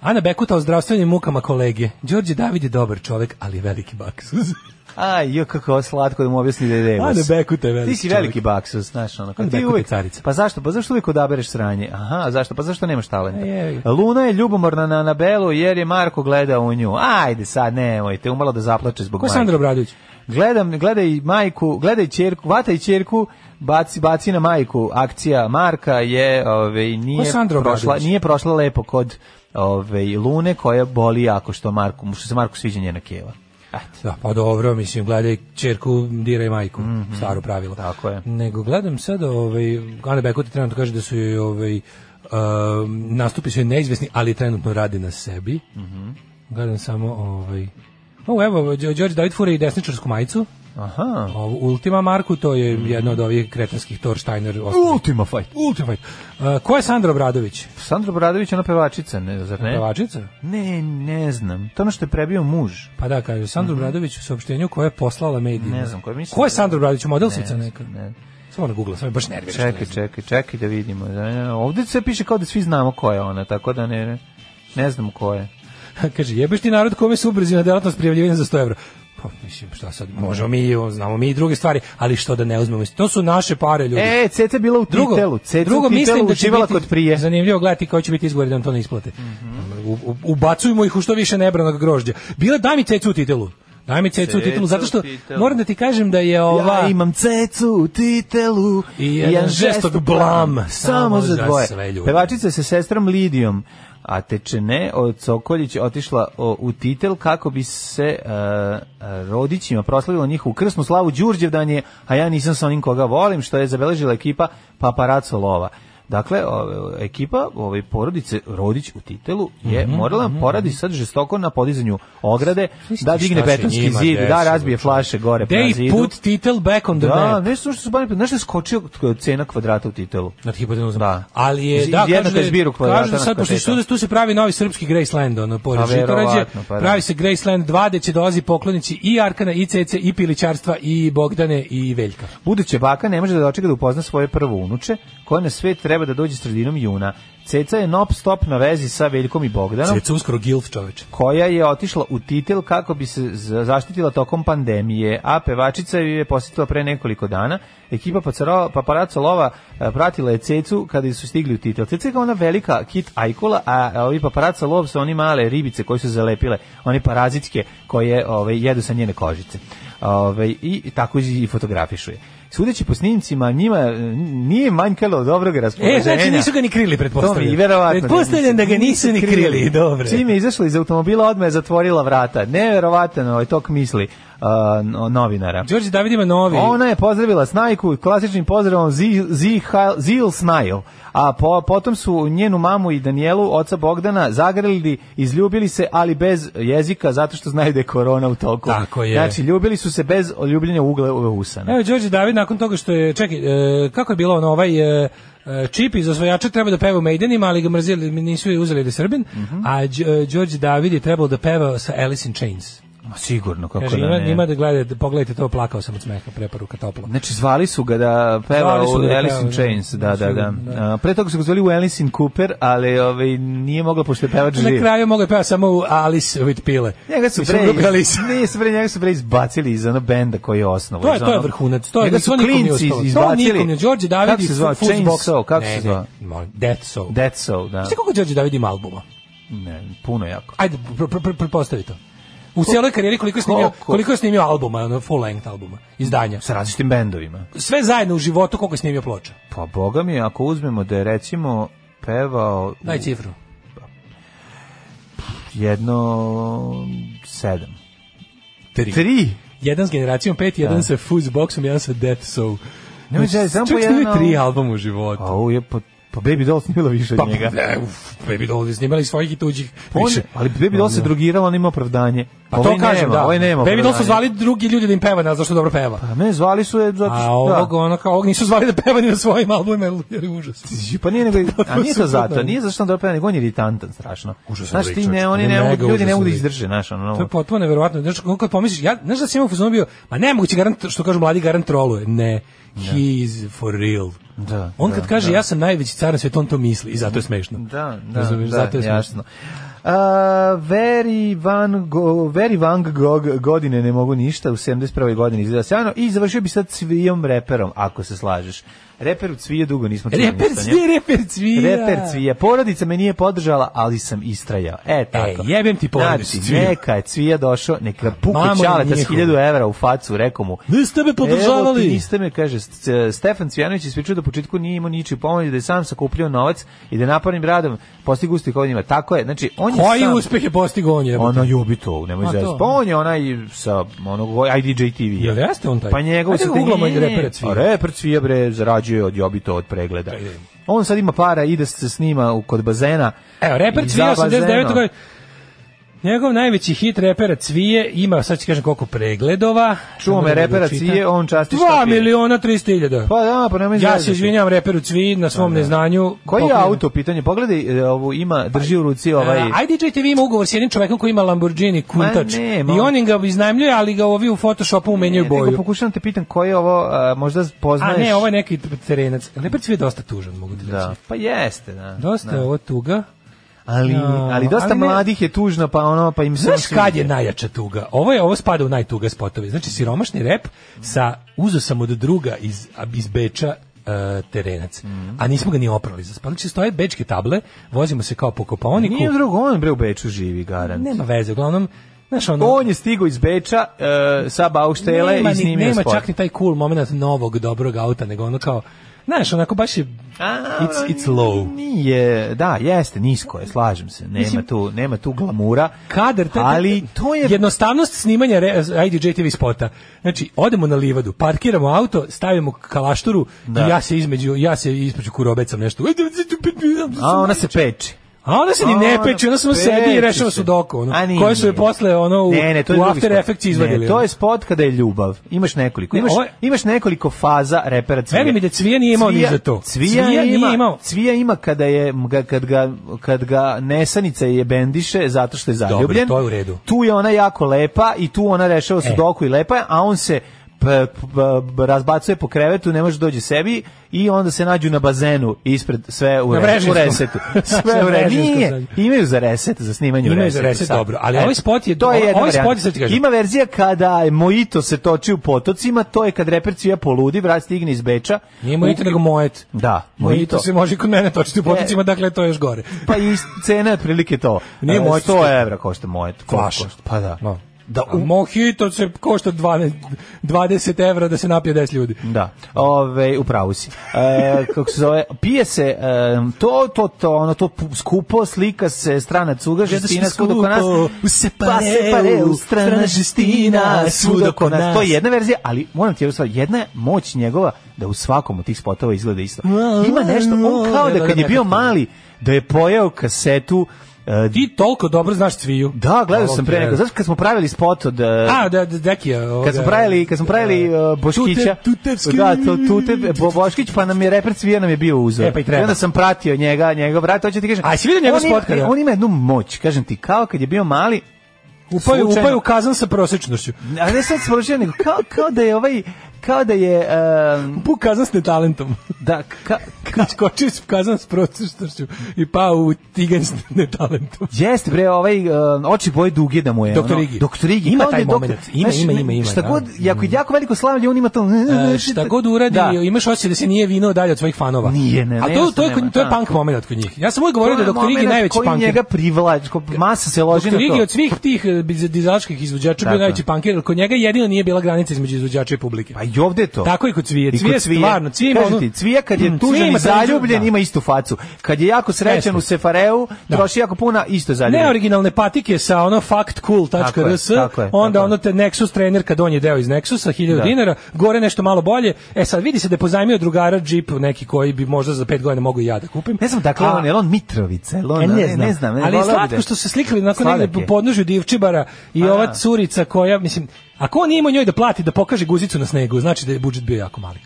Speaker 7: Ana Bekuta o zdravstvenim mukama kolege. Đorđe David je dobar čovek, ali je veliki baksuz. [LAUGHS]
Speaker 6: Aj, jo, kako je ovo slatko da mu objasni da je
Speaker 7: Ana
Speaker 6: Devos.
Speaker 7: Bekuta je veliki
Speaker 6: Ti si
Speaker 7: čovek.
Speaker 6: veliki baksus, znaš, ono,
Speaker 7: Ana
Speaker 6: kad ti
Speaker 7: Bekuta
Speaker 6: uvijek...
Speaker 7: carica.
Speaker 6: Pa zašto? Pa zašto uvijek odabereš sranje? Aha, a zašto? Pa zašto nemaš talenta?
Speaker 7: E, jevi ga.
Speaker 6: Luna je ljubomorna na Anabelu jer je Marko gledao u nju. Ajde sad, nemojte, umalo da zaplače zbog
Speaker 7: Ko je
Speaker 6: majke.
Speaker 7: Sandra Obradović?
Speaker 6: Gledam, gledaj majku, gledaj ćerku, vataj ćerku, baci baci na majku. Akcija Marka je, ovaj
Speaker 7: Ko
Speaker 6: nije
Speaker 7: je Sandra
Speaker 6: prošla,
Speaker 7: Obradović?
Speaker 6: nije prošla lepo kod ovaj Lune koja boli jako što Marku, što se Marku sviđa njena keva. Ajde.
Speaker 7: Da, pa dobro, mislim, gledaj čerku, diraj majku, staro pravilo.
Speaker 6: Mhm. Tako je.
Speaker 7: Nego gledam sad, ovaj, Ana Bekuta trenutno kaže da su joj, ovaj, um, nastupi su joj neizvesni, ali trenutno radi na sebi.
Speaker 6: Mhm.
Speaker 7: Gledam samo, ovaj, O, evo, Đo- Đorđe David fura i desničarsku majicu.
Speaker 6: Aha.
Speaker 7: Ovu Ultima Marku, to je
Speaker 6: Mhm.
Speaker 7: jedna od ovih kretanskih Thorsteiner. ostalih.
Speaker 6: Ultima E? fight.
Speaker 7: Ultima. Uh, ko je Sandra Obradović?
Speaker 6: Sandra Bradović, ona pevačica, ne, zar ne?
Speaker 7: Pevačica?
Speaker 6: Ne, ne znam. To je ono što je prebio muž.
Speaker 7: Pa da, kaže, Sandra Obradović u saopštenju koje je poslala medijima.
Speaker 6: Mhm. Ne znam, koje mislim
Speaker 7: Ko je
Speaker 6: da-
Speaker 7: Sandra Obradović? Modelsnica
Speaker 6: Ne,
Speaker 7: neka?
Speaker 6: ne.
Speaker 7: Samo na Google, sam je baš nerviran. [LAUGHS]
Speaker 6: Čekaj, čekaj, čekaj da vidimo. Da, ne, Ovdje se piše kao da svi znamo ko je ona, tako da ne, ne, ne znam ko je.
Speaker 7: Kaže, jebeš ti narod kome su ubrzina delatnost prijavljivanja za 100 evra. Pa, mislim, šta sad, možemo mi, o, znamo mi i druge stvari, ali što da ne uzmemo. To su naše pare, ljudi.
Speaker 6: E, Cete je bila u
Speaker 7: drugo,
Speaker 6: titelu. Cete
Speaker 7: drugo
Speaker 6: u titelu
Speaker 7: mislim da će
Speaker 6: uživala
Speaker 7: biti
Speaker 6: kod prije. Mhm.
Speaker 7: zanimljivo gledati koji će biti izgovor da nam to ne isplate. U- u- ubacujmo ih u što više nebranog grožđa. Bila daj mi cecu u titelu. Daj mi cecu u
Speaker 6: Cecu
Speaker 7: titelu, zato
Speaker 6: u
Speaker 7: što
Speaker 6: titelu.
Speaker 7: moram da ti kažem da je ova...
Speaker 6: Ja imam cecu u titelu
Speaker 7: I jedan žestok blam,
Speaker 6: samo za dvoje.
Speaker 7: sve ljude.
Speaker 6: Pevačica sa sestrom Lidijom a tečene od Sokoljić otišla o, u titel kako bi se e, rodićima proslavilo njihovu krsnu slavu Đurđevdan je, a ja nisam sa onim koga volim, što je zabeležila ekipa Paparazzo Lova. Dakle, ove, ekipa ove porodice Rodić u titelu je
Speaker 7: Mhm,
Speaker 6: morala poradi sad žestoko na podizanju ograde, da digne
Speaker 7: šta se
Speaker 6: betonski
Speaker 7: njima
Speaker 6: zid, da
Speaker 7: desilo,
Speaker 6: razbije
Speaker 7: čovječe?
Speaker 6: flaše gore prema
Speaker 7: They
Speaker 6: zidu.
Speaker 7: put title back on the
Speaker 6: Da,
Speaker 7: map.
Speaker 6: nešto što su bani, znaš da je skočio cena kvadrata u titelu.
Speaker 7: nad hipotenuzom.
Speaker 6: Da.
Speaker 7: Ali je
Speaker 6: Iz-
Speaker 7: da
Speaker 6: jednaka
Speaker 7: kažu da
Speaker 6: je zbiru kvadrata
Speaker 7: kažu da
Speaker 6: na
Speaker 7: sad pošto
Speaker 6: kvartetu.
Speaker 7: su tu se pravi novi srpski Graceland ono
Speaker 6: A,
Speaker 7: pored Žitorađe.
Speaker 6: verovatno, pa da.
Speaker 7: pravi se Graceland 2 gde će dolazi poklonici i Arkana i Cece i Pilićarstva i Bogdane i Veljka.
Speaker 6: Buduća baka ne može da dočeka da upozna svoje prvo unuče, koja na svet treba da dođe sredinom juna. Ceca je non stop na vezi sa Veljkom i Bogdanom,
Speaker 7: Ceca uskoro Gilf čoveče.
Speaker 6: koja je otišla u titel kako bi se za- zaštitila tokom pandemije, a pevačica ju je posjetila pre nekoliko dana. Ekipa Pacara- Paparazzo Lova e, pratila je Cecu kada su stigli u titel. Ceca je kao ona velika kit ajkula, a a ovi Paparazzo Lov su oni male ribice koje su zalepile, one parazitske koje ove, jedu sa njene kožice. Ove, I tako i fotografišuje. Sudeći po snimcima, njima e, nije manjkalo dobrog raspoloženja.
Speaker 7: E, znači nisu ga ni krili,
Speaker 6: To mi
Speaker 7: pretpostavljam.
Speaker 6: i verovatno.
Speaker 7: Pretpostavljam da ga nisu ni krili, dobro.
Speaker 6: Čim je izašla iz automobila, odmah je zatvorila vrata. Neverovatan ovaj tok misli uh, no- novinara.
Speaker 7: Đorđe David ima novi.
Speaker 6: Ona je pozdravila Snajku klasičnim pozdravom Zi- Zihal- Zil Snajl. A po- potom su njenu mamu i Danijelu, oca Bogdana, zagrlili, izljubili se, ali bez jezika, zato što znaju da je korona u toku.
Speaker 7: Tako je. E,
Speaker 6: Znači, ljubili su se bez ljubljenja ugle u usana.
Speaker 7: Evo Đorđe David nakon toga što je čekaj e, kako je bilo ono ovaj e, e, čip iz osvajača treba da peva u Maidenima, ali ga
Speaker 6: Mhm.
Speaker 7: mrzili, nisu je uzeli da je Srbin, a Đ- e, Đorđe David je trebalo da peva sa Alice in Chains.
Speaker 6: Ma sigurno, kako
Speaker 7: Kaže,
Speaker 6: da
Speaker 7: ima,
Speaker 6: ne.
Speaker 7: ima da gledate, pogledajte to, plakao sam od smeha, preporuka topla.
Speaker 6: Znači, zvali su ga da peva
Speaker 7: Zvali su
Speaker 6: u
Speaker 7: ga da
Speaker 6: Alice in
Speaker 7: peva, da.
Speaker 6: Chains, da, da, da.
Speaker 7: Sigurno,
Speaker 6: A, pre toga su ga zvali u Alice in Cooper, ali ovaj, nije mogla pošto je pevač
Speaker 7: Na
Speaker 6: živ.
Speaker 7: kraju mogu je da peva samo u Alice with Pile.
Speaker 6: Njega su
Speaker 7: Mislim,
Speaker 6: pre,
Speaker 7: u grupi Alice.
Speaker 6: nisu pre, njega su pre izbacili iz ono benda koji je osnovu.
Speaker 7: To je, to je vrhunac. To je, da
Speaker 6: njega
Speaker 7: to
Speaker 6: su
Speaker 7: nikom nije
Speaker 6: klinci
Speaker 7: ostalo. To
Speaker 6: izbacili.
Speaker 7: nikom nije. Đorđe Davidi
Speaker 6: Kako se zvao?
Speaker 7: Fuzz Box.
Speaker 6: Chainsaw, kako
Speaker 7: Ne,
Speaker 6: se
Speaker 7: ne,
Speaker 6: zvao?
Speaker 7: molim, Death Soul.
Speaker 6: Death Soul, da.
Speaker 7: Znaš koliko Đorđe Davidi ima albuma?
Speaker 6: Ne, puno jako.
Speaker 7: Ajde, pr- pr- pr- pretpostavi to. U cijeloj karijeri koliko je snimio,
Speaker 6: Koliko?
Speaker 7: koliko je snimio albuma, ono, full length albuma, izdanja.
Speaker 6: Sa različitim bendovima.
Speaker 7: Sve zajedno u životu koliko je snimio ploča.
Speaker 6: Pa boga mi, ako uzmemo da je recimo pevao u
Speaker 7: Daj cifru.
Speaker 6: jedno sedam.
Speaker 7: Tri.
Speaker 6: Tri?
Speaker 7: Jedan s generacijom 5, jedan sa Fuzzboxom, jedan sa Death Soul.
Speaker 6: Nemoj
Speaker 7: Znači,
Speaker 6: da samo po
Speaker 7: čovjek snimio
Speaker 6: jedan
Speaker 7: tri
Speaker 6: album.
Speaker 7: albuma u životu.
Speaker 6: Au, je pa, pa Baby Doll snimila više
Speaker 7: Pa,
Speaker 6: od njega.
Speaker 7: ne, uf, Baby Doll je snimali svojih i tuđih.
Speaker 6: Pa On,
Speaker 7: više.
Speaker 6: ali Baby Doll se
Speaker 7: Ono.
Speaker 6: drugirala, on ima opravdanje.
Speaker 7: Pa
Speaker 6: Ovaj
Speaker 7: to kažem,
Speaker 6: nema,
Speaker 7: da.
Speaker 6: Ovaj nema
Speaker 7: Baby Doll su
Speaker 6: opravdanje.
Speaker 7: zvali drugi ljudi da im peva, ne znam zašto dobro peva.
Speaker 6: A me zvali su je zato
Speaker 7: A
Speaker 6: što...
Speaker 7: ovog,
Speaker 6: da.
Speaker 7: ono, kao ovog nisu zvali da peva ni na svojim albumima, jer- jer je užas.
Speaker 6: Pa nije
Speaker 7: [LAUGHS]
Speaker 6: nego, a nije to
Speaker 7: Apsolutno.
Speaker 6: zato, nije zato što on dobro nego on je iritantan strašno. Znaš, ti ne, oni ne,
Speaker 7: Mega
Speaker 6: mogu, ljudi ne
Speaker 7: užasan
Speaker 6: mogu da
Speaker 7: lik.
Speaker 6: izdrže, znaš, ono,
Speaker 7: To je potpuno neverovatno. Znaš, kako kad pomisliš, ja, znaš da si imao fuzon bio, ma ne moguće garant, što kažu mladi garant troluje. Ne, he is for real.
Speaker 6: Da,
Speaker 7: On
Speaker 6: da,
Speaker 7: kad kaže
Speaker 6: da.
Speaker 7: ja sam najveći car na svetu, on to misli i zato je smešno.
Speaker 6: Da, da,
Speaker 7: Razumeš,
Speaker 6: da,
Speaker 7: zato je smešno.
Speaker 6: jasno. A, Veri Van, Go, Veri Van Gogh godine ne mogu ništa, u 71. godini izgleda sjajno i završio bi sad cvijom reperom, ako se slažeš. Reper u cvije dugo nismo čuli
Speaker 7: Reper
Speaker 6: ništa o njemu.
Speaker 7: cvije, reper cvije.
Speaker 6: Reper cvija. Porodica me nije podržala, ali sam istrajao. E, tako.
Speaker 7: jebem ti porodicu,
Speaker 6: Znači,
Speaker 7: Cvija.
Speaker 6: neka je cvija došao, neka puka
Speaker 7: Mamo
Speaker 6: čaleta s
Speaker 7: njihovu.
Speaker 6: 1000 evra u facu, rekao mu,
Speaker 7: Niste me
Speaker 6: Evo ti
Speaker 7: podržavali.
Speaker 6: niste me, kaže, S- C- Stefan Cvijanović ispričao da u početku nije imao ničiju pomoć, da je sam sakupljao novac i da je napornim radom postigu uspjeh ovdje njima. Tako je, znači, on je
Speaker 7: Koji
Speaker 6: sam...
Speaker 7: uspeh je postigao on je?
Speaker 6: Ono ljubi to, nemoj
Speaker 7: A, to.
Speaker 6: zezati. Pa on je onaj sa onog IDJ TV.
Speaker 7: Jel jeste on taj?
Speaker 6: Pa njegov
Speaker 7: Ajde,
Speaker 6: se
Speaker 7: googlamo i repera Cvija.
Speaker 6: Reper Cvija, bre, zarađuje od jobito od pregleda.
Speaker 7: Da,
Speaker 6: On sad ima para, ide se snima u- kod bazena.
Speaker 7: Evo, E, reper
Speaker 6: I
Speaker 7: Cvije
Speaker 6: za bazenom.
Speaker 7: 89. godine. Njegov najveći hit repera Cvije ima, sad ću kažem koliko pregledova.
Speaker 6: Čuo me repera Cvije, on časti šta
Speaker 7: 2
Speaker 6: pije.
Speaker 7: miliona 300 hiljada.
Speaker 6: Pa da, pa nemoj
Speaker 7: Ja
Speaker 6: zezati.
Speaker 7: se izvinjam reperu Cviji na svom neznanju.
Speaker 6: Koji je
Speaker 7: Pokojno.
Speaker 6: auto, pitanje? Pogledaj, e, ovu ima, drži u ruci ovaj...
Speaker 7: Uh, IDJ TV ima ugovor s jednim čovekom koji ima Lamborghini Countach
Speaker 6: ne,
Speaker 7: i
Speaker 6: malo-
Speaker 7: on im ga iznajmljuje, ali ga ovi u Photoshopu umenjaju
Speaker 6: Ne, Nego
Speaker 7: boju.
Speaker 6: pokušavam da te pitam koji je ovo, a, možda poznaješ...
Speaker 7: A ne, ovo je neki terenac. Leper Cvije je dosta tužan, mogu ti reći.
Speaker 6: Da, pa jeste, da.
Speaker 7: Dosta je
Speaker 6: da.
Speaker 7: ovo tuga.
Speaker 6: Ali,
Speaker 7: Ja,
Speaker 6: ali dosta
Speaker 7: ali ne-
Speaker 6: mladih je tužno, pa ono, pa im se...
Speaker 7: Znaš
Speaker 6: on
Speaker 7: kad
Speaker 6: sviđa.
Speaker 7: je najjača tuga? Ovo je ovo spada u najtuga spotove. Znači siromašni rep sa uzo sam od druga iz iz Beča e, terenac. A nismo ga ni oprali za spot. Znači stoje bečke table, vozimo se kao po kopaoniku.
Speaker 6: Pa Nije drugo, on bre u Beču živi, garant.
Speaker 7: Nema veze, uglavnom Znaš, ono,
Speaker 6: On je stigao iz Beča e, sa Bauštele
Speaker 7: nema,
Speaker 6: i
Speaker 7: ni-
Speaker 6: snimio
Speaker 7: nema
Speaker 6: spot.
Speaker 7: čak ni taj cool moment novog dobrog auta, nego ono kao, znaš, onako baš je,
Speaker 6: A,
Speaker 7: it's, it's low.
Speaker 6: Nije, da, jeste, nisko je, slažem se. Nema
Speaker 7: Mislim-
Speaker 6: tu, nema tu glamura.
Speaker 7: Kadar, taj-
Speaker 6: ali to je
Speaker 7: jednostavnost snimanja re, IDJ TV spota. Znači, odemo na livadu, parkiramo auto, stavimo kalašturu
Speaker 6: Da.
Speaker 7: i ja se između, ja se ispreću kurobecam nešto.
Speaker 6: A ona se peče.
Speaker 7: A ona se ni
Speaker 6: A,
Speaker 7: ne
Speaker 6: ona
Speaker 7: peče, ona samo sedi
Speaker 6: peče
Speaker 7: i rešava
Speaker 6: se.
Speaker 7: sudoku. Ono,
Speaker 6: A nije.
Speaker 7: koje su je posle ono, u,
Speaker 6: Ne, ne, to je
Speaker 7: u
Speaker 6: drugi
Speaker 7: After
Speaker 6: spot.
Speaker 7: Effects izvadili.
Speaker 6: Ne, to je spot kada je ljubav. Imaš nekoliko.
Speaker 7: Ne,
Speaker 6: Imaš,
Speaker 7: ovo je-
Speaker 6: imaš nekoliko faza repera Cvije.
Speaker 7: Veruj mi da Cvija nije imao ni za to.
Speaker 6: Cvija,
Speaker 7: Cvija nije
Speaker 6: ima,
Speaker 7: imao.
Speaker 6: Cvija ima kada je ga- kad ga kad ga nesanica je bendiše zato što je
Speaker 7: Dobro,
Speaker 6: zaljubljen.
Speaker 7: to je u redu. E.
Speaker 6: Tu je ona jako lepa i tu ona rešava sudoku i lepa, je, a on se p- p- p- razbacuje po krevetu, ne može da dođe sebi i onda se nađu na bazenu ispred sve u,
Speaker 7: Na
Speaker 6: re- u
Speaker 7: Brežinskom. [LAUGHS]
Speaker 6: resetu. Sve
Speaker 7: Na
Speaker 6: u re-
Speaker 7: Brežinskom
Speaker 6: Nije,
Speaker 7: sad.
Speaker 6: imaju za reset, za snimanje u
Speaker 7: Imaju za
Speaker 6: resetu.
Speaker 7: reset,
Speaker 6: sad.
Speaker 7: dobro, ali
Speaker 6: Eto,
Speaker 7: ovaj spot je-
Speaker 6: to je
Speaker 7: ovaj
Speaker 6: jedna
Speaker 7: spot je,
Speaker 6: varijanta.
Speaker 7: sad ti kažem.
Speaker 6: Ima verzija kada je Mojito se toči u potocima, to je kad reper Cvija poludi, vrat stigne iz Beča.
Speaker 7: Nije mojito, nego mojet.
Speaker 6: Da,
Speaker 7: Mojito.
Speaker 6: Mojito.
Speaker 7: se može i kod mene točiti u poticima, dakle to je još gore.
Speaker 6: Pa i cena je otprilike to.
Speaker 7: Nije
Speaker 6: E,
Speaker 7: Mojito
Speaker 6: 100 evra košta Mojito. Koliko
Speaker 7: Flaša.
Speaker 6: košta? Pa da.
Speaker 7: No.
Speaker 6: Da,
Speaker 7: A Mojito se košta 12, 20 evra da se napije 10 ljudi.
Speaker 6: Da, ove, upravo si. E, kako se zove, pije se e, to, to, to, ono, to pu- skupo, slika se strana cuga, žestina svuda oko nas.
Speaker 7: U
Speaker 6: Pa se pareu, strana žestina, svuda oko nas. To je jedna verzija, ali moram ti reći stvar, jedna je moć njegova da u svakom od tih spotova izgleda isto. Ima nešto, on kao da kad je bio mali, da je pojeo kasetu e,
Speaker 7: Ti toliko dobro znaš cviju.
Speaker 6: Da, gledao
Speaker 7: Hvala
Speaker 6: sam
Speaker 7: ti,
Speaker 6: pre neko.
Speaker 7: evo.
Speaker 6: Znaš kad smo pravili spot od e,
Speaker 7: A, da, da, Dekija.
Speaker 6: kad
Speaker 7: ovoga- da.
Speaker 6: smo pravili kad smo pravili uh, Boškića
Speaker 7: e, Tute- tutevski.
Speaker 6: da to tute Bo, Boškić pa nam je reper Cvija nam je bio uzor
Speaker 7: E, pa i treba.
Speaker 6: onda sam pratio njega njegov brat hoće ti kažem
Speaker 7: A, jesi vidio njegov
Speaker 6: on ima-
Speaker 7: spot kada?
Speaker 6: on ima jednu moć kažem ti kao kad je bio mali
Speaker 7: Upaju,
Speaker 6: Slučajno-
Speaker 7: upaju kazan sa prosečnošću.
Speaker 6: A ne sad smršio, nego kao, kao da je ovaj, kao da je... Um,
Speaker 7: Upao u kazan
Speaker 6: [LAUGHS]
Speaker 7: s netalentom.
Speaker 6: Da, ka,
Speaker 7: ka... Skočio si u kazan s prosečnošću i pao u tiganj s netalentom.
Speaker 6: Jeste bre, ovaj uh, oči boje duge da mu je.
Speaker 7: Doktor
Speaker 6: ono,
Speaker 7: Igi.
Speaker 6: Doktor Igi.
Speaker 7: Ima
Speaker 6: kao da
Speaker 7: taj
Speaker 6: je doktor-
Speaker 7: momenat. Ima,
Speaker 6: znaš,
Speaker 7: ima, ima, ima,
Speaker 6: Šta
Speaker 7: da.
Speaker 6: god, jako, jako veliko slavlje, on ima to...
Speaker 7: E, šta god uradi,
Speaker 6: Da.
Speaker 7: imaš osjećaj da se nije vinao dalje od svojih fanova.
Speaker 6: Nije, ne,
Speaker 7: A
Speaker 6: ne,
Speaker 7: to,
Speaker 6: jasno
Speaker 7: to, je, kod-
Speaker 6: nema,
Speaker 7: to je
Speaker 6: da.
Speaker 7: punk moment kod njih. Ja sam uvijek govorio
Speaker 6: To
Speaker 7: da
Speaker 6: je
Speaker 7: Doktor Igi je
Speaker 6: momenat
Speaker 7: najveći
Speaker 6: koji
Speaker 7: punk.
Speaker 6: njega privlači, ko- masa se loži
Speaker 7: Doktor
Speaker 6: na to.
Speaker 7: Igi od svih tih e, dizelačkih izvođača bio
Speaker 6: Tako.
Speaker 7: najveći punker, kod njega jedino nije bila granica između izvođača i publike.
Speaker 6: Pa i ovde je to.
Speaker 7: Tako i kod Cvije.
Speaker 6: I kod
Speaker 7: Cvije stvarno, Cvije ima
Speaker 6: Kažem
Speaker 7: ono-
Speaker 6: ti, cvija kad je
Speaker 7: Mm,
Speaker 6: tužan
Speaker 7: Cvije ima
Speaker 6: i zaljubljen,
Speaker 7: da.
Speaker 6: ima istu facu. Kad je jako srećan
Speaker 7: Jeste.
Speaker 6: u Sefareu,
Speaker 7: Da.
Speaker 6: troši jako puna, isto je zaljubljen.
Speaker 7: Neoriginalne patike sa ono
Speaker 6: Tako je,
Speaker 7: factcool.rs,
Speaker 6: tako je,
Speaker 7: onda
Speaker 6: tako
Speaker 7: ono te Nexus trener kad on je deo iz Nexusa, 1000
Speaker 6: Da.
Speaker 7: dinara, gore nešto malo bolje. E sad vidi se da je pozajmio drugara džip neki koji bi možda za pet godina mogu i ja da kupim.
Speaker 6: Ne znam dakle
Speaker 7: A-
Speaker 6: on, je li on Mitrovica, je li on,
Speaker 7: E,
Speaker 6: ne, ne znam. Ne,
Speaker 7: ali je
Speaker 6: voleo bi
Speaker 7: slatko
Speaker 6: da-
Speaker 7: što se slikali nakon
Speaker 6: Sladak
Speaker 7: negde po
Speaker 6: je.
Speaker 7: podnožju divčibara i
Speaker 6: A,
Speaker 7: ova
Speaker 6: da.
Speaker 7: curica koja, mislim, ako on nije imao njoj da plati da pokaže guzicu na snegu, znači da je budžet bio jako mali.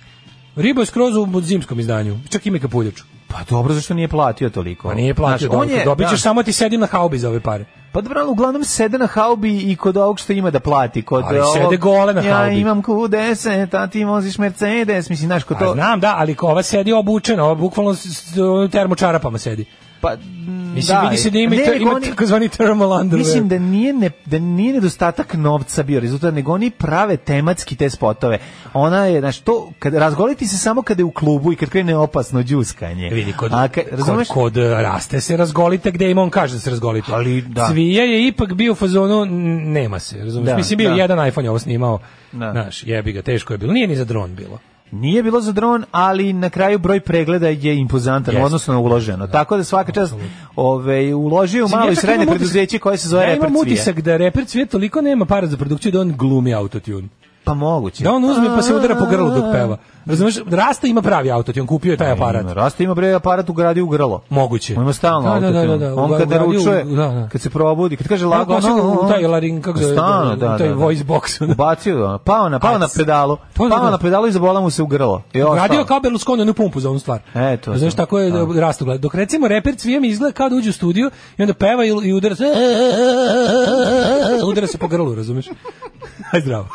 Speaker 7: Riba je skroz u zimskom izdanju, čak ima i kapuljaču.
Speaker 6: Pa dobro, zašto nije platio toliko?
Speaker 7: Pa nije platio,
Speaker 6: Znaš, on je,
Speaker 7: dobit
Speaker 6: da.
Speaker 7: ćeš samo ti sedim na haubi za ove pare.
Speaker 6: Pa dobro, ali uglavnom sede na haubi i kod ovog što ima da plati. Kod
Speaker 7: Ali
Speaker 6: ovog,
Speaker 7: sede gole na
Speaker 6: Ja
Speaker 7: haubi.
Speaker 6: imam Q10, a ti voziš Mercedes, mislim, znaš, kod
Speaker 7: Pa
Speaker 6: to...
Speaker 7: znam, da, ali ko ova sedi obučena, ova bukvalno s, s, termo čarapama sedi.
Speaker 6: Pa, mm,
Speaker 7: Mislim, vidi se da ima,
Speaker 6: ne,
Speaker 7: i te-
Speaker 6: nego
Speaker 7: ima
Speaker 6: oni-
Speaker 7: takozvani thermal underwear.
Speaker 6: Mislim da nije, ne, da nije nedostatak novca bio rezultat, nego oni prave tematski te spotove. Ona je, znaš, to, kad, razgoliti se samo kada je u klubu i kad krene opasno džuskanje.
Speaker 7: Vidi, kod,
Speaker 6: A ka- razumeš?
Speaker 7: kod, kod, e, raste se razgolite gde im on kaže da se razgolite.
Speaker 6: Ali, da.
Speaker 7: Cvija je ipak bio u fazonu, n- nema se, razumeš?
Speaker 6: Da,
Speaker 7: Mislim, bio je
Speaker 6: da.
Speaker 7: jedan iPhone je ovo snimao,
Speaker 6: Da.
Speaker 7: znaš, jebi ga, teško je bilo. Nije ni za dron bilo.
Speaker 6: Nije bilo za dron, ali na kraju broj pregleda je impozantan,
Speaker 7: Jeste.
Speaker 6: odnosno na uloženo. Tako da svaka čast ove, uložio u
Speaker 7: Mislim,
Speaker 6: malo
Speaker 7: ja
Speaker 6: i
Speaker 7: čak
Speaker 6: srednje
Speaker 7: imam utisak-
Speaker 6: preduzeće koje se zove
Speaker 7: Ja
Speaker 6: Reper
Speaker 7: imam
Speaker 6: Cvije.
Speaker 7: utisak da reper Cvije toliko nema para za produkciju da on glumi autotune.
Speaker 6: Pa moguće.
Speaker 7: Da on uzme pa se udara po grlu dok peva. Razumeš, Rasta ima pravi autotune, kupio je taj aparat.
Speaker 6: Ima, Rasta ima bre aparat ugradio u grlo.
Speaker 7: Moguće.
Speaker 6: On ima stalno
Speaker 7: da, da, da, da,
Speaker 6: autotune. On kad
Speaker 7: ugradio u-
Speaker 6: naručuje,
Speaker 7: da, da.
Speaker 6: kad se probudi, kad kaže lago,
Speaker 7: Evo ga,
Speaker 6: no,
Speaker 7: sad u
Speaker 6: no,
Speaker 7: taj larin- kako zove,
Speaker 6: stalno,
Speaker 7: u
Speaker 6: da,
Speaker 7: taj
Speaker 6: da, da.
Speaker 7: voice box.
Speaker 6: Ubacio ga, pao na, pao na
Speaker 7: Ajde.
Speaker 6: pedalu,
Speaker 7: To je
Speaker 6: pao
Speaker 7: da.
Speaker 6: na pedalu i zabola mu se u grlo. I ostao.
Speaker 7: Radio kao Berlusconi onu pumpu za onu stvar.
Speaker 6: E, to
Speaker 7: Znaš
Speaker 6: to.
Speaker 7: tako je
Speaker 6: Da.
Speaker 7: rastu gleda. Dok recimo reper cvijem izgleda kao da uđe u studio i onda peva i, i udara se [LAUGHS] udara se po grlu, razumeš? [LAUGHS] Aj zdravo.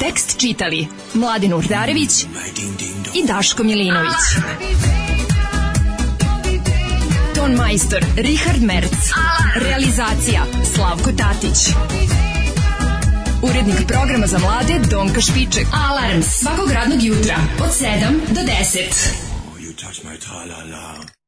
Speaker 5: Tekst čitali Mladin Urdarević i Daško Milinović. Ton majstor Richard Merc. Realizacija Slavko Tatić. Urednik programa za mlade Donka Špiček. Alarms svakog radnog jutra od 7 do 10.
Speaker 8: You touch my tra-la-la.